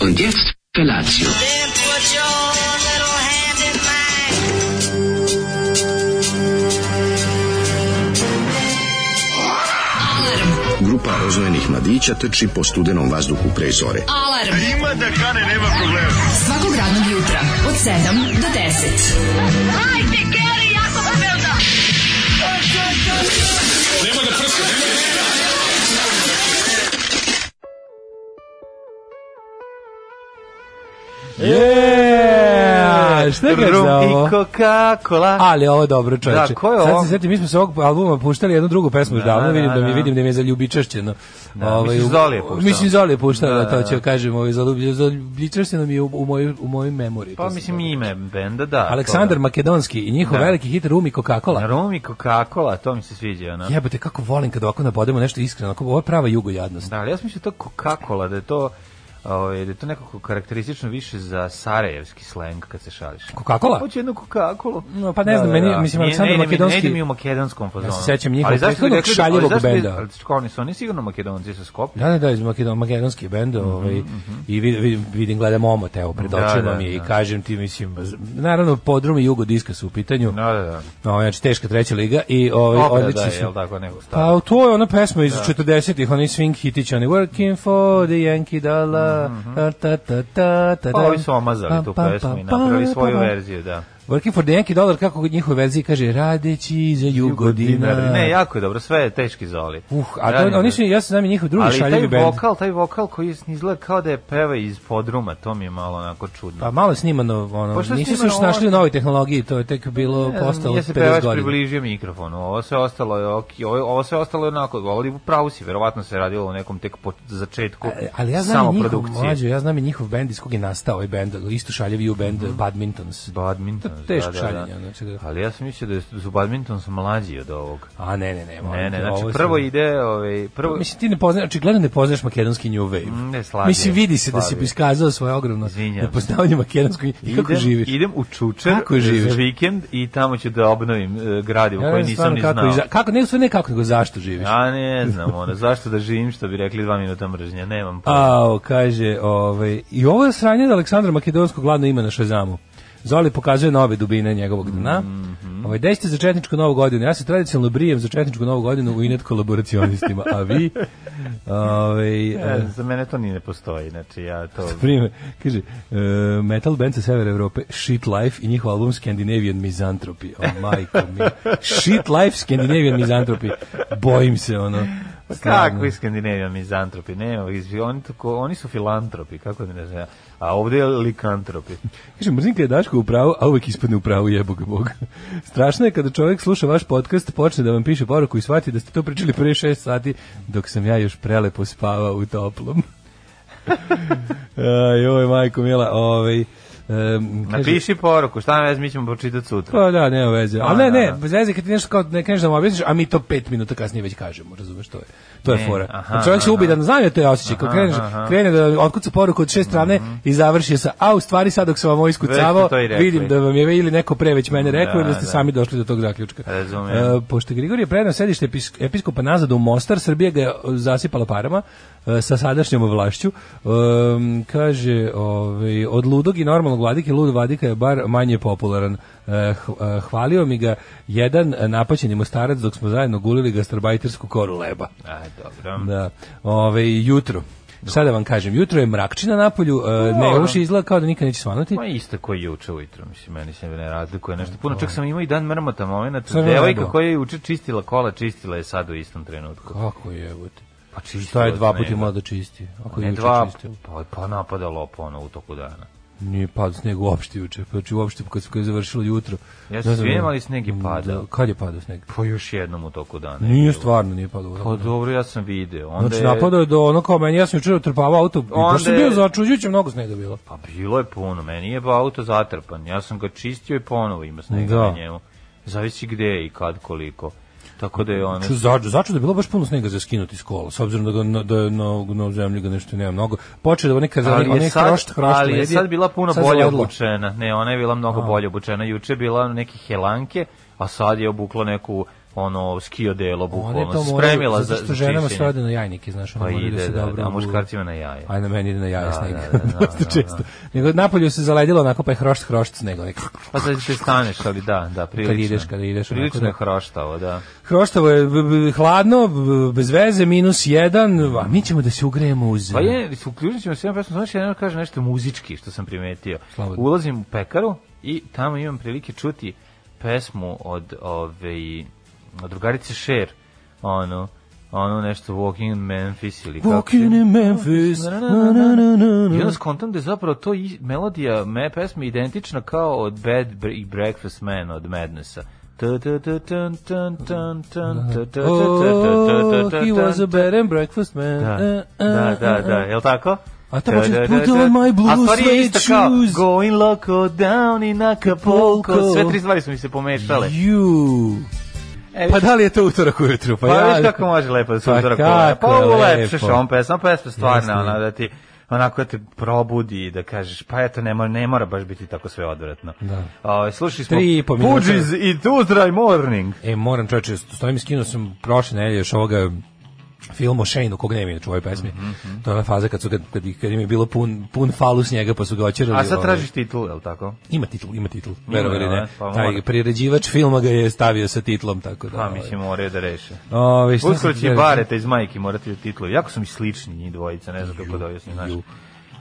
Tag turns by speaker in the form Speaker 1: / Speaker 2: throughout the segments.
Speaker 1: Und jetzt Felatio.
Speaker 2: Then put your little hand in mine.
Speaker 3: Grupa oznojenih mladića trči po studenom vazduhu pre zore.
Speaker 4: Alarm. Ima da kane, nema problema. Svakog radnog jutra, od 7 do 10.
Speaker 5: Yeah! Šta kažeš za
Speaker 6: Rum
Speaker 5: ovo?
Speaker 6: i Coca-Cola.
Speaker 5: Ali ovo je dobro, čoveče.
Speaker 6: Da, ko je
Speaker 5: Sad
Speaker 6: ovo?
Speaker 5: se setim, mi smo se ovog albuma puštali jednu drugu pesmu da, davno,
Speaker 6: da,
Speaker 5: vidim da, mi
Speaker 6: da.
Speaker 5: vidim da mi je zaljubičašćeno. Da,
Speaker 6: mislim, Zoli je puštao.
Speaker 5: Mislim Zoli je puštao, da,
Speaker 6: Da, da,
Speaker 5: to ću kažem, ovaj, zaljubi- zaljubičašćeno mi je u, u mojoj, u mojoj memoriji.
Speaker 6: Pa
Speaker 5: To sam
Speaker 6: mislim
Speaker 5: dobro.
Speaker 6: ime benda, da.
Speaker 5: Aleksandar Makedonski i njihov
Speaker 6: Da.
Speaker 5: veliki hit Rumi Coca-Cola.
Speaker 6: Rum i Coca-Cola, to mi se sviđa, ono.
Speaker 5: Jebote, kako volim kad ovako nabodemo nešto iskreno. Ako, ovo je prava jugojadnost.
Speaker 6: Da, ali ja sam mislio to Coca-Cola, da je to, ovaj, da je to nekako karakteristično više za sarajevski sleng kad se šališ.
Speaker 5: Coca-Cola?
Speaker 6: Hoće jednu Coca-Cola. Da,
Speaker 5: No, pa ne znam, meni- mislim,
Speaker 6: Nije-
Speaker 5: Aleksandar
Speaker 6: ne ide mi-
Speaker 5: Makedonski-
Speaker 6: Ne ide mi u makedonskom fazonu.
Speaker 5: se sećam njihovog
Speaker 6: Ali zašto bi
Speaker 5: prethodnog
Speaker 6: rekli da-
Speaker 5: šaljivog
Speaker 6: ali zašto bi-
Speaker 5: benda.
Speaker 6: Ali čekaj, oni su oni sigurno makedonci sa Skoplja.
Speaker 5: Da, da, da, iz Makedon, makedonski bend, ovaj, i vid- vidim, vidim, gledam omot, evo, pred
Speaker 6: Mhm, Da,
Speaker 5: očima
Speaker 6: da,
Speaker 5: mi je i
Speaker 6: da.
Speaker 5: kažem ti, mislim, z- naravno, podrum i jugo diska su u pitanju,
Speaker 6: Da, da, da.
Speaker 5: ovaj, znači, teška treća liga i ovaj,
Speaker 6: Opera,
Speaker 5: odlični
Speaker 6: da,
Speaker 5: su.
Speaker 6: jel tako, nego
Speaker 5: Pa
Speaker 6: staro.
Speaker 5: to je ona pesma iz 40-ih, oni swing hitići, oni working for the Yankee dollar, ta ta ta ta ta
Speaker 6: Mhm. Pa
Speaker 5: ta.
Speaker 6: ovi su omazali tu
Speaker 5: Pa, pa,
Speaker 6: pesmu i
Speaker 5: pa,
Speaker 6: napravili
Speaker 5: pa,
Speaker 6: svoju
Speaker 5: pa.
Speaker 6: verziju, da.
Speaker 5: Working for the Yankee dollar, kako u njihovoj verziji kaže, radeći za Jugodina.
Speaker 6: Ne, jako je dobro, sve je teški zoli.
Speaker 5: Uh, a to-
Speaker 6: Radim
Speaker 5: oni
Speaker 6: ga.
Speaker 5: su, ja se znam, i njihov drugi
Speaker 6: Ali taj
Speaker 5: šaljivi bend.
Speaker 6: vokal, taj vokal koji izgleda kao da je peva iz podruma, to mi je malo onako čudno.
Speaker 5: Pa malo je snimano, ono,
Speaker 6: Pa što je
Speaker 5: nisu se
Speaker 6: snimano
Speaker 5: još našli u
Speaker 6: ovo?
Speaker 5: novoj tehnologiji, to je tek bilo
Speaker 6: Ne znam,
Speaker 5: postalo
Speaker 6: nije se
Speaker 5: 50
Speaker 6: pevač
Speaker 5: godina.
Speaker 6: približio mikrofonu. Ovo sve ostalo je ok, ovo, ovo sve ostalo je onako, ali u pravu si, verovatno se radilo o nekom tek po začetku
Speaker 5: E, Ali ja znam
Speaker 6: samo
Speaker 5: i njihov,
Speaker 6: produkcije.
Speaker 5: mlađo, ja znam i njihov bend iz kog je nastao ovaj bend, isto šaljevi u bend
Speaker 6: Mhm.
Speaker 5: Badmintons.
Speaker 6: Badminton.
Speaker 5: To je teško
Speaker 6: da, da,
Speaker 5: šaljenje, znači
Speaker 6: da.
Speaker 5: ono, čega-
Speaker 6: Ali ja sam mislio da je- su badminton su mlađi od ovog.
Speaker 5: A ne, ne, ne. molim
Speaker 6: Ne, ne,
Speaker 5: te, ovo
Speaker 6: znači
Speaker 5: je
Speaker 6: prvo
Speaker 5: sad-
Speaker 6: ide, ovaj, prvo,
Speaker 5: Mislim, ti ne poznaš, očigledno ne poznaš makedonski New Wave.
Speaker 6: Mm, ne, slabije,
Speaker 5: Mislim, vidi se da si
Speaker 6: slabije.
Speaker 5: iskazao svoje ogromno
Speaker 6: Izvinjavam se.
Speaker 5: nepoznavanje makedonskog i kako
Speaker 6: idem,
Speaker 5: živiš.
Speaker 6: idem u Čučer
Speaker 5: Kako živiš?
Speaker 6: za vikend i tamo ću da obnovim e, gradivo
Speaker 5: Ja ne
Speaker 6: koje
Speaker 5: znam
Speaker 6: nisam
Speaker 5: stvarno
Speaker 6: ni
Speaker 5: kako,
Speaker 6: znao.
Speaker 5: i za- kako, ne, u stvari ne kako, nego zašto živiš.
Speaker 6: Ja ne znam, ono, zašto da živim što bi rekli dva minuta mržnja, nemam pojma.
Speaker 5: Ao, kaže, ovaj, i ovo je sranje da Aleksandra Makedonskog glavno ima na Šazamu. Zoli pokazuje nove dubine njegovog dna.
Speaker 6: Mhm.
Speaker 5: Ovaj, desite za Četničku Novu godinu. Ja se tradicionalno brijem za Četničku Novu godinu u inet kolaboracionistima, a vi... Ovaj,
Speaker 6: E,
Speaker 5: e,
Speaker 6: za mene to ni ne postoji, znači ja to...
Speaker 5: Prime, kaže, e, metal band sa severa Evrope, Shit Life i njihov album Scandinavian Misanthropy. O, majko mi. Shit Life, Scandinavian Misanthropy. Bojim se, ono.
Speaker 6: Pa Kako je Skandinavija mizantropi? Ne, oni, tako, oni su filantropi, kako da ne znam, ja. a ovde je likantropi.
Speaker 5: Kaže, mrzim kada je Daško u pravu, a uvek ispadne u pravu, jebo ga Bog. Strašno je kada čovjek sluša vaš podcast, počne da vam piše poruku i shvati da ste to pričali pre šest sati, dok sam ja još prelepo spavao u toplom. Aj, oj, majko mila, ovaj... em, kaže-
Speaker 6: Napiši poruku, šta ne mi ćemo počitati sutra.
Speaker 5: Pa da, nema veze.
Speaker 6: Pa
Speaker 5: Ali ne,
Speaker 6: da,
Speaker 5: ne,
Speaker 6: da.
Speaker 5: bez veze kad ti nešto kao ne kažeš da mu objasniš, a mi to pet minuta kasnije već kažemo, razumeš, to je, to je
Speaker 6: Ne,
Speaker 5: fora.
Speaker 6: aha,
Speaker 5: čovjek se
Speaker 6: aha.
Speaker 5: ubi da znam je to je osjećaj. Kad
Speaker 6: Aha,
Speaker 5: kreneš,
Speaker 6: aha. Mhm.
Speaker 5: krene da otkuca poruku od šest strane i završi sa, a u stvari sad dok sam vam ovo iskucavao,
Speaker 6: Već ste to i rekli.
Speaker 5: vidim da vam je ili neko pre već mene rekao
Speaker 6: Da,
Speaker 5: ili da ste
Speaker 6: da.
Speaker 5: sami došli do tog zaključka.
Speaker 6: Razumem.
Speaker 5: E, pošto je Grigorije predao sedište epis- episkopa nazad u Mostar, Srbija ga je zasipala parama e, sa sadašnjom vlašću. Ehm, kaže, ovaj, od ludog i normalnog vladike, lud vladika je bar manje popularan. E, h- e, hvalio mi ga jedan e, napaćeni mostarac dok smo zajedno gulili gastarbajtersku koru leba.
Speaker 6: Aj, dobro.
Speaker 5: Da. Ove, jutro. Sada da vam kažem, jutro je mrakčina na polju, e, ne uši izgleda kao da nikad neće svanuti.
Speaker 6: Ma isto koji juče ujutro, mislim, meni se ne razlikuje nešto puno. Čak sam imao i dan mrmota moment.
Speaker 5: Sve vreme
Speaker 6: Devojka
Speaker 5: dobro.
Speaker 6: koja je juče čistila kola, čistila je sad u istom trenutku.
Speaker 5: Kako je, jebote?
Speaker 6: Pa
Speaker 5: Šta je dva
Speaker 6: od
Speaker 5: puta
Speaker 6: snega.
Speaker 5: imala da čisti? Ako je
Speaker 6: Ne
Speaker 5: juče
Speaker 6: dva,
Speaker 5: čistila?
Speaker 6: pa, pa napadalo pa ono u toku dana.
Speaker 5: Nije pad sneg uopšte juče, pa znači uopšte kad se kad je završilo jutro.
Speaker 6: Ja
Speaker 5: Ne
Speaker 6: se
Speaker 5: znam,
Speaker 6: svijem, ali sneg je padao.
Speaker 5: Da, kad je padao sneg?
Speaker 6: Pa još jednom u toku dana. je
Speaker 5: Nije
Speaker 6: bilo.
Speaker 5: stvarno, nije padao.
Speaker 6: Pa dobro, ja sam video. Onda
Speaker 5: Znači
Speaker 6: je-
Speaker 5: napadao je do ono kao meni, ja sam jučer otrpavao auto, i baš
Speaker 6: Onda
Speaker 5: sam
Speaker 6: je-
Speaker 5: bio začuđujuće, mnogo snega bilo.
Speaker 6: Pa bilo je puno, meni je auto zatrpan. Ja sam ga čistio i ponovo ima snega
Speaker 5: Da.
Speaker 6: na njemu. Zavisi gde i kad koliko. Tako da je ono...
Speaker 5: Ču, za, začu da je bilo baš puno snega za skinuti s kola, s obzirom da, ga, na, da je na, na zemlji ga nešto nema mnogo. Počeo da one kad
Speaker 6: Ali
Speaker 5: one
Speaker 6: je, sad,
Speaker 5: hrošt, hrošt
Speaker 6: ali je
Speaker 5: ledi,
Speaker 6: sad bila puno
Speaker 5: sad
Speaker 6: bolje
Speaker 5: zaledilo.
Speaker 6: obučena. Ne, ona je bila mnogo bolje obučena. Juče je bila neke helanke, a sad je obukla neku ono skio delo
Speaker 5: One
Speaker 6: bukvalno
Speaker 5: to
Speaker 6: se
Speaker 5: moraju,
Speaker 6: spremila za
Speaker 5: zato što
Speaker 6: za
Speaker 5: ženama
Speaker 6: čišćenje.
Speaker 5: sve ode na jajnike, znaš,
Speaker 6: pa
Speaker 5: ono moraju da
Speaker 6: ide
Speaker 5: se
Speaker 6: da, da,
Speaker 5: dobro...
Speaker 6: a
Speaker 5: obuku.
Speaker 6: muškarcima na jaje.
Speaker 5: Ajde, meni ide Pa na jaja
Speaker 6: Da,
Speaker 5: sneg,
Speaker 6: da, da,
Speaker 5: dosta
Speaker 6: da, da.
Speaker 5: često. Nego napolju se zaledilo onako pa je hrošt, hrošt sneg. Onako.
Speaker 6: Pa sad te staneš, ali da, da, prilično.
Speaker 5: ideš, kada ideš, onako
Speaker 6: Prilično
Speaker 5: da.
Speaker 6: je hroštavo, da.
Speaker 5: Hroštavo je b- b- hladno, b- bez veze, minus jedan, a mi ćemo da se ugrejemo uz...
Speaker 6: Pa je, uključit ćemo se jedan pesmu, znaš, jedan kaže nešto muzički, što sam primetio.
Speaker 5: Slobodno.
Speaker 6: Ulazim u pekaru i tamo imam prilike čuti pesmu od, ove, od drugarice Cher, ono, ono nešto Walking in Memphis ili kako
Speaker 5: Walking
Speaker 6: se-
Speaker 5: in Memphis. Na, na, na, na, na,
Speaker 6: I
Speaker 5: na.
Speaker 6: onda skontam da je zapravo to i, melodija me pesme identična kao od Bad Br i Breakfast Man od Madnessa. Tu, tu, tu, tun, tun, tun, tun, tu, tu, tu,
Speaker 5: Oh,
Speaker 6: tu, tu, tu, tu, tu,
Speaker 5: he was a
Speaker 6: tun.
Speaker 5: bed and breakfast man.
Speaker 6: Da,
Speaker 5: Eh, eh,
Speaker 6: da, da,
Speaker 5: eh,
Speaker 6: da,
Speaker 5: eh.
Speaker 6: jel tako?
Speaker 5: A tamo će
Speaker 6: Da, da,
Speaker 5: put
Speaker 6: da,
Speaker 5: on
Speaker 6: da.
Speaker 5: my blue
Speaker 6: A stvar je
Speaker 5: suede
Speaker 6: isto kao
Speaker 5: shoes.
Speaker 6: Going loco down in Acapulco. Sve tri stvari su mi se pomešale.
Speaker 5: You.
Speaker 6: E,
Speaker 5: Pa da li je to utorak ujutru?
Speaker 6: Pa vidiš kako može lepo da se
Speaker 5: Pa
Speaker 6: uzorak
Speaker 5: kako
Speaker 6: Pa
Speaker 5: je
Speaker 6: ulepšeš
Speaker 5: lepo.
Speaker 6: on pesma, pesma
Speaker 5: Jeste.
Speaker 6: stvarno, ona da ti onako da te probudi i da kažeš pa eto ne mora, ne mora baš biti tako sve odvratno.
Speaker 5: Da.
Speaker 6: Ovaj slušali smo
Speaker 5: Tri i po minuta.
Speaker 6: Fugees i Tuesday Morning.
Speaker 5: E, moram čovječe, stojim i skinuo sam prošle nedelje još ovoga film o Shane-u, kog nema inače u ovoj pesmi.
Speaker 6: Mhm,
Speaker 5: To je ona faza kad, su, kad, kad, kad im je bilo pun, pun falus njega, pa su ga očerali.
Speaker 6: A sad
Speaker 5: ovaj.
Speaker 6: tražiš titul, je li tako?
Speaker 5: Ima titl, ima titl, verovali
Speaker 6: ga,
Speaker 5: ne.
Speaker 6: ne, pa
Speaker 5: Taj
Speaker 6: mora.
Speaker 5: priređivač filma ga je stavio sa titlom, tako da...
Speaker 6: Pa
Speaker 5: ovaj.
Speaker 6: mislim moraju da reše.
Speaker 5: Ove, šta
Speaker 6: Uskoro
Speaker 5: sam
Speaker 6: će
Speaker 5: htio reći?
Speaker 6: barete iz majke morati da titlu. Jako su mi slični njih dvojica, ne znam kako da objasnim, znaš.
Speaker 5: ju.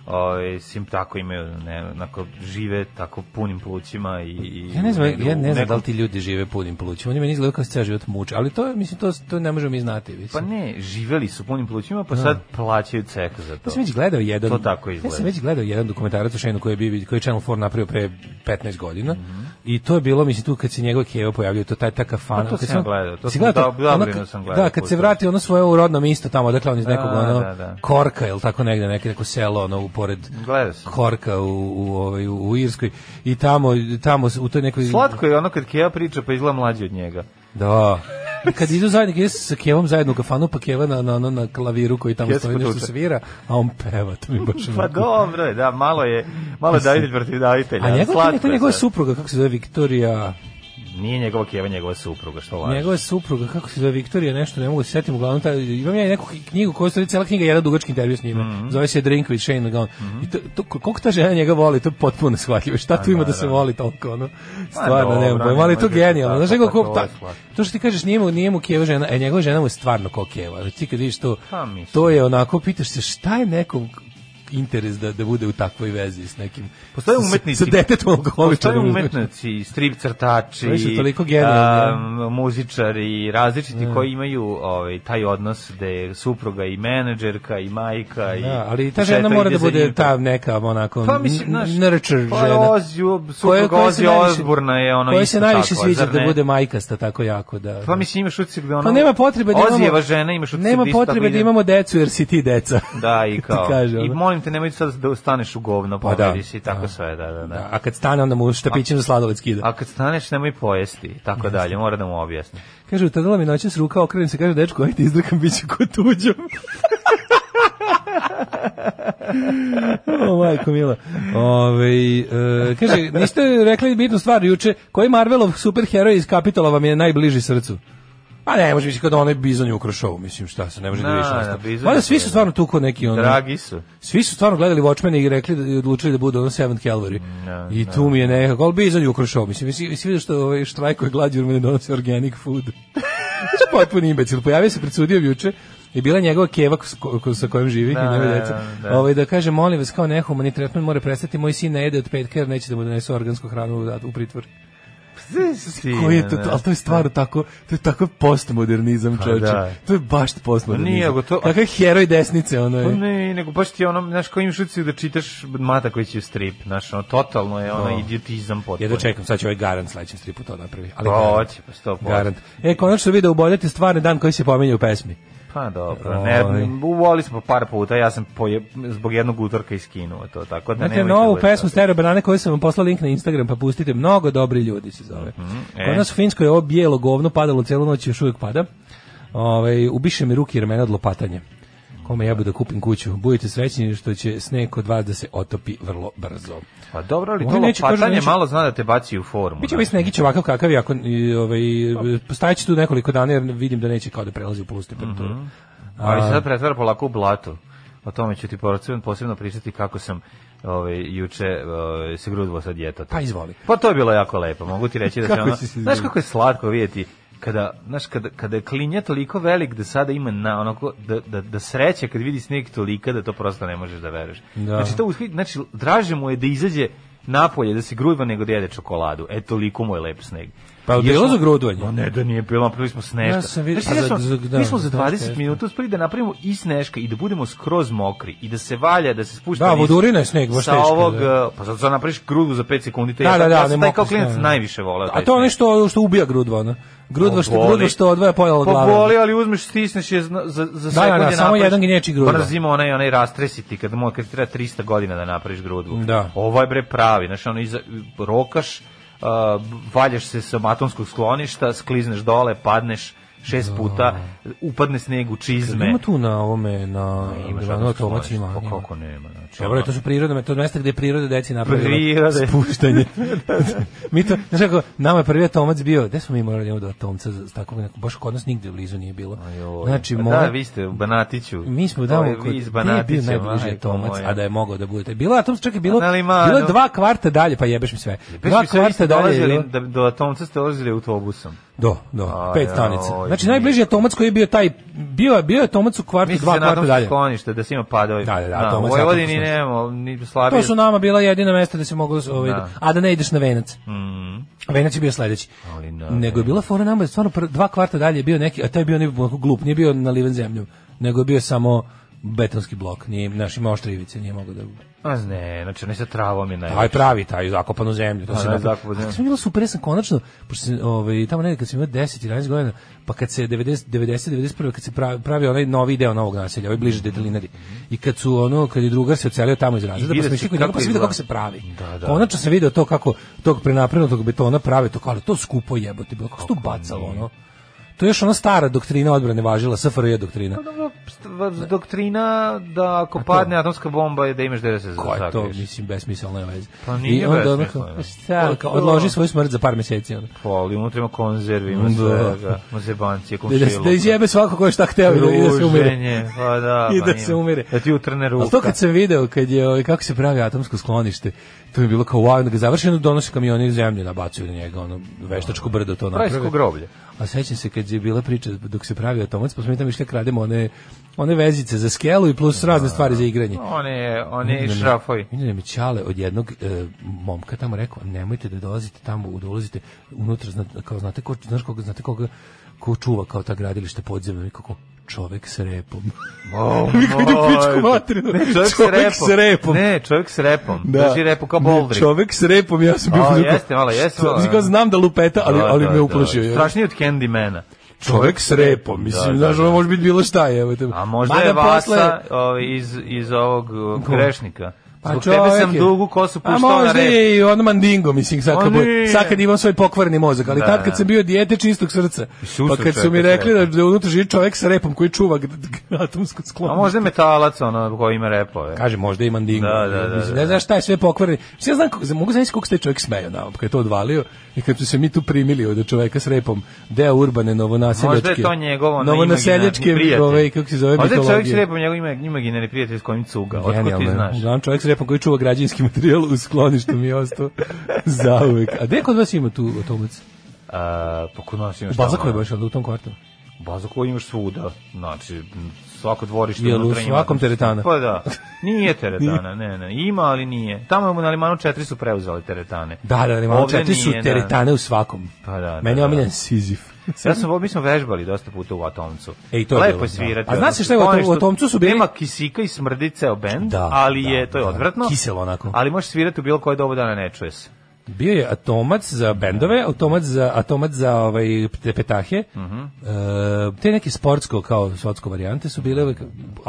Speaker 6: Ove, sim tako imaju, ne, onako žive tako punim plućima i... i
Speaker 5: Ja ne znam,
Speaker 6: u-
Speaker 5: ja ne znam
Speaker 6: u
Speaker 5: da
Speaker 6: nekom
Speaker 5: li ti ljudi žive punim plućima. Oni meni izgledaju kao da se ceo život muče, ali to, je, mislim, to, to ne možemo mi znati. Mislim.
Speaker 6: Pa ne, živeli su punim plućima, pa sad plaćaju cek za to.
Speaker 5: Ja sam već gledao jedan.
Speaker 6: To tako
Speaker 5: Ja
Speaker 6: izgleda.
Speaker 5: sam već gledao jedan dokumentarac o Shane-u koji je bio koji je Channel 4 napravio pre 15 godina. I to je bilo mislim tu kad se njegov Keva pojavio to taj taka fan.
Speaker 6: Pa to sam ja gledao, to sam dab-
Speaker 5: ono,
Speaker 6: Dublinu
Speaker 5: kad-
Speaker 6: sam gledao
Speaker 5: Da, kad se
Speaker 6: puta.
Speaker 5: vrati ono svoje u rodno mesto tamo odakle on iz nekog
Speaker 6: Da,
Speaker 5: ono
Speaker 6: da, da.
Speaker 5: Korka ili tako negde neki neko selo ono u pored
Speaker 6: Gledao sam.
Speaker 5: Korka u u ovaj u, u Irskoj i tamo tamo u toj nekoj
Speaker 6: Slatko je ono kad Kea priča, pa izgleda mlađi od njega.
Speaker 5: Da. I kad idu zajedno, kad idu sa Kevom zajedno u kafanu, pa Keva na, na, na, na klaviru koji tamo
Speaker 6: Keva se
Speaker 5: stoji nešto
Speaker 6: potuče.
Speaker 5: svira, a on peva, to mi baš
Speaker 6: Pa
Speaker 5: onako-
Speaker 6: dobro je, da, malo je, malo je davitelj protiv davitelja.
Speaker 5: A njegova,
Speaker 6: slatko
Speaker 5: to je
Speaker 6: je
Speaker 5: njegova
Speaker 6: sad.
Speaker 5: supruga, kako se zove Viktorija,
Speaker 6: Nije njegova Keva, njegova supruga, što laži.
Speaker 5: njegova supruga, kako se zove Viktorija, nešto, ne mogu da se setim, uglavnom, ta, imam ja i neku knjigu koja stoji, cijela knjiga, je jedan dugački intervju s njime, zove se Drink with Shane Lagan, i to, to, koliko ta žena njega voli, to je potpuno shvatljivo, šta tu ima da Pa se
Speaker 6: naravno.
Speaker 5: voli toliko, ono, stvarno,
Speaker 6: dobro,
Speaker 5: nema pojma, ali je to
Speaker 6: nemojte
Speaker 5: genijalno,
Speaker 6: tako,
Speaker 5: znaš, nego,
Speaker 6: tako,
Speaker 5: ko,
Speaker 6: ovo
Speaker 5: ta,
Speaker 6: je slatko.
Speaker 5: to što ti kažeš, nije mu, nije mu Keva žena, e, njegova žena mu je stvarno ko Keva, znači ti kad vidiš to,
Speaker 6: Pa, mislim.
Speaker 5: to je onako, pitaš se, šta je nekom interes da, da bude u takvoj vezi s nekim
Speaker 6: Postoje
Speaker 5: sa- sa-
Speaker 6: umetnici.
Speaker 5: sa detetom
Speaker 6: Postoje
Speaker 5: alkoholičarom, razumeš?
Speaker 6: umetnici, strip crtači,
Speaker 5: Oni su toliko genijalni, Da.
Speaker 6: am, muzičari, različiti koji imaju ovaj, taj odnos da je supruga i menadžerka i majka. i
Speaker 5: Da, ali ta
Speaker 6: i
Speaker 5: žena
Speaker 6: šeta i
Speaker 5: mora da bude
Speaker 6: dizajnirka.
Speaker 5: ta neka onako
Speaker 6: Pa mislim, znaš,
Speaker 5: n- nurture
Speaker 6: pa
Speaker 5: žena.
Speaker 6: Ozio, supruga
Speaker 5: se
Speaker 6: Ozzy
Speaker 5: najviše-
Speaker 6: Osbourna je ono
Speaker 5: koja se
Speaker 6: isto
Speaker 5: najviše
Speaker 6: tako,
Speaker 5: sviđa
Speaker 6: zar
Speaker 5: da
Speaker 6: ne?
Speaker 5: bude majkasta tako jako da.
Speaker 6: Pa mislim imaš utisak da ono...
Speaker 5: Pa nema potrebe da imamo
Speaker 6: Ozijeva žena imaš utisak
Speaker 5: Nema
Speaker 6: da isto tako
Speaker 5: potrebe da
Speaker 6: ide.
Speaker 5: imamo decu jer si ti deca.
Speaker 6: Da, i kao.
Speaker 5: Ti kaže,
Speaker 6: I
Speaker 5: ono.
Speaker 6: molim te, nemoj sad da staneš u govno,
Speaker 5: Pa da.
Speaker 6: pomeri si i tako
Speaker 5: Da.
Speaker 6: sve, da, da, da.
Speaker 5: Da, a kad stane onda mu štapićem za sladoled skida.
Speaker 6: A kad staneš, nemoj pojesti, i tako dalje, mora da mu objasni.
Speaker 5: Kaže, utadala mi noćas ruka, okrenem se, kaže, dečko, ajde izdrkam, bit ću ko tuđom. o, majko mila. Ove, e, kaže, niste rekli bitnu stvar juče, koji Marvelov superheroj iz Kapitola vam je najbliži srcu? A ne, može biti kod onaj bizon je u Krošovu, mislim, šta se, ne može da,
Speaker 6: Da,
Speaker 5: više.
Speaker 6: da,
Speaker 5: ništa.
Speaker 6: Bizon je
Speaker 5: Mada svi su
Speaker 6: to, da.
Speaker 5: stvarno tu ko neki ono...
Speaker 6: Dragi su.
Speaker 5: Svi su stvarno gledali Watchmen i rekli da- i odlučili da bude ono Seventh Calvary.
Speaker 6: Mm, da,
Speaker 5: I tu mi je nekako, ali Bizon je ukrašao. Mislim, jesi, jesi vidio što ovaj štrajko je glađu jer mu ne donosi organic food. Znaš, Potpuni imbecil. Pojavio se pred sudijom juče i bila je njegova keva s ko- ko- sa kojom živi i nema
Speaker 6: da,
Speaker 5: deca.
Speaker 6: da.
Speaker 5: Ovaj, da kaže, molim vas, kao nehumani tretman mora prestati, moj sin ne jede od petka jer neće da mu donesu organsku hranu u, u pritvor. Koji
Speaker 6: da.
Speaker 5: je to, ali to je stvarno tako, to je tako postmodernizam, čovječe.
Speaker 6: da.
Speaker 5: To je baš postmodernizam.
Speaker 6: Nije, nego to-
Speaker 5: Kakav heroj desnice, ono je.
Speaker 6: Pa ne, nego baš ti je ono, znaš, kao imaš utisak da čitaš Mata koji će strip, znaš, ono, totalno je ono idiotizam potpuno.
Speaker 5: Da. Jedva čekam, sad će ovaj garant sledećem stripu to napravi. Ali
Speaker 6: Pa
Speaker 5: garant,
Speaker 6: hoće, pa sto posto.
Speaker 5: garant. E, konačno vide oboljeti stvarni dan koji se pominje u pesmi.
Speaker 6: Pa dobro,
Speaker 5: Ovaj.
Speaker 6: ne, uvoli smo par puta, ja sam poje, zbog jednog utorka iskinuo to, tako da
Speaker 5: Znate,
Speaker 6: nemojte...
Speaker 5: novu
Speaker 6: gledati.
Speaker 5: pesmu Stereo Banane koju sam vam poslao link na Instagram, pa pustite, mnogo dobri ljudi se zove.
Speaker 6: e.
Speaker 5: Kod nas u Finskoj je ovo Ovaj, bijelo govno padalo celu noć i još uvijek pada. Ove, ubiše mi ruke i ramena od lopatanja. Kome jebu da kupim kuću? Budite srećni što će sneg kod vas da se otopi vrlo brzo.
Speaker 6: Pa dobro, ali to
Speaker 5: Oni neće, kažu,
Speaker 6: lopatanje
Speaker 5: neće-
Speaker 6: malo zna da te baci u formu.
Speaker 5: Biće
Speaker 6: da.
Speaker 5: ovaj Snegić ovakav kakav je, ako, i, ovaj,
Speaker 6: Pa.
Speaker 5: postajeći tu nekoliko dana jer vidim da neće kao da prelazi u plus temperaturu.
Speaker 6: Mhm. Ali se sad pretvara polako u blato. O tome ću ti posebno, posebno pričati kako sam ovaj, juče ovaj, se grudilo sa djetetom.
Speaker 5: Pa izvoli.
Speaker 6: Pa to je bilo jako lepo, mogu ti reći da se
Speaker 5: Kako
Speaker 6: ono,
Speaker 5: si se
Speaker 6: znaš
Speaker 5: izgubio?
Speaker 6: kako je slatko vidjeti kada, znaš, kada, kada je klinja toliko velik da sada ima na onako, da, da, da sreće kad vidi sneg tolika da to prosto ne možeš da veruješ.
Speaker 5: Da.
Speaker 6: Znači, to, ushvi- znači, draže mu je da izađe napolje, da se grudva nego da jede čokoladu. E, toliko mu je lep sneg.
Speaker 5: Pa je li
Speaker 6: Još
Speaker 5: bilo
Speaker 6: smo-
Speaker 5: za grudvanje?
Speaker 6: Ma ne, da nije bilo, napravili smo sneška.
Speaker 5: Ja sam vidio-
Speaker 6: Znaš, ja
Speaker 5: a za-
Speaker 6: sam-
Speaker 5: za- da,
Speaker 6: mi smo za
Speaker 5: za
Speaker 6: 20
Speaker 5: sneška.
Speaker 6: minuta uspeli da napravimo i sneška i da budemo skroz mokri i da se valja, da se spušta
Speaker 5: Da,
Speaker 6: niz-
Speaker 5: vodurina je sneg, baš
Speaker 6: sa
Speaker 5: teško,
Speaker 6: ovog,
Speaker 5: da.
Speaker 6: eh, pa zato sad napraviš grudu za 5 sekundi, te
Speaker 5: Da,
Speaker 6: ja,
Speaker 5: da, da,
Speaker 6: ja sam
Speaker 5: ali
Speaker 6: taj
Speaker 5: mokri
Speaker 6: kao klinac
Speaker 5: sneg, da.
Speaker 6: najviše voleo.
Speaker 5: A to je ono što, što ubija grudva, ono. Grudva što, grudva što odvaja pojela od glave.
Speaker 6: Pa boli, ali uzmeš, stisneš je zna- za, za
Speaker 5: Da, da, da, samo jedan gnječi grudva.
Speaker 6: Brzimo onaj, onaj rastresiti, kad, mo, kad ti treba 300 godina da napraviš grudvu.
Speaker 5: Da.
Speaker 6: Ovo je bre pravi, znaš, ono, iza, rokaš, uh, valjaš se sa matonskog skloništa, sklizneš dole, padneš šest puta, upadne sneg u čizme.
Speaker 5: Da. Ima tu na ovome, na
Speaker 6: Imaš
Speaker 5: Milanu
Speaker 6: matonsko
Speaker 5: Tomac
Speaker 6: sklonište,
Speaker 5: ima.
Speaker 6: pa
Speaker 5: ima.
Speaker 6: Kako nema, znači.
Speaker 5: Dobro,
Speaker 6: ono-
Speaker 5: to su prirodne, to je mesta gde je priroda deci napravila
Speaker 6: Priroda.
Speaker 5: spuštanje. mi to, znaš kako, nama je prvi atomac bio, gde smo mi morali da imamo do atomca, za- takvog nekog, baš kod nas nigde u blizu nije bilo.
Speaker 6: Joj,
Speaker 5: Znači,
Speaker 6: pa
Speaker 5: mora,
Speaker 6: da, vi ste u Banatiću.
Speaker 5: Mi smo
Speaker 6: Ovo je
Speaker 5: da
Speaker 6: vi
Speaker 5: kod
Speaker 6: iz
Speaker 5: gde je bio
Speaker 6: Banatića,
Speaker 5: najbliži
Speaker 6: majko
Speaker 5: atomac,
Speaker 6: moja. da
Speaker 5: a da je mogao da budete. Bilo je atomca, čak je bilo,
Speaker 6: Na Limanu.
Speaker 5: bilo je dva kvarta dalje, pa jebeš mi sve.
Speaker 6: Bez
Speaker 5: Dva
Speaker 6: mi sve, vi ste
Speaker 5: kvarta dalje. je
Speaker 6: dolazili,
Speaker 5: bilo-
Speaker 6: da, do Atomca ste dolazili autobusom.
Speaker 5: Do, do,
Speaker 6: A,
Speaker 5: pet
Speaker 6: ja,
Speaker 5: stanica.
Speaker 6: oj,
Speaker 5: Znači najbliži atomac koji je bio taj bio je bio je atomac u kvartu
Speaker 6: Mislim
Speaker 5: dva
Speaker 6: se na
Speaker 5: kvarta
Speaker 6: tom
Speaker 5: dalje.
Speaker 6: sklonište da se ima padovi.
Speaker 5: Da, da, da,
Speaker 6: Na,
Speaker 5: Atomac,
Speaker 6: U Vojvodini
Speaker 5: Atomac.
Speaker 6: nemamo, ni slabije.
Speaker 5: To su nama bila jedina mesta da se moglo ovaj,
Speaker 6: Da.
Speaker 5: a da ne ideš na venac.
Speaker 6: Mm.
Speaker 5: Venac je bio sledeći.
Speaker 6: Ali na
Speaker 5: Nego je bila fora nama, da stvarno pr- dva kvarta dalje je bio neki, a taj je bio ne, glup, nije bio naliven zemljom, nego je bio samo betonski blok, nije, naš imao oštre ivice, nije mogao da...
Speaker 6: A ne, znači ne sa travom je
Speaker 5: Taj
Speaker 6: najveći.
Speaker 5: pravi, taj zakopan u zemlju. To
Speaker 6: A,
Speaker 5: se
Speaker 6: ne,
Speaker 5: napravi-
Speaker 6: Da, zakopan u zemlju.
Speaker 5: A to mi bilo super, ja sam konačno, pošto sam, ovaj, tamo negde kad sam imao 10, 11 godina, pa kad se 90, 90 91, kad se pravi, pravi onaj novi deo novog naselja, ovaj bliže detelinari, i kad su ono, kad je drugar se ocelio tamo iz razreda, pa
Speaker 6: vide
Speaker 5: sam
Speaker 6: se
Speaker 5: išli kod njega,
Speaker 6: kako
Speaker 5: pa sam vidio
Speaker 6: izgleda.
Speaker 5: kako se pravi.
Speaker 6: Da, da.
Speaker 5: Konačno sam video to kako tog prenapravnutog betona prave to, kao, ali to skupo jebote, bilo, kako se tu bacalo, ono. To je još ona stara doktrina odbrane važila, SFRJ doktrina.
Speaker 6: Dobro, st- Doktrina da ako padne atomska bomba je da imaš gde da se
Speaker 5: Ko je to,
Speaker 6: zasakriš.
Speaker 5: mislim, besmisleno je veze.
Speaker 6: Pa nije
Speaker 5: I onda ono
Speaker 6: besmisleno.
Speaker 5: kao, šta, kao, odloži svoju smrt za par meseci. Ono.
Speaker 6: Pa, ali unutra ima konzervi, ima
Speaker 5: Da.
Speaker 6: svega, ima zebancije,
Speaker 5: da, da,
Speaker 6: komšiluka.
Speaker 5: da izjebe svako ko je šta hteo i da, i da se umire.
Speaker 6: Druženje, pa da,
Speaker 5: I
Speaker 6: pa
Speaker 5: da
Speaker 6: nije.
Speaker 5: se umire.
Speaker 6: Da ti utrne ruka.
Speaker 5: Ali to kad sam video, kad je, ovaj, kako se pravi atomsko sklonište, to mi je bilo kao wow, onda ga završeno donose kamioni zemlju, nabacuju na njega, ono, veštačko brdo to
Speaker 6: Rajsko
Speaker 5: naprave.
Speaker 6: groblje.
Speaker 5: A sećam se kad je bila priča dok se pravi automac, pa smo mi tamo išli da krademo one, one vezice za skelu i plus razne stvari za igranje.
Speaker 6: One, one
Speaker 5: Ne, ne,
Speaker 6: šrafovi.
Speaker 5: Vidim da mi Ćale od jednog e, momka tamo rekao, nemojte da dolazite tamo, da ulazite unutra, zna, kao znate ko, znaš koga, znate koga, ko čuva kao ta gradilišta podzemlja, i kako čovek s repom.
Speaker 6: Oh,
Speaker 5: idu pičku materinu.
Speaker 6: Ne, čovjek,
Speaker 5: Čovjek s
Speaker 6: s repom.
Speaker 5: repom.
Speaker 6: Ne, čovjek s repom. Da. Drži repu kao boldrik.
Speaker 5: Čovek s repom, ja sam bio...
Speaker 6: A,
Speaker 5: u fazonu,
Speaker 6: jeste, malo, jeste,
Speaker 5: "Šta?"
Speaker 6: malo,
Speaker 5: Mislim, kao,
Speaker 6: da.
Speaker 5: znam da lupeta, ali,
Speaker 6: Da,
Speaker 5: ali
Speaker 6: da,
Speaker 5: me uplašio.
Speaker 6: Da.
Speaker 5: je.
Speaker 6: Strašniji od Candymana.
Speaker 5: Čovek s repom, mislim,
Speaker 6: Da, da,
Speaker 5: znaš,
Speaker 6: da.
Speaker 5: ovo može biti bilo šta je. evo te.
Speaker 6: A možda
Speaker 5: Mada
Speaker 6: je Vasa
Speaker 5: posle-
Speaker 6: ovaj, iz, iz ovog uh,
Speaker 5: Ko?
Speaker 6: grešnika.
Speaker 5: Pa
Speaker 6: Zbog
Speaker 5: čovek
Speaker 6: tebe sam
Speaker 5: je.
Speaker 6: dugu kosu
Speaker 5: A
Speaker 6: puštao na
Speaker 5: možda
Speaker 6: rep.
Speaker 5: je i ono mandingo, mislim, sad
Speaker 6: A
Speaker 5: kad,
Speaker 6: nije.
Speaker 5: bu- sad kad imam svoj pokvarni mozak, ali
Speaker 6: Da,
Speaker 5: tad
Speaker 6: da.
Speaker 5: kad sam bio dijete čistog srca,
Speaker 6: Sustav
Speaker 5: pa kad su mi
Speaker 6: čoveka s
Speaker 5: rekli da,
Speaker 6: repom.
Speaker 5: da unutra živi čovek sa repom koji čuva g- g- atomsko sklonište.
Speaker 6: A možda je metalac ono koji ima repove.
Speaker 5: Kaže, možda i mandingo.
Speaker 6: Da, da, da,
Speaker 5: Mislim,
Speaker 6: da.
Speaker 5: Ne znaš šta je sve pokvarni. Mislim, ja znam, kako, mogu znaći kako se taj čovjek smeja na kad je to odvalio i kad su se mi tu primili od čoveka s repom, deo urbane novonaseljačke.
Speaker 6: Možda je to njegov ono
Speaker 5: novonaseljačke,
Speaker 6: imaginarni prijatelj.
Speaker 5: ovaj, kako se zove,
Speaker 6: Možda je čovjek s
Speaker 5: mitologije.
Speaker 6: repom njegov ima- imaginarni prijatelj s kojim cuga. Otko ti
Speaker 5: Genijalno je. Da.
Speaker 6: znaš?
Speaker 5: Uglavnom čovjek s repom koji čuva građevinski materijal u skloništu mi je ostao zauvek. A gde kod vas ima tu automac?
Speaker 6: A, Pa kod nas
Speaker 5: U
Speaker 6: imaš
Speaker 5: Bazakoj
Speaker 6: tamo-
Speaker 5: baš, ali u tom kvartu.
Speaker 6: Baza koju imaš svuda, znači svako dvorište
Speaker 5: Jel u
Speaker 6: unutra ima-
Speaker 5: svakom teretana?
Speaker 6: Pa da, nije teretana, ne, ne, ima ali nije. Tamo na Limanu 4 su preuzeli teretane.
Speaker 5: Da, da, ima
Speaker 6: Ovde
Speaker 5: četiri su
Speaker 6: nije, da.
Speaker 5: teretane u svakom.
Speaker 6: Pa da, da,
Speaker 5: Meni je
Speaker 6: da.
Speaker 5: omiljen Sizif.
Speaker 6: Ja sam, mi smo vežbali dosta puta u Atomcu.
Speaker 5: E, i to je
Speaker 6: Lepo
Speaker 5: bilo,
Speaker 6: je
Speaker 5: da.
Speaker 6: svirati.
Speaker 5: A znaš
Speaker 6: odnosno,
Speaker 5: šta je u Atom-
Speaker 6: ponešto-
Speaker 5: u Atomcu su bili-
Speaker 6: Nema kisika i smrdi ceo bend,
Speaker 5: Da,
Speaker 6: ali
Speaker 5: da,
Speaker 6: je, to je
Speaker 5: da.
Speaker 6: odvratno.
Speaker 5: Kiselo onako.
Speaker 6: Ali možeš svirati u bilo koje doba dana, ne čuje se.
Speaker 5: Bio je atomac za bendove, automat za, atomac za ovaj, te petahe,
Speaker 6: Mhm.
Speaker 5: e, te neke sportsko kao sotsko varijante su bile... uvek-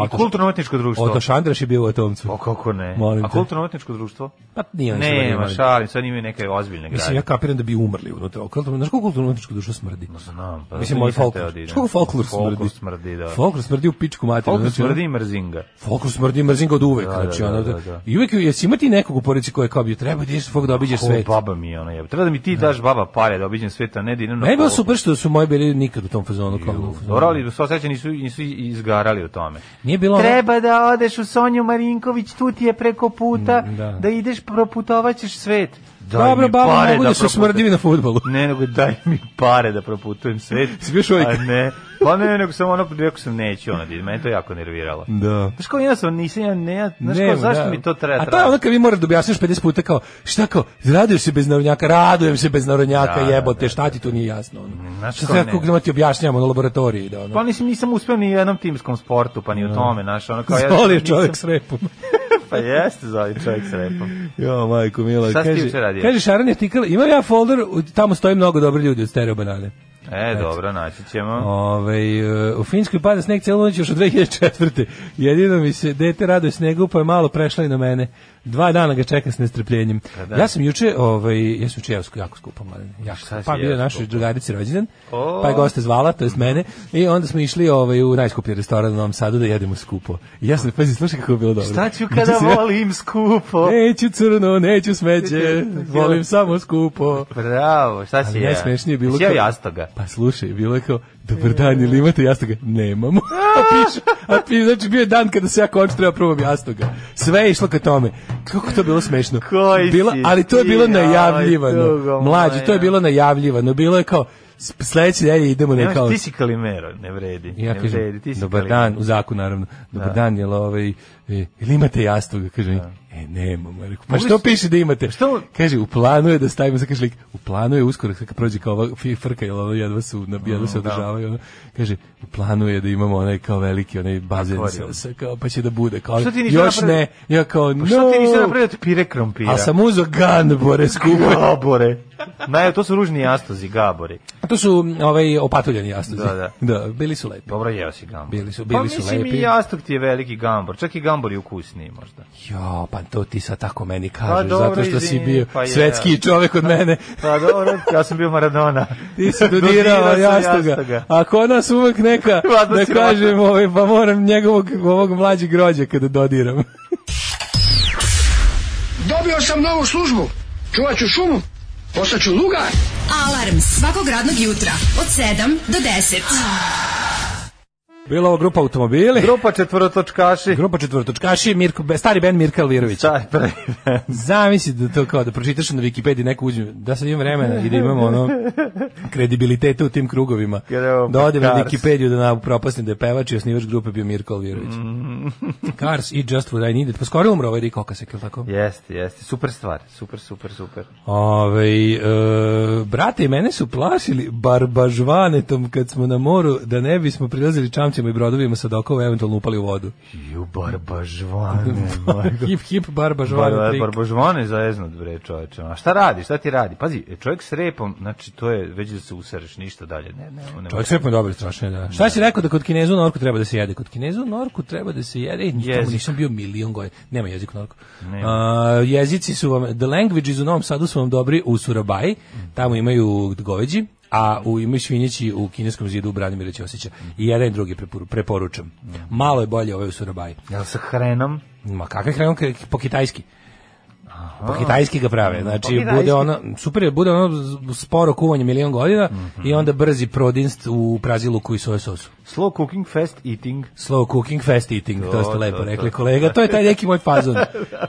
Speaker 6: I kulturno-umetničko društvo.
Speaker 5: Oto Šandraš je bio u atomcu.
Speaker 6: O, kako ne?
Speaker 5: Molim
Speaker 6: A
Speaker 5: te.
Speaker 6: kulturno-umetničko društvo?
Speaker 5: Pa nije on
Speaker 6: Ne,
Speaker 5: ne,
Speaker 6: ima šalim, sad imaju neke ozbiljne grade.
Speaker 5: Mislim, ja kapiram da bi umrli unutra. O, Kulturno, znaš kako kulturno umetničko dušo smrdi?
Speaker 6: Znam, pa
Speaker 5: Mislim,
Speaker 6: zato
Speaker 5: moj
Speaker 6: nisam
Speaker 5: folklor.
Speaker 6: teo da idem.
Speaker 5: Znaš kako folklor smrdi?
Speaker 6: Folklor smrdi, da.
Speaker 5: Folklor smrdi u pičku materiju.
Speaker 6: Folklor
Speaker 5: znači,
Speaker 6: smrdi i mrzinga.
Speaker 5: Folklor smrdi mrzim ga od uvek.
Speaker 6: Da,
Speaker 5: znači,
Speaker 6: da,
Speaker 5: ono,
Speaker 6: da, da.
Speaker 5: I uvek jesi imati nekog u porodici koje kao bi treba da ideš folk da obiđeš
Speaker 6: Ovo
Speaker 5: svet.
Speaker 6: baba mi je ona jebe. Treba da mi ti daš baba pare da obiđem sveta, ne da idem na
Speaker 5: Ne je bilo
Speaker 6: folklor.
Speaker 5: super što su moji bili nikad u tom fazonu. Kao, u fazonu.
Speaker 6: Dobro, ali sva sreća nisu, nisu izgarali u tome.
Speaker 5: Nije bilo ono-
Speaker 6: Treba da odeš u Sonju Marinković, tu ti je preko puta,
Speaker 5: Mm, da.
Speaker 6: da. ideš proputovaćeš svet. Daj
Speaker 5: Dobro,
Speaker 6: mi
Speaker 5: baba,
Speaker 6: pare
Speaker 5: mogu da se
Speaker 6: proputujem.
Speaker 5: smrdivi na futbolu.
Speaker 6: Ne, nego daj mi pare da proputujem svet.
Speaker 5: Svi još uvijek.
Speaker 6: A ne, pa ne, nego sam ono, rekao sam neću ono, da idem, mene to jako nerviralo.
Speaker 5: Da.
Speaker 6: Znaš kao, ja sam, nisam, ja ne, ja, znaš kao,
Speaker 5: Nema,
Speaker 6: zašto
Speaker 5: da.
Speaker 6: mi to treba?
Speaker 5: A to je ono kad vi morate da objasniš 50 puta kao, šta kao, raduješ se bez narodnjaka, radujem se bez narodnjaka,
Speaker 6: Da, da,
Speaker 5: jebote,
Speaker 6: da,
Speaker 5: šta ti tu nije jasno? Ono.
Speaker 6: Znaš
Speaker 5: šta
Speaker 6: kao
Speaker 5: sad
Speaker 6: ne.
Speaker 5: kako da ti objašnjamo na laboratoriji? Da, ono.
Speaker 6: Pa nisam, nisam uspeo ni u jednom timskom sportu, pa ni u tome, znaš, ono kao...
Speaker 5: Da. Zoli je
Speaker 6: nisam-
Speaker 5: čovjek s repom.
Speaker 6: Pa jeste, zoli čovjek s repom.
Speaker 5: jo, majko, mila.
Speaker 6: Šta si ti
Speaker 5: kaže-
Speaker 6: juče radio?
Speaker 5: Kaže, Šaran je tikala, imam ja folder, u- tamo stoji mnogo dobri ljudi od stereo banane.
Speaker 6: E, dobro, naći ćemo.
Speaker 5: Ove, e, u Finskoj pada sneg cijelu noć još od 2004. Jedino mi se dete raduje snegu, pa je malo prešla i na mene. Dva dana ga čeka s nestrpljenjem. Ja sam juče, ovaj, ja sam juče jako, jako skupo, mladen. Jako,
Speaker 6: da. Šta
Speaker 5: skupo.
Speaker 6: si
Speaker 5: pa bio
Speaker 6: jeo
Speaker 5: našoj drugarici rođendan,
Speaker 6: O.
Speaker 5: pa je goste zvala, to jest mene, i onda smo išli ovaj, u najskuplji restoran u Novom Sadu da jedemo skupo. I ja sam, pazi, slušaj kako je bilo dobro.
Speaker 6: Šta ću
Speaker 5: Juče
Speaker 6: kada
Speaker 5: sam ja-
Speaker 6: volim skupo?
Speaker 5: Neću crno, neću smeće, volim samo skupo.
Speaker 6: Bravo, šta si
Speaker 5: Ali
Speaker 6: ja?
Speaker 5: najsmešnije je bilo
Speaker 6: Jesi jeo
Speaker 5: kad-
Speaker 6: jastoga?
Speaker 5: Pa slušaj, bilo je kao, dobar dan, ili imate jastoga? Nemamo. A piše, a piše, znači bio je dan kada se ja končno treba probam jastoga. Sve je išlo ka tome. Kako to bilo smešno.
Speaker 6: Koji
Speaker 5: bilo,
Speaker 6: si
Speaker 5: ali to je
Speaker 6: ti,
Speaker 5: bilo
Speaker 6: aj,
Speaker 5: najavljivano.
Speaker 6: tugo
Speaker 5: Mlađe,
Speaker 6: moja.
Speaker 5: to je bilo najavljivano. Bilo je kao, s- sledeće nedelje idemo na
Speaker 6: Nemaš,
Speaker 5: kao...
Speaker 6: ti si Kalimero, ne vredi.
Speaker 5: I ja
Speaker 6: ne
Speaker 5: kažem,
Speaker 6: vredi, ti si Da.
Speaker 5: dobar
Speaker 6: Kalimero.
Speaker 5: dan, u zaku naravno, dobar dan, jel ovaj, e, jel imate jastoga? Kaže, mi, e, nemamo. Ja Rekao, pa
Speaker 6: Mogli
Speaker 5: što
Speaker 6: ste-
Speaker 5: piše da imate?
Speaker 6: Da. Što-
Speaker 5: Kaže, u planu je da stavimo, sad kaže lik, u planu je uskoro, kad prođe kao ova fi- frka, jel ovo jedva su, na-
Speaker 6: Mm,
Speaker 5: jedva
Speaker 6: da.
Speaker 5: se održavaju, ono, kaže, u planu je da imamo onaj kao veliki, onaj bazen sa,
Speaker 6: Akvarijum.
Speaker 5: sa, kao, pa će da bude, kao,
Speaker 6: Što ti nisi
Speaker 5: još
Speaker 6: napravio-
Speaker 5: ne, ja kao, no,
Speaker 6: Što Pa ti nisi napravio od pire krompira?
Speaker 5: a sam uzo gan, bore, skupo.
Speaker 6: Gabore. Naj, to su ružni jastozi, gabori.
Speaker 5: To su m, ovaj, opatuljani jastozi.
Speaker 6: Da, da.
Speaker 5: bili su lepi.
Speaker 6: Dobro jeo si gambor.
Speaker 5: Bili su- bili
Speaker 6: pa,
Speaker 5: su
Speaker 6: mislim
Speaker 5: lepi.
Speaker 6: i jastuk ti je veliki gambor. Čak i gambor je ukusniji možda.
Speaker 5: Jo, pa to ti sad tako meni kažeš,
Speaker 6: dobro,
Speaker 5: zato što si
Speaker 6: izvini,
Speaker 5: bio
Speaker 6: pa je.
Speaker 5: svetski čovek od mene.
Speaker 6: Pa dobro, ja sam bio Maradona.
Speaker 5: Ti si donirao
Speaker 6: sam
Speaker 5: jastoga. A kod nas uvek neka,
Speaker 6: Vado
Speaker 5: da
Speaker 6: siromašno.
Speaker 5: kažem, ovaj, pa moram njegovog ovog mlađeg rođa kada dodiram.
Speaker 1: Dobio sam novu službu. Čuvat ću šumu. Postaću lugar.
Speaker 4: Alarm svakog radnog jutra od 7 do 10.
Speaker 5: Bila ovo grupa automobili,
Speaker 6: Grupa četvorotočkaši.
Speaker 5: grupa četvrtočkaši, Mirko, stari band Mirka Alvirović.
Speaker 6: Šta je pravi band?
Speaker 5: Zamisli da to kao da pročitaš na Wikipediji neko uđe, da sad imam vremena i da imam ono kredibilitete u tim krugovima.
Speaker 6: Idemo
Speaker 5: Da
Speaker 6: po
Speaker 5: odem na
Speaker 6: Cars.
Speaker 5: Wikipediju da napropastim da je pevač i osnivač grupe bio Mirko Alvirović. Mhm. Cars i Just What I Needed. Pa skoro je umro ovaj Rick Okasek, ili tako?
Speaker 6: Jeste, jeste. Super stvar. Super, super, super.
Speaker 5: Ove, e, brate i mene su plašili barbažvanetom kad smo na moru da ne bismo prilazili čamcima i brodovima sa dokova i eventualno upali u vodu.
Speaker 6: Ju, barbažvane.
Speaker 5: hip, hip, barbažvanet
Speaker 6: Bar,
Speaker 5: trik.
Speaker 6: barbažvane je zajeznut, bre, čoveče. A šta radi, šta ti radi? Pazi, čovjek s repom, znači, to je, već da se usereš, ništa dalje. Ne, ne, ne.
Speaker 5: Čovjek sve dobro strašno je, da. Šta si rekao da kod Kinezu u norku treba da se jede? Kod Kinezu u norku treba da se jede. Ej, tamo
Speaker 6: Jezik.
Speaker 5: nisam bio milion godina. Nema jezik u norku.
Speaker 6: Nema.
Speaker 5: A, jezici su vam, the languages u Novom Sadu su vam dobri u Surabaji, tamo imaju goveđi, a u imaju svinjeći u kineskom zidu u Branimira Ćosića. I jedan i drugi preporu- preporučam. Malo je bolje ovaj u Surabaji.
Speaker 6: Jel sa hrenom?
Speaker 5: Ma kakav hrenom k- po kitajski. Po kitajski ga prave. Znači
Speaker 6: kitajski.
Speaker 5: bude ono super je, bude ono z- sporo kuvanje milion godina i
Speaker 6: Mhm.
Speaker 5: onda brzi prodinst u praziluku i soja sosu.
Speaker 6: Slow cooking, fast eating.
Speaker 5: Slow cooking, fast eating, to,
Speaker 6: To,
Speaker 5: ste
Speaker 6: to,
Speaker 5: lepo
Speaker 6: to.
Speaker 5: rekli kolega. To je taj neki moj fazon.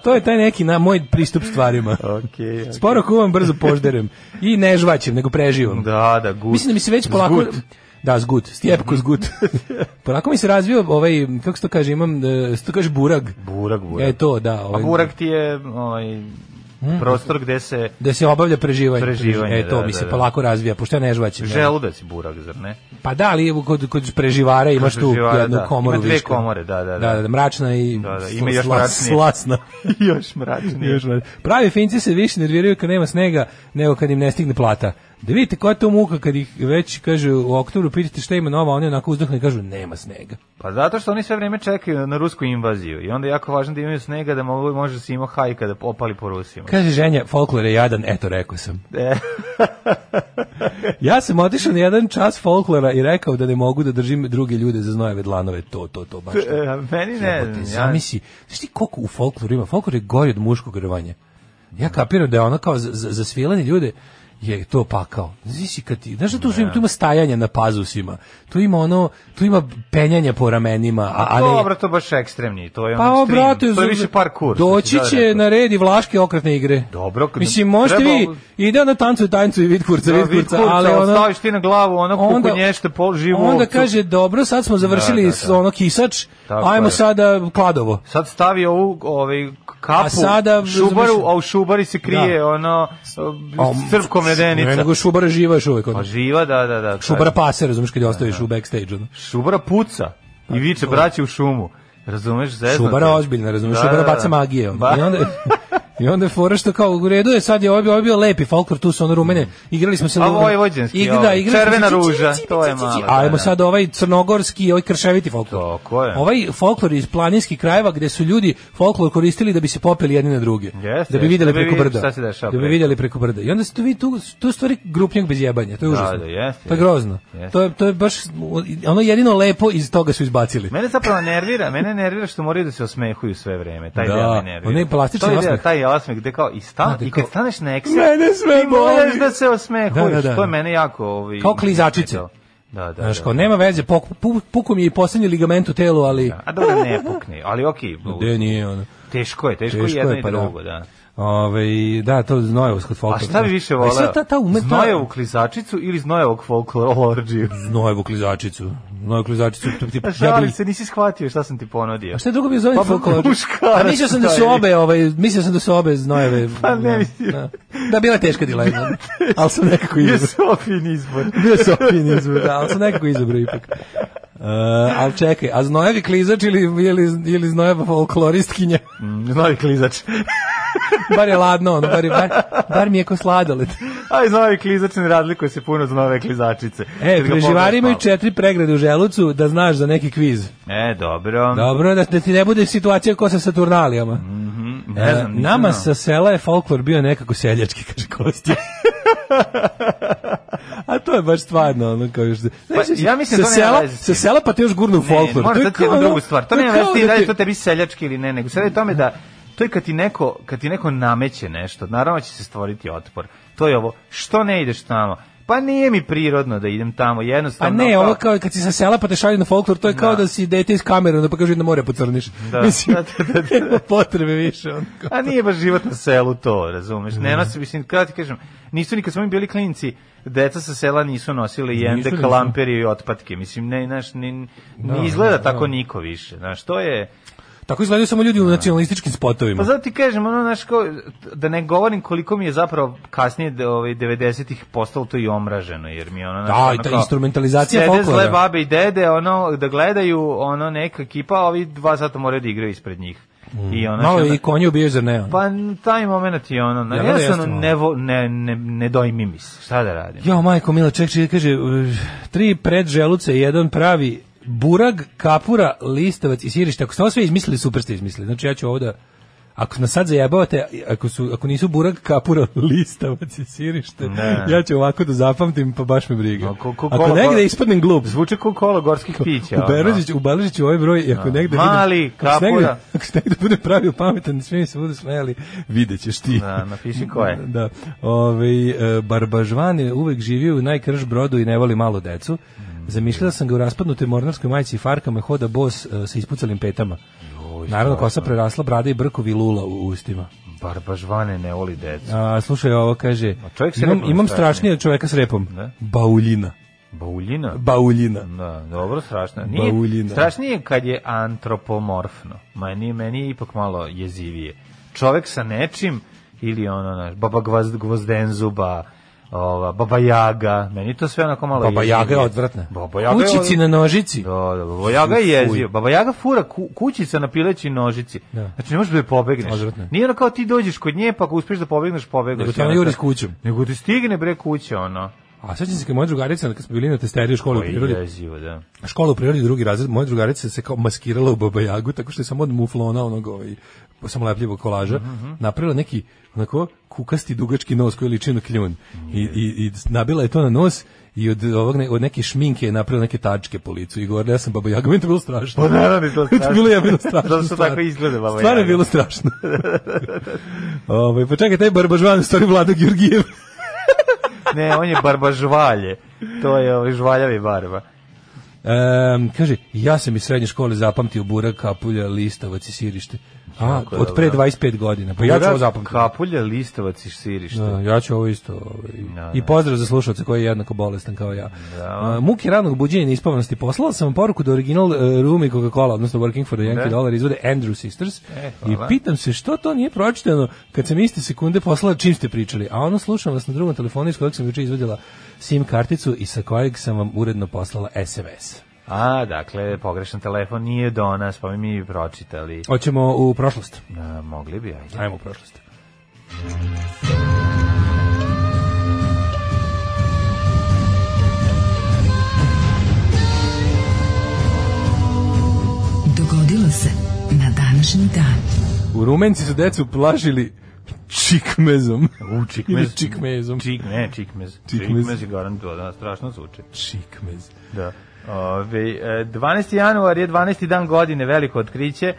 Speaker 5: To je taj neki na moj pristup stvarima.
Speaker 6: Okej.
Speaker 5: Sporo kuvam, brzo požderem i ne žvaćem, nego preživam.
Speaker 6: Da, da, gut.
Speaker 5: Mislim da mi se već polako...
Speaker 6: Zgut. Mhm.
Speaker 5: Da, zgut, stjepko zgut. polako mi se razvio ovaj, kako se to kaže, imam, e, se to kaže burag.
Speaker 6: Burak, burak.
Speaker 5: E to, da. Ovaj,
Speaker 6: A burak ti je, ovaj, prostor gde se
Speaker 5: da se obavlja preživanje.
Speaker 6: Preživanje,
Speaker 5: e, to
Speaker 6: da,
Speaker 5: mi
Speaker 6: da,
Speaker 5: se
Speaker 6: da.
Speaker 5: polako razvija, pošto ja ne žvaćem. ja.
Speaker 6: želudac i da burak, zar ne?
Speaker 5: Pa da, ali evo, kod, kod preživara imaš tu
Speaker 6: Preživara,
Speaker 5: jednu
Speaker 6: da.
Speaker 5: komoru
Speaker 6: Ima dve
Speaker 5: višku.
Speaker 6: komore, da, da, da.
Speaker 5: da, mračna i
Speaker 6: Da, da,
Speaker 5: ima
Speaker 6: ima još mračnije.
Speaker 5: slasna.
Speaker 6: Još mračnije.
Speaker 5: Još manje. Pravi finci se više nerviraju kad nema snega nego kad im ne stigne plata. Da vidite koja je to muka kad ih već, kaže, u oktobru pitate šta ima nova, oni onako uzdahnu i kažu nema snega.
Speaker 6: Pa zato što oni sve vrijeme čekaju na rusku invaziju i onda je jako važno da imaju snega da mogu, može se ima hajka da opali po Rusima.
Speaker 5: Kaže ženja, folklor je jadan, eto rekao sam.
Speaker 6: E,
Speaker 5: Ja sam otišao na jedan čas folklora i rekao da ne mogu da držim druge ljude za znojeve dlanove, to, to, to, baš to.
Speaker 6: e, a meni ne
Speaker 5: Jebote,
Speaker 6: znam. Ja,
Speaker 5: Zamisli, znaš ti koliko u folkloru ima? Folklor je gori od muškog rvanja. Ja kapiram da je ono kao za, za, za svilene ljude je to pakao. Znaš, kad ti, znaš da tu, su im- tu ima stajanja na pazusima, tu ima ono, tu ima penjanja po ramenima, a, a ne...
Speaker 6: Dobro, to baš ekstremni, to je
Speaker 5: Pa
Speaker 6: ono
Speaker 5: o,
Speaker 6: extreme,
Speaker 5: brate,
Speaker 6: to je više parkour. Da, što si
Speaker 5: Doći
Speaker 6: sad
Speaker 5: će
Speaker 6: rekao.
Speaker 5: na red i vlaške okretne igre.
Speaker 6: Dobro, kad-
Speaker 5: Mislim, možete
Speaker 6: treba-
Speaker 5: vi, ide ono tancu i tancu i vid kurca,
Speaker 6: Da,
Speaker 5: vid
Speaker 6: vid
Speaker 5: kurca,
Speaker 6: kurca,
Speaker 5: ali ono...
Speaker 6: staviš ti na glavu ono kukunješte, pol živu
Speaker 5: onda
Speaker 6: ovcu.
Speaker 5: kaže, dobro, sad smo završili
Speaker 6: da, da.
Speaker 5: s ono kisač,
Speaker 6: Tako
Speaker 5: ajmo
Speaker 6: je.
Speaker 5: sada kladovo.
Speaker 6: Sad stavi ovu ovaj kapu,
Speaker 5: A sada-
Speaker 6: šubaru, a u šubari se krije
Speaker 5: Da.
Speaker 6: ono crpkom
Speaker 5: Ne,
Speaker 6: medenica.
Speaker 5: nego šubara živa još uvek. ono.
Speaker 6: Pa živa, da, da, da. kaže.
Speaker 5: Šubara pa- pase, razumiješ, kad je ostaviš u backstage. Ono.
Speaker 6: Šubara puca i viče braće u šumu. Razumeš, zeznate.
Speaker 5: Pa, Šubara ozbiljna, razumiješ, šubara baca magije. ono.
Speaker 6: Da, Ba-
Speaker 5: I onda... I onda je fora što kao u redu je sad je ovaj bio, ovaj bio lepi folklor, tu su ono rumene, igrali smo se...
Speaker 6: A
Speaker 5: luga-
Speaker 6: vojvođanski,
Speaker 5: Igra- da,
Speaker 6: ovaj,
Speaker 5: igrali smo se-
Speaker 6: Crvena
Speaker 5: ci, ci, ci,
Speaker 6: ruža,
Speaker 5: ci,
Speaker 6: to je
Speaker 5: ci, ci, ci.
Speaker 6: malo, da,
Speaker 5: Ajmo
Speaker 6: da.
Speaker 5: sad ovaj crnogorski, ovaj krševiti folklor.
Speaker 6: Tako je.
Speaker 5: Ovaj folklor iz planinskih krajeva gde su ljudi folklor koristili da bi se popeli jedni na druge.
Speaker 6: Jeste,
Speaker 5: da bi
Speaker 6: jeste,
Speaker 5: videli
Speaker 6: da bi
Speaker 5: preko
Speaker 6: vidjeli
Speaker 5: brda.
Speaker 6: šta se dešava
Speaker 5: Da bi
Speaker 6: preko.
Speaker 5: videli preko brda. I onda se tu vidi tu, tu stvari grupnjak bez jebanja, to je užasno.
Speaker 6: da, jeste,
Speaker 5: to je
Speaker 6: jeste.
Speaker 5: grozno.
Speaker 6: Jeste.
Speaker 5: To je, to je baš ono jedino lepo iz toga su izbacili.
Speaker 6: Mene zapravo nervira, mene nervira što moraju da se osmehuju sve vreme. Taj
Speaker 5: Da,
Speaker 6: deo me nervira.
Speaker 5: onaj plastični
Speaker 6: To je deo,
Speaker 5: osmeh.
Speaker 6: Taj osmeh gde kao i stan,
Speaker 5: Da, gde
Speaker 6: i kad
Speaker 5: kao-
Speaker 6: staneš na ekser,
Speaker 5: Mene sve
Speaker 6: ti moraš
Speaker 5: boli.
Speaker 6: da se osmehuješ.
Speaker 5: Da, da, da.
Speaker 6: To je mene jako... Ovi,
Speaker 5: Kao klizačice.
Speaker 6: Da, da, da.
Speaker 5: Znaš, kao, nema veze, pok, pu, puku mi je i poslednji ligament u telu, ali...
Speaker 6: A dobro ne pukne, ali okej,
Speaker 5: Gde nije ono?
Speaker 6: teško je, teško,
Speaker 5: Teško
Speaker 6: je jedno
Speaker 5: je,
Speaker 6: i
Speaker 5: pa da.
Speaker 6: drugo, da.
Speaker 5: Ove, da, to je znojevos kod
Speaker 6: A
Speaker 5: folklora.
Speaker 6: šta bi više
Speaker 5: A
Speaker 6: voleo?
Speaker 5: da. Pa sad Ta, ta ume, ta,
Speaker 6: Znojevog klizačicu ili znojevog folklorologiju?
Speaker 5: Znojevu klizačicu. Znojevu klizačicu. Tu, ti,
Speaker 6: Pa
Speaker 5: ja
Speaker 6: Šalim
Speaker 5: bi,
Speaker 6: se, nisi shvatio šta sam ti ponudio.
Speaker 5: a šta je drugo bi zove
Speaker 6: Pa,
Speaker 5: folklor?
Speaker 6: muškarac,
Speaker 5: A mislio sam da su
Speaker 6: taj.
Speaker 5: obe, ovaj, mislio sam da su obe znojeve.
Speaker 6: Pa ne
Speaker 5: da,
Speaker 6: mislim.
Speaker 5: Da, da bila je teška dilema. ali sam nekako
Speaker 6: Je
Speaker 5: izabrao.
Speaker 6: Sofin izbor.
Speaker 5: Bio sam opin izbor, da, ali sam nekako izabrao ipak. Uh, ali čekaj, a znojevi klizač ili, ili, ili znojeva folkloristkinja?
Speaker 6: Znovi Mm, klizač.
Speaker 5: bar je ladno, ono, bar, je- bar, bar mi je ko sladoled.
Speaker 6: Aj, znovi klizač ne razlikuje se puno od znove klizačice.
Speaker 5: E,
Speaker 6: Kad ga
Speaker 5: preživari
Speaker 6: pogledaš
Speaker 5: imaju
Speaker 6: malo.
Speaker 5: četiri pregrade u želucu da znaš za neki kviz.
Speaker 6: E, dobro.
Speaker 5: Dobro, da, da ti ne bude situacija ko sa Saturnalijama.
Speaker 6: Ne znam,
Speaker 5: E,
Speaker 6: nisam
Speaker 5: Nama
Speaker 6: znao.
Speaker 5: sa sela je folklor bio nekako seljački, kaže Kosti. A to je baš stvarno, ono kao još... Znaš,
Speaker 6: Pa, ja mislim
Speaker 5: sa
Speaker 6: da to nema
Speaker 5: sela,
Speaker 6: veze s
Speaker 5: sa
Speaker 6: tim.
Speaker 5: sela pa ti još gurnu u folklor. To je
Speaker 6: Ne, možda ti
Speaker 5: kao
Speaker 6: jednu
Speaker 5: ono-
Speaker 6: drugu stvar. To
Speaker 5: je
Speaker 6: nema veze
Speaker 5: kao
Speaker 6: ti
Speaker 5: da
Speaker 6: da
Speaker 5: ti-
Speaker 6: li to tebi seljački ili ne, nego sad je tome da to je kad ti neko, kad ti neko nameće nešto, naravno će se stvoriti otpor. To je ovo, što ne ideš tamo? Pa nije mi prirodno da idem tamo,
Speaker 5: Pa
Speaker 6: jednostavno.
Speaker 5: ne,
Speaker 6: kao-
Speaker 5: ovo kao kad si sa sela pa te šalju na folklor, to je kao da, si dete iz kamere, onda pa kažu "Idi na more pocrniš.
Speaker 6: Da,
Speaker 5: Mislim,
Speaker 6: da, da, da, da.
Speaker 5: nema potrebe više. Ono kao.
Speaker 6: A nije baš život na selu to, razumeš? Ne nosi, mislim, kada ti kažem, nisu nikad smo mi bili klinci, deca sa sela nisu nosili jende,
Speaker 5: nisu.
Speaker 6: kalamperi i otpatke. Mislim, ne, znaš, ni, ni izgleda
Speaker 5: da, da.
Speaker 6: tako niko više. Znaš, to je...
Speaker 5: Tako izgledaju samo ljudi u nacionalističkim spotovima.
Speaker 6: Pa zato ti kažem, ono, znaš, kao, da ne govorim koliko mi je zapravo kasnije da, ovaj, 90-ih postalo to i omraženo, jer mi je ono...
Speaker 5: Da,
Speaker 6: ono
Speaker 5: i ta
Speaker 6: kao,
Speaker 5: instrumentalizacija
Speaker 6: sede
Speaker 5: folklora.
Speaker 6: zle babe i dede, ono, da gledaju, ono, neka ekipa, a ovi dva sata moraju da igraju ispred njih. I ono,
Speaker 5: Mm. Malo
Speaker 6: što-
Speaker 5: je i konje ubijaju, zar ne? ono?
Speaker 6: Pa n- taj moment je ono, na,
Speaker 5: Ja,
Speaker 6: ja,
Speaker 5: da, jeste
Speaker 6: sam
Speaker 5: malo.
Speaker 6: ne, vo, ne, ne, ne dojmi mi se, šta da radim?
Speaker 5: Jo, majko, mila, ček, ček, kaže, uh, tri pred želuce, jedan pravi burag, kapura, listavac i sirište. Ako ste ovo sve izmislili, super ste izmislili. Znači, ja ću ovdje, ako nas sad zajebavate, ako, su, ako nisu burag, kapura, listavac i sirište,
Speaker 6: Ne.
Speaker 5: ja ću ovako da zapamtim, pa baš me briga.
Speaker 6: A ko- ko-
Speaker 5: ako
Speaker 6: ko-
Speaker 5: negde
Speaker 6: ko-
Speaker 5: ispadnem glup,
Speaker 6: Zvuči kao kola gorskih pića.
Speaker 5: u Berožić, u Baležiću ovaj broj, i ako negde
Speaker 6: Da. Mali,
Speaker 5: vidim, ako se
Speaker 6: kapura.
Speaker 5: negde, ako se negde bude pravio pametan, svi mi se budu smejali, vidjet ćeš ti.
Speaker 6: Da, napiši ko je.
Speaker 5: Da. Ovaj e, Barbažvan je uvek živio u najkrš brodu i ne voli malo decu. Zamišljala sam ga u raspadnutoj mornarskoj majici i farkama hoda bos e, sa ispucalim petama. Naravno, kosa prerasla brada i brkovi lula u ustima.
Speaker 6: Barbažvane ne voli decu.
Speaker 5: A, slušaj, ovo kaže,
Speaker 6: čovjek s
Speaker 5: imam,
Speaker 6: repom je
Speaker 5: imam
Speaker 6: strašniji.
Speaker 5: strašnije od čoveka s repom.
Speaker 6: Da.
Speaker 5: Bauljina.
Speaker 6: Bauljina?
Speaker 5: Bauljina.
Speaker 6: Da, dobro, strašno. Nije,
Speaker 5: Bauljina.
Speaker 6: strašnije je kad je antropomorfno. Ma nije, meni je ipak malo jezivije. Čovek sa nečim ili ono, naš, baba gvazd, gvozdenzuba, ova, baba jaga, meni to sve onako malo
Speaker 5: Baba
Speaker 6: jezivo.
Speaker 5: Jaga je odvratna.
Speaker 6: Baba jaga je
Speaker 5: Kućici
Speaker 6: od-
Speaker 5: na nožici.
Speaker 6: Da, da, Baba Jaga je jezio. Baba Jaga fura ku, kućica na pileći nožici.
Speaker 5: Da.
Speaker 6: Znači ne možeš da je pobegneš.
Speaker 5: Odvratno.
Speaker 6: Nije ono kao ti dođeš kod nje pa ako uspeš da pobegneš, pobegneš.
Speaker 5: Nego te ona
Speaker 6: Ono
Speaker 5: juri
Speaker 6: kao-
Speaker 5: s kućom.
Speaker 6: Nego ti stigne bre kuće ono.
Speaker 5: A sećam se kad moja drugarica, kad smo bili na testeriju u školi u
Speaker 6: Koji
Speaker 5: prirodi,
Speaker 6: je jezivo, da.
Speaker 5: škola u prirodi drugi razred, moja drugarica se kao maskirala u babajagu, tako što je samo od muflona onog ovaj, samo lepljivog kolaža,
Speaker 6: Mhm,
Speaker 5: napravila neki onako kukasti dugački nos koji liči na kljun. I, i, I nabila je to na nos i od, ovog ne, od neke šminke je napravila neke tačke po licu i govorila ja sam baba jaga, meni je to bilo strašno.
Speaker 6: Pa naravno je to
Speaker 5: Meni je
Speaker 6: strašno.
Speaker 5: bilo jebeno strašno.
Speaker 6: Zato što
Speaker 5: stvarno.
Speaker 6: tako izgleda baba
Speaker 5: Stvarno je
Speaker 6: jaga.
Speaker 5: bilo strašno. ovaj, pa čekaj, taj barbažvan u stvari Vlado Georgijev.
Speaker 6: Ne, on je barba žvalje. To je ovaj žvaljavi barba.
Speaker 5: Ehm, kaže, ja sam iz srednje škole zapamtio burak, kapulja, listavac i sirište. A,
Speaker 6: Jako
Speaker 5: od pre
Speaker 6: dobro.
Speaker 5: 25 godina. Pa ja ću ovo zapamtiti.
Speaker 6: da, Kapulja, listavac i sirište.
Speaker 5: Da, ja ću ovo isto. ovaj,
Speaker 6: Da,
Speaker 5: I
Speaker 6: da.
Speaker 5: pozdrav za slušalce koji je jednako bolestan kao ja. A, muke ranog buđenja i neispavanosti poslala sam vam poruku da original e, Room i Coca-Cola, odnosno Working for the Yankee
Speaker 6: Da.
Speaker 5: Dollar, izvode Andrew Sisters.
Speaker 6: E,
Speaker 5: I
Speaker 6: hvala.
Speaker 5: pitam se što to nije pročitano kad sam iste sekunde poslala čim ste pričali. A ono slušam vas na drugom telefonu iz kojeg sam juče izvadila SIM karticu i sa kojeg sam vam uredno poslala SMS.
Speaker 6: A, dakle, pogrešan telefon nije do nas, pa mi mi pročitali.
Speaker 5: Hoćemo u prošlost.
Speaker 6: A, mogli bi, ajde.
Speaker 5: Ajmo u prošlost.
Speaker 4: Dogodilo se na današnji dan.
Speaker 5: U Rumenci su decu plašili čikmezom.
Speaker 6: U, čikmez.
Speaker 5: Ili čikmezom.
Speaker 6: Čik, ne, čikmez.
Speaker 5: Čikmez.
Speaker 6: Čikmez, je garantuo, da, strašno zvuči.
Speaker 5: Čikmez.
Speaker 6: Da. Ove, e, 12. januar je 12. dan godine, veliko otkriće. E,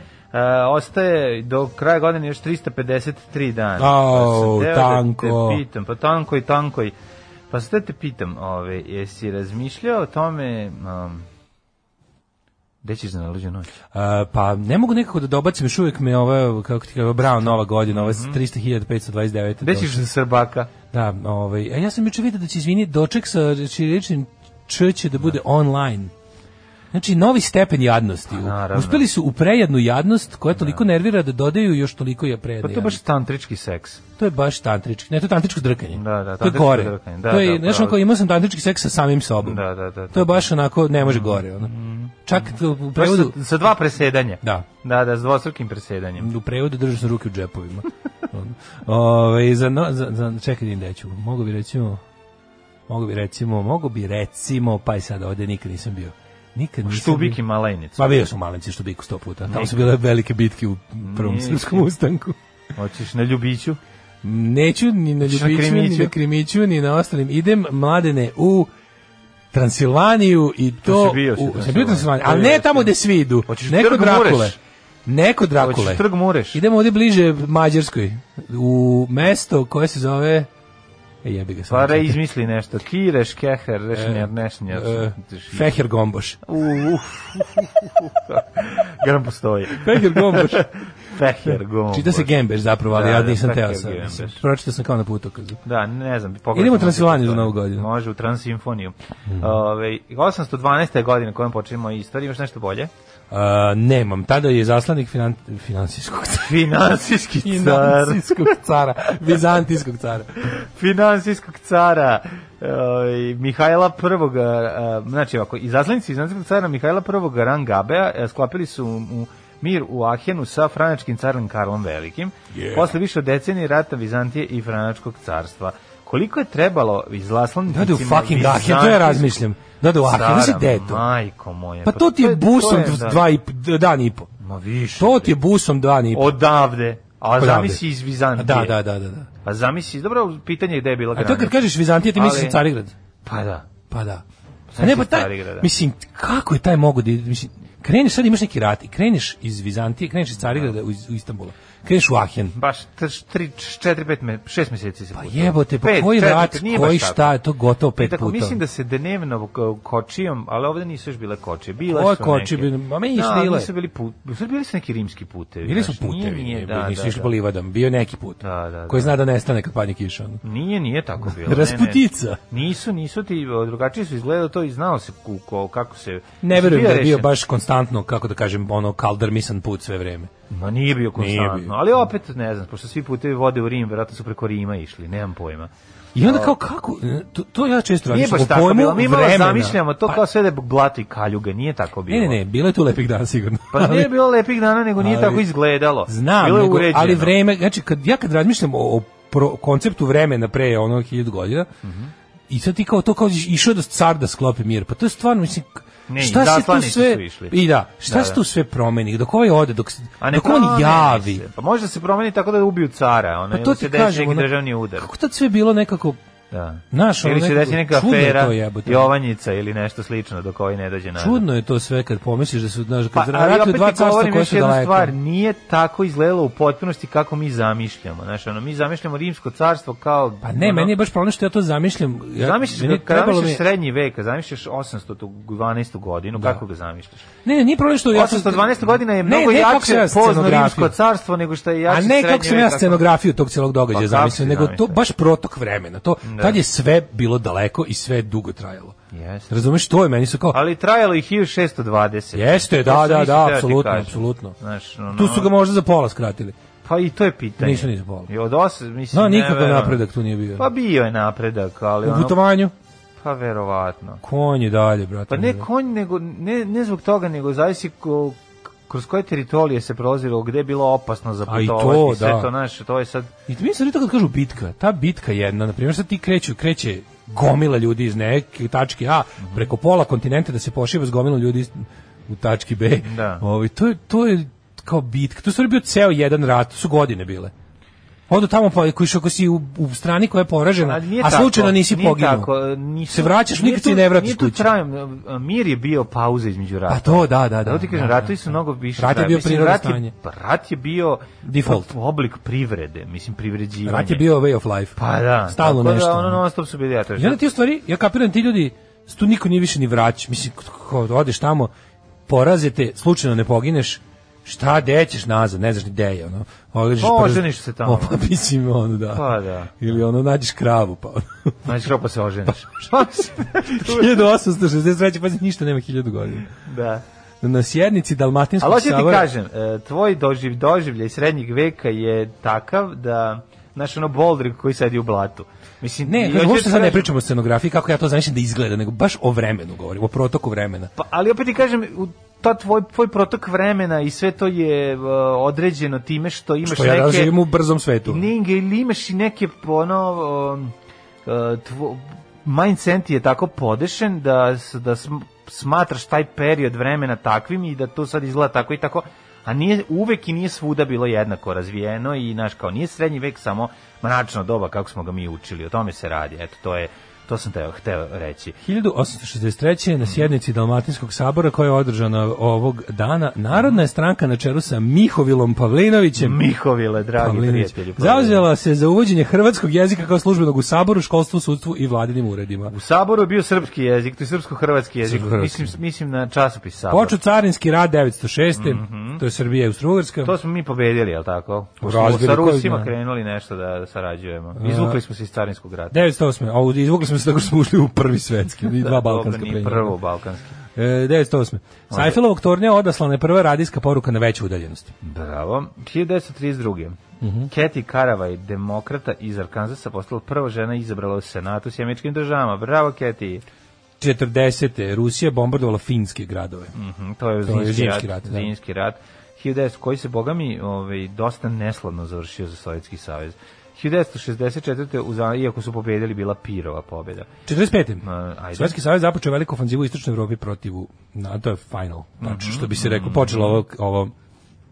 Speaker 6: ostaje do kraja godine još 353 dana.
Speaker 5: Au,
Speaker 6: sam teo
Speaker 5: tanko.
Speaker 6: Da te pitam, pa tanko i tanko i... Pa sad da te pitam, ove, jesi razmišljao o tome... Um, gde ćeš za naluđu noć?
Speaker 5: A, pa ne mogu nekako da dobacim, još uvijek me ova, kako ti kažem, Brown nova godina, ova 300.529.
Speaker 6: Gde ćeš za Srbaka?
Speaker 5: Da, ovaj, a ja sam juče vidio da će, izvini, doček sa čiriličnim č će da bude online. Znači, novi stepen jadnosti. U-
Speaker 6: naravno.
Speaker 5: Uspeli su u prejednu jadnost koja toliko nervira da dodaju još toliko je
Speaker 6: Pa
Speaker 5: prejedna
Speaker 6: to je baš tantrički seks.
Speaker 5: To je baš tantrički. Ne, to je tantričko drkanje.
Speaker 6: Da, da,
Speaker 5: to je
Speaker 6: tantričko
Speaker 5: gore.
Speaker 6: drkanje. Da,
Speaker 5: to je,
Speaker 6: da,
Speaker 5: znaš,
Speaker 6: pravo.
Speaker 5: ono kao, imao sam tantrički seks sa samim sobom.
Speaker 6: Da, da, da. Mm.
Speaker 5: To je baš onako, ne može gore. Ono. Čak to u
Speaker 6: Baš
Speaker 5: prevodu...
Speaker 6: sa, sa dva presedanja.
Speaker 5: Pa Da.
Speaker 6: Da, da, s dvostrukim presedanjem.
Speaker 5: U prevodu držao sam ruke u džepovima. Ove, za, no, za, za, čekaj da im reću. Mogu bi recimo... Mogu bi recimo... Mogu bi recimo... Pa i sad ovde nikad nisam bio. Nikad nisam
Speaker 6: Pa Štubik i
Speaker 5: bio.
Speaker 6: malajnicu.
Speaker 5: da- Ma bio sam u Malinci Štubiku sto puta. Tamo su bile velike bitke u prvom
Speaker 6: Nikad.
Speaker 5: srpskom ustanku.
Speaker 6: Hoćeš na ljubiću?
Speaker 5: Neću ni na
Speaker 6: Hoćeš na
Speaker 5: Ljubiću, ni
Speaker 6: Krimiću?
Speaker 5: na Krimiću, ni na ostalim. Idem, mladene, u Transilvaniju i to...
Speaker 6: si bio si u
Speaker 5: u, sam bio u
Speaker 6: Transilvaniji.
Speaker 5: Transilvaniji,
Speaker 6: To
Speaker 5: ali ne
Speaker 6: jeste.
Speaker 5: tamo gde svi idu.
Speaker 6: Hoćeš
Speaker 5: Neko
Speaker 6: Trg
Speaker 5: Drakule.
Speaker 6: Mureš?
Speaker 5: Neko Drakule.
Speaker 6: Hoćeš trg Mureš?
Speaker 5: Idemo ovdje bliže Mađarskoj, u mesto koje se zove... E, jebi ga
Speaker 6: Pa
Speaker 5: sam.
Speaker 6: re, izmisli nešto. Kireš, keher,
Speaker 5: E,
Speaker 6: rešnjer, nešnjer.
Speaker 5: Feher Gomboš.
Speaker 6: Uf. Garam postoji.
Speaker 5: Feher Gomboš.
Speaker 6: Feher, gomboš.
Speaker 5: Čita se Gembeš zapravo, ali
Speaker 6: Da,
Speaker 5: ja
Speaker 6: da,
Speaker 5: nisam teo
Speaker 6: Feher
Speaker 5: sam.
Speaker 6: Gembeš.
Speaker 5: Mislim, Pročitao sam kao na putokazu.
Speaker 6: Da, ne znam. pogledajmo
Speaker 5: Idemo u
Speaker 6: možda
Speaker 5: Transilvaniju
Speaker 6: postoji.
Speaker 5: za Novu godinu. Mhm.
Speaker 6: Može, u Transimfoniju. Ove, 812. godine kojom počinimo istoriju. Imaš nešto bolje?
Speaker 5: A, E, nemam, tada je zaslanik finan, finansijskog
Speaker 6: Finansijski car.
Speaker 5: Finansijskog cara, vizantijskog cara.
Speaker 6: Finansijskog cara. Ove, Mihajla prvog, znači ovako, izaslanici finansijskog cara Mihajla prvog Rangabea e, sklopili su u mir u Ahenu sa franačkim carem Karlom Velikim. Posle više od decenije rata Vizantije i franačkog carstva. Koliko je trebalo izlaslanicima...
Speaker 5: Da ode u fucking Aachen, to ja razmišljam. Da ode u Aachen, znaš gde je to?
Speaker 6: Majko moje.
Speaker 5: Pa to ti je busom
Speaker 6: to je, da.
Speaker 5: dva i, dan i po.
Speaker 6: Ma više.
Speaker 5: To ti je busom dan i po.
Speaker 6: Odavde. A
Speaker 5: Odavde.
Speaker 6: zamisli iz Vizantije.
Speaker 5: Da, da, da, da. da.
Speaker 6: Pa zamisli, dobro, pitanje je gde je bila
Speaker 5: A to kad
Speaker 6: granica.
Speaker 5: kažeš Vizantija, ti misliš
Speaker 6: Ali-
Speaker 5: na Carigrad.
Speaker 6: Pa da.
Speaker 5: Pa da.
Speaker 6: Sad
Speaker 5: A ne,
Speaker 6: si
Speaker 5: pa
Speaker 6: iz
Speaker 5: taj,
Speaker 6: Carigrada.
Speaker 5: mislim, kako je taj mogo da, mislim, kreneš, sad imaš neki rat i kreneš iz Vizantije, kreneš iz Carigrada u, iz- u Istanbula, kreneš u Ahen.
Speaker 6: baš 3 4 5 me 6 meseci se.
Speaker 5: Pa jebote, pa koji rat, koji šta, je to gotovo pet
Speaker 6: tako,
Speaker 5: puta.
Speaker 6: Mislim da se dnevno ko- kočijom, ali ovde nisu još bile kočije. Bile
Speaker 5: Koje
Speaker 6: su
Speaker 5: kočije
Speaker 6: neke.
Speaker 5: bi- ma mi
Speaker 6: Da, ali
Speaker 5: bile.
Speaker 6: Nisu bili put, nisu bili su neki rimski putevi.
Speaker 5: Bili su
Speaker 6: znaš, nije,
Speaker 5: putevi,
Speaker 6: nije,
Speaker 5: nije,
Speaker 6: da,
Speaker 5: nisu
Speaker 6: da,
Speaker 5: išli
Speaker 6: da.
Speaker 5: po livadama, bio je neki put.
Speaker 6: Da, da,
Speaker 5: Koji
Speaker 6: da.
Speaker 5: zna da nestane kad padne kiša. ono.
Speaker 6: Nije, nije tako bilo.
Speaker 5: Rasputica.
Speaker 6: Ne, ne. Nisu, nisu ti, drugačije su izgledalo to i znao se ku- ko- kako se...
Speaker 5: Ne verujem
Speaker 6: bio
Speaker 5: da je bio
Speaker 6: rešen.
Speaker 5: baš konstantan konstantno, kako da kažem, ono kaldarmisan put sve vreme.
Speaker 6: Ma nije bio konstantno,
Speaker 5: bio.
Speaker 6: ali opet ne znam, pošto svi putevi vode u Rim, verovatno su preko Rima išli, nemam pojma.
Speaker 5: I onda kao kako, e, to, to ja često
Speaker 6: Da. Nije
Speaker 5: radim,
Speaker 6: baš
Speaker 5: u
Speaker 6: tako
Speaker 5: pojmu
Speaker 6: bilo, mi malo
Speaker 5: vremena.
Speaker 6: zamišljamo to
Speaker 5: Pa,
Speaker 6: kao sve da je blato i kaljuga, nije tako bilo.
Speaker 5: Ne, ne, ne, bilo je tu lepih dana sigurno.
Speaker 6: Pa
Speaker 5: ali-
Speaker 6: nije bilo lepih dana, nego nije
Speaker 5: ali-
Speaker 6: tako izgledalo.
Speaker 5: Znam,
Speaker 6: bilo je
Speaker 5: nego,
Speaker 6: uređeno.
Speaker 5: ali vreme, znači kad ja kad razmišljam o, o pro, konceptu vremena pre ono 1000 godina,
Speaker 6: Mhm.
Speaker 5: I sad ti kao to kao išao da car da sklopi mir. Pa to je stvarno mislim k-
Speaker 6: Ne, i
Speaker 5: šta se tu
Speaker 6: zaslanici su
Speaker 5: sve
Speaker 6: išli.
Speaker 5: I da, šta
Speaker 6: Da,
Speaker 5: se
Speaker 6: da.
Speaker 5: tu sve promeni? Dok ovaj ode, dok s-
Speaker 6: A ne
Speaker 5: dok on
Speaker 6: promeni
Speaker 5: javi.
Speaker 6: se. Pa može da se promeni tako da ubiju cara, ono,
Speaker 5: Pa
Speaker 6: pa
Speaker 5: to ti
Speaker 6: se desi
Speaker 5: kažem,
Speaker 6: neki
Speaker 5: ono,
Speaker 6: državni udar.
Speaker 5: Kako tad sve bilo nekako
Speaker 6: Da.
Speaker 5: Znaš, ono
Speaker 6: ili će
Speaker 5: nekako
Speaker 6: desi neka
Speaker 5: čudno je
Speaker 6: afera,
Speaker 5: to jebote.
Speaker 6: Jovanjica ili nešto slično dok ovaj ne dođe na...
Speaker 5: čudno je to sve kad pomisliš da su znaš
Speaker 6: Pa,
Speaker 5: kad
Speaker 6: ali
Speaker 5: ratuju
Speaker 6: opet
Speaker 5: dva
Speaker 6: ti
Speaker 5: carstva
Speaker 6: govorim
Speaker 5: koja
Speaker 6: još
Speaker 5: su
Speaker 6: jednu
Speaker 5: daleko.
Speaker 6: stvar, nije tako izgledalo u potpunosti kako mi zamišljamo. Znaš, ono, mi zamišljamo rimsko carstvo kao...
Speaker 5: Pa ne,
Speaker 6: ono,
Speaker 5: meni je baš problem što ja to zamišljam. Ja,
Speaker 6: Zamišljaš,
Speaker 5: meni
Speaker 6: ga- kad
Speaker 5: trebalo mi
Speaker 6: zamišljaš
Speaker 5: je-
Speaker 6: srednji vek, kad zamišljaš 812. godinu, kako ga zamišljaš?
Speaker 5: Ne, ne, nije problem što ja sam-
Speaker 6: 812. godina je
Speaker 5: Ne,
Speaker 6: mnogo
Speaker 5: ne, kako sam ja
Speaker 6: jače pozno
Speaker 5: scenografiju.
Speaker 6: rimsko carstvo nego što je jače
Speaker 5: A ne kako
Speaker 6: srednje
Speaker 5: sam ja
Speaker 6: vek, kako-
Speaker 5: scenografiju tog celog
Speaker 6: Pa
Speaker 5: događaja
Speaker 6: kako
Speaker 5: zamislio,
Speaker 6: si
Speaker 5: nego to
Speaker 6: zamislio?
Speaker 5: baš protok vremena. To,
Speaker 6: Da.
Speaker 5: Tad je sve bilo daleko i sve je dugo trajalo.
Speaker 6: Jeste.
Speaker 5: Razumeš, to je meni su kao...
Speaker 6: Ali trajalo i 1620.
Speaker 5: Jeste,
Speaker 6: To
Speaker 5: da,
Speaker 6: sam
Speaker 5: da,
Speaker 6: isto
Speaker 5: da,
Speaker 6: teo ti
Speaker 5: apsolutno,
Speaker 6: kažem.
Speaker 5: apsolutno.
Speaker 6: Znaš, ono,
Speaker 5: Tu su ga možda za pola skratili.
Speaker 6: Pa i to je pitanje.
Speaker 5: Nisu ni za pola.
Speaker 6: I od os, mislim,
Speaker 5: No,
Speaker 6: ne
Speaker 5: nikakav
Speaker 6: verujem.
Speaker 5: napredak tu nije bio.
Speaker 6: Pa bio je napredak, ali
Speaker 5: U
Speaker 6: ono,
Speaker 5: putovanju,
Speaker 6: pa verovatno.
Speaker 5: konj je dalje, brate.
Speaker 6: Pa ne konj, nego, ne, ne zbog toga, nego zavisi ko, kroz koje teritorije se prolazilo, gde je bilo opasno za
Speaker 5: A i to,
Speaker 6: putovanje, sve
Speaker 5: da.
Speaker 6: to, znaš, to je sad,
Speaker 5: I mi se to kad kažu bitka, ta bitka jedna, na primjer, sad ti kreću, kreće gomila ljudi iz neke tačke A preko pola kontinenta da se pošiva s gomilom ljudi iz- u tački B.
Speaker 6: Da.
Speaker 5: Ovi, to, je, to je kao bitka. To je u stvari bio ceo jedan rat, to su godine bile. Odu tamo pa koji ako si u, u strani koja je poražena,
Speaker 6: Ali nije
Speaker 5: a slučajno
Speaker 6: tako,
Speaker 5: nisi
Speaker 6: nije
Speaker 5: poginuo.
Speaker 6: Tako, e, nisu,
Speaker 5: se vraćaš,
Speaker 6: nije
Speaker 5: nikad se
Speaker 6: tu-
Speaker 5: ne vratiš
Speaker 6: nije tu
Speaker 5: kući.
Speaker 6: trajan, e, mir je bio pauza između rata.
Speaker 5: Pa to, da, da, da.
Speaker 6: Zato ti kažem,
Speaker 5: Da, da,
Speaker 6: ratovi su
Speaker 5: da.
Speaker 6: mnogo više.
Speaker 5: Rat je
Speaker 6: trajali.
Speaker 5: bio
Speaker 6: Mislim,
Speaker 5: prirodno
Speaker 6: rat je-
Speaker 5: stanje.
Speaker 6: pa Rat je bio
Speaker 5: Default.
Speaker 6: oblik privrede, mislim, privređivanje.
Speaker 5: Rat je bio way of life.
Speaker 6: Pa da.
Speaker 5: Stalno
Speaker 6: tako
Speaker 5: nešto.
Speaker 6: Da, ono non stop su bili ratovi.
Speaker 5: I onda ti u stvari, ja kapiram ti ljudi, s tu niko nije više ni vrać. Mislim, kao da odeš tamo, porazite, slučajno ne pogineš, šta, gde ćeš nazad, ne znaš ni gde je, ono. Odrežeš
Speaker 6: Oženiš se tamo.
Speaker 5: O, pa mislim, ono, da.
Speaker 6: Pa da.
Speaker 5: Ili ono, nađeš kravu, pa ono.
Speaker 6: Znači, ropa se oženiš. Pa,
Speaker 5: 1863. Pa ništa nema hiljadu godina.
Speaker 6: da.
Speaker 5: Na sjednici Dalmatinskog
Speaker 6: Ali hoću ti
Speaker 5: sabora-
Speaker 6: kažem, e, tvoj doživ, doživljaj srednjeg veka je takav da, znaš, ono Boldrig koji sedi u blatu. Mislim,
Speaker 5: Ne,
Speaker 6: i
Speaker 5: kažem,
Speaker 6: hoću
Speaker 5: uopšte
Speaker 6: ti
Speaker 5: sad ne
Speaker 6: kažem-
Speaker 5: pričamo o scenografiji, kako ja to zamišljam da izgleda, nego baš o vremenu govorim, o protoku vremena.
Speaker 6: Pa, ali opet ti kažem, u ta tvoj, tvoj protok vremena i sve to je uh, određeno time što imaš
Speaker 5: Što ja
Speaker 6: neke...
Speaker 5: danas živim u brzom svetu.
Speaker 6: Ninge, ili imaš i neke, ono, um, uh, tvo, mindset je tako podešen da, s- da sm- smatraš taj period vremena takvim i da to sad izgleda tako i tako, a nije, uvek i nije svuda bilo jednako razvijeno i, znaš, kao nije srednji vek samo mračna doba kako smo ga mi učili, o tome se radi, eto, to je, to sam teo, hteo reći.
Speaker 5: 1863. na sjednici Dalmatinskog sabora koja je održana ovog dana, Narodna je stranka na čelu sa Mihovilom Pavlinovićem
Speaker 6: Mihovile, dragi
Speaker 5: Pavlinović,
Speaker 6: prijatelji.
Speaker 5: zauzela se za uvođenje hrvatskog jezika kao službenog u saboru, školstvu, sudstvu i vladinim uredima.
Speaker 6: U Saboru je bio srpski jezik, to je srpsko-hrvatski jezik.
Speaker 5: Srpsko-hrvatski.
Speaker 6: Mislim, mislim na časopis Sabor.
Speaker 5: Počeo carinski rad 906. To je Srbija i Austro-Ugrska.
Speaker 6: Mhm. To smo mi pobedili, je li tako? Pošto smo
Speaker 5: Razbili
Speaker 6: sa
Speaker 5: ko
Speaker 6: Rusima
Speaker 5: zna.
Speaker 6: krenuli nešto da sarađujemo. Izvukli smo se iz Carinskog rata.
Speaker 5: 908. A u- izvukli smo se tako što smo ušli u prvi svetski, i dva
Speaker 6: Da,
Speaker 5: balkanska
Speaker 6: dobro, ni
Speaker 5: plenjena.
Speaker 6: Prvo balkanski.
Speaker 5: E, 908. Sa Eiffelovog tornja odaslana je prva radijska poruka na veću udaljenost.
Speaker 6: Bravo. 1932.
Speaker 5: Mhm.
Speaker 6: Kathy Caravaj, demokrata iz Arkansasa, postala prva žena izabrala u Senatu s američkim državama. Bravo, Kathy.
Speaker 5: 40. Rusija bombardovala finske gradove.
Speaker 6: Mhm, to je
Speaker 5: To je
Speaker 6: zimski rat.
Speaker 5: zimski rat, da.
Speaker 6: Zimski rat. 1900, koji se, boga mi, ovaj, dosta neslavno završio za Sovjetski savez. 1964. u Za- iako su pobedili, bila Pirova pobeda.
Speaker 5: 45.
Speaker 6: Ma, ajde.
Speaker 5: Sovjetski savez započeo veliku ofanzivu u istočnoj Evropi protiv NATO je final. Znači što bi se
Speaker 6: Mm-hmm.
Speaker 5: reklo počelo ovo ovo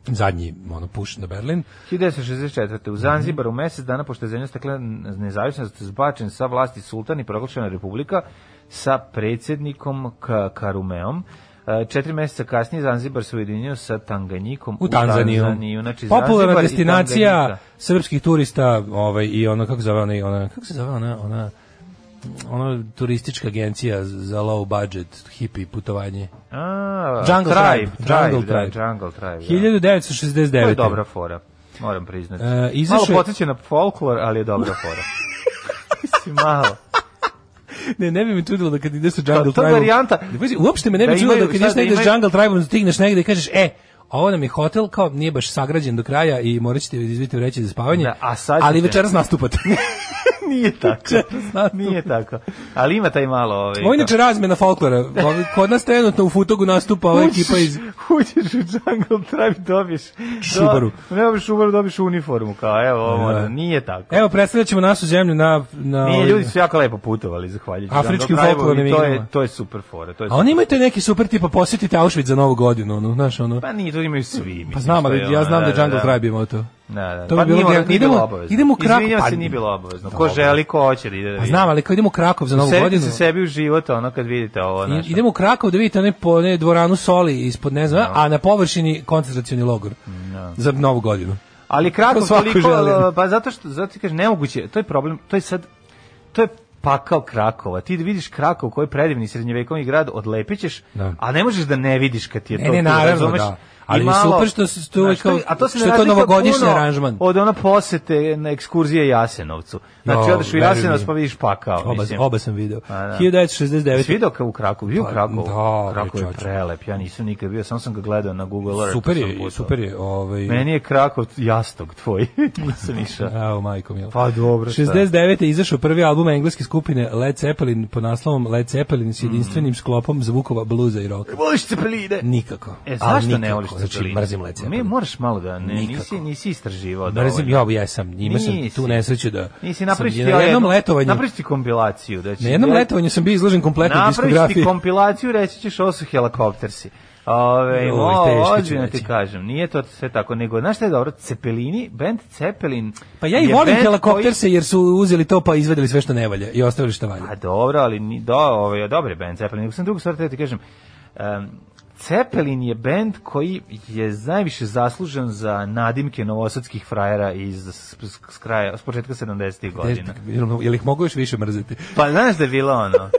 Speaker 5: zadnji ono push na Berlin.
Speaker 6: 1964.
Speaker 5: Mhm.
Speaker 6: u Zanzibaru mesec dana pošto je zemlja stekla nezavisnost zbačen sa vlasti sultan i proglašena republika sa predsjednikom K- Karumeom. E, Četiri meseca kasnije Zanzibar se ujedinio sa Tanganjikom
Speaker 5: U Tanzaniju.
Speaker 6: Znači,
Speaker 5: Popularna
Speaker 6: Zanzibar i
Speaker 5: destinacija
Speaker 6: Tanganjika.
Speaker 5: srpskih turista, ovaj i ono kako se zove ona, ona kako se zove ona, ona ona turistička agencija za low budget hipi putovanje.
Speaker 6: Da. A,
Speaker 5: Jungle
Speaker 6: tribe,
Speaker 5: Tribe, Jungle
Speaker 6: da,
Speaker 5: Tribe.
Speaker 6: Jungle Tribe. da. To
Speaker 5: 1969.
Speaker 6: je dobra fora, moram priznati.
Speaker 5: E, izašao
Speaker 6: malo
Speaker 5: je-
Speaker 6: podsjeća na folklor, ali je dobra fora. Mislim, malo.
Speaker 5: ne, ne bi me čudilo da kad ideš sa Jungle
Speaker 6: To- to je
Speaker 5: Tribe.
Speaker 6: varijanta.
Speaker 5: Uopšte me ne bi
Speaker 6: Da
Speaker 5: čudilo da
Speaker 6: imaju-
Speaker 5: kad ideš
Speaker 6: šta da
Speaker 5: negde s
Speaker 6: imaju-
Speaker 5: Jungle Tribe, stigneš negde i kažeš, e, a ovo nam je hotel, kao nije baš sagrađen do kraja i morat ćete izviti reći za spavanje,
Speaker 6: Da, a sad
Speaker 5: ali
Speaker 6: ćete- E,
Speaker 5: večeras nastupate.
Speaker 6: Nije tako.
Speaker 5: nastup.
Speaker 6: Nije tako. Ali ima taj malo... Ovaj,
Speaker 5: Ovo je inače razmena folklora. Ovi- Kod nas trenutno u Futogu nastupa ova
Speaker 6: Uđeš-
Speaker 5: ekipa iz...
Speaker 6: Uđeš u Jungle Tribe, dobiješ...
Speaker 5: Šubaru.
Speaker 6: Do, ne dobiješ šubaru, dobiješ uniformu. Kao, evo, ovo,
Speaker 5: Da.
Speaker 6: nije tako.
Speaker 5: Evo, predstavljat ćemo našu zemlju na... na
Speaker 6: Nije,
Speaker 5: ovim-
Speaker 6: ljudi su jako lepo putovali, zahvaljujući. Jungle
Speaker 5: Afričkim
Speaker 6: Tribeu i
Speaker 5: folklornim
Speaker 6: to
Speaker 5: igrama.
Speaker 6: je, to je super fora. To je
Speaker 5: A
Speaker 6: super.
Speaker 5: oni imaju te neki super tipa posjetite Auschwitz za novu godinu, ono, znaš, ono.
Speaker 6: Pa nije, to imaju svi. Mislim,
Speaker 5: Pa znam,
Speaker 6: što
Speaker 5: ali
Speaker 6: je
Speaker 5: ja
Speaker 6: ono,
Speaker 5: znam da,
Speaker 6: da,
Speaker 5: Jungle
Speaker 6: da.
Speaker 5: Tribe imao to.
Speaker 6: Da, da.
Speaker 5: To
Speaker 6: pa
Speaker 5: bi bilo
Speaker 6: nije,
Speaker 5: genijalno.
Speaker 6: nije
Speaker 5: Idemo-
Speaker 6: bilo obavezno.
Speaker 5: idemo u Krakov.
Speaker 6: Izvinjavam
Speaker 5: Pa-
Speaker 6: se, nije bilo obavezno. Ko
Speaker 5: Dobro.
Speaker 6: želi, ko hoće da ide da
Speaker 5: Pa
Speaker 6: vidi.
Speaker 5: znam, ali kad idemo u Krakov za novu
Speaker 6: Sedite
Speaker 5: godinu...
Speaker 6: se sebi u život, ono, kad vidite ovo.
Speaker 5: I-
Speaker 6: Pa Znaš,
Speaker 5: Idemo u Krakov da vidite onaj po ne, dvoranu Soli ispod ne
Speaker 6: Da.
Speaker 5: znam, a na površini koncentracioni logor za novu godinu.
Speaker 6: Ali kratko
Speaker 5: To svako
Speaker 6: toliko,
Speaker 5: želi.
Speaker 6: ali, pa zato što, zato ti kažem, nemoguće, je, to je problem, to je sad, to je pakao Krakova. Ti da vidiš Krakov koji je predivni srednjevekovni grad, odlepit ćeš,
Speaker 5: Da.
Speaker 6: a ne možeš da ne vidiš kad ti je
Speaker 5: Ne,
Speaker 6: to
Speaker 5: ne,
Speaker 6: tu,
Speaker 5: naravno,
Speaker 6: razumeš?
Speaker 5: da.
Speaker 6: I
Speaker 5: Ali je super što se tu
Speaker 6: znaš,
Speaker 5: kao-
Speaker 6: je- a to se ne
Speaker 5: što je to
Speaker 6: razlikuje
Speaker 5: novogodišnji
Speaker 6: puno
Speaker 5: aranžman.
Speaker 6: Od ona posete na ekskurzije Jasenovcu. Znači,
Speaker 5: Jo,
Speaker 6: odeš u
Speaker 5: Da, veruj
Speaker 6: Jasenovac
Speaker 5: mi.
Speaker 6: pa vidiš pakao.
Speaker 5: Oba,
Speaker 6: mislim.
Speaker 5: oba sam video.
Speaker 6: A, da.
Speaker 5: 1969.
Speaker 6: Jesi video ka- u Krakovu? Bio u
Speaker 5: Pa,
Speaker 6: Krakovu?
Speaker 5: da,
Speaker 6: Krakov je
Speaker 5: čoveče.
Speaker 6: prelep, ja nisam nikad bio, samo sam ga gledao na Google Earth.
Speaker 5: Super je, super je. Ovaj,
Speaker 6: Meni je Krakov jastog tvoj, nisam išao.
Speaker 5: Evo, majko mila.
Speaker 6: Pa dobro, šta?
Speaker 5: 69. je izašao prvi album engleske skupine Led Zeppelin pod naslovom Led Zeppelin
Speaker 6: Mm.
Speaker 5: s jedinstvenim sklopom zvukova bluza i roka.
Speaker 6: Voliš cepeline?
Speaker 5: Nikako.
Speaker 6: E,
Speaker 5: Ali
Speaker 6: zašto ne
Speaker 5: nikako.
Speaker 6: voliš cepeline?
Speaker 5: Znači, mrzim Led Zeppelin.
Speaker 6: Mi moraš malo da ne,
Speaker 5: Nikako.
Speaker 6: nisi, nisi istraživao
Speaker 5: Mrzim, ja, ja sam, njima sam
Speaker 6: Nisi.
Speaker 5: tu nesreću da...
Speaker 6: Nisi
Speaker 5: sam
Speaker 6: napraviš ti
Speaker 5: na jednom
Speaker 6: jednu-
Speaker 5: letovanju.
Speaker 6: Napraviš ti kompilaciju. Da će,
Speaker 5: Na jednom
Speaker 6: da-
Speaker 5: letovanju sam bio izložen kompletnoj
Speaker 6: Napraviš ti
Speaker 5: diskografiji.
Speaker 6: kompilaciju, reći ćeš ovo su helikoptersi. Ove,
Speaker 5: Joj,
Speaker 6: o,
Speaker 5: teško ću
Speaker 6: ozbiljno ti
Speaker 5: reći.
Speaker 6: kažem, nije to sve tako, nego, znaš šta je dobro, Cepelini, band Cepelin...
Speaker 5: Pa ja i
Speaker 6: je
Speaker 5: volim
Speaker 6: band
Speaker 5: helikopter se jer su uzeli to pa izvedeli sve što ne valja i ostavili što valja.
Speaker 6: koji- A dobro, ali ni, do, ovaj, dobar je band Cepelin, nego sam drugu stvar teo ti kažem, em, Cepelin je bend koji je najviše zaslužen za nadimke novosadskih frajera iz s, s, s kraja, s početka 70-ih godina.
Speaker 5: Jel- Jel ih mogu još više mrziti?
Speaker 6: Pa znaš da je bilo ono,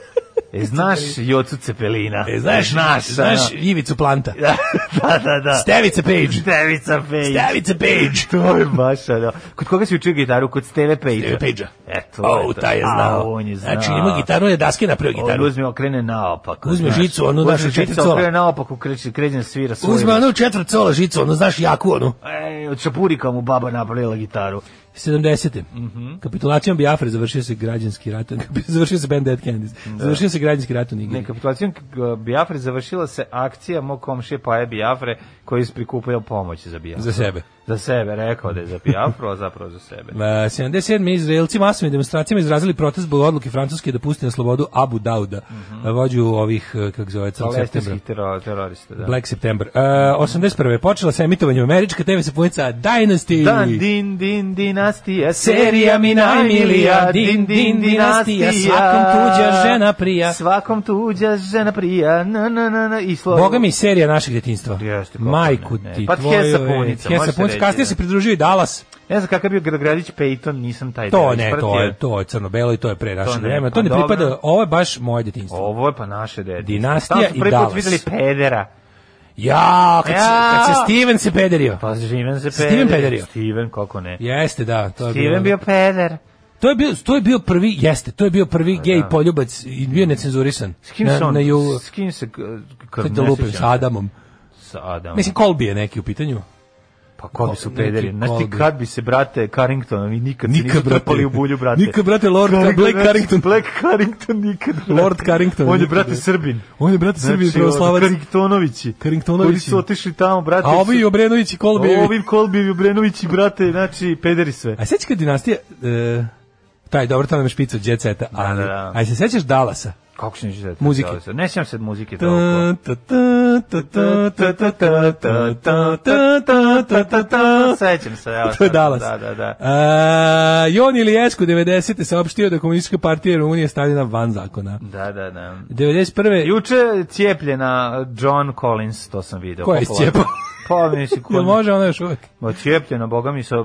Speaker 6: e, znaš Jocu Cepelina,
Speaker 5: E, znaš,
Speaker 6: znaš,
Speaker 5: znaš
Speaker 6: ono.
Speaker 5: Ivicu Planta.
Speaker 6: da, da, da, da.
Speaker 5: Stevica Page.
Speaker 6: Stevica Page.
Speaker 5: Stevica Page.
Speaker 6: To je baš, ono. Kod koga si učio gitaru? Kod Steve Page.
Speaker 5: Steve Page-a.
Speaker 6: Eto.
Speaker 5: O,
Speaker 6: eto.
Speaker 5: taj je
Speaker 6: A,
Speaker 5: znao.
Speaker 6: on je znao.
Speaker 5: Znači, ima gitaru, je daske napravio
Speaker 6: On
Speaker 5: gitaru.
Speaker 6: uzme, okrene naopako.
Speaker 5: Uzme
Speaker 6: znaš.
Speaker 5: žicu, onu
Speaker 6: Uzme
Speaker 5: našu
Speaker 6: žicu,
Speaker 5: četvrcola.
Speaker 6: Okrene naopako, kreće, kreće, svira svoju.
Speaker 5: Uzme ono četvrt sola žicu, ono, znaš, jaku onu.
Speaker 6: Ej, od Čapurika mu baba napravila gitaru.
Speaker 5: 70.
Speaker 6: Mhm.
Speaker 5: Kapitulacijom Biafre završio se građanski rat. završio se band Dead Candies.
Speaker 6: Da.
Speaker 5: Završio se građanski rat u Nigeriji.
Speaker 6: Ne, kapitulacijom k- uh, Biafre završila se akcija mog komšije Paje Biafre koji je prikupio pomoć za Biafru.
Speaker 5: Za sebe.
Speaker 6: Za sebe, rekao da je za Biafru, a zapravo za sebe.
Speaker 5: Uh, 77. Izraelci masovnim demonstracijama izrazili protest zbog odluke Francuske da pusti na slobodu Abu Dauda, uh, vođu ovih, uh, kako zove, crnog septembra.
Speaker 6: Mhm. Palestinskih teror- terorista, da.
Speaker 5: Black September. Uh, 81. je počela sa emitovanjem američka TV sapunica Dynasty.
Speaker 6: Dan, din, din, dinastija,
Speaker 5: Serija mi najmilija, din, din, dinastija, svakom tuđa žena prija.
Speaker 6: Svakom tuđa žena prija, na, na, na, na, i slovo.
Speaker 5: Boga mi serija našeg djetinstva.
Speaker 6: Pa Jeste, kako
Speaker 5: Majku
Speaker 6: ne, ne.
Speaker 5: ti
Speaker 6: Pa
Speaker 5: tvoju.
Speaker 6: Hesa punica,
Speaker 5: Hesa
Speaker 6: može se
Speaker 5: punica.
Speaker 6: reći,
Speaker 5: Kasnije
Speaker 6: da.
Speaker 5: se pridružio i Dallas.
Speaker 6: Ne znam kakav je bio Grogradić Peyton, nisam taj
Speaker 5: To
Speaker 6: deo
Speaker 5: ne, to
Speaker 6: ispratio.
Speaker 5: je, to je crno-belo i to je pre naše
Speaker 6: To ne,
Speaker 5: vreme. To
Speaker 6: pa
Speaker 5: ne
Speaker 6: dobro.
Speaker 5: pripada, ovo je baš moje djetinstvo.
Speaker 6: Ovo je pa naše dede.
Speaker 5: Dinastija
Speaker 6: Tamo su
Speaker 5: i
Speaker 6: prvi put
Speaker 5: Dallas.
Speaker 6: videli pedera.
Speaker 5: Ja, kad, se,
Speaker 6: Ja.
Speaker 5: kad se Steven se pederio.
Speaker 6: Pa Steven se
Speaker 5: Steven pederio.
Speaker 6: Steven, kako ne.
Speaker 5: Jeste, da. To je bilo-
Speaker 6: Steven bio peder.
Speaker 5: To je bio, to je bio prvi, jeste, to je bio prvi gej poljubac i bio necenzurisan.
Speaker 6: S kim
Speaker 5: na,
Speaker 6: se on,
Speaker 5: na ju,
Speaker 6: s kim se, k- kad
Speaker 5: sad da
Speaker 6: ne
Speaker 5: lupim,
Speaker 6: sjećam
Speaker 5: sa Adamom.
Speaker 6: se. Sa Adamom.
Speaker 5: Mislim, Kolbi je neki u pitanju.
Speaker 6: Pa ko bi su
Speaker 5: Neki
Speaker 6: pederi? Znaš ti
Speaker 5: kolbi.
Speaker 6: kad bi se, brate, Carrington, i nikad se nisu trpali u bulju, brate.
Speaker 5: Nikad, brate, Lord Black Carrington.
Speaker 6: Black Carrington nikad. brate.
Speaker 5: Lord Carrington,
Speaker 6: On je,
Speaker 5: nikad,
Speaker 6: brate,
Speaker 5: da.
Speaker 6: Srbin.
Speaker 5: On je, brate, Srbin pravoslavac.
Speaker 6: ono, Carringtonovići.
Speaker 5: Carringtonovići.
Speaker 6: Koji su otišli tamo, brate.
Speaker 5: A ovi i Obrenović i Kolbi.
Speaker 6: Ovi Kolbijevi, Obrenovići, brate, znači, pederi sve.
Speaker 5: A sećaš kad dinastija... E, taj, dobro, to nam je špica od Jet Seta, ali...
Speaker 6: da, da.
Speaker 5: A se sećaš Dalasa?
Speaker 6: Kako se neću zeti?
Speaker 5: Muzike.
Speaker 6: Ne sjećam se od muzike toliko.
Speaker 5: Ta, ta, ta, ta, ta, ta, ta, ta, ta, ta, ta, ta, ta, ta, ta.
Speaker 6: Sećam se, evo.
Speaker 5: To je
Speaker 6: sad,
Speaker 5: Dallas.
Speaker 6: Da, da, da.
Speaker 5: A, E, Jon Ilijesku 90. saopštio da komunistička partija Rumunije je stavljena van zakona.
Speaker 6: Da, da, da.
Speaker 5: 91.
Speaker 6: Juče je cijepljena John Collins, to sam video.
Speaker 5: Koja je
Speaker 6: Popularna.
Speaker 5: iscijepao?
Speaker 6: Pa, mislim, ko
Speaker 5: Jel može ona još uvek?
Speaker 6: Ocijepljena, boga mi, sa,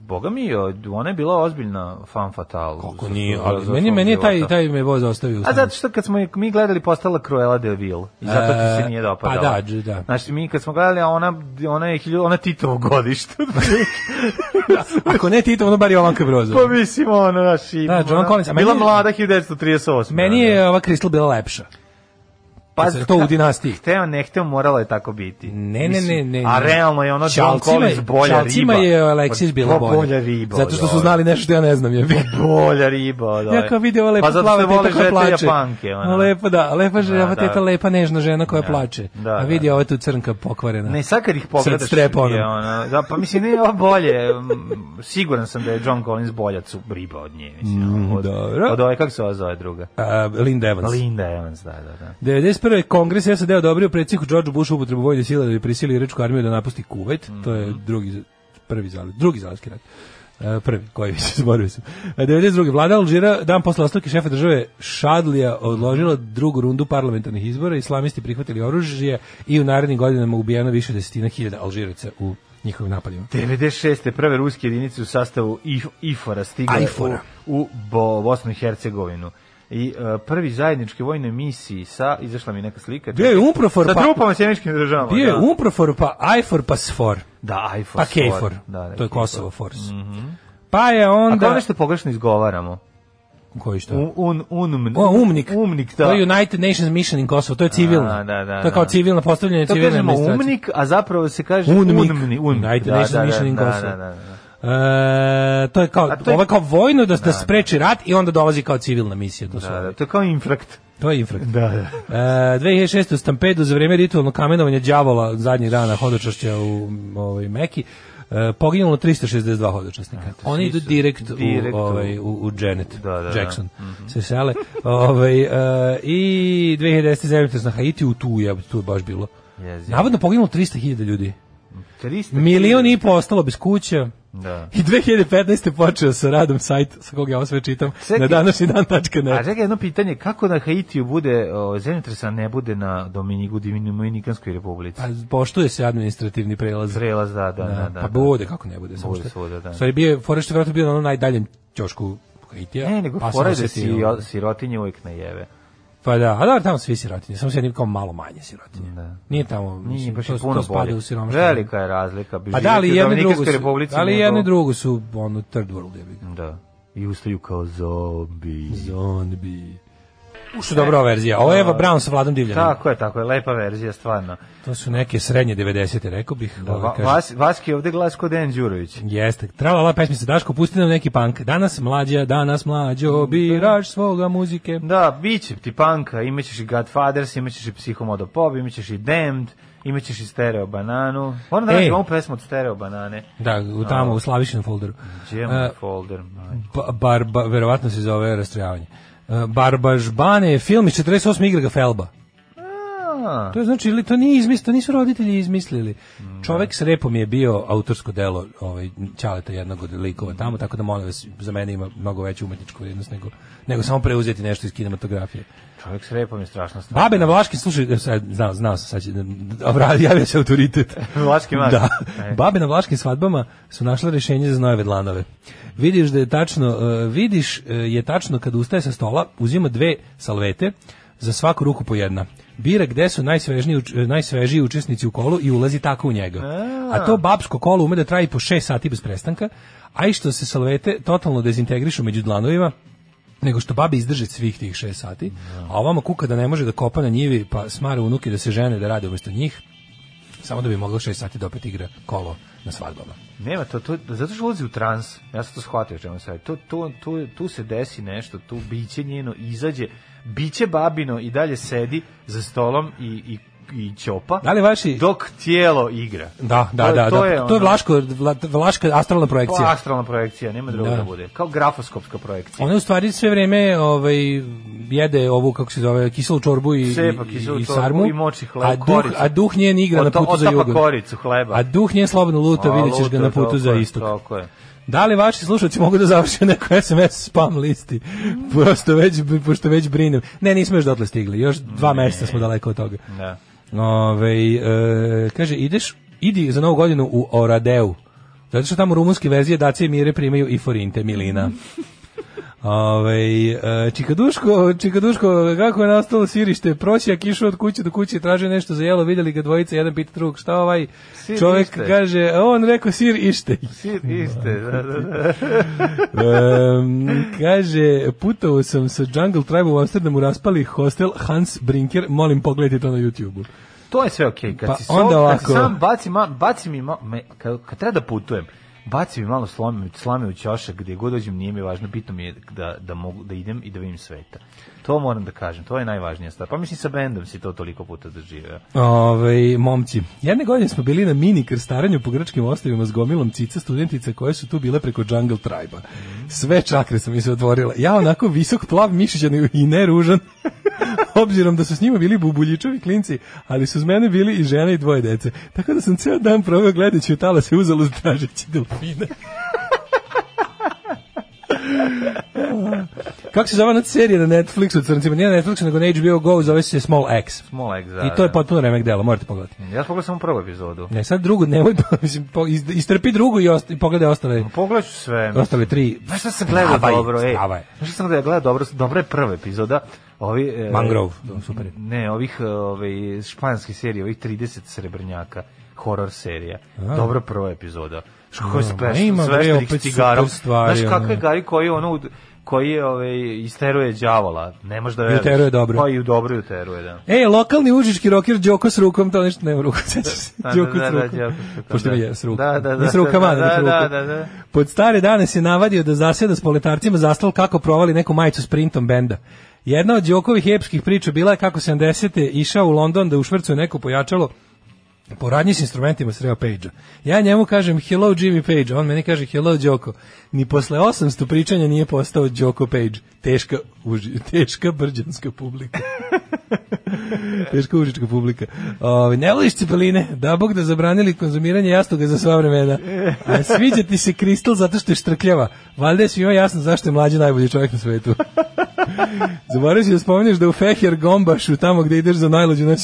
Speaker 6: boga mi, ona je bila ozbiljna fan fatal.
Speaker 5: Kako
Speaker 6: za-
Speaker 5: nije,
Speaker 6: za-
Speaker 5: ali
Speaker 6: za
Speaker 5: meni,
Speaker 6: svog
Speaker 5: meni je taj,
Speaker 6: života.
Speaker 5: taj me voz ostavio. u
Speaker 6: A
Speaker 5: sami.
Speaker 6: zato što kad smo je mi gledali postala Cruella de Vil i zato ti se
Speaker 5: E,
Speaker 6: nije dopadala.
Speaker 5: pa da, dž- da.
Speaker 6: Znači mi kad smo gledali a ona ona je hilju- ona Titovo godište.
Speaker 5: Ako ne Tito, ono bar Jovanka Broza.
Speaker 6: pa mislim ono naš i
Speaker 5: Da, Joan
Speaker 6: ono-
Speaker 5: Collins, a meni
Speaker 6: bila
Speaker 5: je-
Speaker 6: mlada 1938.
Speaker 5: Meni je ova Crystal bila lepša. Pa se to u dinastiji.
Speaker 6: Hteo, ne hteo, moralo je tako biti.
Speaker 5: Ne, ne, ne, ne.
Speaker 6: A realno je ono John
Speaker 5: Čalcima je-
Speaker 6: Collins bolja
Speaker 5: Čalcima
Speaker 6: riba.
Speaker 5: je Alexis bila
Speaker 6: Pa
Speaker 5: bolja.
Speaker 6: bolja riba. Pa
Speaker 5: Zato što su
Speaker 6: da.
Speaker 5: znali nešto što ja ne znam. Je.
Speaker 6: Bolja riba, od ove.
Speaker 5: Ja kao vidio lepo
Speaker 6: pa zato
Speaker 5: plava
Speaker 6: što vole
Speaker 5: teta koja
Speaker 6: žete
Speaker 5: plače.
Speaker 6: Japanke, ono.
Speaker 5: Lepo, da, lepa žena,
Speaker 6: Da, da.
Speaker 5: teta, lepa nežna žena koja plače.
Speaker 6: da,
Speaker 5: A vidi
Speaker 6: da.
Speaker 5: ova tu crnka pokvarena.
Speaker 6: Ne, sad kad ih pogledaš,
Speaker 5: Sad strep ono.
Speaker 6: je ona, da, pa mislim, ne, ovo bolje, m, siguran sam da je John Collins bolja cu riba od nje, mislim, od,
Speaker 5: Mm, dobro.
Speaker 6: od ove, kako se ova zove druga?
Speaker 5: A, Linda Evans.
Speaker 6: Linda Evans, da, da, da.
Speaker 5: 91. kongres SAD odobrio predsjedniku Georgeu Bushu upotrebu vojne sile da bi prisili iračku armiju da napusti Kuwait. To
Speaker 6: Mhm.
Speaker 5: je drugi prvi zalivski drugi zalivski rat. E, prvi, koji se zaboravio sam. E, 92. Vlada Alžira dan posle ostavke šefa države Šadlija odložila drugu rundu parlamentarnih izbora, islamisti prihvatili oružje i u narednim godinama ubijeno više desetina hiljada Alžiraca u njihovim napadima.
Speaker 6: 96. prve ruske jedinice u sastavu IF, IFOR-a stigle
Speaker 5: Ajfora.
Speaker 6: u, u Bo, Bosnu i Hercegovinu. I e, prvi zajedničke vojne misiji sa, izašla mi neka slika.
Speaker 5: Bio je UNPROFOR,
Speaker 6: Sa
Speaker 5: pa-
Speaker 6: trupama sjeničkim državama.
Speaker 5: Bio je
Speaker 6: da.
Speaker 5: UNPROFOR, pa IFOR, pa SFOR,
Speaker 6: Da, IFOR.
Speaker 5: pa
Speaker 6: SFOR.
Speaker 5: KFOR,
Speaker 6: Da, Mhm. da,
Speaker 5: to je
Speaker 6: KFOR.
Speaker 5: Kosovo Force. Pa je onda...
Speaker 6: Ako nešto pogrešno izgovaramo,
Speaker 5: Koji šta?
Speaker 6: Un, un, unum-
Speaker 5: O, umnik.
Speaker 6: Umnik, da.
Speaker 5: To je United Nations Mission in Kosovo, to je civilno.
Speaker 6: A, da, da,
Speaker 5: to je kao
Speaker 6: da.
Speaker 5: civilno postavljanje
Speaker 6: To
Speaker 5: civilne
Speaker 6: kažemo
Speaker 5: administracije.
Speaker 6: umnik, a zapravo se kaže
Speaker 5: Unmik.
Speaker 6: unmni, unmik.
Speaker 5: United Nations Mission in Kosovo.
Speaker 6: Da, da, da.
Speaker 5: E, to je kao,
Speaker 6: A to je-
Speaker 5: ovo je kao vojno da, da, spreči rat i onda dolazi kao civilna misija. To, su
Speaker 6: Da, da,
Speaker 5: ovi.
Speaker 6: to je kao infrakt.
Speaker 5: to je infrakt.
Speaker 6: Da, da.
Speaker 5: E, 2006. u Stampedu za vrijeme ritualnog kamenovanja đavola zadnjih dana hodočašća u m, ovaj, Meki e, poginulo 362 hodočasnika. Oni idu direkt,
Speaker 6: direkt
Speaker 5: u,
Speaker 6: u-
Speaker 5: ovaj, u, u Janet
Speaker 6: Da, da, da.
Speaker 5: Jackson. Se sele. ovaj, e, I 2010. zemljotres na Haiti u tu je, tu je baš bilo.
Speaker 6: Jezivo.
Speaker 5: Navodno poginulo 300.000 ljudi.
Speaker 6: 300
Speaker 5: Milion i po ostalo bez kuća.
Speaker 6: Da.
Speaker 5: I 2015. počeo sa radom sajt sa kog ja ovo sve čitam
Speaker 6: Čekaj.
Speaker 5: na današnji dan.net.
Speaker 6: Da. A čekaj, jedno pitanje, kako na Haitiju bude, o, zemljotresa ne bude na Dominiku, Dominikanskoj republici?
Speaker 5: Pa poštuje se administrativni prelaz.
Speaker 6: Prelaz, da, da, da. da,
Speaker 5: pa
Speaker 6: da.
Speaker 5: bude kako ne bude, samo
Speaker 6: Bude
Speaker 5: što.
Speaker 6: svuda, da.
Speaker 5: Stvari bio je fora što je verovatno bio na onom najdaljem ćošku Haitija.
Speaker 6: Ne, nego
Speaker 5: pa sam
Speaker 6: fora je da
Speaker 5: osjetio-
Speaker 6: siro- sirotinje uvijek ne jeve.
Speaker 5: Pa da, a da, tamo svi sirotinje, samo se jednim kao malo manje sirotinje.
Speaker 6: Da.
Speaker 5: Nije tamo,
Speaker 6: Nije
Speaker 5: mislim,
Speaker 6: baš
Speaker 5: to,
Speaker 6: je
Speaker 5: to
Speaker 6: puno
Speaker 5: spada
Speaker 6: bolje.
Speaker 5: u siromaštvo.
Speaker 6: Velika je razlika. bi
Speaker 5: Pa da,
Speaker 6: živjeti
Speaker 5: ali
Speaker 6: u
Speaker 5: jedno i drugo
Speaker 6: Dominikanskoj
Speaker 5: su,
Speaker 6: republici
Speaker 5: ali
Speaker 6: nego-
Speaker 5: jedno i drugo su, ono, third world, je
Speaker 6: Da. I ustaju kao zombi.
Speaker 5: Zombi. Ušto dobra verzija. Ovo je
Speaker 6: Da.
Speaker 5: Eva Brown sa Vladom Divljanom.
Speaker 6: Tako je, tako je, lepa verzija, stvarno.
Speaker 5: To su neke srednje 90-te, rekao bih.
Speaker 6: Da,
Speaker 5: Ovo
Speaker 6: va,
Speaker 5: kaže-
Speaker 6: vas, Vaski je ovde glas kod Dejan Đurović.
Speaker 5: Jeste. Tralala pesmica Daško, pusti nam neki punk. Danas mlađa, danas mlađo, birač svoga muzike.
Speaker 6: Da, bit će ti panka, imaćeš i Godfathers, imaćeš i Psihomodo Pop, imaćeš i Damned, imaćeš i Stereo Bananu. Moram da
Speaker 5: Ej.
Speaker 6: nađem ovu pesmu od Stereo Banane.
Speaker 5: Da, u tamo, u Slavišinom folderu.
Speaker 6: Gdje je
Speaker 5: E.
Speaker 6: moj folder? majko?
Speaker 5: Ba- bar, ba- verovatno se zove rastrojavanje. E, Barbažbane je film iz 48. igra Felba.
Speaker 6: A,
Speaker 5: To je znači ili to nije izmislio, to nisu roditelji izmislili. Čovek s repom je bio autorsko delo ovaj Ćaleta jednog od likova tamo, tako da molim vas, za mene ima mnogo veću umetničku vrijednost nego nego samo preuzeti nešto iz kinematografije.
Speaker 6: čovjek s repom je strašna stvar.
Speaker 5: Babe na Vlaški, slušaj, e, sad, znao, znao sam, sad će, da- da- javio se autoritet.
Speaker 6: Vlaški mag.
Speaker 5: Da.
Speaker 6: E.
Speaker 5: Babe na vlaškim svadbama su našle rješenje za nove vedlanove. Vidiš da je tačno, e, vidiš e, je tačno kad ustaje sa stola, uzima dve salvete, za svaku ruku po jedna. Bira gde su najsvežniji, uč- e, najsvežiji učesnici u kolu i ulazi tako u njega. A to babsko kolo ume da traji po 6 sati bez prestanka, a i što se salvete totalno dezintegrišu među dlanovima, nego što babi izdrže svih tih 6 sati, a ovamo kuka da ne može da kopa na njivi, pa smara unuke da se žene da rade umjesto njih, samo da bi mogla 6 sati da opet igra kolo na svadbama.
Speaker 6: Nema to, to, zato što ulazi u trans. Ja sam to shvatio o čemu se radi. To, to, tu, tu se desi nešto, tu biće njeno izađe, biće babino i dalje sedi za stolom i, i, i ćopa.
Speaker 5: Da li vaši-
Speaker 6: Dok tijelo igra.
Speaker 5: Da, da,
Speaker 6: To-
Speaker 5: da,
Speaker 6: to
Speaker 5: da.
Speaker 6: je
Speaker 5: to je
Speaker 6: ono-
Speaker 5: vlaško, vla- vlaška astralna projekcija.
Speaker 6: Pa, astralna projekcija, nema druga
Speaker 5: Da.
Speaker 6: da. bude. Kao grafoskopska projekcija.
Speaker 5: Ona u stvari sve vrijeme ovaj jede ovu kako se zove kiselu čorbu i
Speaker 6: Cepa,
Speaker 5: i-
Speaker 6: kiselu
Speaker 5: i
Speaker 6: čorbu
Speaker 5: sarmu
Speaker 6: i moči hleb,
Speaker 5: a duh,
Speaker 6: koricu.
Speaker 5: a duh njen igra na
Speaker 6: Ota-
Speaker 5: putu za
Speaker 6: otapa
Speaker 5: jug.
Speaker 6: koricu hleba.
Speaker 5: A duh njen slobodno luta,
Speaker 6: da. A,
Speaker 5: vidjet ćeš ga
Speaker 6: luta,
Speaker 5: na putu
Speaker 6: tako
Speaker 5: za
Speaker 6: je,
Speaker 5: istok.
Speaker 6: Tako je.
Speaker 5: Da li vaši slušalci mogu da završe neko SMS spam listi? Pošto već, pošto već brinem. Ne, nismo još dotle stigli. Još dva mjeseca smo daleko od toga.
Speaker 6: Da.
Speaker 5: Ove, e, kaže, ideš idi za novu godinu u Oradeu. Zato što tamo rumunske verzije Dacije Mire primaju i forinte Milina. Ove, e, Čikaduško, Čikaduško, kako je nastalo sirište? Prosjak išao od kuće do kuće, tražio nešto za jelo, vidjeli ga dvojica, jedan pita drugog, šta ovaj
Speaker 6: Sir
Speaker 5: čovjek
Speaker 6: ište.
Speaker 5: kaže, a on rekao sir ište.
Speaker 6: Sir, iste, da, da, da.
Speaker 5: Em, kaže, putovao sam sa Jungle Tribe u Amsterdamu, raspali hostel Hans Brinker, molim pogledajte to na YouTube-u.
Speaker 6: To je sve okej. Kad
Speaker 5: Pa
Speaker 6: si
Speaker 5: onda
Speaker 6: onda
Speaker 5: ovako.
Speaker 6: Kad si sam baci, ma, baci mi, ma, me, kad, kad treba da putujem, baci mi malo slame, slame u ćošak, gdje god dođem nije mi važno, bitno mi je da, da, mogu, da idem i da vidim sveta. To moram da kažem, to je najvažnija stvar. Pa mislim sa bendom si to toliko puta doživio.
Speaker 5: Ove, momci, jedne godine smo bili na mini krstaranju po grčkim ostavima s gomilom cica studentica koje su tu bile preko Jungle Tribe-a. Sve čakre su mi se otvorile. Ja onako visok plav mišićan i neružan, obzirom da su s njima bili bubuljičovi klinci, ali su s mene bili i žene i dvoje dece. Tako da sam ceo dan proveo gledajući u talase uzalud tražeći delfine. Kako se zove ona serija na Netflixu, crncima? Nije na Netflixu, nego na HBO Go, zove se Small X.
Speaker 6: Smolek za...
Speaker 5: I to je potpuno remek delo, morate pogledati.
Speaker 6: Ja sam pogledao samo prvu epizodu.
Speaker 5: Ne, sad drugu, nemoj, pa, mislim, po- iz- istrpi drugu i, ost, i pogledaj ostale,
Speaker 6: Pogledat ću sve.
Speaker 5: ostale tri.
Speaker 6: Znaš šta sam gledao
Speaker 5: Strava je,
Speaker 6: dobro, ej?
Speaker 5: strava je.
Speaker 6: Znaš šta sam gledao dobro? Dobra je prva epizoda. Ovi, e,
Speaker 5: Mangrove, to, super. je.
Speaker 6: Ne, ovih ove, španske serije, ovih 30 srebrnjaka, horror serija. Dobro prva epizoda. Što je
Speaker 5: ma ima,
Speaker 6: special,
Speaker 5: bre,
Speaker 6: sveštenik
Speaker 5: opet
Speaker 6: s cigarom.
Speaker 5: super stvari,
Speaker 6: Znaš kako je
Speaker 5: ono.
Speaker 6: Gari koji je ono, koji je ove, isteruje đavola. Ne možeš da veruješ.
Speaker 5: uteruje dobro.
Speaker 6: Pa i u dobro i uteruje, da.
Speaker 5: E, lokalni užički roker Đoko s rukom, to nešto nema ruku, sećaš se?
Speaker 6: Da, da,
Speaker 5: Đoko
Speaker 6: da,
Speaker 5: s
Speaker 6: da,
Speaker 5: rukom.
Speaker 6: Đoko s rukom,
Speaker 5: Pošto
Speaker 6: da.
Speaker 5: je s rukom.
Speaker 6: Da, da,
Speaker 5: Ne s
Speaker 6: da,
Speaker 5: rukama,
Speaker 6: da,
Speaker 5: nego s
Speaker 6: da,
Speaker 5: rukom.
Speaker 6: da, da.
Speaker 5: Pod stare dane se navadio da zasjeda s poletarcima zastal kako provali neku majicu s printom benda. Jedna od Đokovih epskih priča bila je kako 70. išao u London da u Švrcu neko pojačalo po radnji s instrumentima sreo Page-a. Ja njemu kažem hello Jimmy Page, a on meni kaže hello Đoko. Ni posle 800 pričanja nije postao Đoko Page. Teška, uži, teška brđanska publika. Teška užička publika. Ovi, ne voliš cipeline? Da bog da zabranili konzumiranje jastoga za sva vremena. A sviđa ti se kristal zato što je štrkljava. Valjda je svima jasno zašto je mlađi najbolji čovjek na svetu. Zaboravio si da spomeneš da u Feher Gombašu, tamo gde ideš za najluđu noć,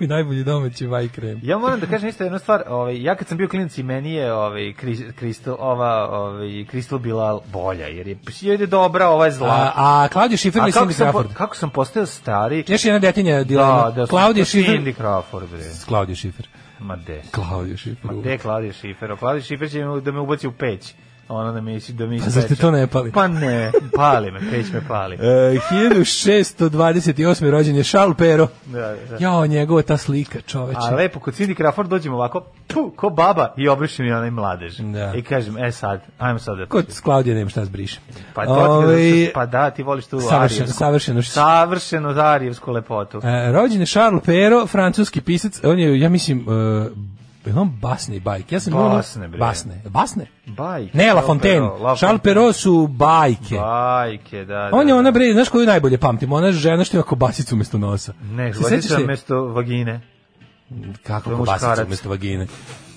Speaker 5: i najbolji domaći vaj krem.
Speaker 6: Ja moram da kažem isto jednu stvar, ovaj ja kad sam bio klinac i meni je ovaj Kristal ova ovaj Kristal bila bolja jer je jer je dobra, ova
Speaker 5: A,
Speaker 6: je zla.
Speaker 5: a Claudio Schiffer ili
Speaker 6: kako
Speaker 5: Cindy
Speaker 6: sam, po-
Speaker 5: da Crawford?
Speaker 6: kako sam postao stari?
Speaker 5: Još jedna detinja dilema.
Speaker 6: Da, da,
Speaker 5: Claudio
Speaker 6: Cindy
Speaker 5: Schiffer.
Speaker 6: Crawford, bre.
Speaker 5: Claudio Schiffer.
Speaker 6: Ma de.
Speaker 5: Claudio Schiffer.
Speaker 6: Ma de Klaudija Šifera. Klaudija Šifer će me- da me ubaci u peć. Ona da mi, da mi
Speaker 5: Pa zašto
Speaker 6: ispeče.
Speaker 5: to ne pali?
Speaker 6: Pa ne, pali me, peć me pali.
Speaker 5: E, 1628. rođen je Charles Pero.
Speaker 6: Da, da.
Speaker 5: Jao, njegova ta slika, čoveče.
Speaker 6: A lepo, kod Cindy Crawford dođem ovako, tu, ko baba i obrišem je onaj mladež.
Speaker 5: Da.
Speaker 6: I kažem, e sad, ajmo sad da...
Speaker 5: Kod s Klaudija nemam šta zbrišem.
Speaker 6: Pa, to ti
Speaker 5: Ovaj,
Speaker 6: kažem, pa da, ti voliš tu
Speaker 5: savršeno,
Speaker 6: arijevsku-
Speaker 5: savršeno.
Speaker 6: Savršeno zarijevsku lepotu.
Speaker 5: E, rođen je Charles Pero, francuski pisac. On je, ja mislim, e, je li on basne i bajke. Ja sam imao ono-
Speaker 6: Basne, bre.
Speaker 5: Basne. Basne?
Speaker 6: Bajke.
Speaker 5: Ne, La
Speaker 6: Charles
Speaker 5: Fontaine.
Speaker 6: Perrault, La
Speaker 5: Charles Pero su bajke.
Speaker 6: Bajke, da, da.
Speaker 5: On je
Speaker 6: da.
Speaker 5: ona bre, znaš koju najbolje pamtim, ona žena što ima kobasicu umesto nosa.
Speaker 6: Ne, da
Speaker 5: Se
Speaker 6: hvatica
Speaker 5: sećaš te-
Speaker 6: mesto vagine.
Speaker 5: kako
Speaker 6: To je
Speaker 5: kobasicu
Speaker 6: muškarac.
Speaker 5: umesto vagine.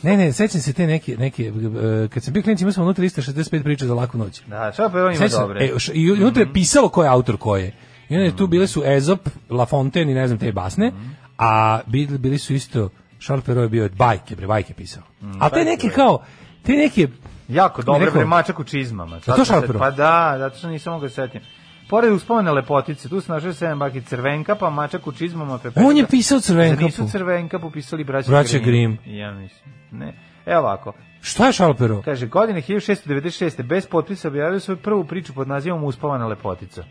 Speaker 5: Ne, ne, sećam se te neke, neke e, kad sam bio klinac imao sam unutra 365 priča za laku noć.
Speaker 6: Da, Charles Perrault ima
Speaker 5: Sećam se,
Speaker 6: dobre.
Speaker 5: e, š- I unutra je pisalo ko je autor ko je. I onda je tu bile su Ezop, La Fontaine i ne znam te basne, a bili, bili su isto, Charles Perrault je bio bajke, bre, Mm, bajke pisao. A te neke kao, te neke,
Speaker 6: Jako
Speaker 5: Kako bi
Speaker 6: dobro,
Speaker 5: rekao?
Speaker 6: bre, mačak u čizmama. Zato
Speaker 5: to
Speaker 6: se-
Speaker 5: Šarpero?
Speaker 6: Pa da, zato što nisam mogao da se setim. Pored uspomene lepotice, tu se našao sedam baki crvenka, pa mačak u čizmama. Pepeljka.
Speaker 5: on je pisao crvenkapu.
Speaker 6: Nisu crvenka popisali braća,
Speaker 5: Braća Grimm.
Speaker 6: Ja mislim. Ne. Evo ovako.
Speaker 5: Šta je Charles Perrault?
Speaker 6: Kaže, godine 1696. bez potpisa objavio svoju prvu priču pod nazivom Uspavana lepotica.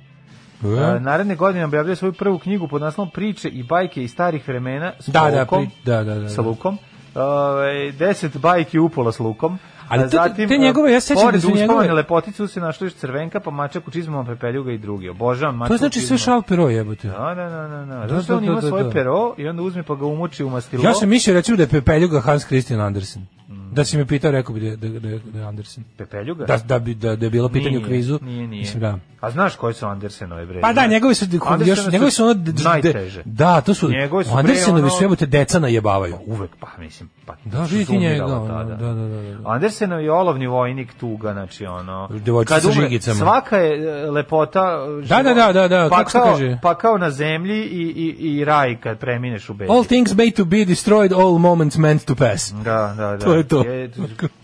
Speaker 5: E?
Speaker 6: E, naredne godine objavljuje svoju prvu knjigu pod naslovom Priče i bajke iz starih vremena s
Speaker 5: Da, da,
Speaker 6: Lukom.
Speaker 5: pri- da, da, da, da.
Speaker 6: Sa Lukom. Ove, deset bajki upola s Lukom.
Speaker 5: Ali
Speaker 6: A
Speaker 5: to- te njegove, ja sećam da
Speaker 6: pored
Speaker 5: su njegove-
Speaker 6: uspavane lepotice su se našli još crvenka, pa mačak u čizmama, pepeljuga i drugi. Obožavam mačak
Speaker 5: To
Speaker 6: u
Speaker 5: znači sve
Speaker 6: čizmama.
Speaker 5: Charles Perrault jebote.
Speaker 6: Da, da, da, da, da.
Speaker 5: Da,
Speaker 6: Zato što on
Speaker 5: da,
Speaker 6: ima
Speaker 5: da,
Speaker 6: svoje
Speaker 5: da.
Speaker 6: pero i onda uzme pa ga umoči u mastilo.
Speaker 5: Ja sam mislio recimo da je Pepeljuga Hans Christian Andersen. Da si me pitao, rekao bi da je da, da, da je Andersen.
Speaker 6: Pepeljuga?
Speaker 5: Da, da, bi, da, da je bilo pitanje u
Speaker 6: Nije,
Speaker 5: kvizu.
Speaker 6: Nije, nije.
Speaker 5: Mislim, da.
Speaker 6: A znaš koji su Andersenove bre?
Speaker 5: Pa da, njegovi su
Speaker 6: Andersenove
Speaker 5: još njegovi su ono d- d-
Speaker 6: najteže.
Speaker 5: Da, to su
Speaker 6: Njegovi su, bre,
Speaker 5: Andersenovi
Speaker 6: ono-
Speaker 5: su jebote deca najebavaju.
Speaker 6: Uvek, pa mislim, pa
Speaker 5: Da,
Speaker 6: su
Speaker 5: vidite njega,
Speaker 6: zumirala
Speaker 5: ono,
Speaker 6: tada.
Speaker 5: da, da, da, da.
Speaker 6: Andersenov je olovni vojnik tuga, znači ono...
Speaker 5: Devojčica
Speaker 6: kad
Speaker 5: sa
Speaker 6: umre,
Speaker 5: žigicama.
Speaker 6: Svaka je e, lepota... e,
Speaker 5: Da, da, da, da, da,
Speaker 6: Pa
Speaker 5: kako se
Speaker 6: kao,
Speaker 5: kaže?
Speaker 6: Pa kao na zemlji i, i, i raj kad premineš u bedu.
Speaker 5: All things made to be destroyed, all moments meant to pass.
Speaker 6: Da, da, da.
Speaker 5: To je to.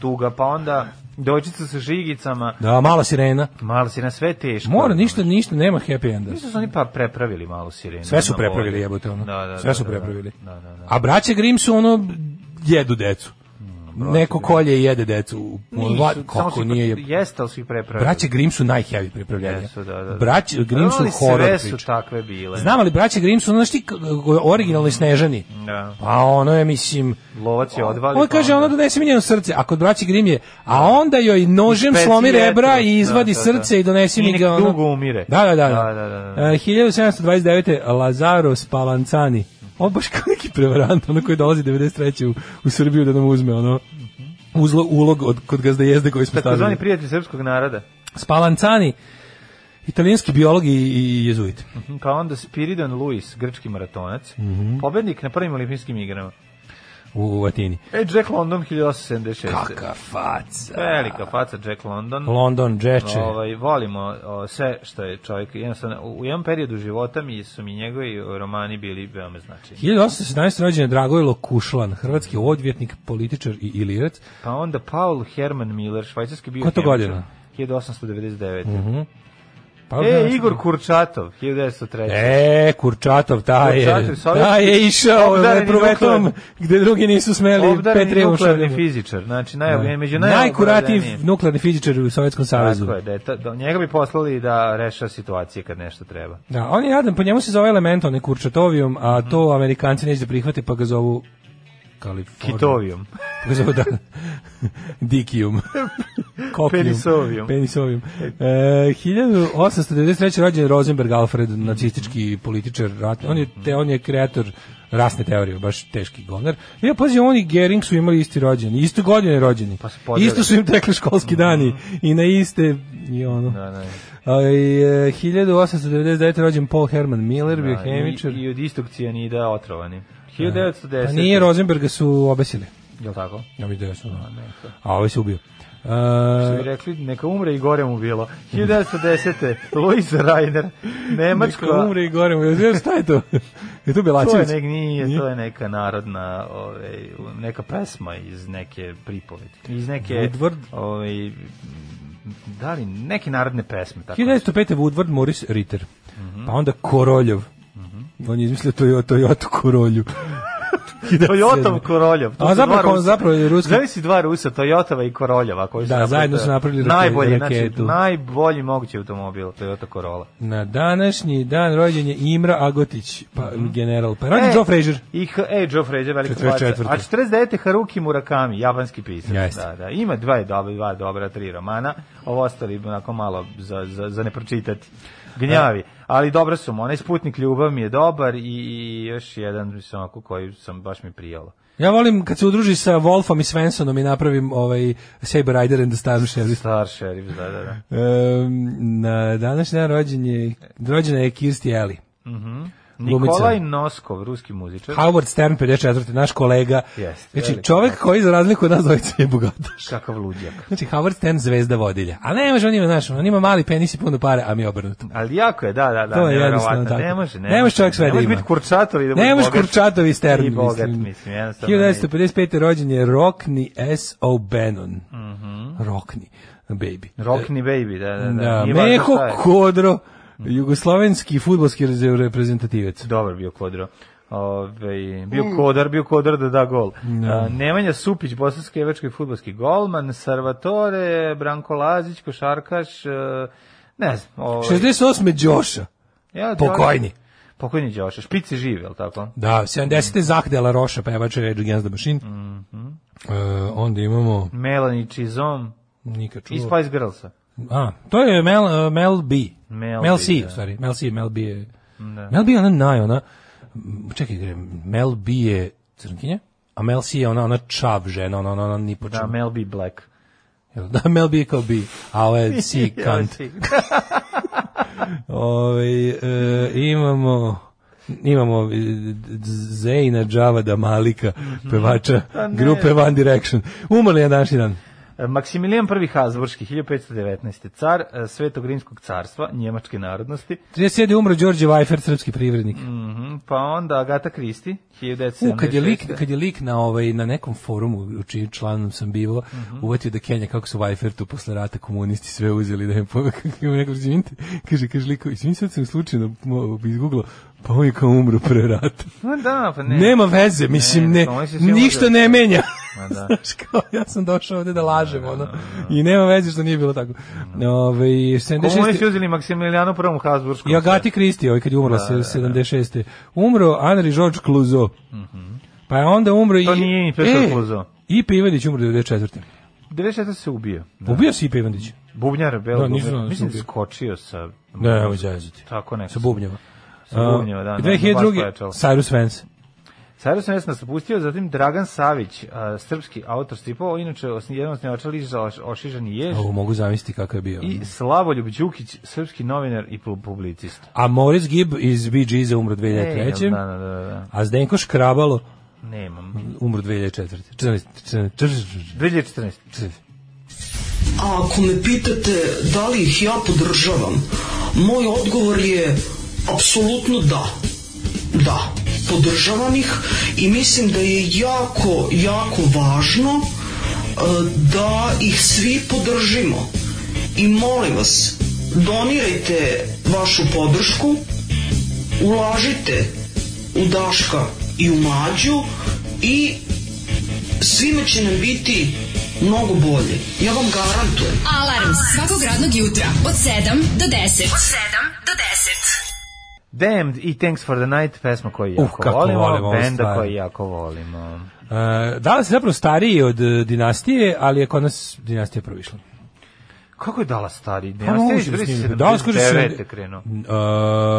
Speaker 6: tuga, pa onda devojčica sa žigicama,
Speaker 5: Da, mala sirena.
Speaker 6: malo si na sve teško.
Speaker 5: Mora, ništa, ništa, nema happy enda.
Speaker 6: Mislim da su oni pa prepravili malo sirenu.
Speaker 5: Sve su
Speaker 6: na
Speaker 5: prepravili,
Speaker 6: vodi.
Speaker 5: jebote, ono.
Speaker 6: Da, da,
Speaker 5: Sve
Speaker 6: da,
Speaker 5: su
Speaker 6: da,
Speaker 5: prepravili.
Speaker 6: Da, da, da.
Speaker 5: A braće Grimm su ono, jedu decu. Neko kolje i jede decu. Vla,
Speaker 6: Mm, Nisu, samo su
Speaker 5: kako
Speaker 6: ih-
Speaker 5: nije je...
Speaker 6: Jeste, ali su ih prepravili.
Speaker 5: Braće Grimm su najheavy prepravljanja.
Speaker 6: Jesu, da, da.
Speaker 5: Braće Grimm su
Speaker 6: Ali
Speaker 5: horor
Speaker 6: Sve su
Speaker 5: priča.
Speaker 6: takve bile.
Speaker 5: Znam, ali braće Grimm su, ono, znaš ti, k- originalni snežani.
Speaker 6: Da.
Speaker 5: Pa ono je, mislim...
Speaker 6: Lovac je pa odvali.
Speaker 5: On kaže, ona donese mi njeno srce, a kod braći Grim je, a onda joj nožem
Speaker 6: Ispeci
Speaker 5: slomi
Speaker 6: jetru.
Speaker 5: rebra i
Speaker 6: Da,
Speaker 5: izvadi
Speaker 6: da, da.
Speaker 5: srce i donesi
Speaker 6: I
Speaker 5: mi
Speaker 6: nek
Speaker 5: ga. ono.
Speaker 6: dugo umire.
Speaker 5: Da, da, da.
Speaker 6: Da, da, da, da.
Speaker 5: E, 1729. Lazaro Spalancani. On baš kao neki prevarant, ono koji dolazi 93. u, u Srbiju da nam uzme, ono, uzlo, ulog od, kod gazda jezde koji smo
Speaker 6: Takozvani
Speaker 5: stavili.
Speaker 6: prijatelj srpskog naroda.
Speaker 5: Spalancani, italijanski biolog i, i jezuit.
Speaker 6: Pa onda Spiridon Luis, grčki maratonac,
Speaker 5: Mhm.
Speaker 6: pobednik na prvim olimpijskim igrama.
Speaker 5: U, u Atini.
Speaker 6: E, Jack London 1876.
Speaker 5: Kaka faca.
Speaker 6: Velika faca Jack London.
Speaker 5: London, džeče.
Speaker 6: Ovaj, volimo o, sve što je čovjek. Jednostavno, u u jednom periodu života mi su mi njegovi romani bili veoma značajni.
Speaker 5: 1817. rođen je Dragojlo Kušlan, hrvatski odvjetnik, političar i ilirac.
Speaker 6: Pa onda Paul Herman Miller, švajcarski bio
Speaker 5: Koja to godina? Mhm.
Speaker 6: 1899.
Speaker 5: Pa,
Speaker 6: E,
Speaker 5: znaš-
Speaker 6: Igor Kurčatov, 1903.
Speaker 5: E, Kurčatov, taj je,
Speaker 6: Kurčatov, sovjetski-
Speaker 5: taj je išao
Speaker 6: obdareni
Speaker 5: vetrometom
Speaker 6: nuklearni-
Speaker 5: gde drugi nisu smeli
Speaker 6: Obdareni
Speaker 5: Petre
Speaker 6: nuklearni fizičar, znači naj, među
Speaker 5: Da. Najkuratiji
Speaker 6: najobrazdanijim.
Speaker 5: nuklearni fizičar u Sovjetskom savezu.
Speaker 6: Tako je, da je ta, da, njega bi poslali da reša situacije kad nešto treba.
Speaker 5: Da, on je jadan, po njemu se zove element, on je Kurčatovijom, a to Amerikanci neće da prihvate, pa ga zovu Kalifornijom.
Speaker 6: Kitovijom.
Speaker 5: Kako se zove, da? Dikijum. Kokijum.
Speaker 6: Penisovijum.
Speaker 5: Penisovijum. E, 1893. rođen je Rosenberg Alfred, nacistički političar, rat, on je, te, on je kreator rasne teorije, baš teški gonar. Ja, pazi, oni Gering su imali isti rođeni, isto godine rođeni.
Speaker 6: Pa su podelili.
Speaker 5: Isto su im tekli školski dani i na iste i ono.
Speaker 6: Da, da.
Speaker 5: A, i, e, 1899. rođen Paul Herman Miller,
Speaker 6: Da, I,
Speaker 5: biohemičar.
Speaker 6: I od istog cijanida otrovani. 1910.
Speaker 5: Pa nije Rosenberga su obesili.
Speaker 6: Jel tako?
Speaker 5: Ja da mi
Speaker 6: Da,
Speaker 5: desno. A ovaj se ubio. E,
Speaker 6: Što bi rekli, neka umre i gore mu bilo. 1910. Louis Reiner, Nemačka.
Speaker 5: Neka umre i gore mu. Ja znam, Šta je to? Je to
Speaker 6: To je,
Speaker 5: Belačević?
Speaker 6: nek, nije, to je neka narodna, ovaj, neka pesma iz neke pripovedi. Iz neke,
Speaker 5: Woodward?
Speaker 6: ovaj, da li, neke narodne pesme. Tako
Speaker 5: 1905. Woodward Morris Ritter. Pa onda Koroljov. On je izmislio Toyota, Toyota Korolju.
Speaker 6: Toyotov Koroljov. To
Speaker 5: A
Speaker 6: su
Speaker 5: zapravo-
Speaker 6: dva Rusa.
Speaker 5: zapravo je ruski-
Speaker 6: Znaš si dva Rusa, Toyotova i Koroljova. Koji su
Speaker 5: Da,
Speaker 6: napravili
Speaker 5: zajedno
Speaker 6: to-
Speaker 5: su napravili raketu-
Speaker 6: najbolji, Znači,
Speaker 5: raketu.
Speaker 6: najbolji mogući automobil, Toyota Corolla.
Speaker 5: Na današnji dan rođen je Imra Agotić, pa general. Pa rođen
Speaker 6: E,
Speaker 5: Joe Frazier.
Speaker 6: I, H- e, Joe Frazier, velika
Speaker 5: 44..
Speaker 6: faca. A 49. Haruki Murakami, japanski pisac.
Speaker 5: Jeste.
Speaker 6: Da, da. Ima dva je dobra, dva dobra, tri romana. Ovo ostali onako malo za, za, za ne pročitati.
Speaker 5: E.
Speaker 6: Gnjavi. Ali dobro su mu. Onaj Sputnik ljubav mi je dobar i, i još jedan mislim, onako, koji sam baš mi prijalo.
Speaker 5: Ja volim kad se udruži sa Wolfom i Svensonom i napravim ovaj Saber Rider and the Star Sheriff.
Speaker 6: Star Sheriff, da, da, da.
Speaker 5: Em, na današnji dan rođen je, rođena je Kirstie Alley. Glumica.
Speaker 6: Nikolaj Noskov, ruski muzičar.
Speaker 5: Howard Stern, 54. naš kolega.
Speaker 6: Jeste,
Speaker 5: znači,
Speaker 6: veliki. da.
Speaker 5: čovek koji za razliku od nas dvojice je bogataš.
Speaker 6: Kakav ludjak.
Speaker 5: Znači, Howard Stern zvezda vodilja. A ne može, on ima, znaš, on ima mali penis i puno pare, a mi obrnuto.
Speaker 6: Ali jako je, da, da, da,
Speaker 5: To je
Speaker 6: nevjerovatno.
Speaker 5: jednostavno tako.
Speaker 6: Ne može, ne,
Speaker 5: Ne može čovjek sve
Speaker 6: ne
Speaker 5: da
Speaker 6: može
Speaker 5: ima.
Speaker 6: biti kurčatovi da bude
Speaker 5: Ne može
Speaker 6: bogat.
Speaker 5: kurčatovi Stern.
Speaker 6: I bogat,
Speaker 5: mislim.
Speaker 6: mislim, jednostavno.
Speaker 5: 1955. rođen je Rockney S. O'Bannon. Mm Rockney, baby.
Speaker 6: Rockni baby, da, da, Mhm. da.
Speaker 5: E, Da,
Speaker 6: Nije važno
Speaker 5: Meho
Speaker 6: šta je. Mhm.
Speaker 5: Kodro, jugoslovenski futbolski reprezentativac.
Speaker 6: Dobar bio Kodro. Ove, bio
Speaker 5: Mm.
Speaker 6: Kodar, bio Kodar da da gol. A, Nemanja Supić, bosanski evački futbolski golman, Salvatore, Branko Lazić, košarkaš, e, ne znam. Ovaj,
Speaker 5: 68. Đoša,
Speaker 6: ja,
Speaker 5: pokojni.
Speaker 6: Pokojni Đoša, špici žive, jel tako?
Speaker 5: Da,
Speaker 6: Mm.
Speaker 5: 70. Zah de la Roša, pevač Rage Against the Machine.
Speaker 6: Mhm.
Speaker 5: E, onda imamo
Speaker 6: Melanie Chizom
Speaker 5: Nika
Speaker 6: i
Speaker 5: čuo.
Speaker 6: Spice Girlsa. Da,
Speaker 5: A, to je Mel, e, Mel B.
Speaker 6: Mel
Speaker 5: Mel,
Speaker 6: B,
Speaker 5: C,
Speaker 6: da.
Speaker 5: u stvari. Mel C, Mel B je... Mel B je ona naj, ona... m, Čekaj, gre, Mel B je crnkinja, A Mel C je ona, ona čav žena, ona, ona, ona ni po
Speaker 6: Da,
Speaker 5: čemu.
Speaker 6: Mel B. Black.
Speaker 5: Jel Da, Mel B kao B, a ovo je C
Speaker 6: Ja,
Speaker 5: kant.
Speaker 6: si.
Speaker 5: Ove, e, imamo imamo e, Zejna Džavada Malika, pevača
Speaker 6: ne.
Speaker 5: grupe One Direction. Umrli je današnji dan.
Speaker 6: Maksimilijan I Habsburški 1519. car e, Svetog Rimskog carstva njemačke narodnosti.
Speaker 5: 31. umro Đorđe Vajfer, srpski privrednik.
Speaker 6: Mhm, pa onda Agata Kristi 1976.
Speaker 5: U, kad je lik, kad je lik na, ovaj, na nekom forumu, u čijim članom sam bivo, uvatio da Kenja, kako su Vajfertu posle rata komunisti sve uzeli, da je po, kako je neko, izvinite, kaže, kaže liko, izvinite, sad sam slučajno mo- izgooglao, pa on je kao umro pre rata.
Speaker 6: Ma da, pa ne.
Speaker 5: Nema veze, mislim, ne,
Speaker 6: pa oni su svi
Speaker 5: ništa
Speaker 6: uzeli.
Speaker 5: ne menja.
Speaker 6: Ma da.
Speaker 5: Znaš, kao, ja sam došao ovde da lažem, ono, i nema veze što nije bilo tako. Ove, 76.
Speaker 6: Komunisti Pa uzeli Maksimilijanu I Habsburškom.
Speaker 5: I Agati Kristi, ovaj kad je
Speaker 6: Da,
Speaker 5: umrla se 76. Umro Henri George Clouseau. Pa je onda umro i...
Speaker 6: Mhm. To nije
Speaker 5: E!
Speaker 6: inspektor Clouseau.
Speaker 5: Ipe Ivanić umro 94.
Speaker 6: 94. se ubio.
Speaker 5: Ubio si Ipe Ivanić?
Speaker 6: Bubnjar, belo
Speaker 5: Da,
Speaker 6: da,
Speaker 5: nisam znao da se
Speaker 6: Mislim da
Speaker 5: ubio.
Speaker 6: je skočio sa...
Speaker 5: Ne, nemoj zajezati.
Speaker 6: Tako nekako.
Speaker 5: Sa bubnjeva.
Speaker 6: Da, Sa bubnjeva, da,
Speaker 5: A,
Speaker 6: ne, baš
Speaker 5: 2002.
Speaker 6: pojačalo.
Speaker 5: Cyrus Vance.
Speaker 6: Cyrus Vance nas napustio, zatim Dragan Savić, a, srpski autor stripova, inače osni- jedan od snivača Liža Oš- Ošižani jež,
Speaker 5: Ovo mogu zamisliti kakav je bio.
Speaker 6: i Slavoljub Đukić, srpski novinar i pu- publicist.
Speaker 5: A Morris Gibb iz Bee Geesa umro
Speaker 6: E,
Speaker 5: 2003.
Speaker 6: Da, da, da, da.
Speaker 5: A Zdenko Škrabalo
Speaker 6: Nemam.
Speaker 5: umro 2004. 14, 14, 14,
Speaker 6: 2014.
Speaker 5: 14.
Speaker 7: A ako me pitate da li ih ja podržavam, moj odgovor je apsolutno da. Da, podržavam ih i mislim da je jako, jako važno e, da ih svi podržimo. I molim vas, donirajte vašu podršku, ulažite u Daška i u Mađu i svima će nam biti mnogo bolje. Ja vam garantujem.
Speaker 4: Alarm svakog radnog jutra od 7 do 10. Od 7 do
Speaker 6: Damned i Thanks for the Night, pesma koju
Speaker 5: Uh,
Speaker 6: jako
Speaker 5: kako
Speaker 6: volimo,
Speaker 5: volim ovu
Speaker 6: benda
Speaker 5: stvar.
Speaker 6: koju jako volimo.
Speaker 5: E, Dallas je zapravo stariji od e, dinastije, ali je kod nas dinastija provišla.
Speaker 6: Kako je dala stari?
Speaker 5: Pa,
Speaker 6: Ja
Speaker 5: moguće
Speaker 6: se
Speaker 5: da snimi.
Speaker 6: izbrisao
Speaker 5: Dallas kaže
Speaker 6: 79.
Speaker 5: sedam-
Speaker 6: krenuo.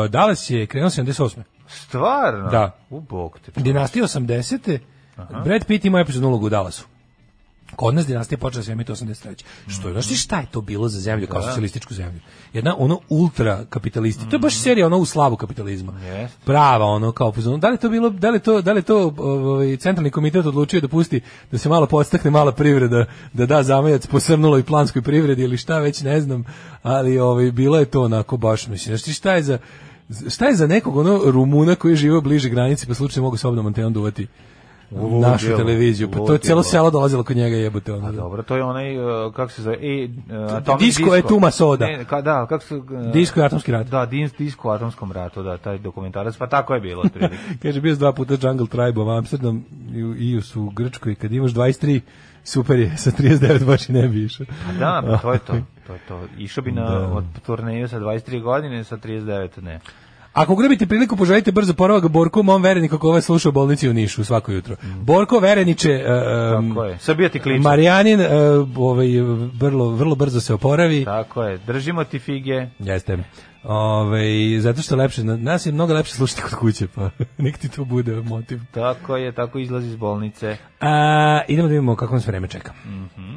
Speaker 5: E, Dallas je krenuo 78.
Speaker 6: Stvarno?
Speaker 5: Da.
Speaker 6: U bog te.
Speaker 5: Dinastija 80. Brad Pitt ima epizodnu ulogu u Dallasu. Kod nas dinastija počela se emiti 83. Što
Speaker 6: Mhm.
Speaker 5: je, znaš ti šta je to bilo za zemlju,
Speaker 6: Da.
Speaker 5: kao socijalističku zemlju? Jedna ono ultra kapitalisti. To je
Speaker 6: Mhm.
Speaker 5: baš serija ono u slavu kapitalizma.
Speaker 6: Jeste.
Speaker 5: Prava ono kao pozvano. Da li je to bilo, da li je to, da li je to ovaj, centralni komitet odlučio da pusti da se malo podstakne mala privreda, da da zamajac posrnuloj planskoj privredi ili šta već ne znam, ali ovaj bilo je to onako baš mislim. Znaš ti šta je za šta je za nekog ono Rumuna koji žive bliže granici pa slučajno mogu sobnom antenom duvati
Speaker 6: Ludilo,
Speaker 5: našu televiziju. Pa to je cijelo
Speaker 6: ludilo.
Speaker 5: selo dolazilo kod njega jebute. Ono,
Speaker 6: A
Speaker 5: da.
Speaker 6: dobro, to je onaj, uh, kako se zove, e, uh, Atomic
Speaker 5: Disco
Speaker 6: Disco.
Speaker 5: je Tuma Soda.
Speaker 6: Ne, ka, da, kako se... Uh,
Speaker 5: Disko i atomski rat.
Speaker 6: Da, din, Disco u atomskom ratu, da, taj dokumentarac, pa tako je bilo, otprilike.
Speaker 5: Kaže, bio sam dva puta Jungle Tribe u Amsterdam i u, i u su u Grčkoj. Kad imaš 23, super je. Sa 39 baš i ne bi išao.
Speaker 6: da, pa to je to. To je to. Išao bi na
Speaker 5: Da.
Speaker 6: od turneju sa 23 godine, sa 39 ne.
Speaker 5: Ako grabite priliku, poželite brzo poravak Borku, mom vereniku koga sluša u bolnici u Nišu svako jutro. Borko, vereniče, e, em,
Speaker 6: Tako je. Srbija ti kliče.
Speaker 5: Marijanin, e, ovaj, vrlo, vrlo brzo se oporavi.
Speaker 6: Tako je. Držimo ti fige.
Speaker 5: Jeste. Ove, zato što je lepše, na- nas je mnogo lepše slušati kod kuće, pa nek ti to bude motiv.
Speaker 6: Tako je, tako izlazi iz bolnice.
Speaker 5: A, idemo da vidimo kako nas vreme čeka.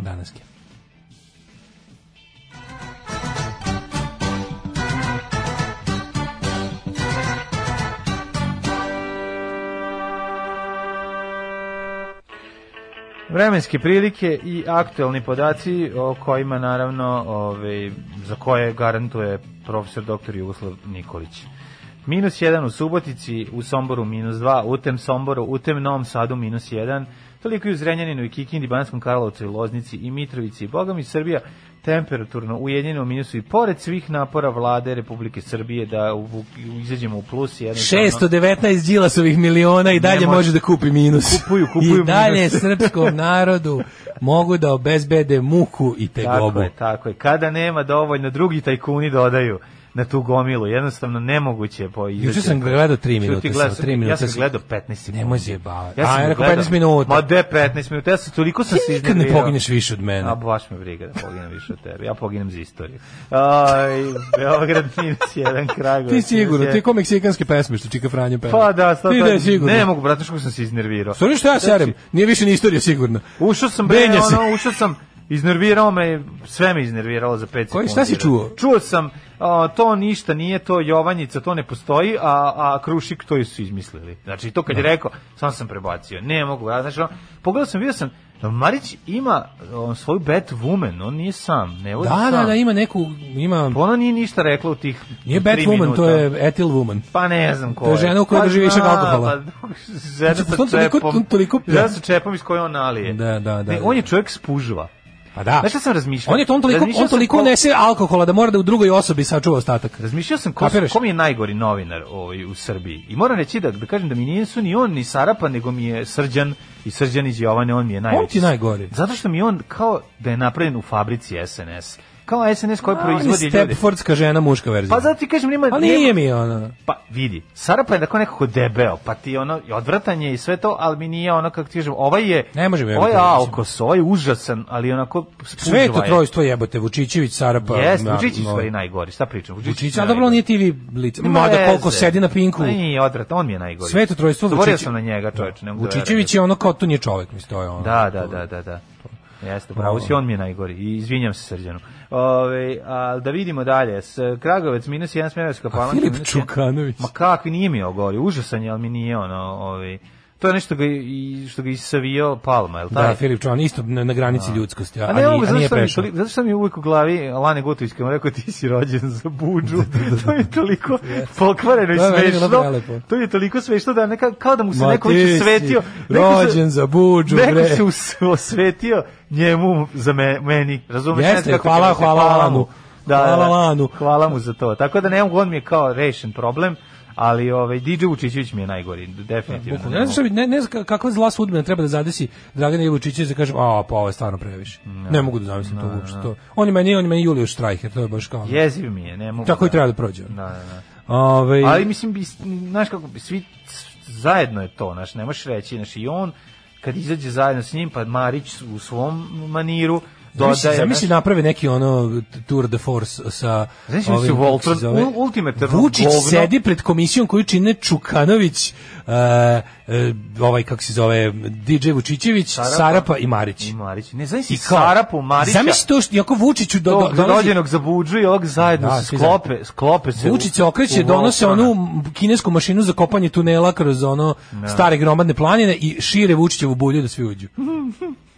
Speaker 5: Danaske.
Speaker 6: Vremenske prilike i aktuelni podaci o kojima naravno ovaj, za koje garantuje profesor dr. Jugoslav Nikolić. Minus 1 u Subotici, u Somboru minus 2, u tem Somboru, u tem Novom Sadu minus 1, toliko i u Zrenjaninu i Kikindi, Banskom Karlovcu i Loznici i Mitrovici i Bogom i Srbija temperaturno ujedinjeno u minusu i pored svih napora vlade Republike Srbije da u, u, izađemo u plus jednostavno-
Speaker 5: 619 Đilasovih miliona i dalje
Speaker 6: E, može.
Speaker 5: može da kupi minus.
Speaker 6: Kupuju, kupuju
Speaker 5: I dalje
Speaker 6: minus.
Speaker 5: srpskom narodu mogu da obezbede muku i
Speaker 6: Tako
Speaker 5: tegobu.
Speaker 6: je, tako je. Kada nema dovoljno, drugi tajkuni dodaju. na tu gomilu. Jednostavno nemoguće je po
Speaker 5: Juče sam gledao 3
Speaker 6: Čuti,
Speaker 5: minuta,
Speaker 6: gledao
Speaker 5: samo
Speaker 6: sam-
Speaker 5: 3 minuta.
Speaker 6: Ja sam
Speaker 5: sam-
Speaker 6: gledao 15 sekundi.
Speaker 5: Nemoj zjebavati.
Speaker 6: Ja sam
Speaker 5: A, ja rekao
Speaker 6: gledao-
Speaker 5: 15 minuta.
Speaker 6: Ma de 15 minuta, ja sam toliko sam se
Speaker 5: Nikad ne
Speaker 6: iznervirao.
Speaker 5: pogineš više od mene.
Speaker 6: A baš me briga da poginem više od tebe. Ja poginem za istoriju. Aj, Beograd minus jedan, Kragovic.
Speaker 5: Ti
Speaker 6: minus
Speaker 5: sigurno,
Speaker 6: jedan.
Speaker 5: ti ko meksikanske pesme što Čika Franjo peva.
Speaker 6: Pa da, sad
Speaker 5: ti
Speaker 6: to-
Speaker 5: da je sigurno.
Speaker 6: Ne mogu, brate, što sam se iznervirao.
Speaker 5: Sorry što ja
Speaker 6: Znači,
Speaker 5: serem, nije više ni istorija sigurno.
Speaker 6: Ušao sam bre,
Speaker 5: Benja se.
Speaker 6: ono, ušao sam, iznervirao me, sve me iznerviralo za 5 sekundi.
Speaker 5: Koji, šta si čuo?
Speaker 6: Čuo sam, a, to ništa nije, to Jovanjica, to ne postoji, a, a Krušik to su izmislili. Znači, to
Speaker 5: Da.
Speaker 6: kad je rekao, sam sam prebacio. Ne mogu, ja, znači, ono, pogledao sam, vidio sam, da Marić ima on, svoju Batwoman, on nije sam, ne vodi
Speaker 5: Da,
Speaker 6: sam.
Speaker 5: da, da, ima neku, ima,
Speaker 6: Ona nije ništa rekla u tih
Speaker 5: nije
Speaker 6: tri minuta.
Speaker 5: Batwoman, to je Ethel Woman.
Speaker 6: Pa ne znam ko
Speaker 5: To je žena u kojoj
Speaker 6: Pa
Speaker 5: drži
Speaker 6: zna,
Speaker 5: višak alkohola.
Speaker 6: Pa, žena
Speaker 5: Znači,
Speaker 6: sa
Speaker 5: on toliko-
Speaker 6: čepom.
Speaker 5: on toliko-
Speaker 6: žena sa čepom iz koje on nalije.
Speaker 5: Da, da, da.
Speaker 6: Ne, on je čovjek spužva.
Speaker 5: Pa da.
Speaker 6: Znaš šta sam razmišljao?
Speaker 5: On je to, on toliko,
Speaker 6: Razmišljao
Speaker 5: on
Speaker 6: sam
Speaker 5: toliko
Speaker 6: ko-
Speaker 5: nese alkohola da mora da u drugoj osobi sačuva ostatak.
Speaker 6: Razmišljao sam ko,
Speaker 5: Kapiraš?
Speaker 6: ko mi je najgori novinar ovaj, u Srbiji. I moram reći da, da kažem da mi nisu ni on ni Sarapa, nego mi je Srđan i Srđan iz Jovane, on mi je najveći.
Speaker 5: On ti je najgori.
Speaker 6: Zato što mi je on kao da je napravljen u fabrici SNS. Kao SNS koji
Speaker 5: On je
Speaker 6: proizvodi ljude.
Speaker 5: Stepfordska žena, muška verzija.
Speaker 6: Pa zato ti kažem, nema...
Speaker 5: Pa nije mi ona.
Speaker 6: Pa vidi, Sarapa je tako nekako debeo, pa ti ono, i odvrtanje i sve to, ali mi nije ono, kako ti kažem, ovaj je,
Speaker 5: Ne može mi
Speaker 6: ovaj je
Speaker 5: verovati, mislim.
Speaker 6: aukos, ovaj je užasan, ali onako spužva
Speaker 5: Sve
Speaker 6: je.
Speaker 5: to trojstvo jebote, Vučićević, Sarapa.
Speaker 6: Jes,
Speaker 5: na-
Speaker 6: Vučić je
Speaker 5: no.
Speaker 6: stvari najgori, šta pričam? Vučić
Speaker 5: da.
Speaker 6: je
Speaker 5: Vučić, a
Speaker 6: najgori.
Speaker 5: dobro, on nije TV lice.
Speaker 6: Nema
Speaker 5: Mada
Speaker 6: veze.
Speaker 5: koliko sedi na pinku.
Speaker 6: Ma Nije odvratan, on mi je najgori.
Speaker 5: Sve to trojstvo
Speaker 6: Zaborio
Speaker 5: Vučić-
Speaker 6: sam na njega, čoveče, ne mogu da
Speaker 5: Vučićević je ono kao to nije čovjek, mislim, to je ono.
Speaker 6: verujem. Da, da, da, da, da. Jeste, pravo si, on mi je najgori. I izvinjam se Srđanu. Ove, a, da vidimo dalje. S, Kragovec minus jedan Smjerovska
Speaker 5: A
Speaker 6: palanka.
Speaker 5: Pa Filip
Speaker 6: minus jedan.
Speaker 5: Čukanović.
Speaker 6: Ma kakvi nije mi ogori, užasan je, ali mi nije ono, ovaj. To je nešto ga i što ga isavio Palma, je l' taj?
Speaker 5: Da, Filip Čukanović, on isto na, na granici ljudskosti, a,
Speaker 6: A
Speaker 5: a,
Speaker 6: ne
Speaker 5: nije,
Speaker 6: mogu,
Speaker 5: a
Speaker 6: zato
Speaker 5: nije
Speaker 6: što, mi,
Speaker 5: prešao.
Speaker 6: toliko, zato što mi je uvijek u glavi Lane Gotović kad mu rekao ti si rođen za buđu,
Speaker 5: Da,
Speaker 6: to je toliko pokvareno i
Speaker 5: To je meni bilo
Speaker 6: smešno,
Speaker 5: prelepo.
Speaker 6: to je toliko smešno da neka, kao da mu se
Speaker 5: Ma,
Speaker 6: neko
Speaker 5: ti
Speaker 6: već
Speaker 5: si
Speaker 6: osvetio, neko se-
Speaker 5: Rođen za buđu, bre.
Speaker 6: neko se us- osvetio njemu za me, meni, razumeš?
Speaker 5: Jeste,
Speaker 6: Ne znam kako
Speaker 5: hvala-
Speaker 6: kažete,
Speaker 5: hvala Lanu.
Speaker 6: Da, da,
Speaker 5: Hvala
Speaker 6: da.
Speaker 5: Lanu.
Speaker 6: Hvala mu za to. Tako da ne mogu, on mi je kao rešen problem, ali ovaj, DJ Vučićević mi je najgori, definitivno.
Speaker 5: Bukvalno. Ne znam šta bi, ne, ne znam ka- kakva zla sudbina treba da zadesi Dragana Ivučića da kažem, a pa ovo je stvarno previše. Ne mogu da zamislim to uopšte. To. On je meni, on je meni Julio Štrajher, to je baš kao.
Speaker 6: Jeziv mi je, ne mogu.
Speaker 5: Tako i
Speaker 6: da-
Speaker 5: treba da prođe.
Speaker 6: Da, da, da.
Speaker 5: Ovaj,
Speaker 6: Ali mislim, bi, znaš kako, bi, svi zajedno je to, znaš, ne možeš reći, znaš, i on, kad izađe zajedno s njim, pa Marić u svom maniru, dodaje,
Speaker 5: Zamisli, zamisli da-
Speaker 6: znaš,
Speaker 5: naprave neki ono tour de force sa
Speaker 6: Znaš, mislim, su
Speaker 5: kako se
Speaker 6: Voltron,
Speaker 5: zove?
Speaker 6: ul- ultimativno
Speaker 5: Vučić
Speaker 6: govno.
Speaker 5: sedi pred komisijom koju čine Čukanović, e, e, ovaj kako se zove DJ Vučićević, Sarapa, i Marić.
Speaker 6: i Marić, ne znaš, i
Speaker 5: kao-
Speaker 6: Sarapu, Marića, da
Speaker 5: Zamisli to što jako Vučiću do, do,
Speaker 6: tog
Speaker 5: dolazi,
Speaker 6: rođenog za budžu i ovog zajedno
Speaker 5: Da,
Speaker 6: se
Speaker 5: svi
Speaker 6: sklope, sklope se. u-
Speaker 5: Vučić se okreće,
Speaker 6: u
Speaker 5: donose
Speaker 6: Voltrona.
Speaker 5: onu kinesku mašinu za kopanje tunela kroz ono
Speaker 6: Da.
Speaker 5: stare gromadne planine i šire Vučićevu bulju da svi uđu.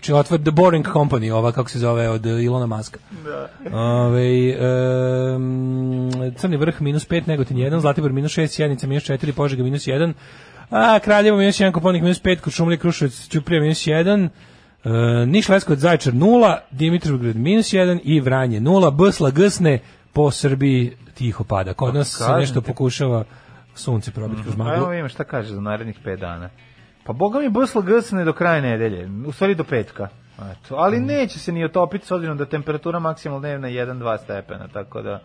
Speaker 5: Či otvor The Boring Company, ova kako se zove od e, Ilona Maska. Ovaj, em, crni vrh minus 5, Negotin 1, Zlatibor minus 6, Sjednica minus 4, Požega minus 1, a Kraljevo minus 1, Koponik minus 5, Kočumlje, Kruševac, Ćuprija minus 1, Uh, Niš Leskovac Zaječar 0, Dimitrovgrad minus 1 i Vranje 0, Bsla Gsne po Srbiji tiho pada. Kod nas se
Speaker 6: Pa kažem
Speaker 5: nešto
Speaker 6: ti.
Speaker 5: pokušava sunce probiti kroz
Speaker 6: Pa Evo
Speaker 5: maglu.
Speaker 6: vidimo šta kaže za narednih 5 dana. Pa boga mi BSL gsne do kraja nedelje, u stvari do petka. Eto, ali
Speaker 5: Mm.
Speaker 6: neće se ni otopiti s obzirom da je temperatura maksimalna dnevna 1-2 stepena, tako da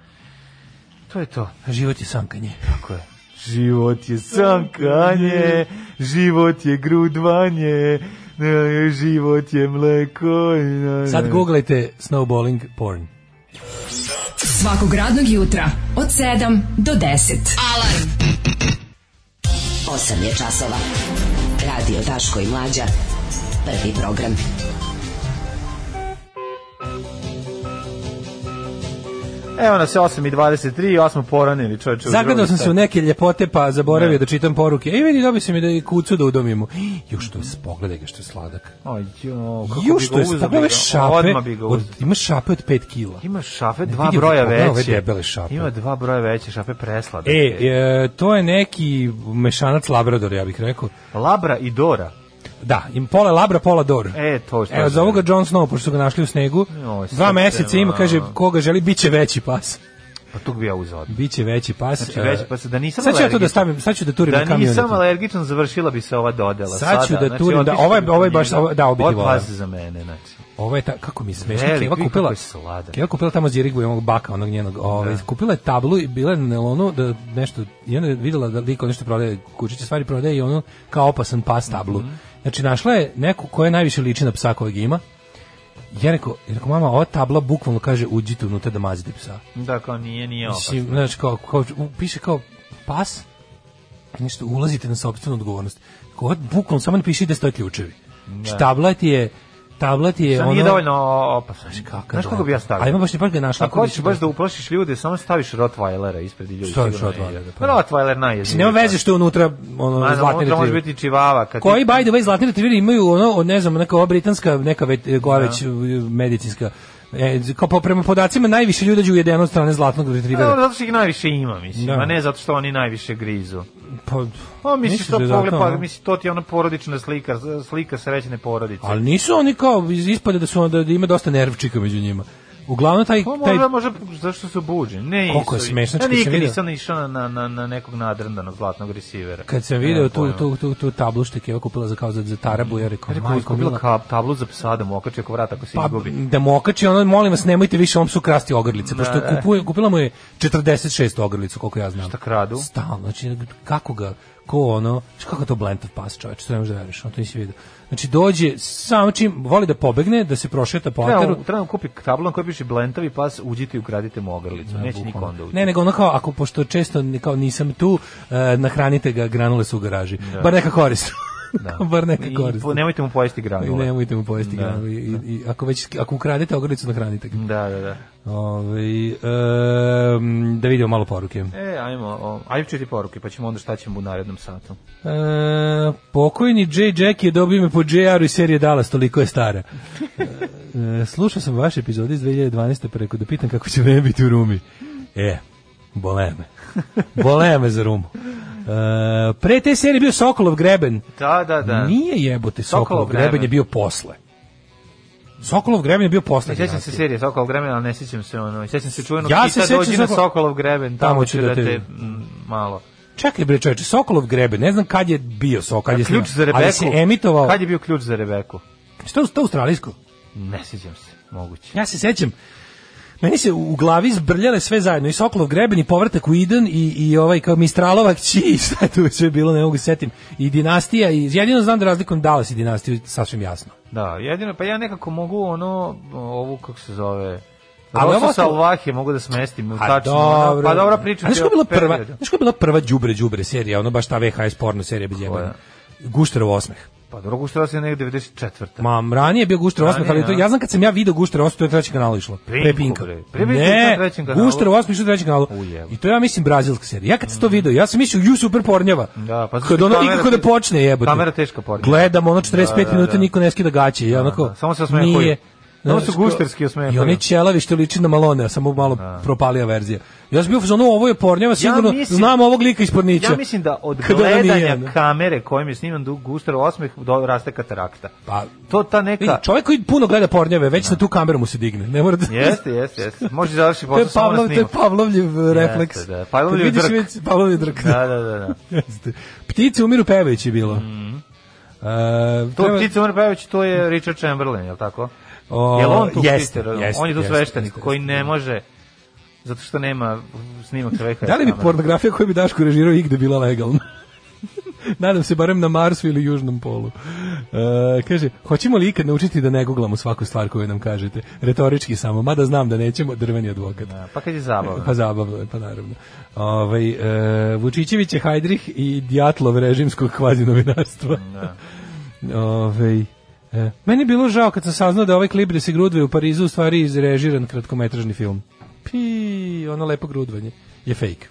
Speaker 6: to je to.
Speaker 5: Život je sankanje.
Speaker 6: Tako je. Život je sankanje, život je grudvanje, e, život je mleko. i na-
Speaker 5: Sad googlajte snowballing porn.
Speaker 4: Svakog radnog jutra od 7 do 10.
Speaker 8: Alarm. 8 je časova. Radio Daško i Mlađa. Prvi program.
Speaker 6: Evo nas je 8.23, 8 poranili čovječe. u
Speaker 5: Zagledao
Speaker 6: drugi
Speaker 5: sam
Speaker 6: sat.
Speaker 5: se u neke ljepote pa zaboravio da čitam poruke. Ej, vidi, dobio sam i da i kucu da udomimo. Još to je, pogledaj ga što je sladak.
Speaker 6: Aj, jo, kako
Speaker 5: Još
Speaker 6: bi
Speaker 5: što
Speaker 6: ga
Speaker 5: je,
Speaker 6: uzeo,
Speaker 5: pogledaj ove
Speaker 6: bi ga-
Speaker 5: šape,
Speaker 6: odmah bi ga
Speaker 5: od,
Speaker 6: uzeo.
Speaker 5: ima šape od 5 kila.
Speaker 6: Ima šafe dva
Speaker 5: vidim,
Speaker 6: broja
Speaker 5: pogledaj
Speaker 6: veće.
Speaker 5: ove debele šape.
Speaker 6: Ima dva broja veće, šape preslade.
Speaker 5: E, e, to je neki mešanac labrador, ja bih rekao.
Speaker 6: Labra i Dora.
Speaker 5: Da, im pola labra, pola dor.
Speaker 6: E, to što.
Speaker 5: Evo,
Speaker 6: je.
Speaker 5: zovu ga Jon Snow, pošto su ga našli u snegu.
Speaker 6: Joj,
Speaker 5: Dva
Speaker 6: srce,
Speaker 5: meseca ima, kaže, koga želi, bit će veći pas.
Speaker 6: Pa tu bi ja uzeo. odmah.
Speaker 5: Biće veći pas.
Speaker 6: Znači, veći pas, da nisam
Speaker 5: Sad ću ja to da
Speaker 6: alergičan.
Speaker 5: stavim, sad ću da turim na
Speaker 6: Da
Speaker 5: kamionu.
Speaker 6: nisam alergičan, završila bi se ova dodela.
Speaker 5: Sad ću
Speaker 6: sada. Znači,
Speaker 5: da turim, da,
Speaker 6: otišli
Speaker 5: ovaj-
Speaker 6: bi
Speaker 5: ovaj
Speaker 6: kod
Speaker 5: baš-
Speaker 6: njega.
Speaker 5: ovaj- da, ovo bi ti
Speaker 6: Od vas
Speaker 5: voleo.
Speaker 6: za mene, znači.
Speaker 5: Ovo je ta, kako mi je smešno,
Speaker 6: Velik,
Speaker 5: Keva
Speaker 6: vidi
Speaker 5: kupila,
Speaker 6: kako je Da. sladak.
Speaker 5: Keva kupila tamo Zirigbu, onog baka, onog njenog, ovaj, kupila je tablu i bila je na nelonu da nešto, i onda je videla da liko nešto prodaje, kučiće stvari prodaje i ono kao opasan pas tablu.
Speaker 6: Mhm.
Speaker 5: Znači, našla je neku koja najviše liči na psa kojeg ima, ja rekao, ja rekao, mama, ova tabla bukvalno kaže uđite unutra da mazite psa.
Speaker 6: Da, kao nije, nije opasno.
Speaker 5: Mislim, znači, kao, kao, u- piše kao pas, nešto, ulazite na sopstvenu odgovornost. Kao, bukvalno, samo napiši da stoje ključevi. Znači, tabla ti je, tabla ti je
Speaker 6: Da. Sad
Speaker 5: ono...
Speaker 6: nije dovoljno opasan.
Speaker 5: Znaš kakav
Speaker 6: Znaš kako
Speaker 5: dobar.
Speaker 6: bi ja stavio?
Speaker 5: A ima baš baš ga je našla.
Speaker 6: Ako hoćeš baš da uplašiš ljude, samo staviš Rottweilera ispred ljudi.
Speaker 5: Staviš
Speaker 6: sigurno
Speaker 5: Rottweilera,
Speaker 6: ne ide.
Speaker 5: pa.
Speaker 6: Rottweiler najeziviji.
Speaker 5: Nema veze što je unutra ono,
Speaker 6: Ma,
Speaker 5: zlatni
Speaker 6: unutra može
Speaker 5: retriever.
Speaker 6: biti čivava. Kad
Speaker 5: Koji, by the way, zlatni retriveri imaju ono, od, ne znam, neka ova britanska, neka vet,
Speaker 6: Da.
Speaker 5: koja već, uh, medicinska. E, kao po, prema podacima, najviše ljudi je ujedeno od strane zlatnog
Speaker 6: Ti... Dobro,
Speaker 5: retrivera.
Speaker 6: zato što ih najviše ima, mislim,
Speaker 5: Da.
Speaker 6: a ne zato što oni najviše grizu.
Speaker 5: Pa,
Speaker 6: Pa misliš
Speaker 5: misliš
Speaker 6: to
Speaker 5: da je
Speaker 6: pogled,
Speaker 5: zato,
Speaker 6: pa
Speaker 5: ono?
Speaker 6: misliš to ti je ona porodična slika, z- slika srećne porodice.
Speaker 5: Ali nisu oni kao, iz- ispade da su onda, da ima dosta nervčika među njima. Uglavnom, taj,
Speaker 6: Pa
Speaker 5: taj
Speaker 6: možda, možda, zašto su buđeni? Ne,
Speaker 5: Koliko je
Speaker 6: isto.
Speaker 5: smešno,
Speaker 6: Ja
Speaker 5: čekaj, sam
Speaker 6: nikad
Speaker 5: vidio.
Speaker 6: nisam išao na, na, na nekog nadrndanog zlatnog resivera.
Speaker 5: kad sam video tu, tu, tu, tu tablu što je Keva kupila za kao za, za tarabu, ja rekao,
Speaker 6: Rekao,
Speaker 5: Pa majko,
Speaker 6: iskupila
Speaker 5: mila,
Speaker 6: ka, tablu za psa da mu okači oko vrata ako se
Speaker 5: pa
Speaker 6: izgubi.
Speaker 5: da mu okači, ono, molim vas, nemojte više ovom psu krasti ogrlice, pošto kupuje, kupila mu je 46 ogrlicu, koliko ja znam.
Speaker 6: Šta kradu?
Speaker 5: Stalno, znači, kako ga, ko ono, znači, kako je to blentav pas čovječ, to ne možeš da veriš, ono to nisi vidio. Znači, dođe, samo čim, voli da pobegne, da se prošeta po
Speaker 6: Treba,
Speaker 5: ateru,
Speaker 6: mu- treba mu kupi tablu na kojoj piše blentavi pas, uđite i ukradite mu
Speaker 5: Da,
Speaker 6: ogrlicu. Neće niko onda ući.
Speaker 5: Ne, nego ono kao, ako pošto često ni- kao nisam tu, e, nahranite ga, granule su u garaži. Bar neka korist. Bar neka
Speaker 6: Da. I Da.
Speaker 5: korist.
Speaker 6: po- nemojte mu pojesti granule.
Speaker 5: nemojte mu pojesti granule. I, i, ako, već, ako ukradete ogrlicu, nahranite ga.
Speaker 6: Da, da, da.
Speaker 5: Ovaj, em, da vidimo malo poruke.
Speaker 6: E, ajmo, o, ajmo čuti poruke, pa ćemo onda šta ćemo u narednom satu.
Speaker 5: E, pokojni J. Jack je dobio ime po JR-u iz serije Dallas, toliko je stara. E, slušao sam vaš epizod iz 2012. preko da pitam kako će vreme biti u Rumi. E, bole me. Bole me za Rumu. E, pre te serije bio Sokolov greben.
Speaker 6: Da, da, da.
Speaker 5: Nije jebote Sokolov,
Speaker 6: Sokolov
Speaker 5: greben.
Speaker 6: greben
Speaker 5: je bio posle. Sokolov greben je bio posle.
Speaker 6: Sjećam se
Speaker 5: generacije.
Speaker 6: serije Sokolov greben, ali ne sjećam se ono. Sjećam se čuvenog
Speaker 5: Ja
Speaker 6: ja
Speaker 5: se
Speaker 6: kita
Speaker 5: sjećam
Speaker 6: dođi na
Speaker 5: Sokol-
Speaker 6: Sokolov greben, tamo,
Speaker 5: Tamo
Speaker 6: ću da te, mm, malo.
Speaker 5: Čekaj bre čoveče, Sokolov greben, ne znam kad je bio Sokol, kad je
Speaker 6: Ključ
Speaker 5: sniman.
Speaker 6: za Rebeku.
Speaker 5: Ali se emitovao.
Speaker 6: Kad je bio ključ za Rebeku?
Speaker 5: Što to australijsko?
Speaker 6: Ne sjećam se, moguće.
Speaker 5: Ja se sećam. Meni se u glavi zbrljale sve zajedno i Sokolov greben i povratak u Iden i, i ovaj kao Mistralova kći i šta je tu sve bilo, ne mogu se setim. I dinastija i jedino znam da razlikujem Dallas i dinastiju sasvim jasno.
Speaker 6: Da, jedino, pa ja nekako mogu ono, ovu, kako se zove,
Speaker 5: Ali
Speaker 6: Ali
Speaker 5: ovo
Speaker 6: ovo
Speaker 5: ste-
Speaker 6: sa Alvahije mogu da smestim u tačno. ono, pa dobra priča.
Speaker 5: A znaš
Speaker 6: ti
Speaker 5: koja je bila
Speaker 6: o
Speaker 5: prva,
Speaker 6: periodu.
Speaker 5: znaš koja je bila prva đubre đubre serija, ono baš ta VHS porno serija bez jebanja. Gušterov osmeh.
Speaker 6: Pa drugo što se negde 94.
Speaker 5: Ma, ranije je bio Gušter 8,
Speaker 6: Ranije,
Speaker 5: ali to,
Speaker 6: a?
Speaker 5: ja znam kad sam ja video Gušter 8, to je na trećem kanalu išlo. Pre
Speaker 6: Pinku,
Speaker 5: Pinka.
Speaker 6: bre. Pre Pinka išlo na
Speaker 5: Ne,
Speaker 6: trećem kanalu.
Speaker 5: Gušter 8 išlo na trećem kanalu.
Speaker 6: Ujebo.
Speaker 5: I to je, ja mislim, brazilska serija. Ja kad sam to video, ja sam mislio, ju, super pornjava.
Speaker 6: Da, pa
Speaker 5: kad ono
Speaker 6: kamera
Speaker 5: nikako da
Speaker 6: te-
Speaker 5: počne, jebote.
Speaker 6: kamera teška pornjava.
Speaker 5: Gledam, ono 45
Speaker 6: Da, da,
Speaker 5: minuta,
Speaker 6: da.
Speaker 5: niko ne skida gaće. Ja, onako,
Speaker 6: da. Samo se osmehuju.
Speaker 5: nije.
Speaker 6: Samo
Speaker 5: Znaš,
Speaker 6: se
Speaker 5: kao-
Speaker 6: gušterski osmehuju. Da.
Speaker 5: I oni ćelavi što liči na Malone, a samo malo propalija verzija. Ja sam bio u fazonu, ovo je pornjava, sigurno
Speaker 6: mislim-
Speaker 5: znam ovog lika iz pornića.
Speaker 6: Ja mislim da od
Speaker 5: Kada nam je jedno.
Speaker 6: gledanja kamere kojim je sniman Dug Gustav osmeh do raste katarakta.
Speaker 5: Pa,
Speaker 6: To ta neka...
Speaker 5: Vidi, čovjek koji puno gleda pornjave, već na tu kameru mu se digne. Ne mora da...
Speaker 6: Jeste, jeste, jeste. Može završi
Speaker 5: To je
Speaker 6: posao samo na
Speaker 5: Pavlov, to je
Speaker 6: snimu.
Speaker 5: Pavlovljev e, refleks.
Speaker 6: Jeste, da. Pavlovljev
Speaker 5: Kad vidiš
Speaker 6: drk.
Speaker 5: već- Pavlovljev drk.
Speaker 6: Da, da, da. da.
Speaker 5: Jeste. Ptice umiru pevajući bilo. E,
Speaker 6: Mhm. To
Speaker 5: treba-
Speaker 6: ptica Umar Pejović, to je Richard Chamberlain, je li tako?
Speaker 5: O,
Speaker 6: je li on tu
Speaker 5: jeste,
Speaker 6: ptica?
Speaker 5: jeste,
Speaker 6: on je tu
Speaker 5: jeste,
Speaker 6: sveštenik
Speaker 5: jeste,
Speaker 6: koji
Speaker 5: jeste.
Speaker 6: ne može zato što nema snimak sa VHS
Speaker 5: Da li bi
Speaker 6: kamerom.
Speaker 5: pornografija koju bi Daško režirao igde bila legalna? Nadam se barem na Marsu ili Južnom polu. E, kaže, hoćemo li ikad naučiti da ne googlamo svaku stvar koju nam kažete? Retorički samo, mada znam da nećemo, drveni advokat.
Speaker 6: Da, Pa kad je zabavno.
Speaker 5: Pa zabavno je, pa naravno. Ovaj e, Vučićević je Hajdrih i Djatlov režimskog kvazi novinarstva.
Speaker 6: Da.
Speaker 5: Ovaj, e, meni je bilo žao kad sam saznao da ovaj klip da se grudve u Parizu u stvari izrežiran kratkometražni film. Pi, ono lepo grudvanje je fake.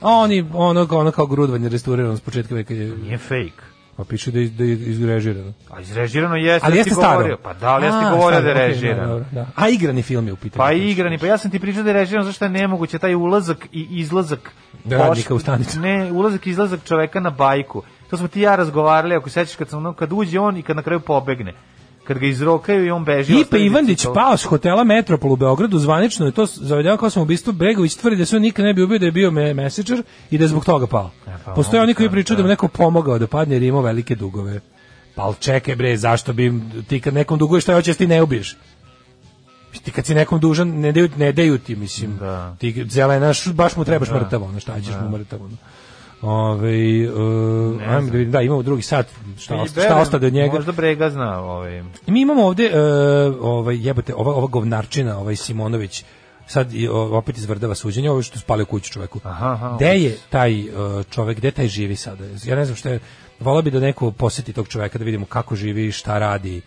Speaker 5: A oni, ono, ono kao grudvanje restaurirano s početka veka je,
Speaker 6: Nije fake.
Speaker 5: pa piše da je, da je izrežirano.
Speaker 6: A izrežirano jeste,
Speaker 5: Ali
Speaker 6: ja
Speaker 5: jeste
Speaker 6: ti
Speaker 5: staro.
Speaker 6: E, govorio. Pa da, ali ja
Speaker 5: A,
Speaker 6: sam ti govorio
Speaker 5: staro,
Speaker 6: da je
Speaker 5: okej,
Speaker 6: režirano.
Speaker 5: dobro, da. A igrani film je u pitanju.
Speaker 6: Pa igrani, pa ja sam ti pričao da je režiran zašto je nemoguće taj ulazak i izlazak
Speaker 5: Da, radnika u stanicu.
Speaker 6: Ne, ulazak i izlazak čoveka na bajku. To smo ti i ja razgovarali, ako se sećaš kad sam ono- kad uđe on i kad na kraju pobegne. Kad ga izrokaju i on beži.
Speaker 5: Ipe
Speaker 6: ostavi
Speaker 5: Ivandić pa-
Speaker 6: bicikl.
Speaker 5: pao s hotela Metropol u Beogradu, zvanično je to zavedeno kao sam ubistvo. Bregović tvrdi da se on nikad ne bi ubio da je bio me messenger i da je zbog toga pao.
Speaker 6: pa,
Speaker 5: Postoje oni
Speaker 6: moguće,
Speaker 5: da koji pričaju da mu neko pomogao da padne jer je imao velike dugove. Pa al čekaj bre, zašto bi im- ti kad nekom duguješ šta hoćeš ti ne ubiješ? Mislim, Ti kad si nekom dužan, ne daju, ne daju ti, mislim.
Speaker 6: Da.
Speaker 5: Ti zelenaš, baš mu trebaš mrtavo, ono, šta ćeš mu mrtavo. Ono. Ove, uh, ajmo da, vidim, da, imamo drugi sat, šta,
Speaker 6: I
Speaker 5: osta,
Speaker 6: berem,
Speaker 5: šta ostade od njega.
Speaker 6: Možda Brega zna ovaj.
Speaker 5: I Mi imamo ovde e, ovaj jebote ova ova govnarčina, ovaj Simonović sad i, o, opet izvrdava suđenje, ovo što spale u kuću čoveku.
Speaker 6: Aha, aha.
Speaker 5: Gde je taj e, čovek, gde taj živi sada? Ja ne znam šta je, volao bi da neko poseti tog čoveka da vidimo kako živi, šta radi,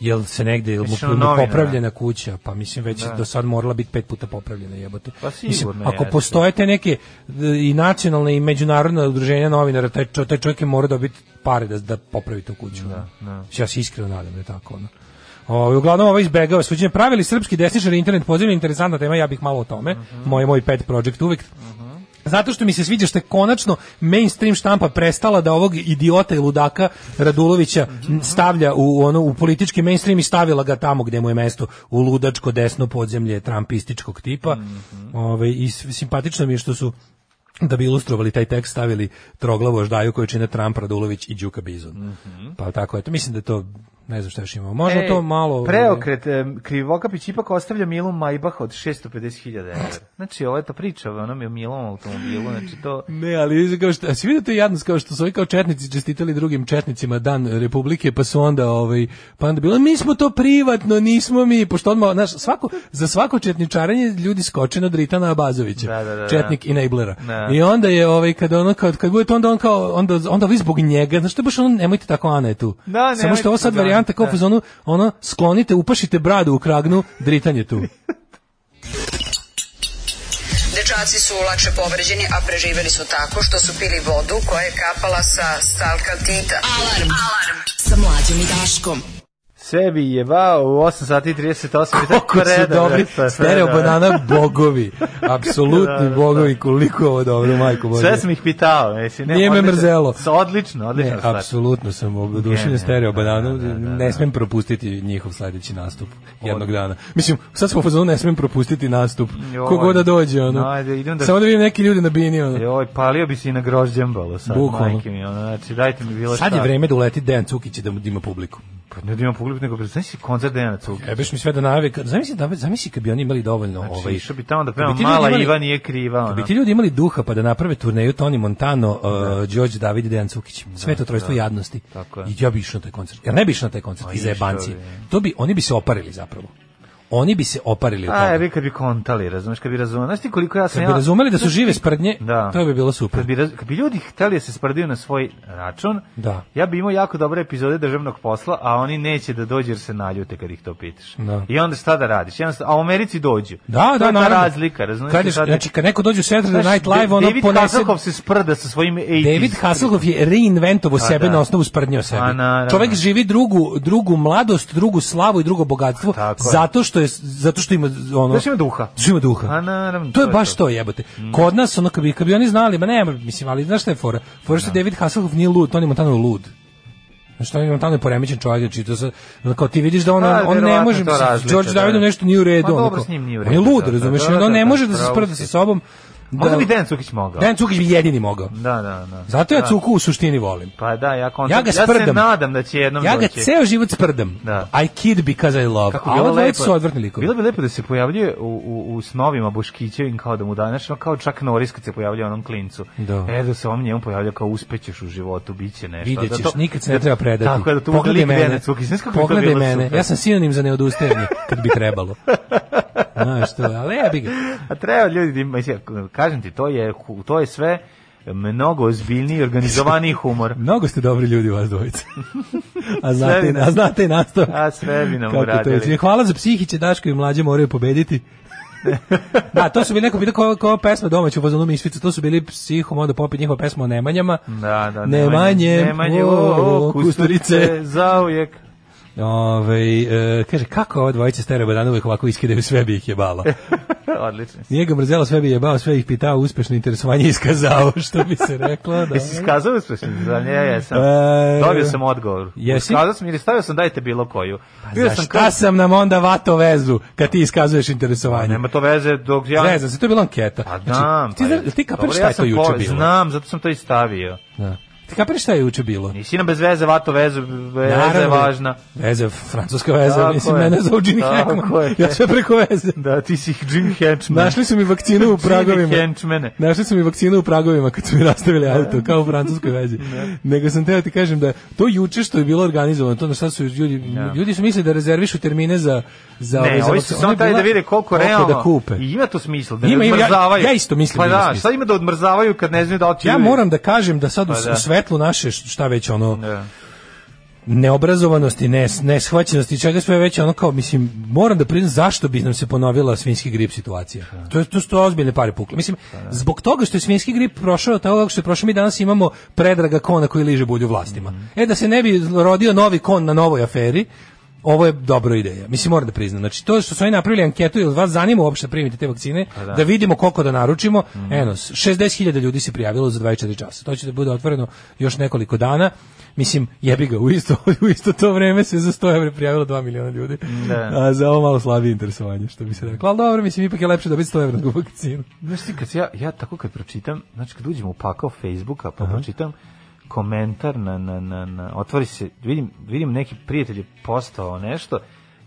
Speaker 5: jel se negde, jel mu,
Speaker 6: Da. Mislim, da.
Speaker 5: jel mu
Speaker 6: novina,
Speaker 5: popravljena kuća, pa mislim već do sad morala biti pet puta popravljena jebote.
Speaker 6: Pa
Speaker 5: mislim,
Speaker 6: sigurno
Speaker 5: ako
Speaker 6: jeste.
Speaker 5: postoje te neke d- i nacionalne i međunarodne udruženja novinara, taj, čo, taj čovjek je mora dobiti pare da, da popravi tu kuću. Da,
Speaker 6: da.
Speaker 5: Ja se iskreno nadam da je tako. Ono. O, uglavnom ovo izbegava suđenje. Pravili srpski desničar internet poziv, interesantna tema, ja bih malo o tome.
Speaker 6: Mhm.
Speaker 5: Moj, moj pet project uvek. Zato što mi se sviđa što je konačno mainstream štampa prestala da ovog idiota i ludaka Radulovića stavlja u ono u politički mainstream i stavila ga tamo gde mu je mesto u ludačko desno podzemlje trampističkog tipa. Ovaj, i s- simpatično mi je što su da bi ilustrovali taj tekst stavili troglavu ždaju koju čine Trump, Radulović i Đuka Bizon. Pa tako eto, mislim da je to ne znam šta još imamo. Možda
Speaker 6: Ej,
Speaker 5: to malo
Speaker 6: E,
Speaker 5: ovaj.
Speaker 6: Preokret, em, Krivokapić ipak ostavlja Milu Majbah od 650.000 evra. Znači, ovo je ta priča o onom Milom automobilu, znači to...
Speaker 5: Ne, ali kao što, a si vidite jadnost kao što su ovi kao četnici čestitali drugim četnicima dan Republike, pa su onda ovaj pa onda bilo mi smo to privatno, nismo mi, pošto odmah znaš, svako za svako četničarenje ljudi skoče na Dritana Abazovića,
Speaker 6: Da, da, da, da.
Speaker 5: četnik enablera.
Speaker 6: Da.
Speaker 5: I onda je ovaj kad ono kad kad budete onda on kao onda onda vi zbog njega, znači to je baš ono nemojte tako Ana je tu.
Speaker 6: Da, nemojte
Speaker 5: Samo što je ovo sad
Speaker 6: tako, da,
Speaker 5: varijanta kao
Speaker 6: da.
Speaker 5: u fazonu ono sklonite, upašite bradu u kragnu, Dritan je tu.
Speaker 9: Dečaci su lakše povređeni, a preživeli su tako što su pili vodu koja je kapala sa stalkaltita.
Speaker 8: Alarm. Alarm. Sa mlađom i Daškom.
Speaker 6: Sebi jebao u 8 sati i 38 minuta.
Speaker 5: Kako su
Speaker 6: Predobro,
Speaker 5: dobri
Speaker 6: da, to je
Speaker 5: stereo
Speaker 6: predobro.
Speaker 5: banana bogovi. Apsolutni bogovi, koliko je ovo dobro, majko Bože.
Speaker 6: da. Sve sam ih pitao, mislim, ne,
Speaker 5: Nije me
Speaker 6: odlično.
Speaker 5: mrzelo.
Speaker 6: S- Odlično,
Speaker 5: Ne,
Speaker 6: odlično.
Speaker 5: apsolutno sam odušen
Speaker 6: da Ne, ne,
Speaker 5: stereo
Speaker 6: da,
Speaker 5: bananu,
Speaker 6: da, da, da,
Speaker 5: ne smem propustiti njihov sledeći nastup jednog dana. Mislim, sad smo u fazonu ne smem propustiti nastup.
Speaker 6: Joj.
Speaker 5: Kogo da dođe ono.
Speaker 6: Ajde, idem da-
Speaker 5: Samo da vidim neki ljudi na bini ono.
Speaker 6: Joj, palio bi se i na grožđembalo sad,
Speaker 5: Bukvalno.
Speaker 6: majke mi, ono, znači, dajte mi bilo šta.
Speaker 5: Sad je vreme da uleti Dejan Cukić i da mu- da ima publiku.
Speaker 6: Pa ne da imam publiku, nego, znaš si koncert Dejana Cukića?
Speaker 5: Jebeš mi sve da najavi. kad- Zamisli, da, zamisli kad bi oni imali dovoljno
Speaker 6: Znači,
Speaker 5: ovaj,
Speaker 6: išao bi tamo da
Speaker 5: kad bi ti
Speaker 6: peva
Speaker 5: ljudi
Speaker 6: Mala
Speaker 5: imali-
Speaker 6: Iva nije kriva,
Speaker 5: Kad
Speaker 6: Pa ono. Da.
Speaker 5: bi ti ljudi imali duha pa da naprave turneju Toni Montano, uh, Đorđe David i Dejan Cukić. Sve to trojstvo jadnosti.
Speaker 6: Tako je.
Speaker 5: I ja bi išao na taj koncert. Ja ne bi išao na taj koncert iz jebancije.
Speaker 6: išao
Speaker 5: To bi, oni bi se oparili zapravo. Oni bi se oparili od
Speaker 6: A,
Speaker 5: toga.
Speaker 6: Pa, ja bi kad bi kontali, razumeš, kad bi razumeli. Znaš ti koliko ja sam...
Speaker 5: Kad bi
Speaker 6: ja-
Speaker 5: razumeli da su žive sprdnje,
Speaker 6: Da.
Speaker 5: to bi bilo super.
Speaker 6: Kad bi, raz- kad bi ljudi hteli da se sprdaju na svoj račun,
Speaker 5: Da.
Speaker 6: ja bi imao jako dobre epizode državnog posla, a oni neće da dođu jer se naljute kad ih to pitaš.
Speaker 5: Da.
Speaker 6: I onda šta da radiš? Jednostavno, a u Americi dođu.
Speaker 5: Da,
Speaker 6: to
Speaker 5: da,
Speaker 6: je ta
Speaker 5: naravno.
Speaker 6: razlika, razumiješ?
Speaker 5: Kad, je- znači, kad neko dođe u Saturday Night Live, ono
Speaker 6: Da- David
Speaker 5: ponese...
Speaker 6: Hasselhoff se sprda sa svojim 80s.
Speaker 5: David Hasselhoff je reinventovo
Speaker 6: A,
Speaker 5: sebe
Speaker 6: da.
Speaker 5: na osnovu sprdnje o sebi.
Speaker 6: A, naravno.
Speaker 5: Čovek živi drugu, drugu mladost, drugu slavu i drugo bogatstvo
Speaker 6: Tako je.
Speaker 5: zato što je zato što ima ono
Speaker 6: Znaš ima duha.
Speaker 5: Što ima duha.
Speaker 6: A, Pa naravno,
Speaker 5: To je
Speaker 6: to je
Speaker 5: baš
Speaker 6: to.
Speaker 5: to jebote. Kod nas ono kad bi, kad bi oni znali, ma ne, mislim, ali znaš šta je fora? Fora
Speaker 6: Da.
Speaker 5: što David Hasselhoff nije lud, on je Montano lud. Znači, on je Montano je poremećen čovjek, znači to sad, ono, kao ti vidiš da on,
Speaker 6: A,
Speaker 5: on ne
Speaker 6: verovatno
Speaker 5: može,
Speaker 6: je to
Speaker 5: mislim,
Speaker 6: razlika,
Speaker 5: George
Speaker 6: da.
Speaker 5: Davidom nešto nije u redu.
Speaker 6: Ma,
Speaker 5: ono,
Speaker 6: dobro,
Speaker 5: kao,
Speaker 6: s njim nije u
Speaker 5: On je
Speaker 6: redu,
Speaker 5: lud,
Speaker 6: da, da,
Speaker 5: razumeš,
Speaker 6: da,
Speaker 5: i on
Speaker 6: da,
Speaker 5: ne
Speaker 6: da,
Speaker 5: može da se
Speaker 6: pravo
Speaker 5: sprda
Speaker 6: si.
Speaker 5: sa sobom.
Speaker 6: Možda bi Dejan Cukić mogao.
Speaker 5: Dejan Cukić bi jedini mogao.
Speaker 6: Da, da, da.
Speaker 5: Da. Zato ja
Speaker 6: Da.
Speaker 5: Cuku u suštini volim.
Speaker 6: Pa da, ja, kontam,
Speaker 5: Ja ga
Speaker 6: se
Speaker 5: sprdam.
Speaker 6: nadam da će jednom
Speaker 5: Ja ga
Speaker 6: doći.
Speaker 5: ceo život sprdam.
Speaker 6: Da.
Speaker 5: I kid because I love.
Speaker 6: Kako
Speaker 5: A
Speaker 6: bi bilo
Speaker 5: ova
Speaker 6: lepo.
Speaker 5: dvojica su odvrtni likovi.
Speaker 6: Bilo bi lepo da se pojavljuje u, u, u snovima Boškićevim kao da mu daneš, ono kao čak Norris kad se pojavljuje onom klincu.
Speaker 5: Da.
Speaker 6: E, da se on njemu pojavlja kao uspećeš u životu, bit će nešto.
Speaker 5: Vidjet ćeš,
Speaker 6: da to-
Speaker 5: nikad se ne treba predati.
Speaker 6: Tako je, da tu bude
Speaker 5: Pogledaj
Speaker 6: lik
Speaker 5: mene,
Speaker 6: Dejan Cukić. Znaš kako bi to
Speaker 5: pogledaj
Speaker 6: bilo
Speaker 5: mene.
Speaker 6: super?
Speaker 5: Ja sam sinonim za neodustajanje, kad bi trebalo. Znaš to, ali jebi ga.
Speaker 6: A treba ljudi, da im- mislim, kažem ti, to je, hu- to je sve mnogo ozbiljniji i organizovaniji humor.
Speaker 5: Mnogo ste dobri ljudi vas dvojica. A
Speaker 6: Sve bi
Speaker 5: znate,
Speaker 6: nam-
Speaker 5: a znate i nastav.
Speaker 6: A sve bi nam
Speaker 5: Kako to
Speaker 6: uradili.
Speaker 5: je. Hvala za psihiće, Daško i mlađe moraju pobediti. da, to su bili neko pitao koja ko pesma domaća u fazonu Misfica, to su bili psihom, onda popit njihova pesma o Nemanjama.
Speaker 6: Da, da,
Speaker 5: Nemanje,
Speaker 6: nemanje,
Speaker 5: o,
Speaker 6: o, kusturice,
Speaker 5: kusturice.
Speaker 6: zaujek.
Speaker 5: Ove, e, kaže, kako ova dvojica stara badana uvek ovako iskidaju, sve bi ih jebala.
Speaker 6: Odlično.
Speaker 5: Nije ga mrzela, sve bi jebao, sve ih pitao, uspešno interesovanje iskazao, što bi se reklo. Da.
Speaker 6: Jesi skazao uspešno? Za nje jesam.
Speaker 5: E,
Speaker 6: Dobio sam odgovor.
Speaker 5: jesi? Pa
Speaker 6: Skazao sam jer stavio sam dajte bilo koju. Bio
Speaker 5: Za
Speaker 6: sam
Speaker 5: šta sam nam onda vato vezu, kad ti iskazuješ interesovanje?
Speaker 6: Nema to veze dok ja...
Speaker 5: Ne znam, se to je bila anketa.
Speaker 6: Pa
Speaker 5: Pa Znači,
Speaker 6: znam.
Speaker 5: ti,
Speaker 6: pa
Speaker 5: zna,
Speaker 6: je-
Speaker 5: ti kapiraš
Speaker 6: Dobro,
Speaker 5: šta
Speaker 6: ja
Speaker 5: je to
Speaker 6: sam
Speaker 5: juče
Speaker 6: po-
Speaker 5: bilo?
Speaker 6: Znam, zato sam to i stavio.
Speaker 5: Da. Ti kapiraš šta je juče bilo?
Speaker 6: Nisi nam bez veze, vato vezu, veza je
Speaker 5: Naravno.
Speaker 6: važna.
Speaker 5: Veze, francuska veza,
Speaker 6: Tako
Speaker 5: mislim,
Speaker 6: je.
Speaker 5: mene zovu Gene
Speaker 6: Tako je.
Speaker 5: Hackman. Ja sve preko veze.
Speaker 6: Da, ti si Jim Henchman.
Speaker 5: Našli su mi vakcinu u pragovima.
Speaker 6: Henchmene.
Speaker 5: Našli su mi vakcinu u pragovima kad su mi rastavili auto, kao u francuskoj vezi. Nego sam teo da ti kažem da to juče što je bilo organizovano, to na šta su ljudi, ljudi su mislili da rezervišu termine za za
Speaker 6: Ne,
Speaker 5: za
Speaker 6: ovi su
Speaker 5: vakcinu. Ona
Speaker 6: samo
Speaker 5: je
Speaker 6: taj da
Speaker 5: bila-
Speaker 6: vide koliko realno.
Speaker 5: da kupe.
Speaker 6: I ima to smisla, da
Speaker 5: Ima,
Speaker 6: ne
Speaker 5: ima, ja-
Speaker 6: odmrzavaju.
Speaker 5: ja isto mislim
Speaker 6: Pa
Speaker 5: da ima
Speaker 6: da,
Speaker 5: smisla.
Speaker 6: šta ima da odmrzavaju kad ne znaju da li će
Speaker 5: Ja
Speaker 6: ljudi-
Speaker 5: moram da kažem da sad u, s-
Speaker 6: da.
Speaker 5: u svetlu naše š- šta već ono
Speaker 6: Da.
Speaker 5: neobrazovanosti, ne neshvaćenosti, čega sve već ono kao mislim moram da priznam zašto bi nam se ponovila svinjski grip situacija. To je to su to ozbiljne pare pukle. Mislim zbog toga što je svinjski grip prošao tako kako što je prošao mi danas imamo predraga kona koji liže bulju vlastima. E da se ne bi rodio novi kon na novoj aferi, ovo je dobra ideja. Mislim, moram da priznam. Znači, to što su oni napravili anketu, ili vas zanima uopšte da primite te vakcine,
Speaker 6: Pa
Speaker 5: da. vidimo koliko da naručimo.
Speaker 6: Mhm.
Speaker 5: Eno, 60.000 ljudi se prijavilo za 24 časa. To će da bude otvoreno još nekoliko dana. Mislim, jebi ga, u isto, u isto to vreme se za 100 evra prijavilo 2 miliona ljudi.
Speaker 6: Da.
Speaker 5: A za ovo malo slabije interesovanje, što bi se reklo. Ali dobro, mislim, ipak je lepše dobiti 100 evra nego vakcinu.
Speaker 6: Znaš ti, kad se ja, ja tako kad pročitam, znači kad uđem u pakao Facebooka, pa pročitam komentar na, na, na, na, otvori se, vidim, vidim neki prijatelj je postao nešto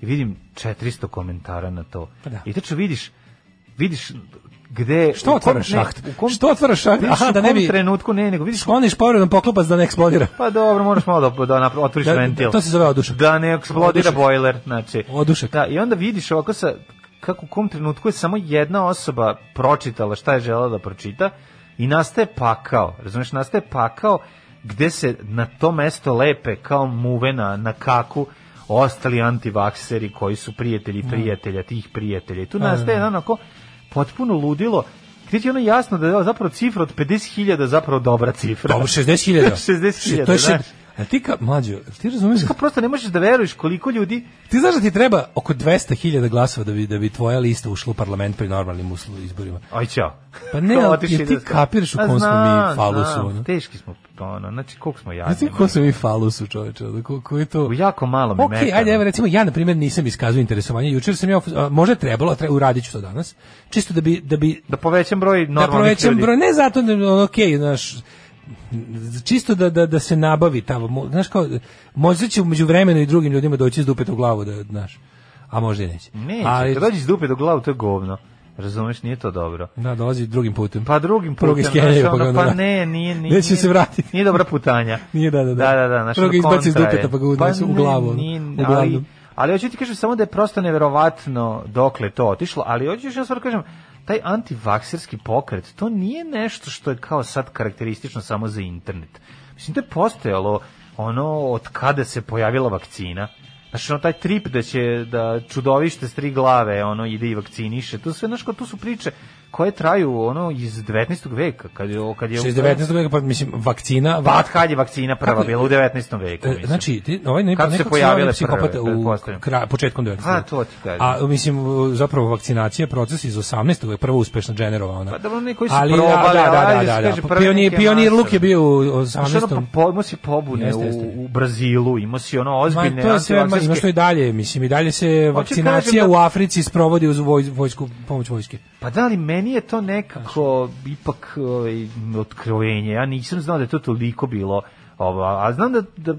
Speaker 6: i vidim 400 komentara na to.
Speaker 5: Pa da.
Speaker 6: I tačno vidiš, vidiš gde...
Speaker 5: Što
Speaker 6: u kom-
Speaker 5: otvaraš
Speaker 6: ne,
Speaker 5: šaht?
Speaker 6: u kom-
Speaker 5: Što otvaraš šaht?
Speaker 6: vidiš
Speaker 5: Aha,
Speaker 6: u
Speaker 5: da ne
Speaker 6: kom
Speaker 5: bi-
Speaker 6: trenutku, ne, nego vidiš
Speaker 5: Skloniš povredom poklopac da ne eksplodira.
Speaker 6: Pa dobro, moraš malo da, da napra- otvoriš
Speaker 5: Da,
Speaker 6: ventil.
Speaker 5: to se zove odušak.
Speaker 6: Da ne eksplodira
Speaker 5: Odušak.
Speaker 6: bojler, znači.
Speaker 5: Odušak.
Speaker 6: Da, i onda vidiš ovako sa, kako u kom trenutku je samo jedna osoba pročitala šta je želela da pročita i nastaje pakao, razumeš, nastaje pakao gde se na to mesto lepe kao muve na, na kaku ostali antivakseri koji su
Speaker 5: Mm.
Speaker 6: prijatelji prijatelja, tih prijatelja. I tu
Speaker 5: Pa, da.
Speaker 6: nastaje jedan onako potpuno ludilo gdje ti je ono jasno da je zapravo cifra od 50.000 zapravo dobra cifra.
Speaker 5: Dobro, 60.000.
Speaker 6: 60.000,
Speaker 5: To je šed...
Speaker 6: znaš.
Speaker 5: A ti ka, mlađo, ti razumeš
Speaker 6: Kao prosto ne možeš da veruješ koliko ljudi
Speaker 5: Ti znaš da ti treba oko 200.000 glasova da bi da bi tvoja lista ušla u parlament pri normalnim uslo- izborima.
Speaker 6: Aj ćao. da
Speaker 5: Pa ne, ali ti- ti kapiraš u kom smo mi falusu, ono.
Speaker 6: Pa Teški smo, ono, znači koliko smo jadni.
Speaker 5: Znači ko su mi falusu čoveče, ono, ko, ko je to...
Speaker 6: U jako malom i
Speaker 5: Ok,
Speaker 6: mekanom.
Speaker 5: ajde, evo recimo, ja na primjer nisam iskazao interesovanje, jučer sam ja, a, možda je trebalo, treba, uradit ću to danas, čisto da bi, da bi
Speaker 6: Da povećam broj
Speaker 5: da
Speaker 6: normalnih
Speaker 5: provećam
Speaker 6: ljudi.
Speaker 5: broj, ne zato da ono, okej, znaš, čisto da, da, da se nabavi ta, mo- znaš kao, možda će umeđu vremenu i drugim ljudima doći iz dupeta u glavu, da, znaš, a možda i neće.
Speaker 6: Ne,
Speaker 5: Ali-
Speaker 6: kad dođeš iz dupe do glavu, to je govno. Razumeš, nije to dobro.
Speaker 5: Da, dolazi drugim putem.
Speaker 6: Pa drugim putem,
Speaker 5: Pruga iz
Speaker 6: znaš,
Speaker 5: Kenije,
Speaker 6: ono,
Speaker 5: pa ga onda
Speaker 6: pa
Speaker 5: vrati.
Speaker 6: ne, nije, nije.
Speaker 5: Neće
Speaker 6: nije-
Speaker 5: se vratiti.
Speaker 6: Nije dobra putanja.
Speaker 5: Nije, da, da, da.
Speaker 6: Da, da, da. znaš,
Speaker 5: Prvo ga
Speaker 6: ono,
Speaker 5: izbaci iz
Speaker 6: kontra je.
Speaker 5: dupeta, pa ga unesu u
Speaker 6: ne,
Speaker 5: glavu,
Speaker 6: nije,
Speaker 5: ono,
Speaker 6: ali,
Speaker 5: uglavnom.
Speaker 6: ali hoću ti kažem samo da je prosto neverovatno dokle je to otišlo, ali hoću još jednu stvar da kažem, taj antivakserski pokret, to nije nešto što je kao sad karakteristično samo za internet. Mislim, to je postojalo ono od kada se pojavila vakcina. Znači, ono, taj trip da će da čudovište s tri glave ono ide i vakciniše, to sve, znaš, kao tu su priče koje traju ono iz 19. veka, kad je, kad je
Speaker 5: 619. veka, pa mislim, vakcina...
Speaker 6: da. pa
Speaker 5: va-
Speaker 6: od kad je vakcina prva
Speaker 5: Kako-
Speaker 6: bila u 19. veku,
Speaker 5: E,
Speaker 6: mislim.
Speaker 5: Znači, ti, ovaj ne,
Speaker 6: Kako se
Speaker 5: nekako
Speaker 6: pojavile
Speaker 5: ovaj psihopata
Speaker 6: prve,
Speaker 5: u
Speaker 6: pretpostavljam?
Speaker 5: kra, početkom 19.
Speaker 6: Pa, to ti kažem.
Speaker 5: A mislim, zapravo vakcinacija je proces iz 18. je prva uspešno generovana.
Speaker 6: Pa dobro, oni koji su probali,
Speaker 5: da, da,
Speaker 6: ali
Speaker 5: da,
Speaker 6: se
Speaker 5: da, da.
Speaker 6: kaže
Speaker 5: Pa
Speaker 6: prve
Speaker 5: Pionir,
Speaker 6: neke
Speaker 5: pionir
Speaker 6: masove.
Speaker 5: Luk je bio u
Speaker 6: Znaš, ono,
Speaker 5: 18.
Speaker 6: pa, po, imao si pobune
Speaker 5: Jeste,
Speaker 6: u-
Speaker 5: jeste.
Speaker 6: u, Brazilu, imao si ono
Speaker 5: Ma,
Speaker 6: ozbiljne
Speaker 5: to je sve, ma, ima
Speaker 6: antivakserske-
Speaker 5: što i dalje, mislim, i dalje se vakcinacija
Speaker 6: kažem da-
Speaker 5: u Africi sprovodi uz voj- vojsku, pomoć vojske.
Speaker 6: Pa da, ali meni je to nekako ipak ovaj, otkrovenje. Ja nisam znao da je to toliko bilo. Ova, a znam da, da,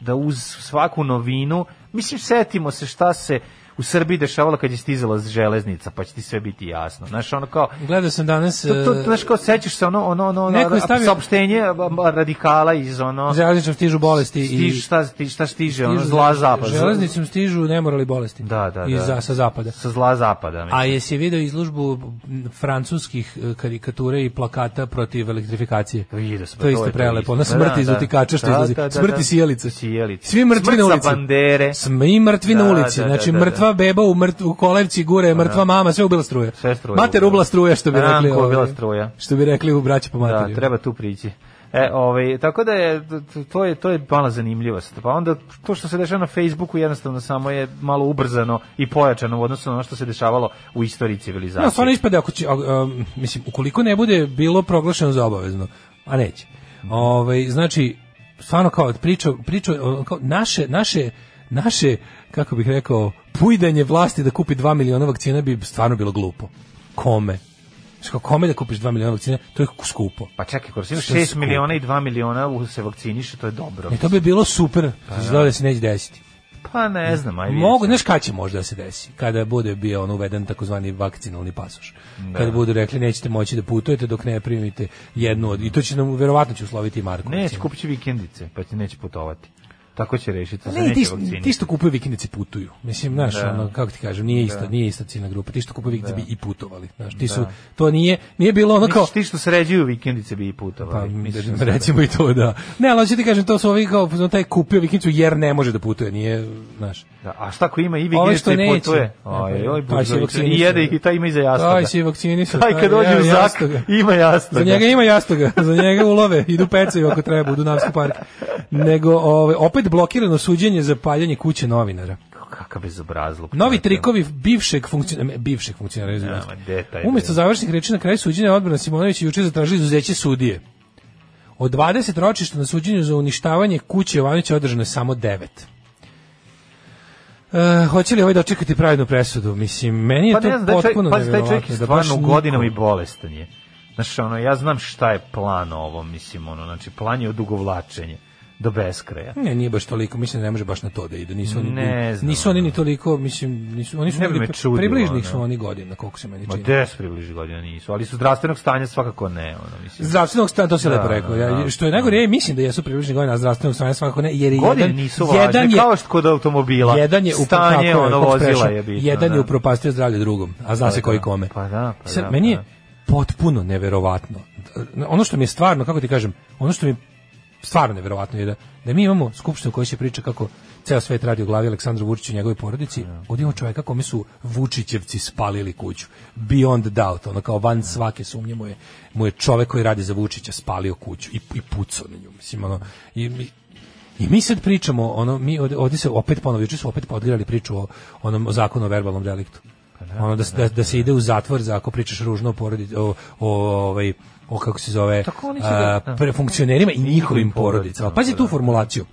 Speaker 6: da uz svaku novinu, mislim, setimo se šta se u Srbiji dešavalo kad je stizala železnica, pa će ti sve biti jasno. Znaš, ono kao,
Speaker 5: Gledao sam danas...
Speaker 6: To, to,
Speaker 5: e,
Speaker 6: znaš kao sećaš se ono ono ono
Speaker 5: Neko
Speaker 6: ono
Speaker 5: je stavio-
Speaker 6: saopštenje a, a, radikala iz ono
Speaker 5: Železničom e, stižu bolesti i...
Speaker 6: stiž, šta, sti, šta stiže ono
Speaker 5: stižu-
Speaker 6: zla zapada
Speaker 5: Železnicom stižu nemorali bolesti.
Speaker 6: Da, da,
Speaker 5: Iz,
Speaker 6: da.
Speaker 5: sa zapada.
Speaker 6: sa zla zapada mislim.
Speaker 5: A jesi video izlužbu m, francuskih e, karikatura i plakata protiv elektrifikacije?
Speaker 6: Vidio sam,
Speaker 5: to je isto prelepo.
Speaker 6: Da,
Speaker 5: Ona smrti iz utikača što izlazi. Smrti sijalice.
Speaker 6: Sijelice.
Speaker 5: Svi mrtvi
Speaker 6: da, Smrt
Speaker 5: na
Speaker 6: sa
Speaker 5: ulici.
Speaker 6: bandere.
Speaker 5: Svi mrtvi
Speaker 6: Da,
Speaker 5: na ulici.
Speaker 6: da, da,
Speaker 5: znači
Speaker 6: da, da.
Speaker 5: mrtva beba u, mrt, u kolevci gure, mrtva mama, sve ubila struje.
Speaker 6: Sve struje
Speaker 5: Mater
Speaker 6: ubila.
Speaker 5: ubila struje, što bi
Speaker 6: Ranko
Speaker 5: rekli.
Speaker 6: ubila
Speaker 5: ovaj,
Speaker 6: struja.
Speaker 5: Što bi rekli u braći po materiju.
Speaker 6: Da, treba tu prići. E, ovaj, tako da je, t- to je, to je mala zanimljivost. Pa onda, to što se dešava na Facebooku jednostavno samo je malo ubrzano i pojačano u odnosu na ono što se dešavalo u istoriji civilizacije.
Speaker 5: No, Da, pa stvarno ispada ako će, a, um, mislim, ukoliko ne bude bilo proglašeno za obavezno, a neće. Ovaj znači stvarno kao priča priča o, kao naše naše naše kako bih rekao pujdanje vlasti da kupi 2 miliona vakcina bi stvarno bilo glupo. Kome? Znaš, kao kome da kupiš 2 miliona vakcina, to je skupo.
Speaker 6: Pa čekaj, ako si
Speaker 5: Što je
Speaker 6: 6
Speaker 5: skupo.
Speaker 6: miliona i 2 miliona u- se vakciniše, to je dobro.
Speaker 5: E, to bi bilo super, pa, da. da se neće desiti.
Speaker 6: Pa ne znam, ajde.
Speaker 5: Mogu, znaš kada će možda da se desi? Kada bude bio on uveden takozvani vakcinalni pasoš. Kada budu rekli nećete moći da putujete dok ne primite jednu od... I to će nam, verovatno će usloviti i Marko.
Speaker 6: Neće,
Speaker 5: recimo.
Speaker 6: kupit će vikendice, pa će neće putovati. Tako će rešiti,
Speaker 5: Ali
Speaker 6: za
Speaker 5: Pa Ne, ti,
Speaker 6: neće vakcinice.
Speaker 5: ti što kupuju vikendice putuju. Mislim, znaš,
Speaker 6: Da. Da.
Speaker 5: ono, kako ti kažem, nije ista, nije ista ciljna grupa. Ti što kupuju vikendice bi i putovali. Znaš, ti su, to nije, nije bilo ono kao...
Speaker 6: Misliš, ti što sređuju vikendice bi i
Speaker 5: Pa,
Speaker 6: putovali. mislim
Speaker 5: mislim,
Speaker 6: sada.
Speaker 5: recimo i to, da. Ne, ali hoću ti kažem, to su ovi kao, no, taj kupio vikendicu jer ne može da putuje, nije, znaš.
Speaker 6: Da, a šta ako ima i
Speaker 5: Ovaj što
Speaker 6: vikendice i
Speaker 5: neće.
Speaker 6: putuje?
Speaker 5: Ne,
Speaker 6: Aj,
Speaker 5: pa, taj se
Speaker 6: oj, Buzović, i
Speaker 5: vakcinisao.
Speaker 6: jede i taj ima i za jastoga.
Speaker 5: Taj se i vakcinisao.
Speaker 6: Taj da. kad dođe
Speaker 5: evo,
Speaker 6: u zak,
Speaker 5: jastoga.
Speaker 6: ima
Speaker 5: Za
Speaker 6: jastoga.
Speaker 5: njega ima jastoga, za njega ulove, idu pecaju ako treba u Dunavski park. Nego ovaj, opet blokirano suđenje za paljanje kuće novinara.
Speaker 6: Kakav bezobrazluk.
Speaker 5: Novi trikovi bivšeg funkcionera, bivšeg funkcionera. izvinite.
Speaker 6: Nema, gde taj
Speaker 5: Umesto
Speaker 6: bre?
Speaker 5: završnih reči na kraju suđenja odbrana Simonović je juče zatražili izuzeće sudije. Od 20 ročišta na suđenju za uništavanje kuće Jovanovića održano je samo 9. E, hoće li ovaj dočekati pravednu presudu? Mislim, meni je
Speaker 6: Pa
Speaker 5: to
Speaker 6: ne znam, taj čovjek,
Speaker 5: potpuno
Speaker 6: pazi, taj čovjek
Speaker 5: nevjerovatno.
Speaker 6: je
Speaker 5: da baš
Speaker 6: stvarno
Speaker 5: niko-
Speaker 6: godinom i bolestan je. Znaš, ono, ja znam šta je plan ovo, mislim, ono, znači, plan je odugovlačenje do beskraja.
Speaker 5: Ne, nije baš toliko, mislim da ne može baš na to da ide. Nisu oni,
Speaker 6: Ne znam,
Speaker 5: nisu oni
Speaker 6: ono.
Speaker 5: ni toliko, mislim, nisu, oni su
Speaker 6: Ne bi
Speaker 5: negde
Speaker 6: me čudilo,
Speaker 5: približnih su
Speaker 6: ono.
Speaker 5: oni godina, koliko se meni
Speaker 6: Ma
Speaker 5: čini.
Speaker 6: des približi godina nisu, ali su zdravstvenog stanja svakako ne, ono, mislim.
Speaker 5: Zdravstvenog stanja, to se
Speaker 6: Da,
Speaker 5: lepo rekao.
Speaker 6: da,
Speaker 5: Ja,
Speaker 6: da.
Speaker 5: što je najgore, ja i mislim da jesu približni godina, a zdravstvenog stanja svakako ne, jer je
Speaker 6: Godine
Speaker 5: jedan,
Speaker 6: nisu važne,
Speaker 5: jedan je,
Speaker 6: kao što kod automobila.
Speaker 5: jedan je upro- tako
Speaker 6: stanje,
Speaker 5: je,
Speaker 6: ono,
Speaker 5: kako
Speaker 6: vozila
Speaker 5: sprešan,
Speaker 6: je bitno.
Speaker 5: Jedan je
Speaker 6: da.
Speaker 5: upropastio zdravlje drugom, a zna se koji
Speaker 6: da.
Speaker 5: kome.
Speaker 6: Pa da, pa
Speaker 5: Sad,
Speaker 6: da,
Speaker 5: Meni
Speaker 6: pa
Speaker 5: je potpuno neverovatno. Ono što mi je stvarno, kako ti kažem, ono što mi je stvarno neverovatno je da, da mi imamo skupštinu koja se priča kako ceo svet radi u glavi Aleksandra Vučića i njegove porodici,
Speaker 6: Da.
Speaker 5: od imamo čoveka kome su Vučićevci spalili kuću. Beyond doubt, ono kao
Speaker 6: Da.
Speaker 5: van svake sumnje mu je, mu je čovek koji radi za Vučića spalio kuću i, i pucao na nju. Mislim, ono, i, i, i mi sad pričamo, ono, mi ovde, ovde se opet ponovo, juče su opet podgrali priču o onom o zakonu o verbalnom deliktu. Ono da, se- da, da se ide u zatvor za ako pričaš ružno o porodici, o, o, ovaj, o kako se zove,
Speaker 6: Tako oni su
Speaker 5: a,
Speaker 6: da- da.
Speaker 5: pre funkcionerima i njihovim porodicama. pa Da.
Speaker 6: porodicama,
Speaker 5: Pazi tu
Speaker 6: da.
Speaker 5: formulaciju.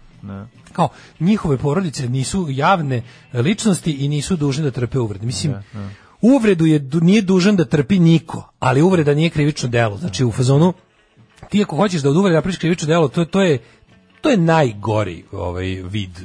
Speaker 5: Kao, njihove porodice nisu javne ličnosti i nisu dužne da trpe uvrede. Mislim, uvredu je, du- nije dužan da trpi niko, ali uvreda nije krivično delo. Znači, u fazonu, ti ako hoćeš da od uvreda napraviš krivično delo, to, to je to je najgori ovaj vid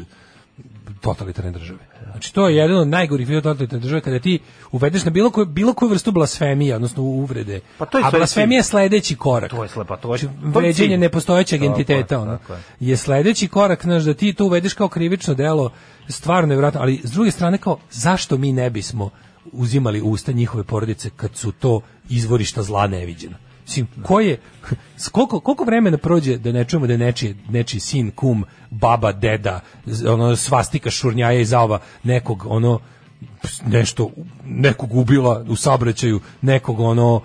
Speaker 5: totalitarne države. Znači to je jedan od najgorih vidova totalitarne države kada ti uvedeš na bilo koju bilo koju vrstu blasfemije, odnosno uvrede.
Speaker 6: Pa to
Speaker 5: A
Speaker 6: je sledeći-
Speaker 5: blasfemija je sledeći korak.
Speaker 6: To je slepa, to je-
Speaker 5: Znači,
Speaker 6: to je
Speaker 5: vređanje
Speaker 6: cilj.
Speaker 5: nepostojećeg
Speaker 6: Tako je,
Speaker 5: entiteta ono.
Speaker 6: tako je.
Speaker 5: Je sledeći korak znaš da ti to uvedeš kao krivično delo, stvarno nevjerojatno, ali s druge strane kao zašto mi ne bismo uzimali u usta njihove porodice kad su to izvorišta zla neviđena. Mislim, ko je, s koliko, koliko vremena prođe da ne čujemo da je nečiji, nečiji sin, kum, baba, deda, z- ono, svastika, šurnjaja i zava nekog, ono, nešto, nekog ubila u sabraćaju, nekog, ono,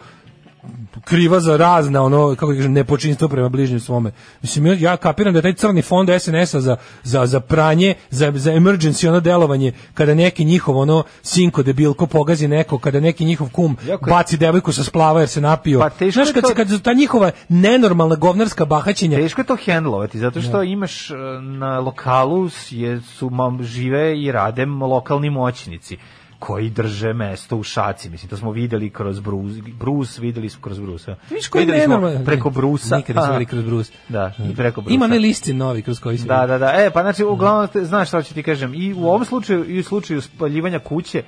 Speaker 5: kriva za razna ono kako da kažem nepočinstvo prema bližnjem svome. Mislim ja- ja kapiram da je taj crni fond SNS-a za, za, za pranje, za za emergency ono delovanje kada neki njihov ono sinko debilko pogazi neko, kada neki njihov kum
Speaker 6: Jako je-
Speaker 5: baci devojku sa splava jer se napio.
Speaker 6: Pa teško
Speaker 5: Znaš
Speaker 6: je
Speaker 5: kad
Speaker 6: to-
Speaker 5: se- kad su ta njihova nenormalna govnarska bahaćenja
Speaker 6: Teško je to hendlovati, zato
Speaker 5: Da.
Speaker 6: što imaš e, na lokalu s- je, su mam, žive i rade m- lokalni moćnici koji drže mesto u šaci. Mislim, to smo videli kroz Bruce, Bruce videli smo kroz Bruce.
Speaker 5: Viš koji
Speaker 6: videli
Speaker 5: nenormalno-
Speaker 6: smo preko Brusa.
Speaker 5: Nikad nismo
Speaker 6: Aha.
Speaker 5: videli kroz Brusa.
Speaker 6: Da, i preko Brusa.
Speaker 5: Ima ne listi novi kroz koji se
Speaker 6: Da, da, da. E, pa znači, uglavnom, te- znaš šta ću ti kažem. I u ovom slučaju, i u slučaju spaljivanja kuće,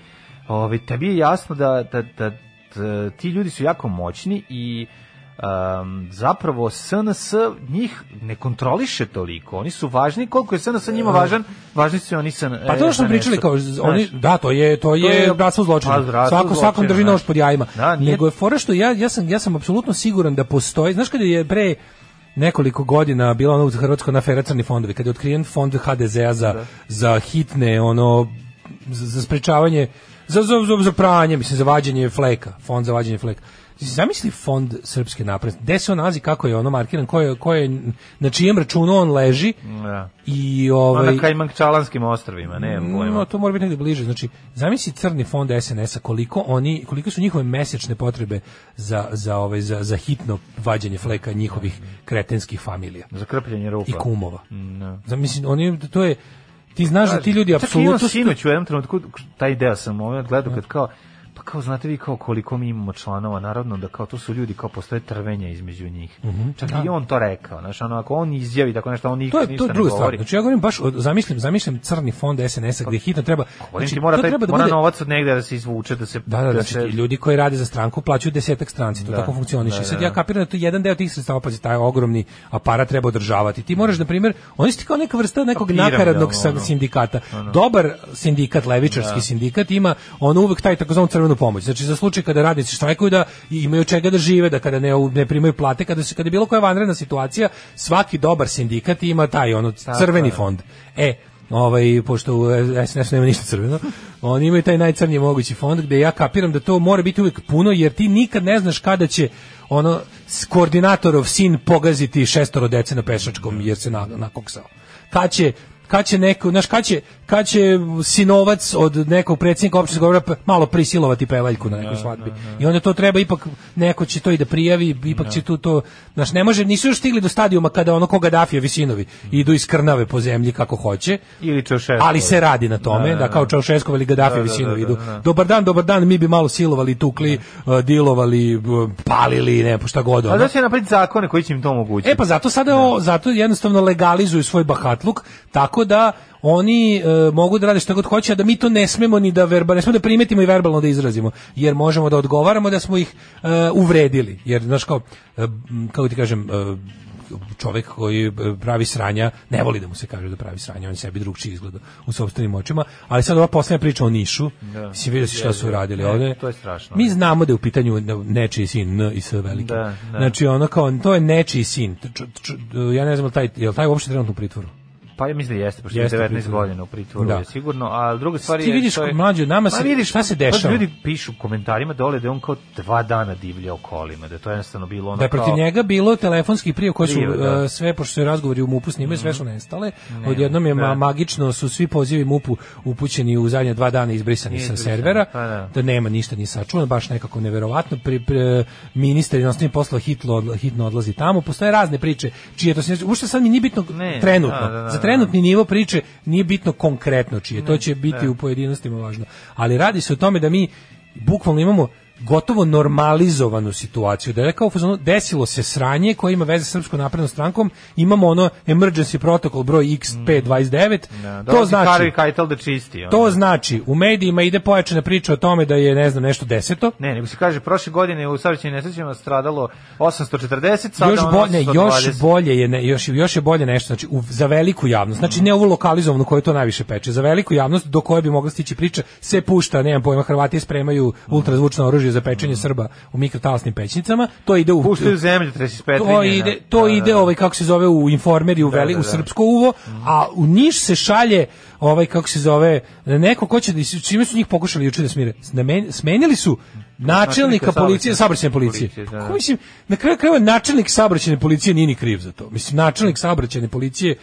Speaker 6: ovaj, tebi je jasno da, da, da, da ti ljudi su jako moćni i em, zapravo SNS njih ne kontroliše toliko. Oni su važni koliko je SNS njima važan, važni su i oni SNS.
Speaker 5: E, Pa to što smo pričali kao z- oni da to je to je
Speaker 6: je-
Speaker 5: bratstvo zločina.
Speaker 6: Pa, bratstvo
Speaker 5: Svako svakom
Speaker 6: zločina,
Speaker 5: drži
Speaker 6: znaš.
Speaker 5: nož pod jajima.
Speaker 6: Da, nije-
Speaker 5: Nego je fora što ja ja sam ja sam apsolutno siguran da postoji. Znaš kad je pre nekoliko godina bila ona u Hrvatskoj na crni fondovi, kad je otkriven fond HDZ-a za,
Speaker 6: Da.
Speaker 5: za hitne ono za, za sprečavanje za, za, za, za pranje, mislim, za vađenje fleka, fond za vađenje fleka. Zamisli fond Srpske napredne, gde se on nalazi, kako je ono markiran, ko je, ko je, na čijem računu on leži
Speaker 6: Da.
Speaker 5: i
Speaker 6: Ovaj,
Speaker 5: ovaj, Mm,
Speaker 6: na Kajmakčalanskim ostrovima, ne,
Speaker 5: No,
Speaker 6: pojma.
Speaker 5: to mora biti negde bliže. Znači, zamisli crni fond SNS-a koliko oni koliko su njihove mesečne potrebe za za ovaj za, za hitno vađenje fleka njihovih kretenskih familija
Speaker 6: Za krpljenje rupa. Da.
Speaker 5: i kumova. Zamisli oni to je ti znaš da ti ljudi
Speaker 6: Čak i imam
Speaker 5: apsolutno
Speaker 6: sinoć u jednom trenutku, taj deo sam ovaj gledao kad kao, pa kao znate vi kao koliko mi imamo članova narodno da kao to su ljudi kao postoje trvenja između njih. Čak i on to rekao, znaš, ono ako on izjavi tako nešto, on
Speaker 5: Mhm, da. To
Speaker 6: nikad
Speaker 5: je to
Speaker 6: ništa
Speaker 5: je
Speaker 6: ne
Speaker 5: druga stvar.
Speaker 6: govori.
Speaker 5: Znači ja govorim baš o, zamišljam zamišljam crni fond SNS-a gdje hitno treba
Speaker 6: Znači, mora
Speaker 5: to
Speaker 6: taj
Speaker 5: treba da
Speaker 6: mora
Speaker 5: bude-
Speaker 6: novac od negde da se izvuče, da se
Speaker 5: Da, da, znači
Speaker 6: se
Speaker 5: ti ljudi koji rade za stranku plaćaju desetak stranci, to
Speaker 6: Da,
Speaker 5: tako funkcioniše.
Speaker 6: da,
Speaker 5: I
Speaker 6: da,
Speaker 5: Sad
Speaker 6: da.
Speaker 5: ja kapiram da to jedan deo tih sredstava, pazi, taj ogromni aparat treba održavati. Ti moraš, na primjer, oni su ti kao neka vrsta nekog
Speaker 6: Piramida,
Speaker 5: nakaradnog sa-
Speaker 6: da, ono. Da.
Speaker 5: sindikata. Dobar sindikat, levičarski sindikat, ima on uvek taj takozvanu crvenu pomoć. Znači, za slučaj kada radnici štrajkuju da imaju čega da žive, da kada ne, ne primaju plate, kada, se, kada je bilo koja vanredna situacija, svaki dobar sindikat ima taj ono, crveni fond. E, ovaj, pošto u SNS nema ništa crveno, oni imaju taj najcrniji mogući fond gde ja kapiram da to mora biti uvijek puno, jer ti nikad ne znaš kada će ono, s koordinatorov sin pogaziti šestoro dece na pešačkom, jer se na, nakoksao. Kad će kad će neko, znaš, kad će, kad će sinovac od nekog predsjednika opštinskog govora malo prisilovati pevaljku na
Speaker 6: Da,
Speaker 5: nekoj svadbi. I onda to treba ipak, neko će to i da prijavi, ipak će tu to, znaš, ne može, nisu još stigli do stadijuma kada ono koga Dafijevi sinovi idu iz krnave po zemlji kako hoće,
Speaker 6: ili Čaušesku.
Speaker 5: ali se radi na tome, da,
Speaker 6: Da, da,
Speaker 5: kao Čaušeskov ili Gaddafi
Speaker 6: Da, da,
Speaker 5: sinovi
Speaker 6: da,
Speaker 5: idu.
Speaker 6: da, da.
Speaker 5: Dobar dan, dobar dan, mi bi malo silovali, tukli, eh, dilovali, eh, palili, ne, šta god.
Speaker 6: A
Speaker 5: ono.
Speaker 6: da će napraviti zakone koji će im to omogućiti.
Speaker 5: E pa zato
Speaker 6: Da.
Speaker 5: sada o, zato jednostavno legalizuju svoj bahatluk tako da oni e, mogu da rade što god hoće, a da mi to ne smemo ni da verbalno, ne smemo da primetimo i verbalno da izrazimo, jer možemo da odgovaramo da smo ih e, uvredili, jer znaš kao, e, m, kako ti kažem, e, čovjek koji e, pravi sranja, ne voli da mu se kaže da pravi sranja, on sebi drugčije izgleda u sopstvenim očima, ali sad ova posljednja priča o Nišu, mislim, vidio si šta su radili
Speaker 6: Ne,
Speaker 5: ovdje.
Speaker 6: to Da. je strašno.
Speaker 5: Mi znamo da je u pitanju nečiji sin, N i S veliki.
Speaker 6: Da, da.
Speaker 5: Znači ono kao to je nečiji sin. Č- č- č- ja ne znam jel taj jel taj uopšte trenutno u pritvoru.
Speaker 6: Pa ja mislim da jeste, pošto je
Speaker 5: Jeste u
Speaker 6: 19
Speaker 5: pritvoru.
Speaker 6: godina u pritvoru,
Speaker 5: Da.
Speaker 6: je sigurno, a druga stvar je...
Speaker 5: Ti vidiš
Speaker 6: što je-
Speaker 5: mlađe, nama
Speaker 6: Pa
Speaker 5: se-
Speaker 6: vidiš,
Speaker 5: šta se
Speaker 6: pa
Speaker 5: dešava?
Speaker 6: ljudi pišu u komentarima dole da je on kao dva dana divljao kolima, da je to jednostavno bilo ono
Speaker 5: Da je protiv
Speaker 6: kao...
Speaker 5: njega bilo telefonski prije koji su
Speaker 6: Prijave, da. Mhm.
Speaker 5: e, sve, pošto se razgovori u MUP-u snimaju, sve su nestale. Odjednom je ma-
Speaker 6: da.
Speaker 5: magično, su svi pozivi MUP-u upućeni u zadnje dva dana izbrisani sa
Speaker 6: Izbrisani,
Speaker 5: servera,
Speaker 6: pa da.
Speaker 5: da nema ništa ni sačuvano, baš nekako neverovatno. Pri, pri, ministar jednostavnih poslova hitlo, odla- hitno odlazi tamo. Postoje razne priče, čije to se... Ušte sad mi nije bitno
Speaker 6: Ne,
Speaker 5: trenutno.
Speaker 6: da, da, da,
Speaker 5: Za
Speaker 6: da.
Speaker 5: trenutni nivo priče nije bitno konkretno čije. To će biti u pojedinostima važno. Ali radi se o tome da mi bukvalno imamo gotovo normalizovanu situaciju. Da je rekao, u fazonu, desilo se sranje koje ima veze sa Srpskom naprednom strankom, imamo ono emergency protokol broj XP29,
Speaker 6: Da,
Speaker 5: to
Speaker 6: dolazi Harvey
Speaker 5: znači...
Speaker 6: Keitel da čisti. ono.
Speaker 5: To znači, u medijima ide pojačana priča o tome da je, ne znam, nešto deseto,
Speaker 6: Ne, nego se kaže, prošle godine u saobraćajnim nesrećama stradalo 840, sada
Speaker 5: još
Speaker 6: ono
Speaker 5: bolje,
Speaker 6: 820.
Speaker 5: još bolje je ne, još još je bolje nešto znači u, za veliku javnost. Znači ne ovu lokalizovanu koju to najviše peče, za veliku javnost do koje bi mogla stići priča se pušta, nemam pojma, Hrvati spremaju ultrazvučno oružje za pečenje Srba u mikrotalasnim pećnicama, to ide u
Speaker 6: Puštaju zemlju, 35
Speaker 5: to ide to ide ovaj kako se zove u informeri u veli
Speaker 6: da,
Speaker 5: u
Speaker 6: da.
Speaker 5: srpsko uvo, a u Niš se šalje ovaj kako se zove neko ko će da s čime su njih pokušali juče da smire. Snamen- Smenili su načelnika
Speaker 6: Načelnika
Speaker 5: policije,
Speaker 6: saobraćajne
Speaker 5: saobraćajne policije.
Speaker 6: policije,
Speaker 5: Pa
Speaker 6: da.
Speaker 5: ko mislim na kraju krajeva načelnik saobraćajne policije nije ni kriv za to. Mislim načelnik saobraćajne policije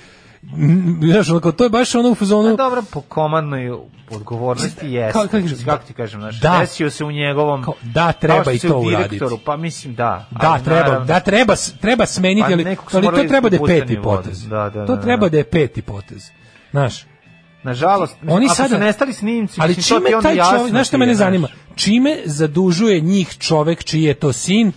Speaker 5: m, znaš, ono, kao, to je baš ono u fazonu
Speaker 6: Pa Dobro, po komandnoj odgovornosti jeste.
Speaker 5: kao- kako
Speaker 6: Kako,
Speaker 5: kažeš,
Speaker 6: ti kažem, znaš,
Speaker 5: da.
Speaker 6: desio se u njegovom...
Speaker 5: Kao, da, treba
Speaker 6: kao
Speaker 5: i
Speaker 6: što se
Speaker 5: to
Speaker 6: u direktoru,
Speaker 5: uraditi.
Speaker 6: Pa mislim, da.
Speaker 5: Da,
Speaker 6: ali
Speaker 5: treba,
Speaker 6: naravno-
Speaker 5: da treba, s- treba smeniti,
Speaker 6: Pa
Speaker 5: ali,
Speaker 6: nekog su
Speaker 5: ali to
Speaker 6: morali
Speaker 5: treba da je
Speaker 6: pušteni
Speaker 5: peti
Speaker 6: u vodu.
Speaker 5: potez.
Speaker 6: Da, da, da,
Speaker 5: to
Speaker 6: da.
Speaker 5: treba da je peti potez. Znaš,
Speaker 6: Nažalost,
Speaker 5: Oni
Speaker 6: oni ako
Speaker 5: sada-
Speaker 6: su nestali snimci,
Speaker 5: ali
Speaker 6: mislim, to
Speaker 5: čime
Speaker 6: ti onda
Speaker 5: taj
Speaker 6: jasno
Speaker 5: čovjek, znaš što
Speaker 6: ti je,
Speaker 5: mene zanima, čime zadužuje njih čovek čiji je to sin,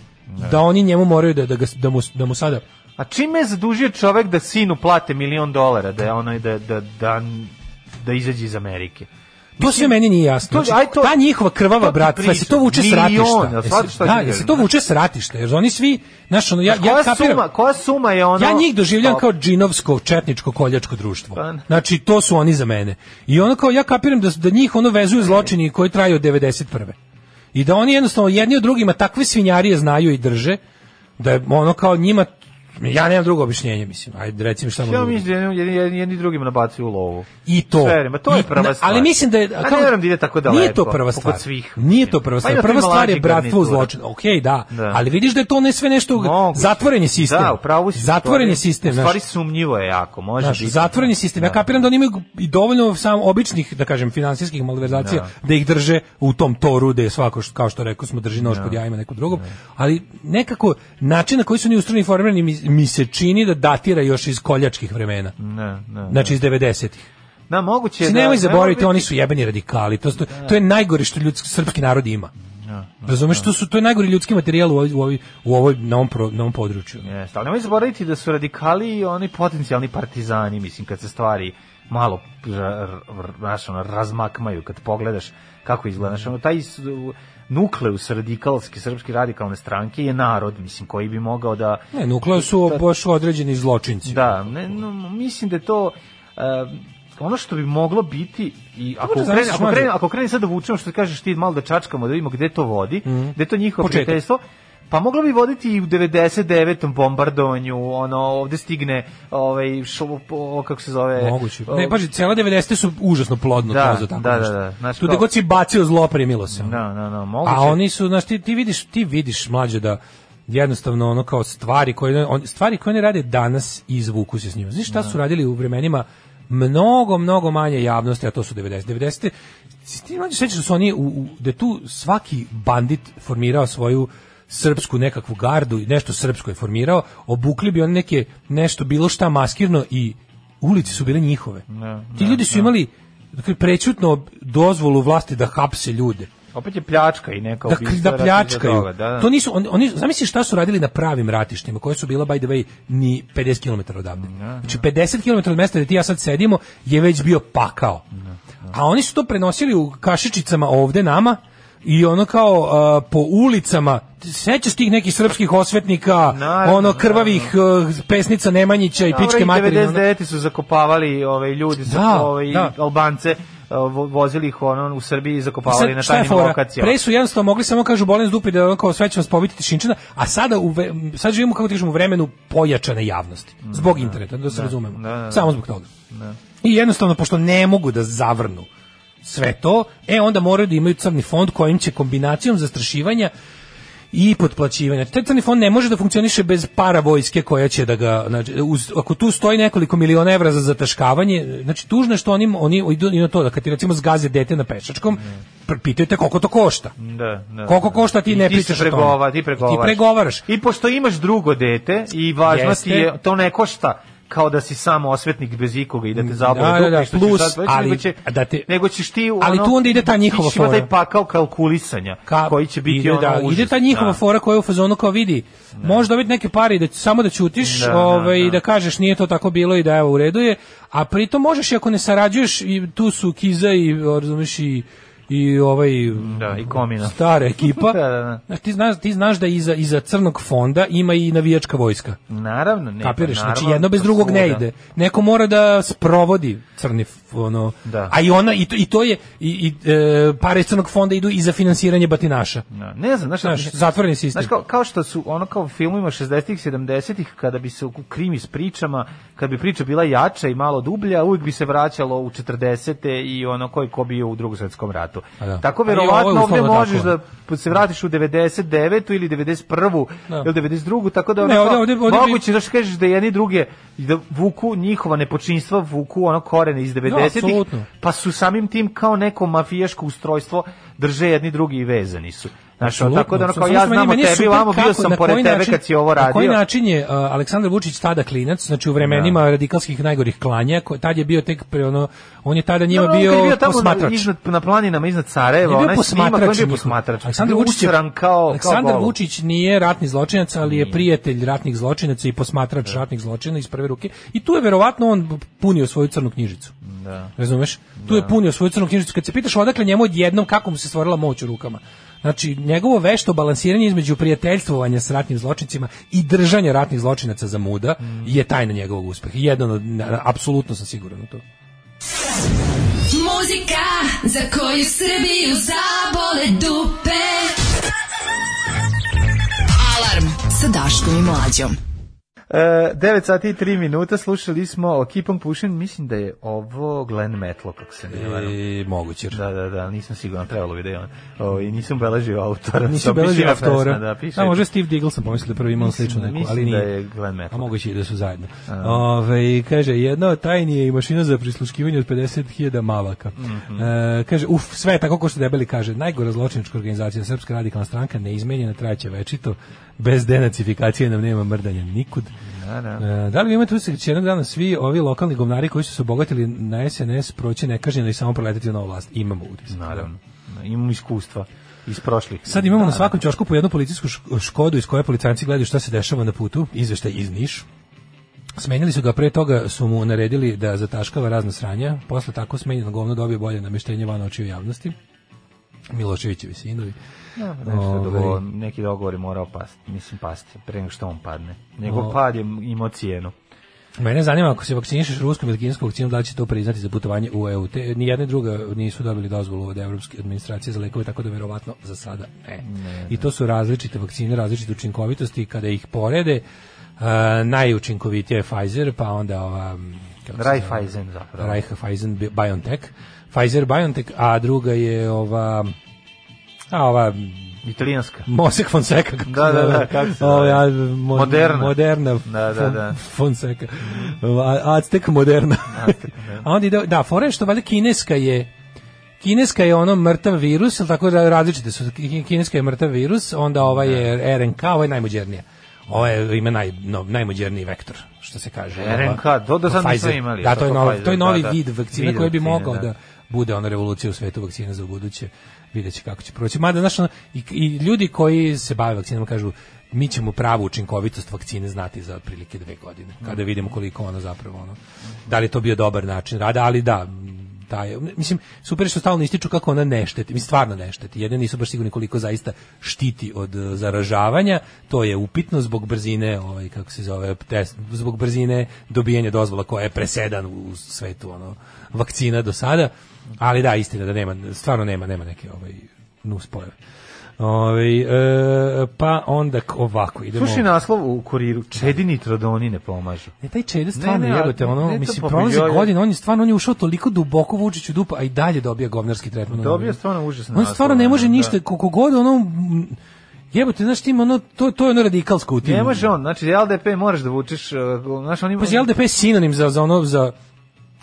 Speaker 5: da oni njemu moraju da, da, ga, da, mu, da mu sada...
Speaker 6: A čime je zadužio čovek da sinu plate milion dolara, da je onaj da, da, da, da izađe iz Amerike?
Speaker 5: To sve meni nije jasno.
Speaker 6: to-
Speaker 5: Znači,
Speaker 6: aj to-
Speaker 5: ta njihova krvava
Speaker 6: to ti
Speaker 5: bratva,
Speaker 6: pričam.
Speaker 5: se to vuče s
Speaker 6: Milion,
Speaker 5: ratišta.
Speaker 6: jel
Speaker 5: Jel se-
Speaker 6: shvataš šta ti
Speaker 5: Da, jel
Speaker 6: kažem?
Speaker 5: se to vuče s ratišta, jer oni svi, znaš, ono, ja, ja
Speaker 6: koja,
Speaker 5: kapiram,
Speaker 6: suma, koja suma je ono...
Speaker 5: Ja njih doživljam
Speaker 6: Pa,
Speaker 5: kao džinovsko, četničko, koljačko društvo.
Speaker 6: Pa ne.
Speaker 5: Znači, to su oni za mene. I ono kao, ja kapiram da, da njih ono vezuju zločini koji traju od 91. I da oni jednostavno jedni od drugima takve svinjarije znaju i drže, da je ono kao njima, ja nemam drugo objašnjenje, mislim, ajde recimo šta
Speaker 6: Ja
Speaker 5: mogu-
Speaker 6: mislim da jedni, jedni, jedni drugima nabacuju lovu.
Speaker 5: i to.
Speaker 6: Sve, ma to
Speaker 5: I-
Speaker 6: je prva
Speaker 5: na-
Speaker 6: stvar.
Speaker 5: Ali mislim da je
Speaker 6: A ne verujem da ide tako daleko.
Speaker 5: Nije to prva
Speaker 6: poput
Speaker 5: stvar.
Speaker 6: svih.
Speaker 5: Nije to prva
Speaker 6: Pa
Speaker 5: stvar.
Speaker 6: ima tu i
Speaker 5: prva stvar je
Speaker 6: mlađih
Speaker 5: bratstvo u
Speaker 6: garnitura.
Speaker 5: zločinu. Okej, da.
Speaker 6: Da.
Speaker 5: Ali vidiš da je to ne sve nešto
Speaker 6: Moguće.
Speaker 5: zatvoren je sistem.
Speaker 6: Da, upravo si.
Speaker 5: Zatvoren je
Speaker 6: u stvari-
Speaker 5: sistem,
Speaker 6: U
Speaker 5: znaš.
Speaker 6: stvari sumnjivo je jako, može
Speaker 5: Znaš,
Speaker 6: biti.
Speaker 5: zatvoren je sistem. Ja kapiram da oni imaju i dovoljno sam običnih, da kažem, finansijskih malverzacija da, ih drže u tom toru da je svako, što- kao što rekao smo, drži nož pod jajima nekog drugog. Ali nekako način na koji su oni ustrojeni i formirani mi, mi se čini da datira još iz koljačkih vremena.
Speaker 6: Ne, ne.
Speaker 5: Znači iz 90-ih.
Speaker 6: Da, moguće
Speaker 5: Ti
Speaker 6: da...
Speaker 5: nemoj Da.
Speaker 6: ne
Speaker 5: zaboraviti,
Speaker 6: mogu
Speaker 5: oni
Speaker 6: biti-
Speaker 5: su jebeni radikali. To, to, to je najgore što ljudski srpski narod ima. Da, Razumeš, to su to je najgori ljudski materijal u ovoj, u ovoj, u ovoj na ovom, pro- na ovom području.
Speaker 6: Jeste, ali nemoj zaboraviti da su radikali i oni potencijalni partizani, mislim, kad se stvari malo ra- ra- znaš, ono, razmakmaju, kad pogledaš kako izgleda. Znaš, ono, taj s- nukleus radikalske, srpske radikalne stranke je narod, mislim, koji bi mogao da...
Speaker 5: Ne, nukleo su baš određeni zločinci.
Speaker 6: Da, ne, no, mislim da je to... em, ono što bi moglo biti i ako
Speaker 5: Dobro,
Speaker 6: krene,
Speaker 5: zamisliš,
Speaker 6: ako
Speaker 5: mlađe.
Speaker 6: krene, ako krene sad da vučemo što kažeš ti malo da čačkamo da vidimo gde to vodi, gde je to njihovo
Speaker 5: Mhm. Početak.
Speaker 6: prijateljstvo. Pa moglo bi voditi i u 99. bombardovanju, ono ovde stigne ovaj šo, o, kako se zove.
Speaker 5: Moguće.
Speaker 6: o,
Speaker 5: Ne, paži, cela 90. su užasno plodno
Speaker 6: Da,
Speaker 5: tlo za tako
Speaker 6: da,
Speaker 5: nešto.
Speaker 6: da, da. Znaš
Speaker 5: tu
Speaker 6: kao-
Speaker 5: gde god si bacio zlo, primilo se.
Speaker 6: Da, da, da, moguće.
Speaker 5: A oni su, znaš, ti, ti vidiš, ti vidiš mlađe da jednostavno ono kao stvari koje on, stvari koje oni rade danas izvuku se s njima. Znaš šta su radili u vremenima mnogo, mnogo manje javnosti, a to su 90. 90. si Ti mlađe sećaš da su oni, u, u, da je tu svaki bandit formirao svoju srpsku nekakvu gardu i nešto srpsko je formirao, obukli bi oni neke nešto bilo šta maskirno i ulici su bile njihove. Ti ljudi su imali dakle, prećutno dozvolu vlasti da hapse ljude
Speaker 6: Opet je pljačka i neka
Speaker 5: da, da
Speaker 6: ubistva ratnih
Speaker 5: pljačkaju.
Speaker 6: zadruga, Da, da.
Speaker 5: To nisu on, oni zamisli šta su radili na pravim ratištima koja su bila by the way ni 50 km odavde.
Speaker 6: Da,
Speaker 5: Znači 50 km od mesta gde ti i ja sad sedimo je već bio pakao.
Speaker 6: Da,
Speaker 5: A oni su to prenosili u kašičicama ovde nama i ono kao a, po ulicama sećaš tih nekih srpskih osvetnika
Speaker 6: Naravno,
Speaker 5: ono krvavih eh, pesnica Nemanjića i
Speaker 6: Dobro,
Speaker 5: pičke
Speaker 6: i
Speaker 5: materine ono-
Speaker 6: 99. su zakopavali ovaj ljudi sa
Speaker 5: Da,
Speaker 6: ovaj
Speaker 5: da.
Speaker 6: Albance vo- vozili ih ono u Srbiji i
Speaker 5: Sad,
Speaker 6: zakopavali na
Speaker 5: šta je
Speaker 6: tajnim
Speaker 5: fora?
Speaker 6: lokacijama.
Speaker 5: Pre su jednostavno mogli samo kažu bolen dupe da ono kao sve će vas pobiti Šinčina, a sada u ve- m, sad živimo kako ti kažemo u vremenu pojačane javnosti. Zbog interneta, da se razumemo.
Speaker 6: da, da.
Speaker 5: Samo zbog toga. I jednostavno pošto ne mogu da zavrnu sve to, e onda moraju da imaju crni fond kojim će kombinacijom zastrašivanja i potplaćivanja. Znači, Taj crni fond ne može da funkcioniše bez para vojske koja će da ga, znači, uz, ako tu stoji nekoliko miliona evra za zataškavanje, znači tužno je što oni, oni idu i na to da kad ti recimo zgaze dete na pešačkom, pr- pitaju te koliko to košta.
Speaker 6: Da, da.
Speaker 5: Koliko košta ti
Speaker 6: I
Speaker 5: ne
Speaker 6: ti se
Speaker 5: pričaš o tome.
Speaker 6: pregova- Ti pregovaraš.
Speaker 5: Ti pregovaraš.
Speaker 6: I pošto imaš drugo dete i važno
Speaker 5: Jeste.
Speaker 6: ti je, to ne košta kao da si samo osvetnik bez ikoga i da te zabole
Speaker 5: Da, da, da,
Speaker 6: dupe što ćeš
Speaker 5: plus,
Speaker 6: sad reći,
Speaker 5: ali-
Speaker 6: nego, će,
Speaker 5: da te-
Speaker 6: nego ćeš ti u
Speaker 5: ali
Speaker 6: ono-
Speaker 5: tu onda ide ta njihova
Speaker 6: ćeš imati
Speaker 5: fora.
Speaker 6: taj pakao kalkulisanja
Speaker 5: Ka-
Speaker 6: koji će biti
Speaker 5: ide,
Speaker 6: ono
Speaker 5: da,
Speaker 6: užas.
Speaker 5: ide ta njihova
Speaker 6: Da.
Speaker 5: fora koja je u fazonu kao vidi možeš dobiti neke pare i da samo da ćutiš
Speaker 6: Da, da,
Speaker 5: ovaj
Speaker 6: da.
Speaker 5: i da kažeš nije to tako bilo i da evo u redu je a pritom možeš i ako ne sarađuješ i tu su Kiza i o, razumeš i i ovaj
Speaker 6: Da, i Komina.
Speaker 5: stara ekipa
Speaker 6: Da, da, da.
Speaker 5: Znaš, ti znaš ti znaš da iza iza crnog fonda ima i navijačka vojska
Speaker 6: Naravno, ne. pa
Speaker 5: Kapiraš, znači
Speaker 6: naravno,
Speaker 5: jedno bez drugog ne
Speaker 6: svuda.
Speaker 5: ide. Neko mora da sprovodi crni f- ono.
Speaker 6: Da.
Speaker 5: A i ona i to, i to je i, i e, pare iz crnog fonda idu i za finansiranje batinaša.
Speaker 6: Da, ne znam, znaš,
Speaker 5: Znaš,
Speaker 6: mislim-
Speaker 5: zatvoreni sistem.
Speaker 6: Znaš, kao, kao što su ono kao u filmovima 60-ih, 70-ih, kada bi se u krimi s pričama, kad bi priča bila jača i malo dublja, uvijek bi se vraćalo u 40-te i ono koji ko bio u drugom svetskom ratu.
Speaker 5: A da.
Speaker 6: Tako
Speaker 5: A i ovo je
Speaker 6: verovatno ovdje
Speaker 5: uslovno
Speaker 6: možeš
Speaker 5: tako.
Speaker 6: da se vratiš u 99-tu ili 91-u
Speaker 5: Da.
Speaker 6: ili 92-u, tako da ono
Speaker 5: Ne,
Speaker 6: kao,
Speaker 5: ovdje- ovdje- ovdje bi-
Speaker 6: moguće, znaš, kažeš da jedni druge, da vuku njihova nepočinstva, vuku ono korene iz 90-ih,
Speaker 5: Da, apsolutno.
Speaker 6: pa su samim tim kao neko mafijaško ustrojstvo drže jedni drugi i vezani su. Znaš, ono,
Speaker 5: Apsolutno.
Speaker 6: tako da ono kao
Speaker 5: Samo
Speaker 6: ja
Speaker 5: što meni-
Speaker 6: znam o
Speaker 5: meni je
Speaker 6: tebi,
Speaker 5: super
Speaker 6: vamo bio
Speaker 5: kako-
Speaker 6: sam
Speaker 5: na koji
Speaker 6: pored tebe
Speaker 5: način-
Speaker 6: kad si ovo
Speaker 5: Na koji
Speaker 6: radio. Da.
Speaker 5: način je uh, Aleksandar Vučić tada klinac, znači u vremenima radikalskih najgorih klanja, ko, tad je bio tek pre ono, on je tada njima
Speaker 6: Dobro, Da, on kad
Speaker 5: bio,
Speaker 6: je bio tamo na,
Speaker 5: posmatrač.
Speaker 6: iznad, na planinama iznad Sarajeva,
Speaker 5: On je
Speaker 6: onaj
Speaker 5: bio
Speaker 6: snimak, on je
Speaker 5: posmatrač.
Speaker 6: bio
Speaker 5: njihov.
Speaker 6: posmatrač.
Speaker 5: Aleksandar
Speaker 6: Bio
Speaker 5: Vučić, je-
Speaker 6: usran kao,
Speaker 5: Aleksandar
Speaker 6: kao golub.
Speaker 5: Vučić nije ratni zločinac, ali je prijatelj ratnih zločinaca i posmatrač
Speaker 6: Da.
Speaker 5: ratnih zločina iz prve ruke. I tu je verovatno on punio svoju crnu knjižicu. Da. Razumeš? Tu je punio svoju crnu knjižicu. Kad se pitaš odakle njemu odjednom kako mu se stvorila moć u rukama. Znači, njegovo vešto balansiranje između prijateljstvovanja s ratnim zločincima i držanja ratnih zločinaca za muda
Speaker 6: Mm.
Speaker 5: je tajna njegovog uspeha. Jedan od, na- na- apsolutno sam siguran u to.
Speaker 4: Muzika za koju Srbiju zabole dupe.
Speaker 8: Alarm sa Daškom i Mlađom.
Speaker 6: E, 9 sati i 3 minuta slušali smo o Keep on Pushing, mislim da je ovo Glenn Matlock, kako se ne varam.
Speaker 5: I E, moguće.
Speaker 6: Da, da, da, nisam siguran, trebalo bi da je on. O, I nisam beležio autora.
Speaker 5: Nisi
Speaker 6: to piše
Speaker 5: beležio
Speaker 6: na pesma,
Speaker 5: autora.
Speaker 6: Da, piše.
Speaker 5: Da, može Steve Diggle sam pomislio da prvi imao sličnu neku,
Speaker 6: mislim
Speaker 5: ali nije.
Speaker 6: da je Glenn Matlock.
Speaker 5: A moguće i da su zajedno. Ove, kaže, jedna od tajni je i mašina za prisluškivanje od 50.000 mavaka.
Speaker 6: Mhm.
Speaker 5: E, kaže, uf, sve je tako ko što debeli kaže, najgora zločinička organizacija Srpska radikalna stranka neizmenjena traće večito, bez denacifikacije nam nema mrdanja nikud.
Speaker 6: Da, da.
Speaker 5: E, Da li imate utisak da će jednog dana svi ovi lokalni govnari koji su se obogatili na SNS proći nekažnjeno i samo proletiti na vlast? Imamo utisak.
Speaker 6: Naravno. Imam iskustva iz prošlih.
Speaker 5: Sad imamo na svakom ćošku po jednu policijsku šk- škodu iz koje policajci gledaju šta se dešava na putu, izveštaj iz Niš. Smenjali su ga, pre toga su mu naredili da zataškava razna sranja, posle tako smenjeno govno dobio bolje nameštenje van očiju javnosti. Miloševićevi sinovi.
Speaker 6: Nešto
Speaker 5: Ovaj.
Speaker 6: dogovor, neki dogovor je morao pasti, mislim pasti, pre nego što on padne. Njegov pad je imao cijenu.
Speaker 5: Mene zanima ako se vakcinišeš ruskom ili kineskom vakcinom, da li će to priznati za putovanje u EU. Te, ni jedna i druga nisu dobili dozvolu od Evropske administracije za lekove, tako da verovatno za sada ne. I to su različite vakcine, različite učinkovitosti i kada ih porede, uh, najučinkovitija je Pfizer, pa onda ova... m, kako se zove?
Speaker 6: Raiffeisen zapravo.
Speaker 5: Raiffeisen Bi- BioNTech. Pfizer BioNTech, a druga je ova... A ova
Speaker 6: Italijanska.
Speaker 5: Mosek Fonseca. kako
Speaker 6: Da,
Speaker 5: se
Speaker 6: da,
Speaker 5: zove.
Speaker 6: da, kako se zove?
Speaker 5: Ovaj, a, mo-
Speaker 6: Moderna.
Speaker 5: Moderna.
Speaker 6: Da, da, da.
Speaker 5: Fon- Fonseca. A- Aztek Moderna. A onda ide, da, fora je što valjda kineska je Kineska je ono mrtav virus, ali tako da različite su. Ki- Kineska je mrtav virus, onda ova
Speaker 6: Da.
Speaker 5: je RNK, ova je najmođernija. Ova je, ima naj, no, najmođerniji vektor, što se kaže. Ova-
Speaker 6: RNK, do- do sad nismo
Speaker 5: Pfizer.
Speaker 6: imali,
Speaker 5: Da, to je
Speaker 6: to
Speaker 5: novi,
Speaker 6: Pfizer,
Speaker 5: to je
Speaker 6: da,
Speaker 5: novi
Speaker 6: da.
Speaker 5: vid vakcine
Speaker 6: Vid
Speaker 5: koji bi
Speaker 6: vakcine,
Speaker 5: mogao
Speaker 6: da.
Speaker 5: da bude ona revolucija u svetu vakcina za ubuduće vidjet će kako će proći. Mada, znaš, ono, i, i ljudi koji se bave vakcinama kažu mi ćemo pravu učinkovitost vakcine znati za otprilike dve godine, kada vidimo koliko ona zapravo, ono, da li je to bio dobar način rada, ali da, da je, mislim, super je što stalno ističu kako ona ne šteti, mislim, stvarno ne šteti, jedne nisu baš sigurni koliko zaista štiti od e, zaražavanja, to je upitno zbog brzine, ovaj, kako se zove, test, zbog brzine dobijanja dozvola koja je presedan u svetu, ono, vakcina do sada, ali da, istina da nema, stvarno nema, nema neke, ovaj, nuspojave. Ovaj e, pa onda k- ovako idemo.
Speaker 6: Slušaj naslov u kuriru, Čedi nitrodoni ne pomažu.
Speaker 5: E, taj Čede stvarno
Speaker 6: Ne, ne, a-
Speaker 5: jebote, ono,
Speaker 6: ne, to
Speaker 5: mislim,
Speaker 6: pa
Speaker 5: prolazi
Speaker 6: bio je-
Speaker 5: godina, on je stvarno, on je ušao toliko duboko Vučiću u dupa, a i dalje dobija govnarski tretman.
Speaker 6: Dobio je stvarno da. užasno.
Speaker 5: Mm. On stvarno ne može ništa, koliko god ono, m, jebote, znaš, ti ima ono, to, to je ono radikalsko u tim.
Speaker 6: Ne može on, znači LDP moraš da vučeš, uh, znaš, on ima...
Speaker 5: Pazi, LDP je sinonim za, za ono, za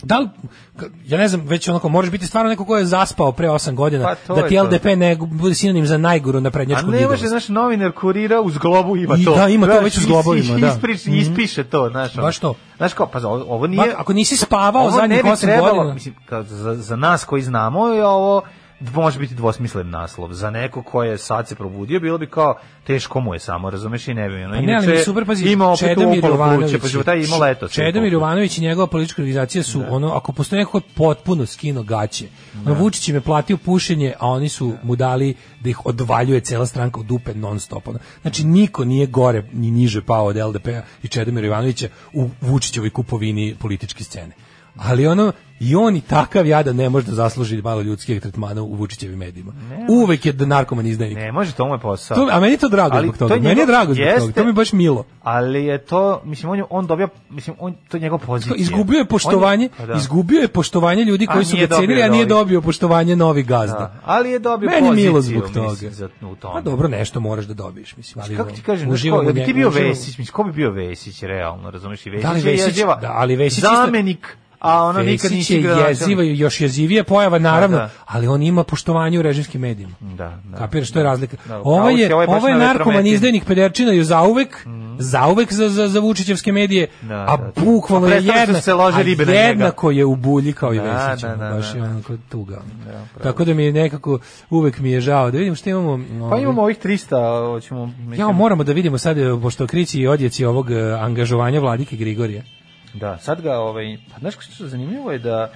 Speaker 5: Da li, ka- ja ne znam, već onako, moraš biti stvarno neko ko je zaspao pre 8 godina,
Speaker 6: Pa, to
Speaker 5: da
Speaker 6: je
Speaker 5: ti
Speaker 6: to.
Speaker 5: LDP ne bude sinonim za najguru na prednjačku
Speaker 6: A ne može, znači, znaš, novinar kurira uz globu ima
Speaker 5: I
Speaker 6: to.
Speaker 5: da, ima to
Speaker 6: Znaš,
Speaker 5: već uz
Speaker 6: is-
Speaker 5: globu
Speaker 6: is-
Speaker 5: ima, da.
Speaker 6: isprič-
Speaker 5: Mhm.
Speaker 6: Ispiše to, znaš. ono.
Speaker 5: Baš to.
Speaker 6: Znaš kao, pa za- ovo ovo nije...
Speaker 5: Ba- ako nisi spavao
Speaker 6: ovo ne
Speaker 5: zadnjih
Speaker 6: bi
Speaker 5: 8
Speaker 6: trebalo,
Speaker 5: godina.
Speaker 6: Mislim, kao za, za nas koji znamo je ovo d- može biti dvosmislen naslov. Za neko ko je sad se probudio, bilo bi kao teško mu je samo, razumeš i ne bi. Ono,
Speaker 5: Pa ne, ali mi je super, pazi,
Speaker 6: ima opet
Speaker 5: Čedomir
Speaker 6: upalo
Speaker 5: Jovanović.
Speaker 6: pluće, pa ćemo taj ima leto. Da.
Speaker 5: Čedomir Jovanović i njegova politička organizacija su, ono, ako postoji neko ko je potpuno skino gaće, ono, Vučić im je platio pušenje, a oni su mu dali da ih odvaljuje cela stranka u dupe non stop. Ono. Znači, niko nije gore ni niže pao od LDP-a i Čedomir Jovanovića u Vučićevoj kupovini političke scene. Ali ono, i on i takav jada ne može da zasluži malo ljudskih tretmana u Vučićevim medijima. Uvek je da narkoman izdajnik.
Speaker 6: Ne može, to mu je posao.
Speaker 5: To, a meni je to drago
Speaker 6: Ali
Speaker 5: zbog
Speaker 6: to
Speaker 5: toga.
Speaker 6: je
Speaker 5: Meni je
Speaker 6: njegov-
Speaker 5: drago zbog toga.
Speaker 6: jeste.
Speaker 5: To mi je baš milo.
Speaker 6: Ali je to, mislim, on, je, on dobija, mislim, on, to je njegov pozicija.
Speaker 5: Izgubio je poštovanje,
Speaker 6: On je- pa da.
Speaker 5: izgubio je poštovanje ljudi
Speaker 6: A
Speaker 5: koji su
Speaker 6: nije
Speaker 5: ga cenili,
Speaker 6: dobio
Speaker 5: a nije
Speaker 6: novi.
Speaker 5: dobio poštovanje novih
Speaker 6: Da,
Speaker 5: gazda.
Speaker 6: ali je dobio
Speaker 5: Meni je
Speaker 6: poziciju,
Speaker 5: milo zbog toga.
Speaker 6: mislim, za, u tome.
Speaker 5: Pa dobro, nešto moraš da dobiješ, mislim, ali
Speaker 6: Kako ti kažem, znaš
Speaker 5: uživam
Speaker 6: ko, da
Speaker 5: u
Speaker 6: bi
Speaker 5: nje-
Speaker 6: ti bio
Speaker 5: uživam-
Speaker 6: Vesić, mislim, ko bi bio Vesić, realno, razumeš, i Vesić,
Speaker 5: Da li
Speaker 6: je
Speaker 5: Vesić-
Speaker 6: jeziva,
Speaker 5: da, ali Vesić isto-
Speaker 6: zamenik, a ono nikad
Speaker 5: Vesić
Speaker 6: nisi
Speaker 5: je
Speaker 6: igrao.
Speaker 5: jeziva, još jezivija pojava, naravno,
Speaker 6: Da, da.
Speaker 5: ali on ima poštovanje u režimskim medijima.
Speaker 6: Da, da.
Speaker 5: Kapiraš, što je razlika.
Speaker 6: Da,
Speaker 5: Ovo
Speaker 6: kao
Speaker 5: je,
Speaker 6: si, ovo je baš
Speaker 5: ovo je
Speaker 6: na
Speaker 5: narkoman
Speaker 6: vetrometini.
Speaker 5: izdajnik pederčina i zauvek, zauvek za, za, za Vučićevske medije,
Speaker 6: Da,
Speaker 5: a
Speaker 6: da, da.
Speaker 5: bukvalno
Speaker 6: A
Speaker 5: je
Speaker 6: prestali su
Speaker 5: jedna,
Speaker 6: se lože
Speaker 5: a
Speaker 6: ribe na njega.
Speaker 5: jednako je u bulji kao i
Speaker 6: Da,
Speaker 5: Vesić,
Speaker 6: da,
Speaker 5: ono,
Speaker 6: da,
Speaker 5: baš
Speaker 6: da.
Speaker 5: je onako tuga. Tako da mi je nekako, uvek mi je žao. Da vidimo što imamo.
Speaker 6: Pa
Speaker 5: ovaj,
Speaker 6: imamo ovih 300, hoćemo...
Speaker 5: Ja,
Speaker 6: Mislim,
Speaker 5: moramo da vidimo sad, e, pošto krići i odjeci ovog e, angažovanja vladike Grigorija.
Speaker 6: Da, sad ga, ovaj, pa znaš što je zanimljivo je da,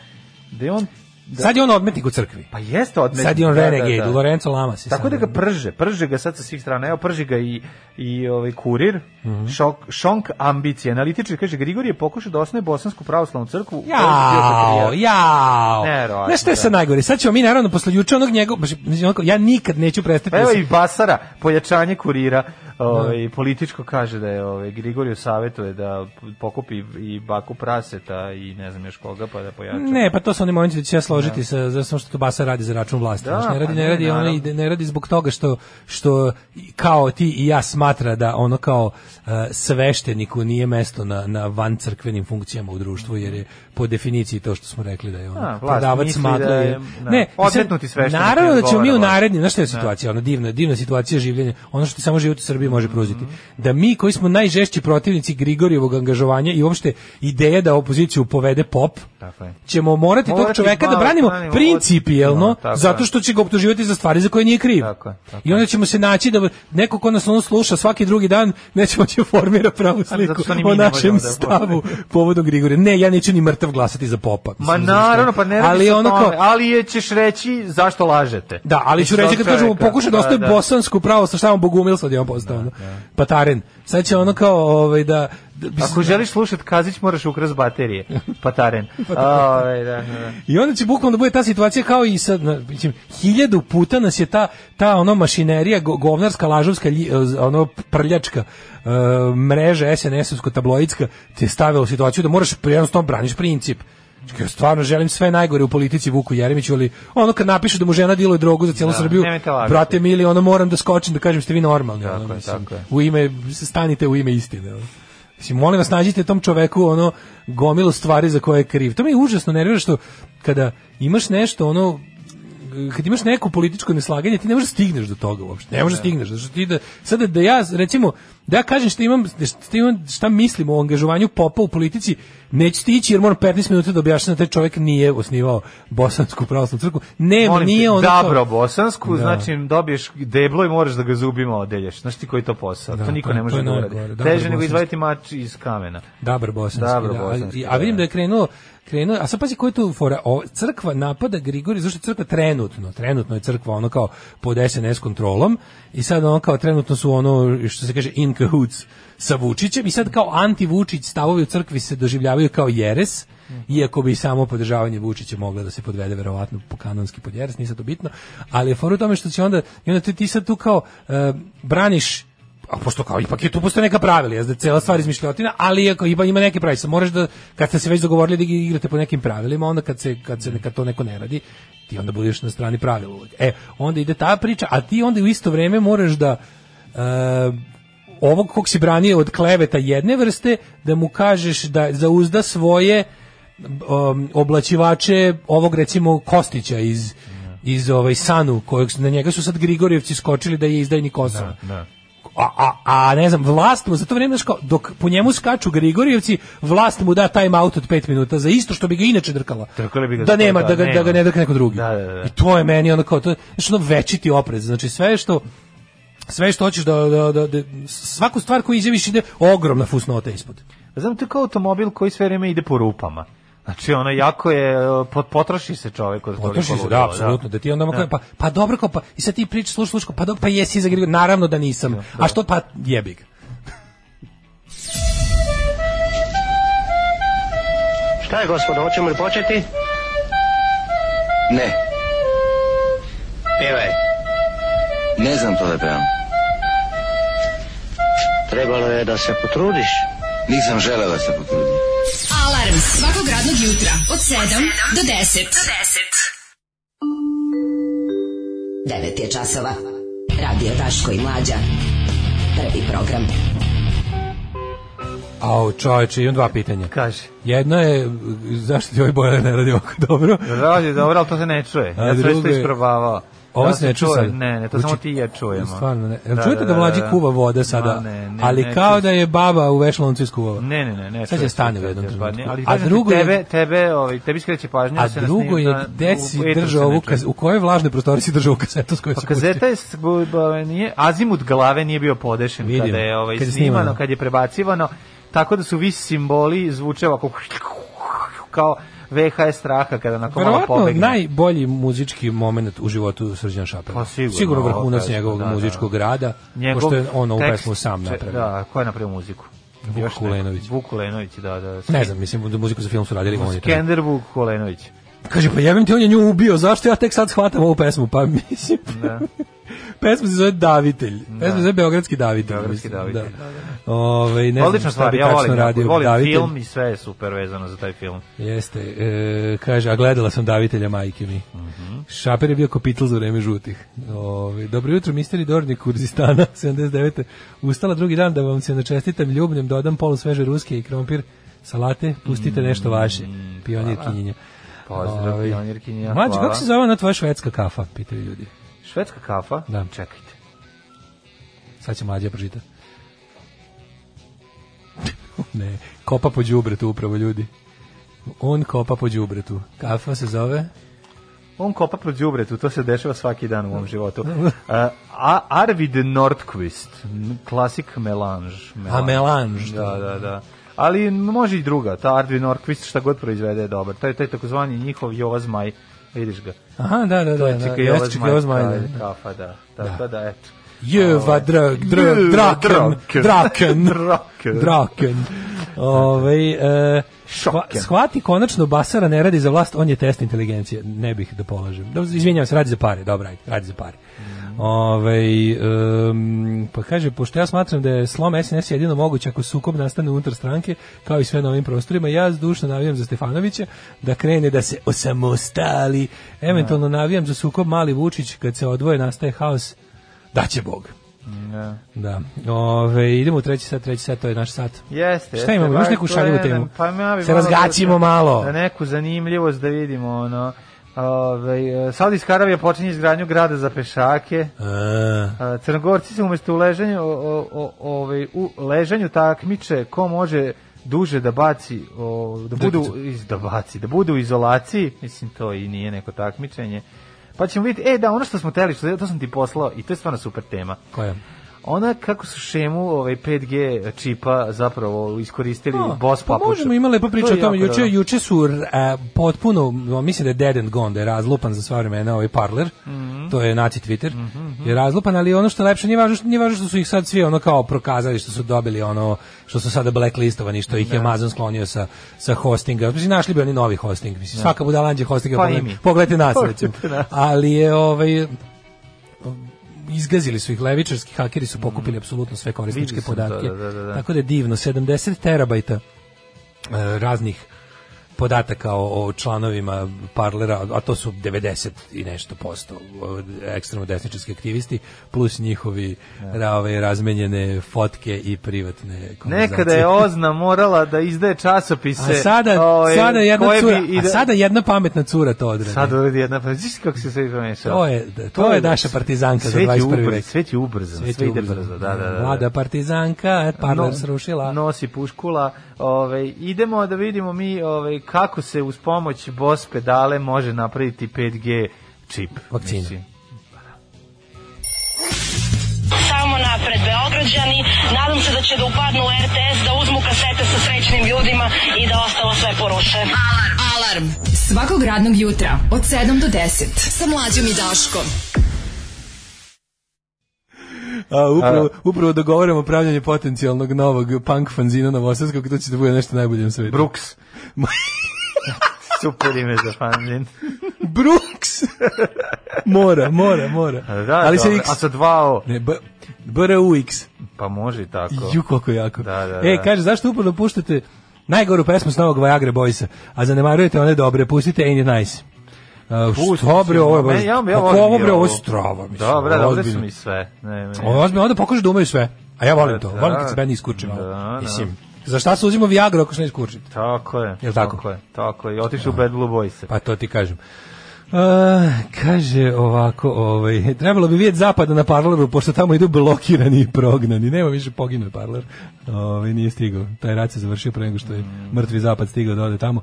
Speaker 6: da je on... Da,
Speaker 5: Sad je on odmetnik u crkvi.
Speaker 6: pa jeste odmet.
Speaker 5: Sad je on
Speaker 6: da, da,
Speaker 5: renegade,
Speaker 6: da.
Speaker 5: Lorenzo Lamas. je
Speaker 6: Tako
Speaker 5: sad.
Speaker 6: da ga prže, prže ga sad sa svih strana. Evo prži ga i i ovaj kurir.
Speaker 5: Mhm.
Speaker 6: Šok, šonk ambicije. Analitičar kaže Grigorije pokušao da osnuje bosansku pravoslavnu crkvu.
Speaker 5: Jao, jao.
Speaker 6: Neverovatno,
Speaker 5: Znaš što je sad najgore? Sad ćemo mi naravno posle juče onog njegov, baš, mislim, onako, ja nikad neću prestati.
Speaker 6: Pa
Speaker 5: da
Speaker 6: evo
Speaker 5: se-
Speaker 6: i Basara, pojačanje kurira, ovaj, političko kaže da je ovaj, Grigoriju savjetuje da pokupi i baku praseta i ne znam još koga pa da pojača.
Speaker 5: Ne, pa to su oni momenti da ću se ja složiti sa za samo što to Basa radi za račun vlasti.
Speaker 6: Da,
Speaker 5: Znaš, ne
Speaker 6: pa
Speaker 5: radi, ne
Speaker 6: ne,
Speaker 5: radi, ono,
Speaker 6: naravno.
Speaker 5: i- ne radi zbog toga što što i kao ti i ja smatra da ono kao e, svešteniku nije mesto na na van crkvenim funkcijama u društvu jer je po definiciji to što smo rekli da je on
Speaker 6: A, vlast
Speaker 5: prodavac
Speaker 6: misli
Speaker 5: smagle.
Speaker 6: da je,
Speaker 5: je-
Speaker 6: da,
Speaker 5: ne,
Speaker 6: odmetnuti
Speaker 5: mislim,
Speaker 6: sveštenik
Speaker 5: Naravno da ćemo mi
Speaker 6: odgovara
Speaker 5: u
Speaker 6: vlasti.
Speaker 5: narednim, znaš što je situacija, ono divna, divna situacija življenja, ono što ti samo život u Srbiji Srbiji
Speaker 6: Mhm.
Speaker 5: može pružiti. Da mi koji smo najžešći protivnici Grigorjevog angažovanja i uopšte ideje da opoziciju povede pop,
Speaker 6: Tako je.
Speaker 5: ćemo morati tog
Speaker 6: Morati
Speaker 5: čoveka da
Speaker 6: malo
Speaker 5: branimo
Speaker 6: branimo od-
Speaker 5: principijelno,
Speaker 6: No, tako je.
Speaker 5: zato što će ga optuživati za stvari za koje nije kriv.
Speaker 6: Tako je, tako
Speaker 5: I onda ćemo se naći da neko ko nas ono sluša svaki drugi dan nećemo će formira pravu
Speaker 6: Ali zato
Speaker 5: sliku
Speaker 6: što ni mi
Speaker 5: o
Speaker 6: ne
Speaker 5: našem
Speaker 6: možemo da
Speaker 5: stavu povodom Grigorija. Ne, ja neću ni mrtav glasati za popa.
Speaker 6: Ma
Speaker 5: Mislim, znaš šta.
Speaker 6: naravno, pa ne radi
Speaker 5: ali
Speaker 6: se o
Speaker 5: ono
Speaker 6: tome,
Speaker 5: kao,
Speaker 6: ali je ćeš reći zašto lažete.
Speaker 5: Da, ali ću
Speaker 6: Mislim,
Speaker 5: reći kad
Speaker 6: od
Speaker 5: kažemo
Speaker 6: čoveka.
Speaker 5: pokušaj da ostaje bosansku pravo sa štavom Bogumil sad je on
Speaker 6: Da,
Speaker 5: postao. ono, Pataren. Sad će ono kao ovaj da, da bi-
Speaker 6: Ako želiš slušat Kazić, moraš ukras baterije. Pataren.
Speaker 5: Pa
Speaker 6: Ovaj, da, da, da.
Speaker 5: I onda će bukvalno da bude ta situacija kao i sad, na- mislim, hiljadu puta nas je ta, ta ono mašinerija, go- govnarska, lažovska, lji- eh, ono prljačka e, mreža SNS-ovsko-tabloidska te je stavila u situaciju da moraš jednostavno braniš princip. Znači, Ja stvarno želim sve najgore u politici Vuku Jeremiću, ali ono kad napiše da mu žena diluje drogu za cijelu
Speaker 6: Da,
Speaker 5: Srbiju,
Speaker 6: nemojte lagati.
Speaker 5: brate mili, ono moram da skočim da kažem ste vi normalni.
Speaker 6: Tako
Speaker 5: ono,
Speaker 6: je,
Speaker 5: mislim,
Speaker 6: tako je.
Speaker 5: u ime, stanite u ime istine. ono. Mislim, molim vas, nađite tom čoveku ono gomilu stvari za koje je kriv. To me užasno nervira što kada imaš nešto ono kad imaš neko političko neslaganje, ti ne možeš da stigneš do toga uopšte. Ne možeš da stigneš. Znači ti da, sada da ja, recimo, da ja kažem šta imam, šta, imam, šta mislim o angažovanju popa u politici, neću stići jer moram 15 minuta da objašnjam da taj čovjek nije osnivao bosansku pravoslavnu crkvu. Ne,
Speaker 6: Molim
Speaker 5: nije
Speaker 6: te,
Speaker 5: ono... Da. kao-
Speaker 6: dabro bosansku, znači dobiješ deblo i moraš da ga zubima odelješ. Znaš ti koji je to posao?
Speaker 5: Da,
Speaker 6: to niko
Speaker 5: to je-
Speaker 6: ne
Speaker 5: to
Speaker 6: može
Speaker 5: je
Speaker 6: da
Speaker 5: najgore.
Speaker 6: uradi.
Speaker 5: Dabro
Speaker 6: Teže nego
Speaker 5: bosanski.
Speaker 6: izvaditi mač iz kamena.
Speaker 5: Dabar bosanski,
Speaker 6: Dabar
Speaker 5: da.
Speaker 6: bosanski,
Speaker 5: A, a vidim
Speaker 6: da.
Speaker 5: da je krenuo, krenuo a sad pazi koji je tu fora, o, crkva napada Grigorija, zašto je crkva trenutno, trenutno je crkva ono kao pod SNS kontrolom i sad ono kao trenutno su ono što se kaže in cahoots sa Vučićem i sad kao anti-Vučić stavovi u crkvi se doživljavaju kao jeres, iako bi i samo podržavanje Vučića moglo da se podvede verovatno po kanonski pod jeres, nije sad to bitno, ali je fora u tome što će onda, i onda ti, ti sad tu kao e, braniš a pošto kao ipak je tu postoje neka pravila, jeste cela stvar izmišljotina, ali ako ima ima neke pravila, sad moraš da kad ste se već dogovorili da igrate po nekim pravilima, onda kad se kad se kad to neko ne radi, ti onda budeš na strani pravila. uvek. E, onda ide ta priča, a ti onda u isto vreme moraš da e, ovog kog si branio od kleveta jedne vrste, da mu kažeš da zauzda svoje um, oblačivače ovog recimo Kostića iz iz ovaj Sanu kojeg su- na njega su sad Grigorjevci skočili da je izdajnik Kosova.
Speaker 6: Da.
Speaker 5: A, a, a ne znam, vlast mu za to vreme, znaš kao, dok po njemu skaču Grigorjevci, vlast mu da time out od 5 minuta za isto što bi ga inače drkala.
Speaker 6: Drkali bi ga
Speaker 5: da
Speaker 6: za to,
Speaker 5: nema,
Speaker 6: da,
Speaker 5: da, ga, da
Speaker 6: nema.
Speaker 5: ga ne drka neko drugi.
Speaker 6: Da, da, da.
Speaker 5: I to je meni ono kao, to je znaš, ono večiti oprez. Znači sve što sve što hoćeš da, da, da, da svaku stvar koju izjaviš ide ogromna fusnota ispod.
Speaker 6: Znam, to je kao automobil koji sve vreme ide po rupama. Znači, ono, jako je, e, pot- potroši se čovjek od toliko
Speaker 5: Potroši se,
Speaker 6: ludila,
Speaker 5: da, apsolutno, da ti onda da. pa, pa dobro, kao, pa, i sad ti pričaš, slušaš, slušaš, pa dobro, pa jesi za Grigorija, naravno da nisam, a što, pa jebi ga.
Speaker 1: Šta je, gospodo, hoćemo li početi?
Speaker 3: Ne,
Speaker 1: Pevaj.
Speaker 3: ne znam to da pevam.
Speaker 1: Trebalo je da se potrudiš.
Speaker 3: Nisam želeo da se potrudim.
Speaker 4: Alarm svakog radnog jutra od 7 do 10.
Speaker 8: 9 je časova. Radio Daško i Mlađa. Prvi program.
Speaker 5: Au, čoveče, imam dva pitanja.
Speaker 6: Kaže.
Speaker 5: Jedno je, zašto ti ovaj bojler ne radi ovako dobro?
Speaker 6: Radi, dobro, ali to se ne čuje.
Speaker 5: A
Speaker 6: Ja sve
Speaker 5: drugo
Speaker 6: što
Speaker 5: je-
Speaker 6: isprobavao.
Speaker 5: Ovo
Speaker 6: Da
Speaker 5: se ne čuje sad.
Speaker 6: Ne, ne, to samo
Speaker 5: Uči-
Speaker 6: ti i ja čujemo.
Speaker 5: Stvarno ne. Jel čujete da, mlađi kuva vode sada?
Speaker 6: Ma, ne, ne,
Speaker 5: ali
Speaker 6: ne,
Speaker 5: kao
Speaker 6: čuje
Speaker 5: da je baba u vešloncu iskuvala.
Speaker 6: Ne, ne, ne, ne.
Speaker 5: Sad će
Speaker 6: čuje
Speaker 5: stane
Speaker 6: se,
Speaker 5: u jednom
Speaker 6: sad će, pa ne,
Speaker 5: trenutku.
Speaker 6: Ali
Speaker 5: A
Speaker 6: kažem ti,
Speaker 5: drugo je-
Speaker 6: tebe, tebe, ovaj, tebi skreće pažnja.
Speaker 5: A
Speaker 6: da se na
Speaker 5: drugo
Speaker 6: snim-
Speaker 5: je,
Speaker 6: na-
Speaker 5: gde
Speaker 6: u-
Speaker 5: si
Speaker 6: u etru
Speaker 5: držao
Speaker 6: se ne
Speaker 5: ovu,
Speaker 6: čuje.
Speaker 5: kaz, u kojoj vlažnoj prostoriji si držao ovu kazetu s kojoj
Speaker 6: Pa
Speaker 5: si
Speaker 6: kazeta
Speaker 5: pustio?
Speaker 6: je, s- bu- bu- nije, azimut glave nije bio podešen
Speaker 5: Vidim,
Speaker 6: kada je, ovaj,
Speaker 5: kad je snimano.
Speaker 6: snimano, kad je prebacivano, tako da su vi simboli zvuče ovako kao VHS straha kada nakon malo
Speaker 5: Verovatno
Speaker 6: pobegne.
Speaker 5: najbolji muzički moment u životu Srđana Šapela.
Speaker 6: Pa sigurno,
Speaker 5: sigurno
Speaker 6: ovo
Speaker 5: vrhunac
Speaker 6: kažem,
Speaker 5: njegovog
Speaker 6: da, da.
Speaker 5: muzičkog rada, pošto je on ovu
Speaker 6: tekst-
Speaker 5: pesmu sam
Speaker 6: če-
Speaker 5: napravio.
Speaker 6: Da, ko je napravio muziku?
Speaker 5: Vuk
Speaker 6: Još neko.
Speaker 5: Kulenović.
Speaker 6: Vuk Kulenović, da, da.
Speaker 5: Ne znam, mislim da muziku za film su radili oni. tamo.
Speaker 6: Skender Vuk Kulenović.
Speaker 5: Kaže, pa jebem ti, on je nju ubio, zašto ja tek sad shvatam ovu pesmu? Pa mislim,
Speaker 6: Da.
Speaker 5: pesma se zove Davitelj. Pesma se zove Beogradski Davitelj.
Speaker 6: Beogradski
Speaker 5: mislim,
Speaker 6: Davitelj,
Speaker 5: Da. Ove, ne
Speaker 6: Odlična
Speaker 5: znam šta
Speaker 6: stvar,
Speaker 5: bi
Speaker 6: ja
Speaker 5: tačno
Speaker 6: volim,
Speaker 5: radio.
Speaker 6: volim
Speaker 5: Davitelj.
Speaker 6: film i sve je super vezano za taj film.
Speaker 5: Jeste, e, kaže, a gledala sam davitelja majke mi.
Speaker 6: Mhm.
Speaker 5: Šaper je bio kopitl za vreme žutih. Ove, dobro jutro, misteri Dornik Kurzistana, 79. Ustala drugi dan da vam se načestitam ljubnjem, dodam polu sveže ruske i krompir salate, pustite nešto vaše.
Speaker 6: Mm,
Speaker 5: Pionir kinjenja.
Speaker 6: Pozdrav, pionirkinja,
Speaker 5: Ovaj, Mlađe,
Speaker 6: hvala.
Speaker 5: kako se zove ona tvoja švedska kafa, pitaju ljudi.
Speaker 6: Švedska kafa?
Speaker 5: Da.
Speaker 6: Čekajte.
Speaker 5: Sad će mlađa pročita. ne, kopa po đubretu upravo ljudi. On kopa po đubretu. Kafa se zove?
Speaker 6: On kopa po đubretu, to se dešava svaki dan u
Speaker 5: Da.
Speaker 6: mom životu. Uh, A- Arvid Nordqvist, m, klasik melange.
Speaker 5: A melanž.
Speaker 6: Da, da, da. Ali može i druga, ta Arvid Nordqvist šta god proizvede je dobar. To je taj takozvani njihov Jova Zmaj, vidiš ga.
Speaker 5: Aha, da, da, da.
Speaker 6: To je
Speaker 5: da,
Speaker 6: čika
Speaker 5: jeste
Speaker 6: Jova
Speaker 5: čika Jova Zmaj, da.
Speaker 6: Kafa, da. Tako da, eto.
Speaker 5: Jeva, drag, drag,
Speaker 6: Ovaj. Jeva,
Speaker 5: draken,
Speaker 6: draken.
Speaker 5: draken,
Speaker 6: Draken.
Speaker 5: draken. Ove, e,
Speaker 6: Šoken.
Speaker 5: shva- shvati konačno Basara ne radi za vlast, on je test inteligencije. Ne bih da polažem. Da, izvinjavam se, radi za pare, dobra, ajde, radi za pare. Ove, em, pa kaže, pošto ja smatram da je slom SNS jedino moguće ako sukob nastane unutar stranke, kao i sve na ovim prostorima, ja zdušno navijam za Stefanovića da krene da se osamostali. Eventualno navijam za sukob Mali Vučić kad se odvoje nastaje haos da će Bog.
Speaker 6: Da.
Speaker 5: Da. Ove, idemo u treći sat, treći sat, to je naš sat.
Speaker 6: Jeste.
Speaker 5: Šta
Speaker 6: jeste,
Speaker 5: imamo? Imaš
Speaker 6: baš
Speaker 5: neku
Speaker 6: to
Speaker 5: šaljivu
Speaker 6: je,
Speaker 5: temu?
Speaker 6: Pa ja bi
Speaker 5: Se
Speaker 6: volao
Speaker 5: razgaćimo
Speaker 6: da-
Speaker 5: malo.
Speaker 6: Da neku zanimljivost da vidimo, ono. Ove, Saudijska Arabija počinje izgradnju grada za pešake.
Speaker 5: E,
Speaker 6: A, Crnogorci se umesto u ležanju, o, o, o, ovaj, u ležanju takmiče ko može duže da baci, o, da budu iz, da baci, da budu u izolaciji, mislim to i nije neko takmičenje. Pa ćemo vidjeti, e da, ono što smo teli, što, to sam ti poslao i to je stvarno super tema.
Speaker 5: koja?
Speaker 6: Ona kako su šemu ovaj 5G čipa zapravo iskoristili u boss
Speaker 5: pa
Speaker 6: papuču.
Speaker 5: možemo ima lepa priča
Speaker 6: To
Speaker 5: o
Speaker 6: je
Speaker 5: tome.
Speaker 6: jako
Speaker 5: Juče,
Speaker 6: dobro.
Speaker 5: juče su e, potpuno, no, mislim da je dead and gone, da je razlupan za sva vremena ovaj parler,
Speaker 6: Mhm.
Speaker 5: to je naci Twitter, je razlupan, ali ono što je najlepše, nije važno, što- nije važno što su ih sad svi ono kao prokazali, što su dobili ono, što su sada blacklistovani, što
Speaker 6: Da.
Speaker 5: ih je Amazon sklonio sa, sa hostinga. Mislim, našli bi oni novi hosting, mislim, svaka budala anđe hostinga,
Speaker 6: Da. Pa i
Speaker 5: pogledajte,
Speaker 6: mi.
Speaker 5: pogledajte nas, recimo.
Speaker 6: Pogledajte nas.
Speaker 5: Ali je ovaj, izgazili su ih levičarski hakeri su pokupili apsolutno sve korisničke
Speaker 6: Vidio sam Mm. to,
Speaker 5: podatke.
Speaker 6: da, da, da, da.
Speaker 5: Tako da je divno 70 terabajta e, raznih podataka o, o članovima parlera, a to su 90 i nešto posto od ekstremno desničarski aktivisti, plus njihovi ra, ove, razmenjene fotke i privatne konverzacije.
Speaker 6: Da. Nekada je Ozna morala da izdaje časopise.
Speaker 5: A sada,
Speaker 6: ovaj,
Speaker 5: sada, jedna
Speaker 6: koje bi
Speaker 5: cura,
Speaker 6: i
Speaker 5: a
Speaker 6: da-
Speaker 5: sada jedna pametna cura to odradi.
Speaker 6: Sad uredi jedna, pa znaš kako se sve pomešalo?
Speaker 5: To je- to je naša partizanka za
Speaker 6: Svet je
Speaker 5: 21.
Speaker 6: ubrz-
Speaker 5: vek.
Speaker 6: Svet je ubrzan, sve,
Speaker 5: Sve će
Speaker 6: ide
Speaker 5: ubrzo.
Speaker 6: brzo, da, da, da. da.
Speaker 5: Mlada partizanka, e, parler srušila.
Speaker 6: Nosi puškula. Ove, idemo da vidimo mi ove, kako se uz pomoć BOS pedale može napraviti 5G čip.
Speaker 5: Vakcina.
Speaker 6: Mislim.
Speaker 2: Samo napred Beograđani, nadam se da će da upadnu u RTS, da uzmu kasete sa srećnim ljudima i da ostalo sve poruše.
Speaker 4: Alarm. Alarm. Svakog radnog jutra od 7 do 10. Sa mlađom i Daškom.
Speaker 5: A, upravo, upravo da dogovaramo pravljanje potencijalnog novog punk fanzina novosadskog, to će da bude nešto najbolje na svetu.
Speaker 6: Brooks. Super ime za fanzin.
Speaker 5: Brooks! mora, mora, mora.
Speaker 6: Da,
Speaker 5: Ali se
Speaker 6: dobro.
Speaker 5: X...
Speaker 6: A sa dva O.
Speaker 5: Ne, B... BRUX.
Speaker 6: Pa može i tako.
Speaker 5: Ju, koliko jako.
Speaker 6: Da, da,
Speaker 5: e,
Speaker 6: da.
Speaker 5: kaže, zašto uporno puštate najgoru pesmu s novog Viagra Boysa, a zanemarujete one dobre, pustite Ain't It Nice. Uh,
Speaker 6: Pusti
Speaker 5: što bre,
Speaker 6: sigurno.
Speaker 5: ovo je baš...
Speaker 6: Meni- ja- ja
Speaker 5: Pa
Speaker 6: volim
Speaker 5: ovo
Speaker 6: i
Speaker 5: bre, ovo je strava, mislim.
Speaker 6: Dobra, dobre su
Speaker 5: ozbiljno.
Speaker 6: mi sve. Ne, ne.
Speaker 5: Ovo je ozbiljno, onda pokažu da umeju sve. A ja volim to,
Speaker 6: Da,
Speaker 5: volim kad se
Speaker 6: da.
Speaker 5: meni iskuči malo.
Speaker 6: Da, da.
Speaker 5: Mislim, za šta se uzimo Viagra ako se ne iskučite?
Speaker 6: Tako je.
Speaker 5: Jel tako?
Speaker 6: je, tako je. Otišu u Bad Blue Boys.
Speaker 5: Pa to ti kažem. A, kaže ovako, ovaj, trebalo bi vidjeti zapada na parleru, pošto tamo idu blokirani i prognani. Nema više poginut parler. Ovaj, nije stigao. Taj rat se završio pre nego što je mrtvi zapad stigao da ode tamo.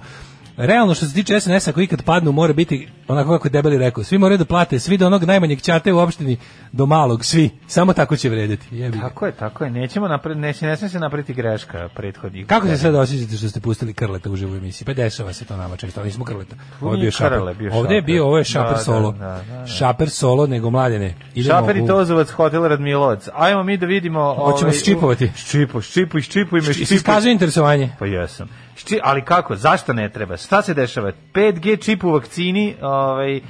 Speaker 5: Realno što se tiče SNS-a, ako ikad padnu, mora biti onako kako je debeli rekao. Svi moraju da plate, svi do onog najmanjeg ćate u opštini, do malog, svi. Samo tako će vrediti. Jebi ga.
Speaker 6: Tako je, tako je. Nećemo napred, ne, ne smije se napraviti greška prethodnih.
Speaker 5: Kako se sada osjećate što ste pustili Krleta u živoj emisiji? Pa dešava se to nama često, ali nismo Krleta. Ovo je bio
Speaker 6: Nije
Speaker 5: Šaper.
Speaker 6: Krle, bio
Speaker 5: Ovde je
Speaker 6: Šaper.
Speaker 5: bio, ovo je Šaper
Speaker 6: Da, da,
Speaker 5: solo.
Speaker 6: da, da, da.
Speaker 5: Šaper solo, nego mladene. Idemo
Speaker 6: Šaper i
Speaker 5: u-
Speaker 6: Tozovac, Hotel Radmilovac. Ajmo mi da vidimo...
Speaker 5: Hoćemo
Speaker 6: ovaj,
Speaker 5: ščipovati.
Speaker 6: u- Ščipu, ščipu, ščipu i me
Speaker 5: Jesi
Speaker 6: ščipu.
Speaker 5: iskazao interesovanje?
Speaker 6: Pa jesam. Šči, ali kako? Zašto ne treba? Šta se dešava? 5G čip u vakcini, ovaj, eh,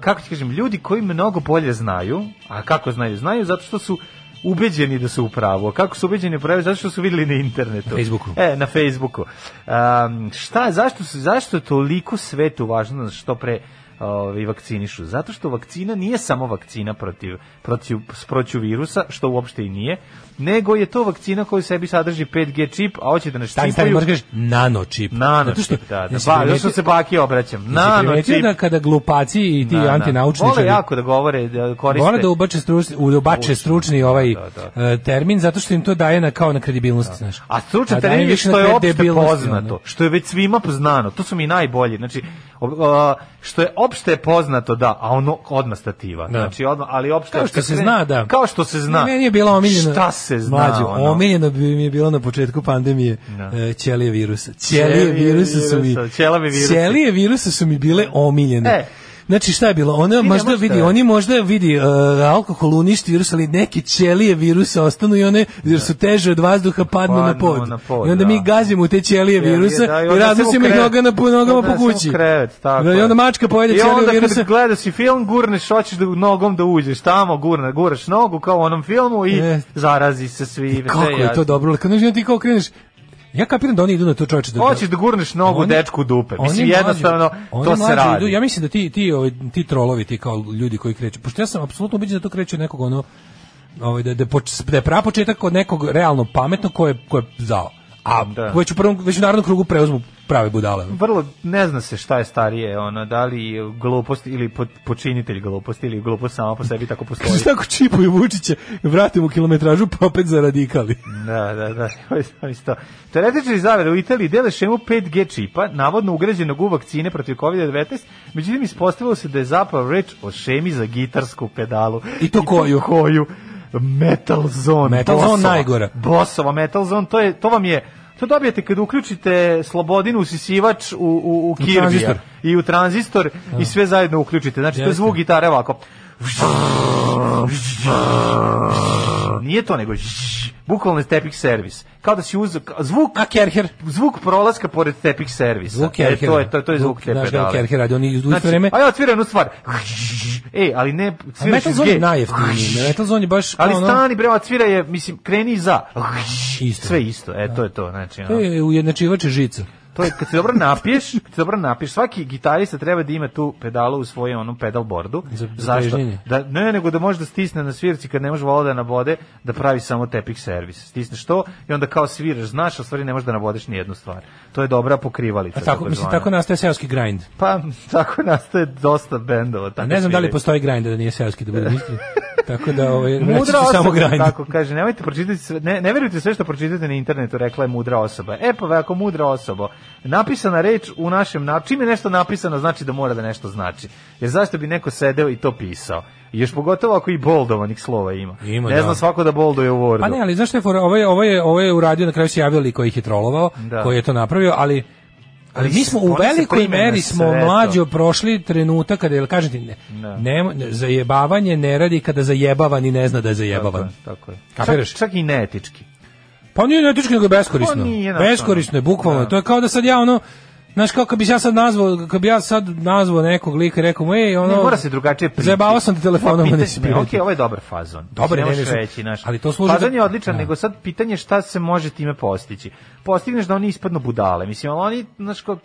Speaker 6: kako ti kažem, ljudi koji mnogo bolje znaju, a kako znaju? Znaju zato što su ubeđeni da su u pravu. A kako su ubeđeni u pravu? Zato što su vidjeli na internetu. Na
Speaker 5: Facebooku.
Speaker 6: E, na Facebooku. Um, šta, zašto, su- zašto je toliko svetu važno da što pre ovaj vakcinišu zato što vakcina nije samo vakcina protiv protiv protiv virusa što uopšte i nije nego je to vakcina koja u sebi sadrži 5G čip a hoće da nas
Speaker 5: Stani, stani, moraš kažeš nano čip.
Speaker 6: Nano
Speaker 5: Zato što-
Speaker 6: čip, da, da.
Speaker 5: jesi
Speaker 6: Ba,
Speaker 5: primetio-
Speaker 6: još se baki obraćam.
Speaker 5: Jesi
Speaker 6: Nano
Speaker 5: primetio
Speaker 6: čip.
Speaker 5: da kada glupaci i ti
Speaker 6: Da, da.
Speaker 5: antinaučničari
Speaker 6: Vole jako da govore, da koriste.
Speaker 5: Mora da ubače stručni, u- da ubače
Speaker 6: Stručni,
Speaker 5: stručni
Speaker 6: da,
Speaker 5: ovaj
Speaker 6: da,
Speaker 5: e, termin zato što im to daje na kao na kredibilnosti, znaš.
Speaker 6: A stručan
Speaker 5: daje
Speaker 6: trening je
Speaker 5: više na
Speaker 6: što je opšte
Speaker 5: kredibilnosti,
Speaker 6: poznato, što je već svima poznano, to su mi najbolji, znači, ob- a, što je opšte poznato, da, a ono odmah stativa,
Speaker 5: Da.
Speaker 6: znači, odmah, ali opšte...
Speaker 5: Kao što
Speaker 6: kad
Speaker 5: se
Speaker 6: krene-
Speaker 5: zna, da.
Speaker 6: Kao što se zna.
Speaker 5: Meni je bila omiljena.
Speaker 6: Šta se zna,
Speaker 5: Mlađo,
Speaker 6: ono?
Speaker 5: omiljeno bi mi je bilo na početku pandemije
Speaker 6: Da.
Speaker 5: e, ćelije virusa. Ćelije
Speaker 6: Ćelije
Speaker 5: virusa su mi.
Speaker 6: virusa, ćelavi virusi.
Speaker 5: Ćelije virusa su mi bile omiljene.
Speaker 6: E.
Speaker 5: Znači šta je bilo? Ona
Speaker 6: ne
Speaker 5: možda
Speaker 6: možete-
Speaker 5: vidi, oni možda vidi e, alkohol uništi virus, ali neke ćelije virusa ostanu i one jer su teže od vazduha padnu, na,
Speaker 6: Da. Padnu
Speaker 5: pod.
Speaker 6: na pod,
Speaker 5: I onda mi
Speaker 6: da.
Speaker 5: gazimo u te ćelije
Speaker 6: Ćelije,
Speaker 5: virusa
Speaker 6: da, i
Speaker 5: i
Speaker 6: onda se u
Speaker 5: raznosimo ih
Speaker 6: krevet.
Speaker 5: nogama po nogama
Speaker 6: Odnesemo
Speaker 5: po kući.
Speaker 6: u krevet, tako
Speaker 5: Da, I
Speaker 6: je.
Speaker 5: onda mačka pojede
Speaker 6: I
Speaker 5: ćeliju
Speaker 6: onda
Speaker 5: virusa.
Speaker 6: kad gledaš si film, gurneš, hoćeš da nogom da uđeš tamo, gurna, guraš nogu kao u onom filmu i
Speaker 5: E.
Speaker 6: zarazi se svi. sve
Speaker 5: Kako je
Speaker 6: jasno.
Speaker 5: to dobro? Kad ne ti kao kreneš, ja kapiram da oni idu na to čoveče. Da,
Speaker 6: Hoćeš da gurneš nogu
Speaker 5: Oni-
Speaker 6: dečku u dupe. Mislim,
Speaker 5: oni mlađi-
Speaker 6: jednostavno,
Speaker 5: oni
Speaker 6: to se
Speaker 5: mlađi
Speaker 6: radi.
Speaker 5: idu- ja mislim da ti, ti, ovaj, ti trolovi, ti kao ljudi koji kreću, pošto ja sam apsolutno ubiđen da to kreće od nekog ono, ovaj, da, da, je poč- da je prapočetak od nekog realno pametnog koje, koje je zao. A
Speaker 6: Da.
Speaker 5: već, u prvom, već u narodnom krugu preuzmu prave budale.
Speaker 6: vrlo ne zna se šta je starije ono da li glupost ili po- počinitelj gluposti ili glupost sama po sebi tako postoji
Speaker 5: Šta ako čipuju Vučića, vrate mu kilometražu, pa opet zaradikali.
Speaker 6: da da da isto teoretičari zavere u Italiji dele šemu 5G čipa navodno ugrađenog u vakcine protiv COVID-19 međutim ispostavilo se da je zapravo reč o šemi za gitarsku pedalu
Speaker 5: I to koju?
Speaker 6: koju Metal Zone
Speaker 5: Metal Zone
Speaker 6: Bossova.
Speaker 5: najgora.
Speaker 6: Bossova Metal Zone to je to vam je to dobijete kad uključite slobodinu usisivač u u u Kirbija.
Speaker 5: tranzistor. Da.
Speaker 6: i u tranzistor i sve zajedno uključite. Znači, to je
Speaker 5: Jeste.
Speaker 6: zvuk gitare ovako. Nije to nego bukvalno je tepik servis. Kao da si uz zvuk
Speaker 5: A Kerher?
Speaker 6: zvuk prolaska pored tepik servisa.
Speaker 5: Zvuk
Speaker 6: E,
Speaker 5: Kerhera.
Speaker 6: to je to, je- to je zvuk te
Speaker 5: Znaš kako
Speaker 6: pedale.
Speaker 5: Kerher radi, oni u isto
Speaker 6: Znači,
Speaker 5: vreme...
Speaker 6: a ja otviram jednu stvar. Ej, ali ne
Speaker 5: A
Speaker 6: sviraš
Speaker 5: Metal
Speaker 6: iz
Speaker 5: Zone je
Speaker 6: G.
Speaker 5: najjeftiniji. Metal Zone je baš...
Speaker 6: Ali
Speaker 5: ono-
Speaker 6: stani bre, odsvira je, mislim, kreni i za.
Speaker 5: Isto.
Speaker 6: Sve isto. E, to je to, znači.
Speaker 5: To
Speaker 6: ono.
Speaker 5: je e, ujednačivač žica.
Speaker 6: To je kad se dobro napiješ, kad se dobro napiješ, svaki gitarista treba da ima tu pedalu u svojem onom pedalbordu.
Speaker 5: Za- za
Speaker 6: Zašto?
Speaker 5: težnjenje.
Speaker 6: Da ne nego da može da stisne na svirci kad ne može vola da nabode, da pravi samo tepik servis. Stisneš to i onda kao sviraš, znaš, a u stvari ne možeš da nabodeš ni jednu stvar. To je dobra pokrivalica.
Speaker 5: A tako, mislim,
Speaker 6: takozvana.
Speaker 5: tako nastaje seoski grind.
Speaker 6: pa tako nastaje dosta bendova,
Speaker 5: A
Speaker 6: tako.
Speaker 5: ne znam da li
Speaker 6: sviraju.
Speaker 5: postoji grind da nije seoski, da budem iskren. Tako da, ovaj, reći ću
Speaker 6: Mudra osoba,
Speaker 5: samo grind.
Speaker 6: tako kaže, nemojte pročitati sve, ne, ne verujte sve što pročitate na internetu, rekla je mudra osoba. E pa ako mudra osoba, napisana reč u našem, na, čim je nešto napisano znači da mora da nešto znači. Jer zašto bi neko sedeo i to pisao? I Još pogotovo ako i boldovanih slova ima.
Speaker 5: Ima,
Speaker 6: ne
Speaker 5: da.
Speaker 6: znam svako da bolduje u Wordu.
Speaker 5: Pa ne, ali zašto je fora, ovo je, ovo je, ovo je uradio, na kraju se javio lik koji ih je trolovao,
Speaker 6: Da.
Speaker 5: koji je to napravio, ali Ali
Speaker 6: Ali
Speaker 5: mi
Speaker 6: se-
Speaker 5: smo u
Speaker 6: oni se
Speaker 5: velikoj
Speaker 6: prime na
Speaker 5: meri smo
Speaker 6: sve to.
Speaker 5: mlađo prošli trenutak kada jel kažete ne,
Speaker 6: Da.
Speaker 5: nemo- ne, zajebavanje ne radi kada zajebavani ne zna da je
Speaker 6: Tako je,
Speaker 5: zajebavan.
Speaker 6: tako je.
Speaker 5: Kapiraš?
Speaker 6: Čak, čak i neetički.
Speaker 5: Pa nije netički, nego je beskorisno.
Speaker 6: Pa nije, znaš,
Speaker 5: beskorisno je,
Speaker 6: ono.
Speaker 5: bukvalno.
Speaker 6: Da.
Speaker 5: To je kao da sad ja ono, znaš, kao kad bi ja sad nazvao, kad bi ja sad nazvao nekog lika i rekao mu, ej, ono...
Speaker 6: Ne, mora se drugačije primiti.
Speaker 5: Zajebavao sam ti telefonom,
Speaker 6: Pa,
Speaker 5: a
Speaker 6: pita-
Speaker 5: nisi
Speaker 6: ne,
Speaker 5: primetio.
Speaker 6: Okej, ovo je dobar fazon.
Speaker 5: Dobar je,
Speaker 6: Mislim, ne
Speaker 5: ne,
Speaker 6: možeš
Speaker 5: ne,
Speaker 6: reći, znaš.
Speaker 5: ali to služi
Speaker 6: Fazon
Speaker 5: da-
Speaker 6: je odličan,
Speaker 5: Da.
Speaker 6: nego sad pitanje je šta se može time postići. Postigneš da oni ispadnu budale. Mislim, ali oni, znaš, kao,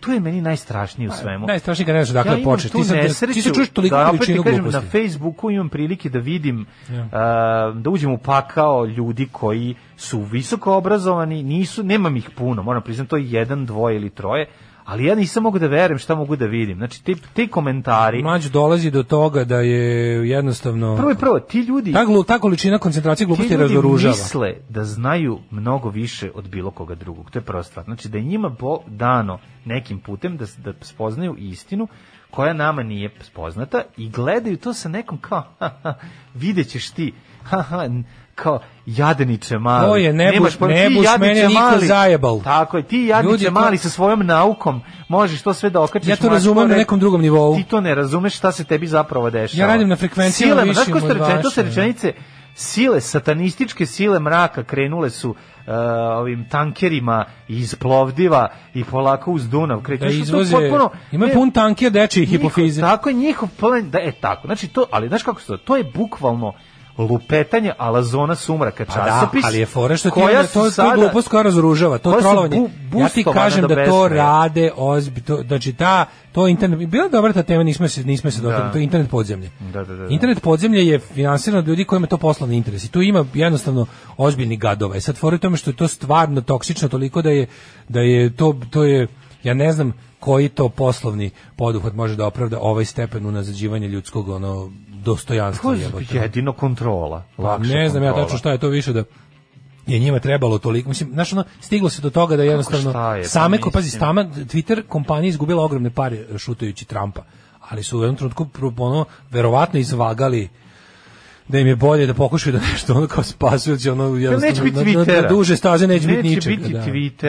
Speaker 6: tu je meni najstrašnije u svemu.
Speaker 5: Najstrašnije kad Pa, ne znaš dakle
Speaker 6: imam
Speaker 5: počneš.
Speaker 6: tu
Speaker 5: Ti, sad,
Speaker 6: nesreću
Speaker 5: ti se čuješ toliko
Speaker 6: da, opet ti
Speaker 5: količinu
Speaker 6: kažem,
Speaker 5: gluposti.
Speaker 6: Na Facebooku imam prilike da vidim,
Speaker 5: Ja.
Speaker 6: a, da uđem u pakao ljudi koji su visoko obrazovani, nisu, nemam ih puno, moram priznati, to je jedan, dvoje ili troje, ali ja nisam mogu da verujem šta mogu da vidim. Znači, ti, ti komentari,
Speaker 5: Mlađo dolazi do toga da je jednostavno...
Speaker 6: prvo i prvo, ti ljudi...
Speaker 5: Ta, glu- ta količina koncentracije gluposti
Speaker 6: Ti ljudi
Speaker 5: razoružava.
Speaker 6: misle da znaju mnogo više od bilo koga drugog. To je prva stvar. Znači da je njima bo dano nekim putem da, s- da spoznaju istinu koja nama nije spoznata i gledaju to sa nekom kao, ha, ha, vidjet ćeš ti, ha, ha, n- kao jadeniče mali.
Speaker 5: To je nebuš-
Speaker 6: Nemaš pojma, ti
Speaker 5: nebuš,
Speaker 6: jadniče
Speaker 5: mene je niko zajebal.
Speaker 6: Tako je, ti
Speaker 5: Ljudi,
Speaker 6: jadniče
Speaker 5: to-
Speaker 6: mali sa svojom naukom možeš to sve da okačiš.
Speaker 5: Ja to
Speaker 6: maš,
Speaker 5: razumem na
Speaker 6: re-
Speaker 5: nekom drugom nivou.
Speaker 6: Ti to ne razumeš šta se tebi zapravo dešava.
Speaker 5: Ja radim na frekvencijama
Speaker 6: Silama,
Speaker 5: višim
Speaker 6: znaš ko što
Speaker 5: od
Speaker 6: reče- to se
Speaker 5: vaše.
Speaker 6: rečeni- rečenice sile satanističke sile mraka krenule su e, ovim tankerima iz Plovdiva i polako uz Dunav kreću
Speaker 5: Da
Speaker 6: Što to
Speaker 5: izvoze...
Speaker 6: potpuno-
Speaker 5: Ima
Speaker 6: ne,
Speaker 5: pun tankija dečije
Speaker 6: njihov-
Speaker 5: hipofize.
Speaker 6: tako je njihov plan da e tako znači to ali znaš kako se to je bukvalno lupetanje ala zona sumraka
Speaker 5: Pa da,
Speaker 6: časopis.
Speaker 5: ali je fora što ti
Speaker 6: koja
Speaker 5: onda
Speaker 6: su
Speaker 5: to, to
Speaker 6: sada-
Speaker 5: glupost koja razoružava, to
Speaker 6: koja su
Speaker 5: trolovanje.
Speaker 6: bu-
Speaker 5: ja ti
Speaker 6: boostovana
Speaker 5: kažem
Speaker 6: do
Speaker 5: da to
Speaker 6: beskraja.
Speaker 5: rade ozbi, to, znači ta, to internet, bila je dobra ta tema, nismo se, nismo se dotakli, to je internet podzemlje.
Speaker 6: Da, da, da, da.
Speaker 5: Internet podzemlje je finansirano od ljudi kojima je to poslovni interes i tu ima jednostavno ozbiljni gadova. I sad fora je u tome što je to stvarno toksično toliko da je, da je to, to je, ja ne znam koji to poslovni poduhvat može da opravda ovaj stepen unazađivanja ljudskog ono dostojanstva.
Speaker 6: To je
Speaker 5: jebote.
Speaker 6: jedino kontrola.
Speaker 5: Pa
Speaker 6: lakša
Speaker 5: ne znam ja
Speaker 6: kontrola.
Speaker 5: tačno šta je to više da je njima trebalo toliko. Mislim, znaš, ono, stiglo se do toga da
Speaker 6: šta
Speaker 5: jednostavno
Speaker 6: je, pa
Speaker 5: same, ko, pazi,
Speaker 6: mislim.
Speaker 5: stama, Twitter kompanija izgubila ogromne pare e, šutajući Trumpa, ali su u jednom trenutku pro- ono, verovatno izvagali da im je bolje da pokušaju da nešto ono kao spasujući ono
Speaker 6: Ja, neće biti
Speaker 5: jednostavno na, na,
Speaker 6: Twittera.
Speaker 5: na duže staze neće, biti ničega.
Speaker 6: Neće biti
Speaker 5: da.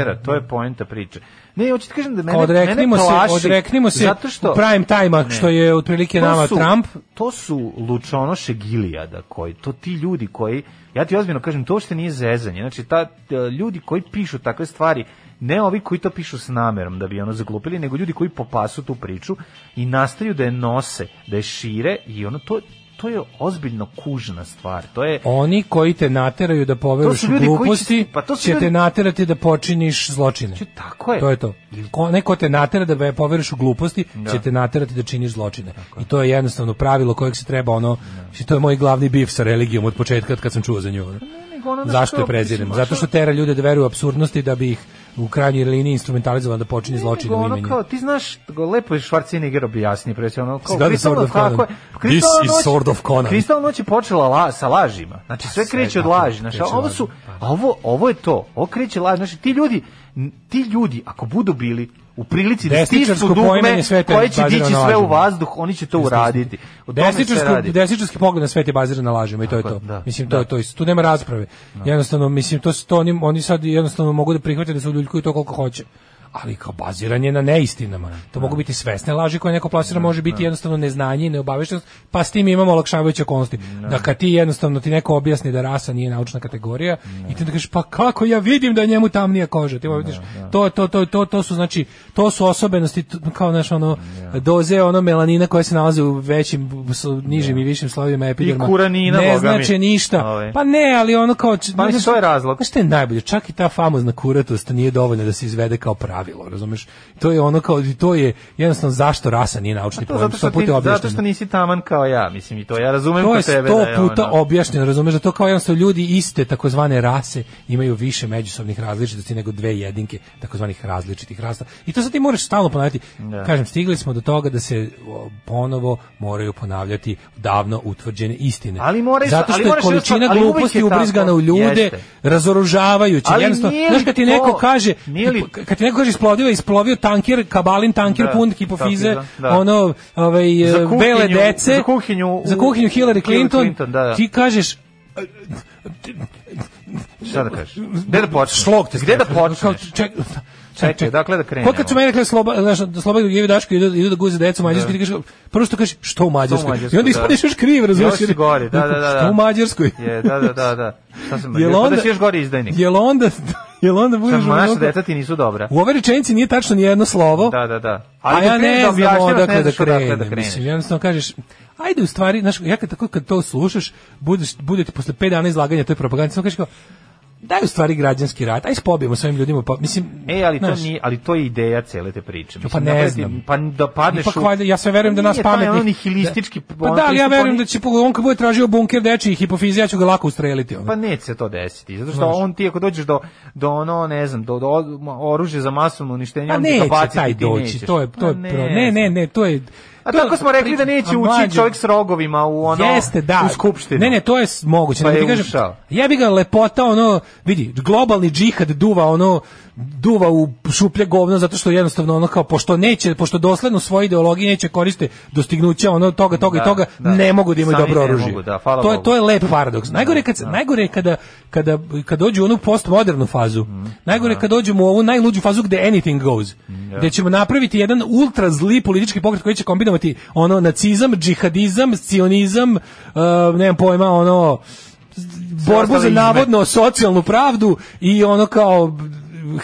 Speaker 6: Twittera, to je poenta priče. Ne, hoću ti kažem da mene,
Speaker 5: odreknimo
Speaker 6: mene plaši,
Speaker 5: se, odreknimo se
Speaker 6: zato što,
Speaker 5: u prime time-a
Speaker 6: Ne.
Speaker 5: što je otprilike nama
Speaker 6: su,
Speaker 5: Trump.
Speaker 6: To su lučonoše gilijada koji, to ti ljudi koji, ja ti ozbiljno kažem, to uopšte nije zezanje. Znači, ta, e, ljudi koji pišu takve stvari, ne ovi koji to pišu s namerom da bi ono zaglupili, nego ljudi koji popasu tu priču i nastaju da je nose, da je šire i ono to, to je ozbiljno kužna stvar. To je,
Speaker 5: Oni koji te nateraju da poveruješ
Speaker 6: su
Speaker 5: u
Speaker 6: ljudi koji će-
Speaker 5: gluposti,
Speaker 6: pa to su
Speaker 5: će
Speaker 6: ljudi-
Speaker 5: te naterati da počiniš zločine.
Speaker 6: Znači, tako je.
Speaker 5: To je to. Ko, neko te natera da be- poveruješ u gluposti,
Speaker 6: Da.
Speaker 5: će te naterati da činiš zločine. I to je jednostavno pravilo kojeg se treba ono,
Speaker 6: Da.
Speaker 5: mislim, to je moj glavni bif sa religijom od početka kad sam čuo za nju. ono.
Speaker 6: nego ono da
Speaker 5: Zašto
Speaker 6: što-
Speaker 5: je prezirem?
Speaker 6: mislim,
Speaker 5: Zato što tera ljude da veruju u apsurdnosti da bi ih u krajnjoj liniji instrumentalizovala da počini
Speaker 6: Ne,
Speaker 5: zločine
Speaker 6: nego
Speaker 5: u
Speaker 6: ono
Speaker 5: ime njih.
Speaker 6: kao, ti znaš, go- lepo je Schwarzenegger objasnio, pre sve ono, kao,
Speaker 5: Si gledao
Speaker 6: Crystal
Speaker 5: Sword of
Speaker 6: Noć, kako je,
Speaker 5: Conan?
Speaker 6: Crystal
Speaker 5: This is
Speaker 6: noć-
Speaker 5: Sword of Conan. Pa
Speaker 6: Crystal noć je počela la, sa lažima, znači sve
Speaker 5: sve
Speaker 6: kreće od
Speaker 5: tako,
Speaker 6: laži, znači, a
Speaker 5: kreće
Speaker 6: ovo
Speaker 5: laži,
Speaker 6: su,
Speaker 5: pa.
Speaker 6: a ovo, ovo je to, ovo kreće laži, znači ti ljudi, n- ti ljudi, ako budu bili u prilici da
Speaker 5: Desničarsko
Speaker 6: stisnu dugme
Speaker 5: poimanje sveta je
Speaker 6: koje će
Speaker 5: bazirano
Speaker 6: dići
Speaker 5: na
Speaker 6: sve u
Speaker 5: lažima.
Speaker 6: vazduh, oni će to uraditi. O tome se
Speaker 5: Desničarski,
Speaker 6: radi.
Speaker 5: desničarski pogled na svet je baziran na lažima i to je
Speaker 6: Tako
Speaker 5: to.
Speaker 6: je, da,
Speaker 5: mislim,
Speaker 6: da.
Speaker 5: to je to. Isto. Tu nema rasprave. Jednostavno, mislim, to, su- to oni, oni sad jednostavno mogu da prihvate da su ljuljkuju to koliko hoće. Ali kao baziran je na neistinama. To mogu biti svesne laži koje neko plasira, može biti jednostavno neznanje i neobaveštenost, pa s tim imamo olakšavajuće okolnosti. Da kad ti jednostavno ti neko objasni da rasa nije naučna kategorija i ti da kažeš pa kako ja vidim da je njemu tamnija koža. Ti vidiš, to, to, to, to, to su znači to su osobenosti t- kao naš ono doze ono melanina koja se nalazi u većim s- nižim i višim slojevima epiderma.
Speaker 6: kuranina,
Speaker 5: ne
Speaker 6: boga mi.
Speaker 5: znači ništa.
Speaker 6: Ovaj.
Speaker 5: Pa ne, ali ono kao č-
Speaker 6: Pa mislim,
Speaker 5: znaš-
Speaker 6: to je razlog.
Speaker 5: Znaš šta je najbolje? Čak i ta famozna kuratost nije dovoljna da se izvede kao pravilo, razumeš? To je ono kao, to je jednostavno zašto rasa nije naučni
Speaker 6: To
Speaker 5: pojam.
Speaker 6: zato što,
Speaker 5: sto puta
Speaker 6: ti,
Speaker 5: je objašnjeno.
Speaker 6: zato što nisi taman kao ja, mislim, i to ja razumem
Speaker 5: To je
Speaker 6: kod tebe.
Speaker 5: sto
Speaker 6: da je
Speaker 5: puta
Speaker 6: ono-
Speaker 5: objašnjeno, razumeš da to kao jednostavno ljudi iste takozvane rase imaju više međusobnih različitosti nego dve jedinke takozvanih različitih rasa. I to sad ti moraš stalno ponavljati. Kažem, stigli smo do toga da se o, ponovo moraju ponavljati davno utvrđene istine.
Speaker 6: Ali moraju-
Speaker 5: Zato
Speaker 6: ali
Speaker 5: što je
Speaker 6: moraš još-
Speaker 5: količina
Speaker 6: ali uvek
Speaker 5: gluposti
Speaker 6: je tako,
Speaker 5: ubrizgana u ljude
Speaker 6: jeste.
Speaker 5: razoružavajući.
Speaker 6: Ali
Speaker 5: Jednostavno,
Speaker 6: nije
Speaker 5: znaš
Speaker 6: li
Speaker 5: kad ti
Speaker 6: to-
Speaker 5: neko kaže,
Speaker 6: nije li-
Speaker 5: kad ti neko kaže isplodio, je isplovio tanker, kabalin tanker,
Speaker 6: Da,
Speaker 5: pun hipofize,
Speaker 6: tako je, da.
Speaker 5: ono, ovaj,
Speaker 6: Za
Speaker 5: e,
Speaker 6: kuhinju-
Speaker 5: bele dece,
Speaker 6: za kuhinju-
Speaker 5: za kuhinju Hillary
Speaker 6: Hillary
Speaker 5: Clinton,
Speaker 6: Clinton, da, da.
Speaker 5: ti kažeš
Speaker 6: Šta da kažeš? Gde da počneš?
Speaker 5: šlog te
Speaker 6: Gde da
Speaker 5: strefa, kao,
Speaker 6: počneš?
Speaker 5: ček,
Speaker 6: Čekaj, odakle da krenemo?
Speaker 5: Ko kad su meni rekli sloba, znaš, da sloba i dačko idu, idu da guze decu u Mađarskoj, ti kažeš, prvo što kažeš, što u Mađarskoj?
Speaker 6: Mađarskoj,
Speaker 5: I onda
Speaker 6: da.
Speaker 5: ispadneš još kriv, razumiješ?
Speaker 6: Još si gori, da, da, da, da.
Speaker 5: Što u Mađarskoj?
Speaker 6: Je, da, da, da, da. Šta sam,
Speaker 5: Jel
Speaker 6: jel
Speaker 5: onda-
Speaker 6: onda, da si još gori izdajnik.
Speaker 5: Jel onda, jel onda budeš...
Speaker 6: Samo naša
Speaker 5: onako-
Speaker 6: deca ti nisu dobra.
Speaker 5: U ovoj rečenici nije tačno ni jedno slovo,
Speaker 6: Da, da, da.
Speaker 5: Ali
Speaker 6: Ali
Speaker 5: a ja
Speaker 6: dok
Speaker 5: ne
Speaker 6: kreneš da
Speaker 5: znam
Speaker 6: objašnjavaš, ne
Speaker 5: odakle da
Speaker 6: znaš odakle da
Speaker 5: krenem.
Speaker 6: kreneš.
Speaker 5: mislim, jednostavno kažeš, ajde u stvari, znaš, ja kad, tako, kad to slušaš, budeš, bude ti posle 5 dana izlaganja toj propagandi, samo kažeš kao, daj u stvari građanski rat, aj spobijemo svojim ljudima, pa, mislim,
Speaker 6: E, ali to,
Speaker 5: znaš,
Speaker 6: nije, ali to je ideja cele te priče. Mislim,
Speaker 5: Pa ne
Speaker 6: napraviti-
Speaker 5: znam.
Speaker 6: Pa da padneš
Speaker 5: Ipak valjda, ja sve verujem da nas
Speaker 6: Nije taj
Speaker 5: pametnih...
Speaker 6: ono nihilistički...
Speaker 5: Pa
Speaker 6: ono
Speaker 5: da, ali ja
Speaker 6: pristup,
Speaker 5: verujem
Speaker 6: oni-
Speaker 5: da će, on kad bude tražio bunker dečiji hipofizija, ja ću ga lako ustreliti. ono.
Speaker 6: Pa neće se to desiti, zato što
Speaker 5: Znaš.
Speaker 6: on ti ako dođeš do, do ono, ne znam, do, do oružja za masovno uništenje,
Speaker 5: Pa
Speaker 6: on ti ga
Speaker 5: neće
Speaker 6: baci
Speaker 5: taj
Speaker 6: i ti
Speaker 5: doći,
Speaker 6: nećeš.
Speaker 5: to je, to je,
Speaker 6: Pa
Speaker 5: pro- ne, ne, ne, to je...
Speaker 6: A
Speaker 5: to je-
Speaker 6: tako smo rekli da neće
Speaker 5: A
Speaker 6: ući
Speaker 5: mlađe-
Speaker 6: čovjek s rogovima u ono
Speaker 5: Jeste, da.
Speaker 6: u skupštinu.
Speaker 5: Ne, ne, to je s- moguće.
Speaker 6: Pa
Speaker 5: nego da
Speaker 6: je
Speaker 5: ti kažem,
Speaker 6: ušao.
Speaker 5: Ja bi ga lepota, ono, vidi, globalni džihad duva, ono, duva u šuplje govno, zato što jednostavno, ono, kao, pošto neće, pošto dosledno svoje ideologije neće koriste dostignuća, ono, toga, toga
Speaker 6: Da,
Speaker 5: i toga,
Speaker 6: da.
Speaker 5: ne mogu da imaju
Speaker 6: Sami
Speaker 5: dobro
Speaker 6: ne
Speaker 5: oružje.
Speaker 6: mogu, da, hvala
Speaker 5: to, je,
Speaker 6: Bogu. Da.
Speaker 5: to je lep paradoks. Najgore je kad, se- najgore je kada, kada, kad dođu u onu postmodernu fazu.
Speaker 6: Mhm.
Speaker 5: Najgore je
Speaker 6: Da.
Speaker 5: kad dođemo u ovu najluđu fazu gde anything goes.
Speaker 6: Mhm,
Speaker 5: Gde ćemo napraviti jedan ultra zli politički pokret koji će kombinovati ono nacizam, džihadizam, sionizam, uh, nemam pojma, ono borbu
Speaker 6: ostale
Speaker 5: za
Speaker 6: izme.
Speaker 5: navodno socijalnu pravdu i ono kao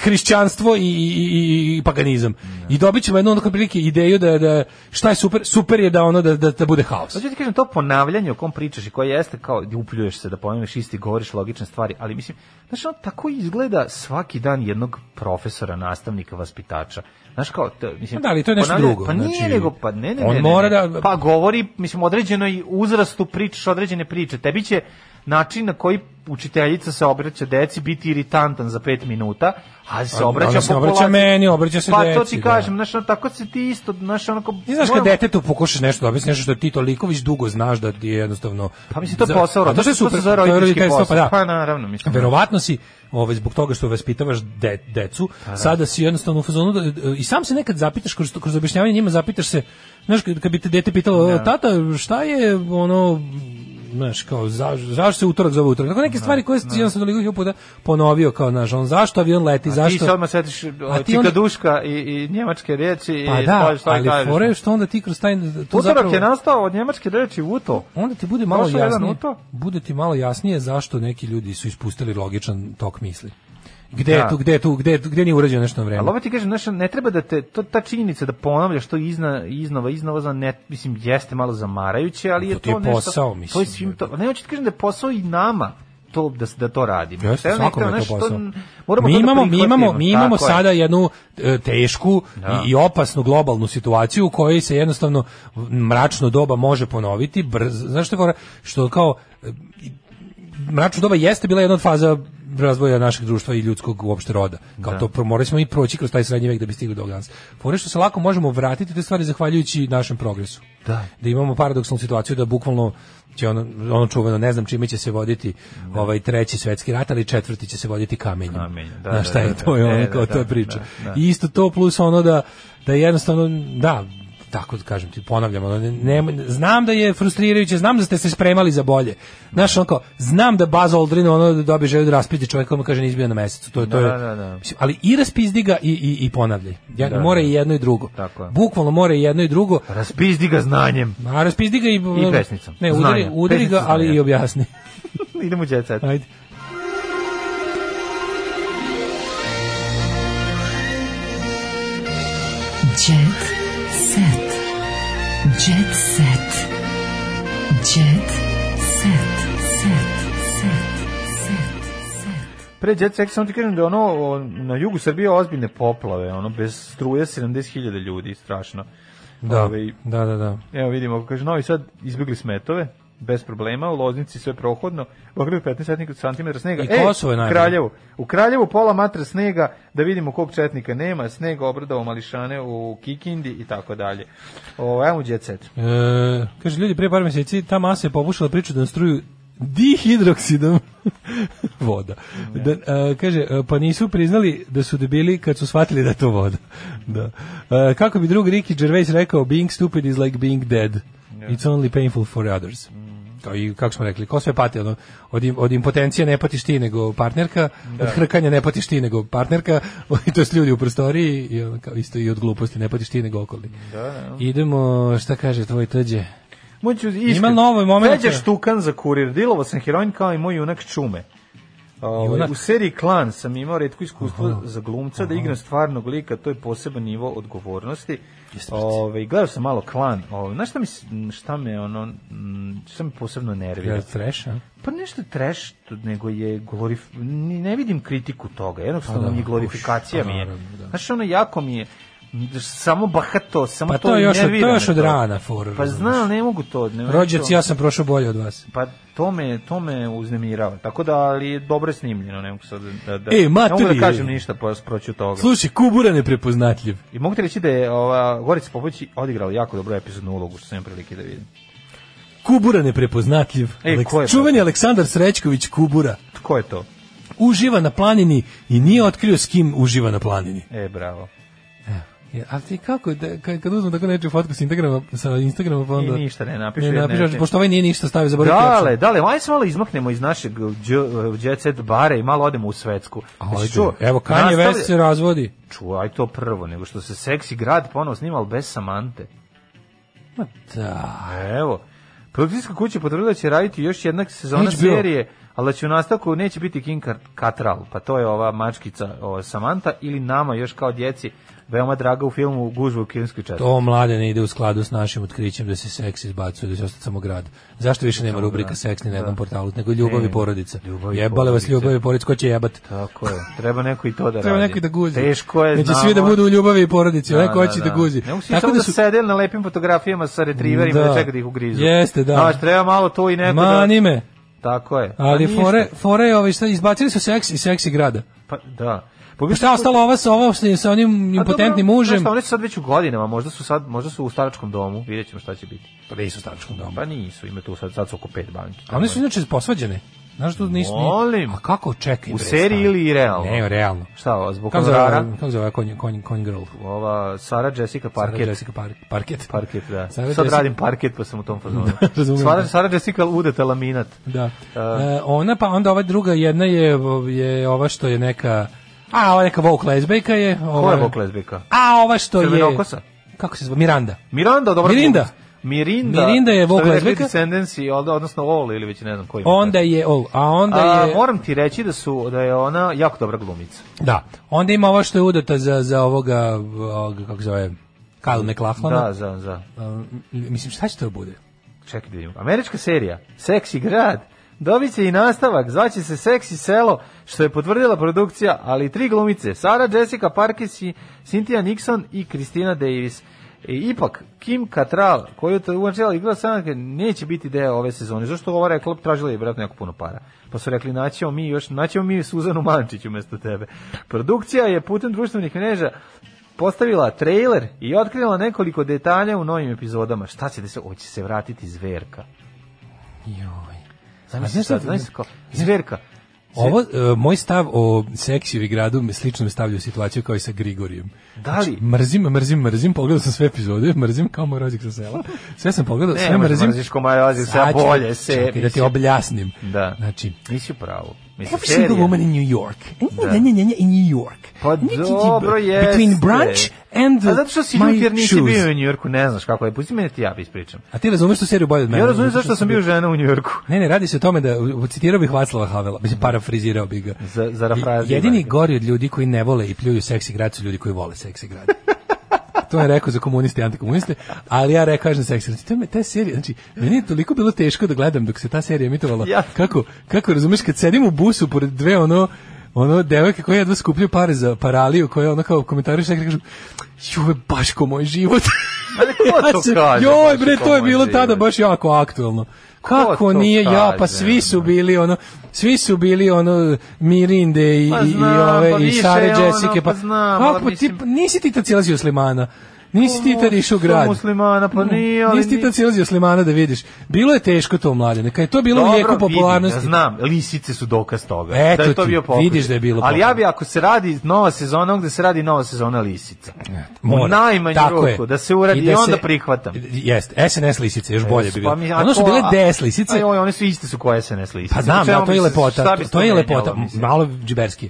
Speaker 5: hrišćanstvo i, i, i, i paganizam. I dobit ćemo jednu onako prilike ideju da, da šta je super, super je da ono da, da, da bude haos.
Speaker 6: Hoću Znači, ti kažem, to ponavljanje o kom pričaš i koje jeste kao upljuješ se da ponavljaš isti, govoriš logične stvari, ali mislim, znaš, ono tako izgleda svaki dan jednog profesora, nastavnika, vaspitača. Znaš kao, to, mislim,
Speaker 5: Da, ali to je nešto
Speaker 6: ponavlja-
Speaker 5: drugo,
Speaker 6: Pa nije
Speaker 5: znači,
Speaker 6: nego, pa ne, ne,
Speaker 5: on
Speaker 6: ne, ne,
Speaker 5: mora
Speaker 6: ne.
Speaker 5: da-
Speaker 6: Pa govori, mislim, određenoj uzrastu pričaš određene priče. Tebi će način na koji učiteljica se obraća deci biti iritantan za pet minuta, a se
Speaker 5: A-
Speaker 6: obraća
Speaker 5: ona Pa, se obraća
Speaker 6: populaciji.
Speaker 5: meni, obraća se
Speaker 6: pa to
Speaker 5: deci,
Speaker 6: ti
Speaker 5: da.
Speaker 6: kažem, znaš, ono, tako se ti isto, znaš, onako...
Speaker 5: Ti znaš kad
Speaker 6: moramo-
Speaker 5: detetu pokušaš nešto da objasniš, nešto što ti toliko već dugo znaš da ti je jednostavno...
Speaker 6: Pa mislim, to je
Speaker 5: Za-
Speaker 6: posao,
Speaker 5: A znaš što je
Speaker 6: roditeljski- to se
Speaker 5: super?
Speaker 6: zove
Speaker 5: To je
Speaker 6: roditeljski
Speaker 5: roditeljstvo, Pa
Speaker 6: posao.
Speaker 5: da.
Speaker 6: Pa naravno, mislim.
Speaker 5: Verovatno si, ovaj, zbog toga što vaspitavaš de, decu, sada si jednostavno u fazonu, da, i sam se nekad zapitaš, kroz, kroz objašnjavanje njima zapitaš se, znaš, kad, kad bi te dete pitalo,
Speaker 6: Da.
Speaker 5: tata, šta je ono, znaš, kao, za, zašto se utorak zove utorak? Tako
Speaker 6: Da,
Speaker 5: neke stvari koje si jednostavno toliko hiljadu puta ponovio, kao, znaš, on, zašto avion leti,
Speaker 6: Zašto? Ti
Speaker 5: zašto...
Speaker 6: se odmah setiš o,
Speaker 5: ti onda-
Speaker 6: Čikaduška i, i njemačke riječi.
Speaker 5: Pa
Speaker 6: i
Speaker 5: da,
Speaker 6: to e, šta
Speaker 5: ali
Speaker 6: kažeš.
Speaker 5: fore je što onda ti kroz taj... to
Speaker 6: Utorak
Speaker 5: zapravo-
Speaker 6: je nastao od njemačke riječi Uto.
Speaker 5: onda ti bude malo
Speaker 6: Došao jedan u
Speaker 5: jasnije.
Speaker 6: to.
Speaker 5: Bude ti malo jasnije zašto neki ljudi su ispustili logičan tok misli. Gde
Speaker 6: Da.
Speaker 5: je tu, gde je tu, gde, je tu, gde nije urađeno nešto na
Speaker 6: Ali
Speaker 5: vreme?
Speaker 6: ovo ti kažem, znaš, ne treba da te, to, ta činjenica da ponavljaš to izna, iznova, iznova, za ne, mislim, jeste malo zamarajuće, ali
Speaker 5: Pa To
Speaker 6: je to,
Speaker 5: ti je
Speaker 6: nešto...
Speaker 5: posao,
Speaker 6: To je
Speaker 5: mislim.
Speaker 6: svim to, ne, hoću ti kažem da je posao i nama to, da, se- da to radimo.
Speaker 5: Jeste,
Speaker 6: Hteo ne
Speaker 5: svakome
Speaker 6: hteo,
Speaker 5: je to
Speaker 6: znaš,
Speaker 5: posao.
Speaker 6: moramo
Speaker 5: mi
Speaker 6: to da
Speaker 5: imamo, mi imamo, mi
Speaker 6: prihvatimo,
Speaker 5: imamo
Speaker 6: tako je.
Speaker 5: sada jednu e, tešku
Speaker 6: Da.
Speaker 5: i, i opasnu globalnu situaciju u kojoj se jednostavno mračno doba može ponoviti. Brz, znaš što je fora? Što kao e, i- mračno doba jeste bila jedna od faza razvoja našeg društva i ljudskog uopšte roda. Kao
Speaker 6: Da.
Speaker 5: to pro- morali smo i proći kroz taj srednji vek da bi stigli do danas. Fore što se lako možemo vratiti u te stvari zahvaljujući našem progresu. Da. imamo paradoksalnu situaciju da bukvalno će ono, ono čuveno, ne znam čime će se voditi
Speaker 6: Da.
Speaker 5: ovaj treći svetski rat, ali četvrti će se voditi kamenjem.
Speaker 6: Kamenjem, da,
Speaker 5: Znaš
Speaker 6: da,
Speaker 5: šta je
Speaker 6: da,
Speaker 5: to,
Speaker 6: da.
Speaker 5: je
Speaker 6: E,
Speaker 5: ono
Speaker 6: da,
Speaker 5: kao
Speaker 6: da,
Speaker 5: to je priča.
Speaker 6: da, da.
Speaker 5: I isto to plus ono da, da jednostavno, da, tako da kažem ti, ponavljam, ono, ne, ne- znam da je frustrirajuće, znam da ste se spremali za bolje. Znaš, ono kao, znam da Baz Aldrin ono da dobi želju da raspiti čovjek kome kaže nizbija na mesecu. To je, to je,
Speaker 6: Da, da, da.
Speaker 5: Mislim, ali i raspizdi ga i, i, i ponavljaj. Ja, mora i jedno i drugo.
Speaker 6: Tako je.
Speaker 5: Bukvalno mora i jedno i drugo.
Speaker 6: Raspizdi ga znanjem.
Speaker 5: A raspizdi ga i...
Speaker 6: I pesnicom.
Speaker 5: Ne, udari,
Speaker 6: Znanja.
Speaker 5: udari ga,
Speaker 6: Pesnica
Speaker 5: ali
Speaker 6: znanja.
Speaker 5: i objasni.
Speaker 6: Idemo u jet set.
Speaker 5: Ajde.
Speaker 4: Jet set.
Speaker 2: da-
Speaker 4: Jet set. Jet set. Set. Set. Set. Set.
Speaker 6: Pre Jet Set, samo ti kažem da je ono, o, na jugu Srbije ozbiljne poplave, ono, bez struje 70.000 ljudi, strašno.
Speaker 5: Da,
Speaker 6: Ove,
Speaker 5: da, da, da.
Speaker 6: evo vidimo, kaže, novi sad izbjegli smetove, bez problema, u Loznici sve prohodno, u Ogrebu 15 cm snega.
Speaker 5: I Kosovo je najbolje.
Speaker 6: Kraljevu, u Kraljevu pola matra snega, da vidimo kog četnika nema, snega obradao mališane u Kikindi i tako dalje. O, ajmo u Jet Set.
Speaker 5: E, kaže, ljudi, prije par mjeseci ta masa je popušala priču da struju dihidroksidom voda. Da, e, kaže, e, pa nisu priznali da su debili kad su shvatili da je to voda. Da. E, kako bi drug Ricky Gervais rekao, being stupid is like being dead. It's only painful for others. Kao i, kako smo rekli, ko sve pati, ono, od, im- od impotencije ne patiš ti nego partnerka, od hrkanja ne patiš ti nego partnerka, i to su ljudi u prostoriji, i, ono, kao, isto i od gluposti ne patiš ti nego okolni. Idemo, šta kaže tvoj tđe?
Speaker 6: Moću iskren.
Speaker 5: Ima novi moment.
Speaker 6: Feđa Štukan za kurir. Dilovo sam heroin kao i moj junak Čume. Ovaj,
Speaker 5: Junak?
Speaker 6: U seriji Klan sam imao redko iskustvo za glumca da igram stvarnog lika, to je poseban nivo odgovornosti. Ovaj gledao sam malo Klan. Ovaj znaš šta mi s- šta me ono mm, šta me posebno nervira?
Speaker 5: Ja treša.
Speaker 6: Pa nešto trash, nego je glorif... ni- Ne vidim kritiku toga, jednostavno mi je glorifikacija
Speaker 5: pa
Speaker 6: mi je.
Speaker 5: da, naravno, da.
Speaker 6: Znaš, ono jako mi je, m, samo bahato, samo
Speaker 5: Pa
Speaker 6: to,
Speaker 5: to je
Speaker 6: i
Speaker 5: još od- to je
Speaker 6: nervira
Speaker 5: još
Speaker 6: me
Speaker 5: od rana fora,
Speaker 6: Pa
Speaker 5: razumeš.
Speaker 6: znam, ne mogu to. Ne,
Speaker 5: Rođac,
Speaker 6: to-
Speaker 5: ja sam prošao bolje od vas.
Speaker 6: Pa to me, to me uznemirava. Tako da, ali je dobro je snimljeno, ne mogu sad da, da,
Speaker 5: E,
Speaker 6: ne mogu
Speaker 5: maturi,
Speaker 6: da kažem
Speaker 5: ej.
Speaker 6: ništa po, proću toga.
Speaker 5: Slušaj, Kubura neprepoznatljiv.
Speaker 6: I mogu ti reći da je ova, Gorica Popović odigrala jako dobru epizodnu ulogu, što sam imao prilike da vidim.
Speaker 5: Kubura neprepoznatljiv.
Speaker 6: E, ko je
Speaker 5: čuveni
Speaker 6: to?
Speaker 5: Aleksandar Srećković Kubura.
Speaker 6: Tko je to?
Speaker 5: Uživa na planini i nije otkrio s kim uživa na planini.
Speaker 6: E, bravo.
Speaker 5: Ja, ali ti kako, da, kad, kad uzmem tako nečiju fotku s Instagrama, sa Instagrama pa onda...
Speaker 6: I ništa ne napiše.
Speaker 5: Ne, napišeš,
Speaker 6: ne-
Speaker 5: pošto ovaj nije ništa stavio, zaboravio
Speaker 6: Dale,
Speaker 5: caption.
Speaker 6: dale, ajde se malo izmaknemo iz našeg dž- jet set bara i malo odemo u svetsku.
Speaker 5: Ajde,
Speaker 6: Jesi čuo?
Speaker 5: Evo, Kanye
Speaker 6: Nastavlja-
Speaker 5: West se razvodi.
Speaker 6: Čuo, aj to prvo, nego što se Seksi grad ponovo snimao, ali bez Samante.
Speaker 5: Da.
Speaker 6: Evo, produkcijska kuća potvrdila da će da raditi još jedna sezona
Speaker 5: HBO.
Speaker 6: serije ali da će u nastavku neće biti King Katral, pa to je ova mačkica ova Samanta ili nama još kao djeci veoma draga u filmu Gužva u kinskoj četvrti.
Speaker 5: To mlade ne ide u skladu s našim otkrićem da se seks izbacuje, da će ostati samo grad. Zašto više nema rubrika seks ni na jednom portalu, nego ljubav i porodica.
Speaker 6: Da. ljubav i
Speaker 5: Jebale vas
Speaker 6: porodice.
Speaker 5: ljubav i porodica, ko će jebat?
Speaker 6: Tako je, treba neko i to da radi.
Speaker 5: Treba neki da guzi.
Speaker 6: Teško je,
Speaker 5: Neće
Speaker 6: znamo.
Speaker 5: svi da budu u ljubavi i porodici,
Speaker 6: Da,
Speaker 5: da, neko hoće da, guzi.
Speaker 6: Ne mogu svi samo da, su... sede na lepim fotografijama sa retriverima da,
Speaker 5: Da.
Speaker 6: da čeka da ih ugrizu.
Speaker 5: Jeste, da.
Speaker 6: Znaš, treba malo to i neko
Speaker 5: Mani
Speaker 6: da...
Speaker 5: me.
Speaker 6: Tako je.
Speaker 5: Ali
Speaker 6: Pa ništa.
Speaker 5: fore, fore je ovaj, šta, izbacili su seks i seksi grada.
Speaker 6: Pa, da.
Speaker 5: Pa šta je ostalo ova sa, ova sa- sa onim
Speaker 6: A dobro,
Speaker 5: impotentnim
Speaker 6: znaš
Speaker 5: mužem?
Speaker 6: šta, Oni su sad već u godinama, možda su sad, možda su u staračkom domu, vidjet ćemo šta će biti.
Speaker 5: Pa nisu u staračkom domu.
Speaker 6: Pa nisu, ima tu sad, sad su oko pet banki.
Speaker 5: A one su inače posvađene. Znaš tu nisu... ni-
Speaker 6: Molim.
Speaker 5: A kako čekaj?
Speaker 6: U
Speaker 5: bre,
Speaker 6: seriji
Speaker 5: stani.
Speaker 6: ili realno?
Speaker 5: Ne, realno.
Speaker 6: Šta, ova, zbog
Speaker 5: Kako zove, ovaj-
Speaker 6: honorara?
Speaker 5: kako zove konj, konj, konj girl?
Speaker 6: Ova Sara Jessica Parker.
Speaker 5: Parket. Jessica Par, parket.
Speaker 6: Parket, da.
Speaker 5: Sara
Speaker 6: Sad
Speaker 5: Jessica- Da,
Speaker 6: radim parket, pa sam u tom fazonu.
Speaker 5: razumem.
Speaker 6: Sara, Sara Jessica udeta laminat.
Speaker 5: Da. E, ona pa onda ova druga jedna je je ova što je neka a ova neka Vogue lesbijka je. Ova,
Speaker 6: Ko je bok lezbika?
Speaker 5: A ova što je
Speaker 6: Crvenokosa?
Speaker 5: Kako se zove? Miranda.
Speaker 6: Miranda, dobro.
Speaker 5: Mirinda.
Speaker 6: Mirinda.
Speaker 5: Mirinda je Vogue lezbika.
Speaker 6: Descendency, od- odnosno All ili već ne znam koji.
Speaker 5: Onda je ol, a onda
Speaker 6: A,
Speaker 5: je
Speaker 6: moram ti reći da su da je ona jako dobra glumica.
Speaker 5: da. Onda ima ova što je udata za za ovoga, ovoga kako se zove Kyle McLachlana.
Speaker 6: Da, za, za.
Speaker 5: A, mislim šta će to bude?
Speaker 6: Čekaj da vidimo. Američka serija, Seksi grad, dobit će i nastavak, zvaće se Seksi selo, što je potvrdila produkcija, ali i tri glumice, Sara Jessica Parker, i Cynthia Nixon i Kristina Davis. E, ipak, Kim Cattrall, koju je uvačila igla sanaka, neće biti deo ove sezone. Zašto ova rekla, tražila je vjerojatno jako puno para. Pa su rekli, naćemo mi još, naćemo mi Suzanu Mančić umjesto tebe. Produkcija je putem društvenih mreža postavila trailer i otkrila nekoliko detalja u novim epizodama. Šta će da se, hoće se vratiti zverka.
Speaker 5: Joj. A
Speaker 6: Zamisli
Speaker 5: znaš
Speaker 6: sad,
Speaker 5: šta-
Speaker 6: zamisli kao, zverka.
Speaker 5: Ovo, e, moj stav o seksiju i gradu me slično me stavlja u situaciju kao i sa Grigorijem.
Speaker 6: Da
Speaker 5: Znači,
Speaker 6: li?
Speaker 5: Mrzim, mrzim, mrzim, pogledao sam sve epizode, mrzim kao moj rođak sa sela. Sve sam pogledao,
Speaker 6: Ne,
Speaker 5: sve
Speaker 6: može,
Speaker 5: mrzim.
Speaker 6: mrziš ko moj rođak sa sela,
Speaker 5: Sad ću-
Speaker 6: bolje se,
Speaker 5: Čekaj, da ti
Speaker 6: mislim.
Speaker 5: objasnim.
Speaker 6: Da.
Speaker 5: Znači,
Speaker 6: Nisi u pravu. Mislim,
Speaker 5: Every single
Speaker 6: serija.
Speaker 5: woman in New York.
Speaker 6: Da.
Speaker 5: Ne, ne, ne, ne, in New York.
Speaker 6: Pa
Speaker 5: Ne, ne, ne,
Speaker 6: dobro je.
Speaker 5: Between brunch and
Speaker 6: A zato što si
Speaker 5: my
Speaker 6: ljut jer nisi
Speaker 5: shoes.
Speaker 6: bio u Njujorku, ne znaš kako je. Pusti mene ti ja ispričam.
Speaker 5: A ti razumeš tu seriju bolje od mene?
Speaker 6: Ja razumijem
Speaker 5: Zato što
Speaker 6: zašto sam bio žena u Njujorku.
Speaker 5: Ne, ne, radi se o tome da u- citirao bih Vaclava Havela, mislim parafrizirao bih ga.
Speaker 6: Za- zarafrazirao.
Speaker 5: Jedini gori od ljudi koji ne vole i pljuju seksi grad su ljudi koji vole seksi grad. to je rekao za komuniste i antikomuniste, ali ja rekao kažem seksi grad. To me ta serija, znači, meni je toliko bilo teško da gledam dok se ta serija emitovala.
Speaker 6: Ja.
Speaker 5: Kako, kako razumeš, kad sedim u busu pored dve ono, ono devojke koje jedva skupljaju pare za paraliju, koje ono kao komentariš, nekako kažu, juve, baš ko moj život.
Speaker 6: Ali ko
Speaker 5: Ja
Speaker 6: to
Speaker 5: se-
Speaker 6: kaže,
Speaker 5: Joj
Speaker 6: baš
Speaker 5: bre,
Speaker 6: ko
Speaker 5: to je
Speaker 6: moj
Speaker 5: bilo tada
Speaker 6: život?
Speaker 5: baš jako aktuelno. Kako
Speaker 6: to
Speaker 5: nije ja, pa
Speaker 6: kaže,
Speaker 5: svi su
Speaker 6: ono?
Speaker 5: bili ono, svi su bili ono Mirinde i
Speaker 6: Pa
Speaker 5: i- i
Speaker 6: znam,
Speaker 5: ove
Speaker 6: pa
Speaker 5: i
Speaker 6: više
Speaker 5: Sare
Speaker 6: ono,
Speaker 5: Jessica
Speaker 6: pa znam, ali
Speaker 5: kako ti
Speaker 6: mislim-
Speaker 5: pa nisi ti tad silazio Slimana. Nisi ti tad išao u
Speaker 6: Što
Speaker 5: grad.
Speaker 6: muslimana, pa nije, ali
Speaker 5: Nisi ti
Speaker 6: nije.
Speaker 5: tad silazio Slimana da vidiš. Bilo je teško to mlađe, neka je to bilo u jeku
Speaker 6: vidim,
Speaker 5: popularnosti.
Speaker 6: ja znam, lisice su dokaz toga.
Speaker 5: Eto
Speaker 6: da je to
Speaker 5: ti,
Speaker 6: bio pokušaj.
Speaker 5: vidiš da je bilo
Speaker 6: Ali
Speaker 5: pokušaj.
Speaker 6: ja bi, ako se radi nova sezona, onda se radi nova sezona lisica. U
Speaker 5: Mora.
Speaker 6: najmanju
Speaker 5: Tako
Speaker 6: ruku,
Speaker 5: je.
Speaker 6: da se uradi
Speaker 5: I
Speaker 6: i,
Speaker 5: da
Speaker 6: onda
Speaker 5: se-
Speaker 6: prihvatam.
Speaker 5: Jeste, SNS lisice, još bolje bi
Speaker 6: Pa
Speaker 5: bilo.
Speaker 6: mi- a
Speaker 5: Ono su
Speaker 6: ko-
Speaker 5: bile
Speaker 6: a-
Speaker 5: DS lisice,
Speaker 6: Aj, oj, one su iste su koje SNS lisice.
Speaker 5: Pa znam,
Speaker 6: U čemu
Speaker 5: da, to je
Speaker 6: bi se- šta
Speaker 5: lepota.
Speaker 6: bi se
Speaker 5: To je
Speaker 6: menjalo,
Speaker 5: lepota,
Speaker 6: mislim? Da.
Speaker 5: malo džiberski.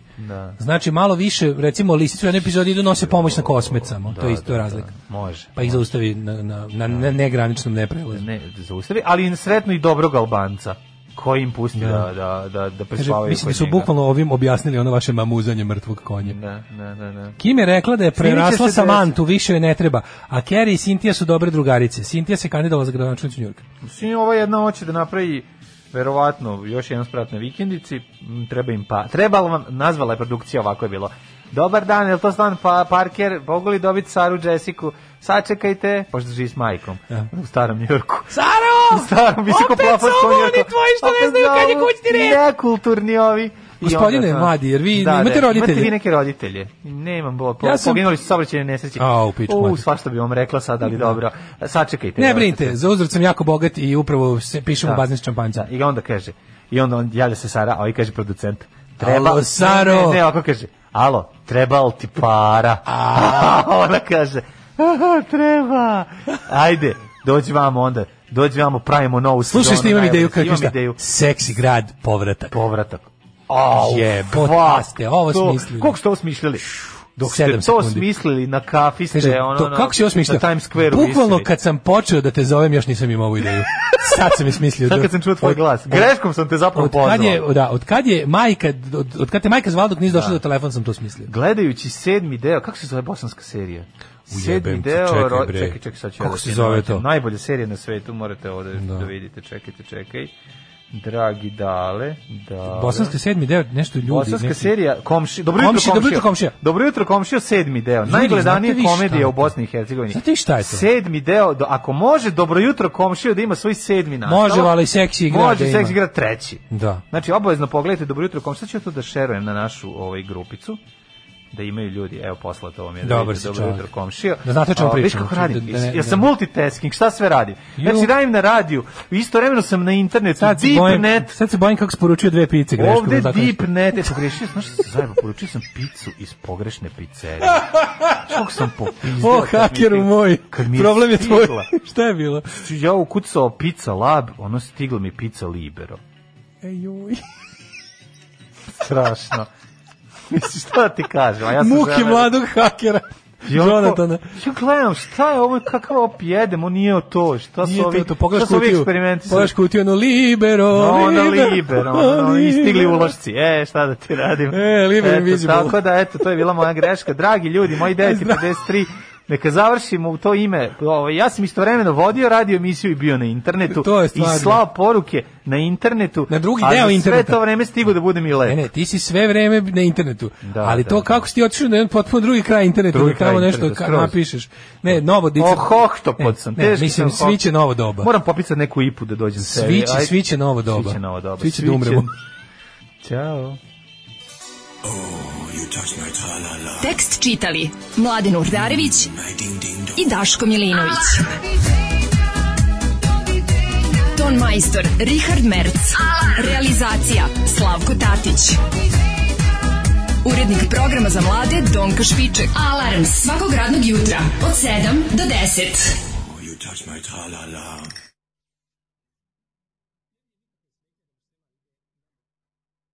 Speaker 5: Znači, malo više, recimo, lisice u jednoj epizodi idu nose pomoć na kosmet samo.
Speaker 6: Da,
Speaker 5: to je isto razlika.
Speaker 6: Može.
Speaker 5: Pa ih zaustavi na, na,
Speaker 6: Da.
Speaker 5: na, na negraničnom neprelazu.
Speaker 6: Ne, zaustavi, ali sretno i dobrog Albanca koji im pusti da, da, da, da
Speaker 5: Kaže,
Speaker 6: prespavaju
Speaker 5: mislim da
Speaker 6: kod
Speaker 5: su
Speaker 6: njega. Da,
Speaker 5: bukvalno ovim objasnili ono vaše mamuzanje mrtvog konja.
Speaker 6: Ne, ne, ne, ne.
Speaker 5: Kim je rekla da je
Speaker 6: će
Speaker 5: prerasla
Speaker 6: se
Speaker 5: Samantu, više joj ne treba, a Kerry i Cynthia su dobre drugarice. Cynthia se kandidovala za gradonačelnicu Njurka.
Speaker 6: Mislim, ova jedna hoće da napravi verovatno još jedan sprat na vikendici, m, treba im pa... Trebala vam, nazvala je produkcija, ovako je bilo. Dobar dan, je li to stan pa Parker? Mogu li dobiti Saru Jessiku? Sačekajte, pošto živi s majkom u starom Njorku.
Speaker 5: Da. Saro!
Speaker 6: U starom visoko plaforskom Njorku. Nekulturni ovi. I
Speaker 5: Gospodine
Speaker 6: onda to- Da,
Speaker 5: mladi, jer vi imate roditelje?
Speaker 6: Imate vi neke roditelje? Nemam, bo, po,
Speaker 5: Ja sam-
Speaker 6: poginuli su saobraćajne nesreće.
Speaker 5: Au, pičku
Speaker 6: U,
Speaker 5: mater.
Speaker 6: svašta bi vam rekla sad, ali dobro. Sačekajte.
Speaker 5: Ne
Speaker 6: evo,
Speaker 5: brinite, za uzrat sam jako bogat i upravo se pišem u
Speaker 6: Da.
Speaker 5: bazin s šampanjcem.
Speaker 6: Da, I onda kaže, i onda on javlja se Sara, a ovaj kaže producent. Treba,
Speaker 5: Alo, Saro!
Speaker 6: Ne, ne, ne, ovako kaže, alo, treba li ti para? A ona kaže, "Aha, treba. Ajde, dođi vamo onda, dođi vamo, pravimo novu
Speaker 5: Slušaj
Speaker 6: sezonu,
Speaker 5: što imam
Speaker 6: najbolje.
Speaker 5: ideju, kako
Speaker 6: imam
Speaker 5: šta?
Speaker 6: ideju,
Speaker 5: Seksi grad povratak.
Speaker 6: povratak. Au,
Speaker 5: Jebote,
Speaker 6: fuck,
Speaker 5: ste ovo
Speaker 6: to-
Speaker 5: smislili.
Speaker 6: Koliko ste ovo smišljali? Dok ste to
Speaker 5: sekundi.
Speaker 6: smislili na kafi ste,
Speaker 5: Kaže,
Speaker 6: E, ono,
Speaker 5: to,
Speaker 6: na-
Speaker 5: kako si ovo smislio?
Speaker 6: na Times Square
Speaker 5: Bukvalno kad sam počeo da te zovem, još nisam imao ovu ideju. Sad sam je smislio.
Speaker 6: Sad
Speaker 5: Do-
Speaker 6: kad sam čuo tvoj
Speaker 5: od-
Speaker 6: glas.
Speaker 5: od-
Speaker 6: Greškom sam te zapravo
Speaker 5: od kad je,
Speaker 6: pozvao. Da.
Speaker 5: da, od kad je majka, od, od kad te majka zvala dok nisi došla do telefon sam to smislio.
Speaker 6: Gledajući sedmi deo, kako se zove bosanska serija? Sedmi
Speaker 5: Ujebem ti,
Speaker 6: deo,
Speaker 5: čekaj,
Speaker 6: ro-
Speaker 5: bre.
Speaker 6: čekaj, čekaj, sad ću ja
Speaker 5: Kako
Speaker 6: da
Speaker 5: se
Speaker 6: ti
Speaker 5: zove
Speaker 6: nađem.
Speaker 5: to?
Speaker 6: Najbolja serija na svetu, morate ovo da, da. vidite, čekajte, čekaj. Dragi dale, dale.
Speaker 5: Bosanska sedmi deo, nešto ljudi.
Speaker 6: Bosanska
Speaker 5: neki-
Speaker 6: serija komši, dobro jutro
Speaker 5: Komši,
Speaker 6: komšija.
Speaker 5: dobro jutro, komšija.
Speaker 6: Dobro jutro komšija, sedmi deo.
Speaker 5: Ljudi,
Speaker 6: Najgledanije
Speaker 5: znate vi šta je
Speaker 6: komedije
Speaker 5: to?
Speaker 6: u Bosni i Hercegovini.
Speaker 5: Znate vi šta je to?
Speaker 6: Sedmi deo, do, ako može dobro jutro komšija da ima svoj sedmi nastavak.
Speaker 5: Može, vala i seksi igra
Speaker 6: Može
Speaker 5: da
Speaker 6: seksi
Speaker 5: ima.
Speaker 6: igra treći.
Speaker 5: Da.
Speaker 6: Znači obavezno pogledajte dobro jutro komšija, sad ću ja to da šerujem na našu ovaj grupicu da imaju ljudi, evo poslato vam je da
Speaker 5: Dobar
Speaker 6: vidite,
Speaker 5: si
Speaker 6: dobro
Speaker 5: čovjek.
Speaker 6: jutro komšija.
Speaker 5: Da znate o čemu pričamo.
Speaker 6: Viš kako radim,
Speaker 5: Da- da ne-
Speaker 6: ja sam
Speaker 5: da-
Speaker 6: multitasking, šta sve radim. Znači
Speaker 5: Ju.
Speaker 6: radim na radiju, istovremeno sam na internetu,
Speaker 5: Sad se
Speaker 6: deep
Speaker 5: bojim,
Speaker 6: net,
Speaker 5: sad se bojim kako sporučio dve pice greškom.
Speaker 6: Ovde
Speaker 5: ili tako
Speaker 6: deep
Speaker 5: nešto.
Speaker 6: net, e, pogrešio, znaš što se zajeba, poručio sam picu iz pogrešne pizzerije. Što sam popizdeo?
Speaker 5: O,
Speaker 6: kad mi je
Speaker 5: hakeru
Speaker 6: stig-
Speaker 5: moj,
Speaker 6: kad mi
Speaker 5: problem je tvoj.
Speaker 6: stigla.
Speaker 5: Šta je bilo?
Speaker 6: Ja ukucao pizza lab, ono stiglo mi pizza libero.
Speaker 5: E, joj.
Speaker 6: Strašno. Mislim, šta ti kažem? A ja sam
Speaker 5: Muki
Speaker 6: žena-
Speaker 5: mladog hakera.
Speaker 6: I onako-
Speaker 5: Jonatana.
Speaker 6: Ja gledam, šta je ovo, kakav op jedem, on nije to, šta su
Speaker 5: Nije
Speaker 6: ovi,
Speaker 5: to, to pogledaš
Speaker 6: šta su ovi
Speaker 5: kutiju.
Speaker 6: eksperimenti? sa-
Speaker 5: Pogledaš kutiju, ono libero,
Speaker 6: No, onda
Speaker 5: libero,
Speaker 6: libero, ono, i stigli ulošci. E, šta da ti radim?
Speaker 5: E, Liber
Speaker 6: Eto,
Speaker 5: Invisible.
Speaker 6: Tako da, eto, to je bila moja greška. Dragi ljudi, moji 953, neka završimo u to ime. Ovo, ja sam istovremeno vodio radio emisiju i bio na internetu.
Speaker 5: To je
Speaker 6: I
Speaker 5: stvarno.
Speaker 6: slao poruke na internetu.
Speaker 5: Na drugi
Speaker 6: a
Speaker 5: deo
Speaker 6: za
Speaker 5: interneta.
Speaker 6: sve to vreme stigu da budem i lep.
Speaker 5: Ne, ne, ti si sve vreme na internetu.
Speaker 6: Da,
Speaker 5: ali
Speaker 6: da,
Speaker 5: to
Speaker 6: da.
Speaker 5: kako si ti otišao na jedan potpuno drugi kraj interneta,
Speaker 6: Drugi
Speaker 5: da tamo
Speaker 6: kraj
Speaker 5: nešto
Speaker 6: interneta,
Speaker 5: ka,
Speaker 6: skroz.
Speaker 5: napišeš. Ne, novo dice. E,
Speaker 6: Oh, hohtopod sam,
Speaker 5: Ne,
Speaker 6: teški
Speaker 5: mislim,
Speaker 6: sam
Speaker 5: svi će
Speaker 6: hohtopod.
Speaker 5: novo doba.
Speaker 6: Moram popisati neku ipu da dođem sebi.
Speaker 5: Svi će,
Speaker 6: Ajde.
Speaker 5: svi će novo doba.
Speaker 6: Svi će novo doba.
Speaker 5: Svi će da umremo.
Speaker 6: Ćao.
Speaker 4: Tekst čitali Mladin Urdarević i Daško Milinović. Ton majstor Richard Merc. Realizacija Slavko Tatić. Urednik programa za mlade Donka Špiček. Alarms svakog radnog jutra od 7 do 10.
Speaker 3: Oh, you touch my tra-la-la.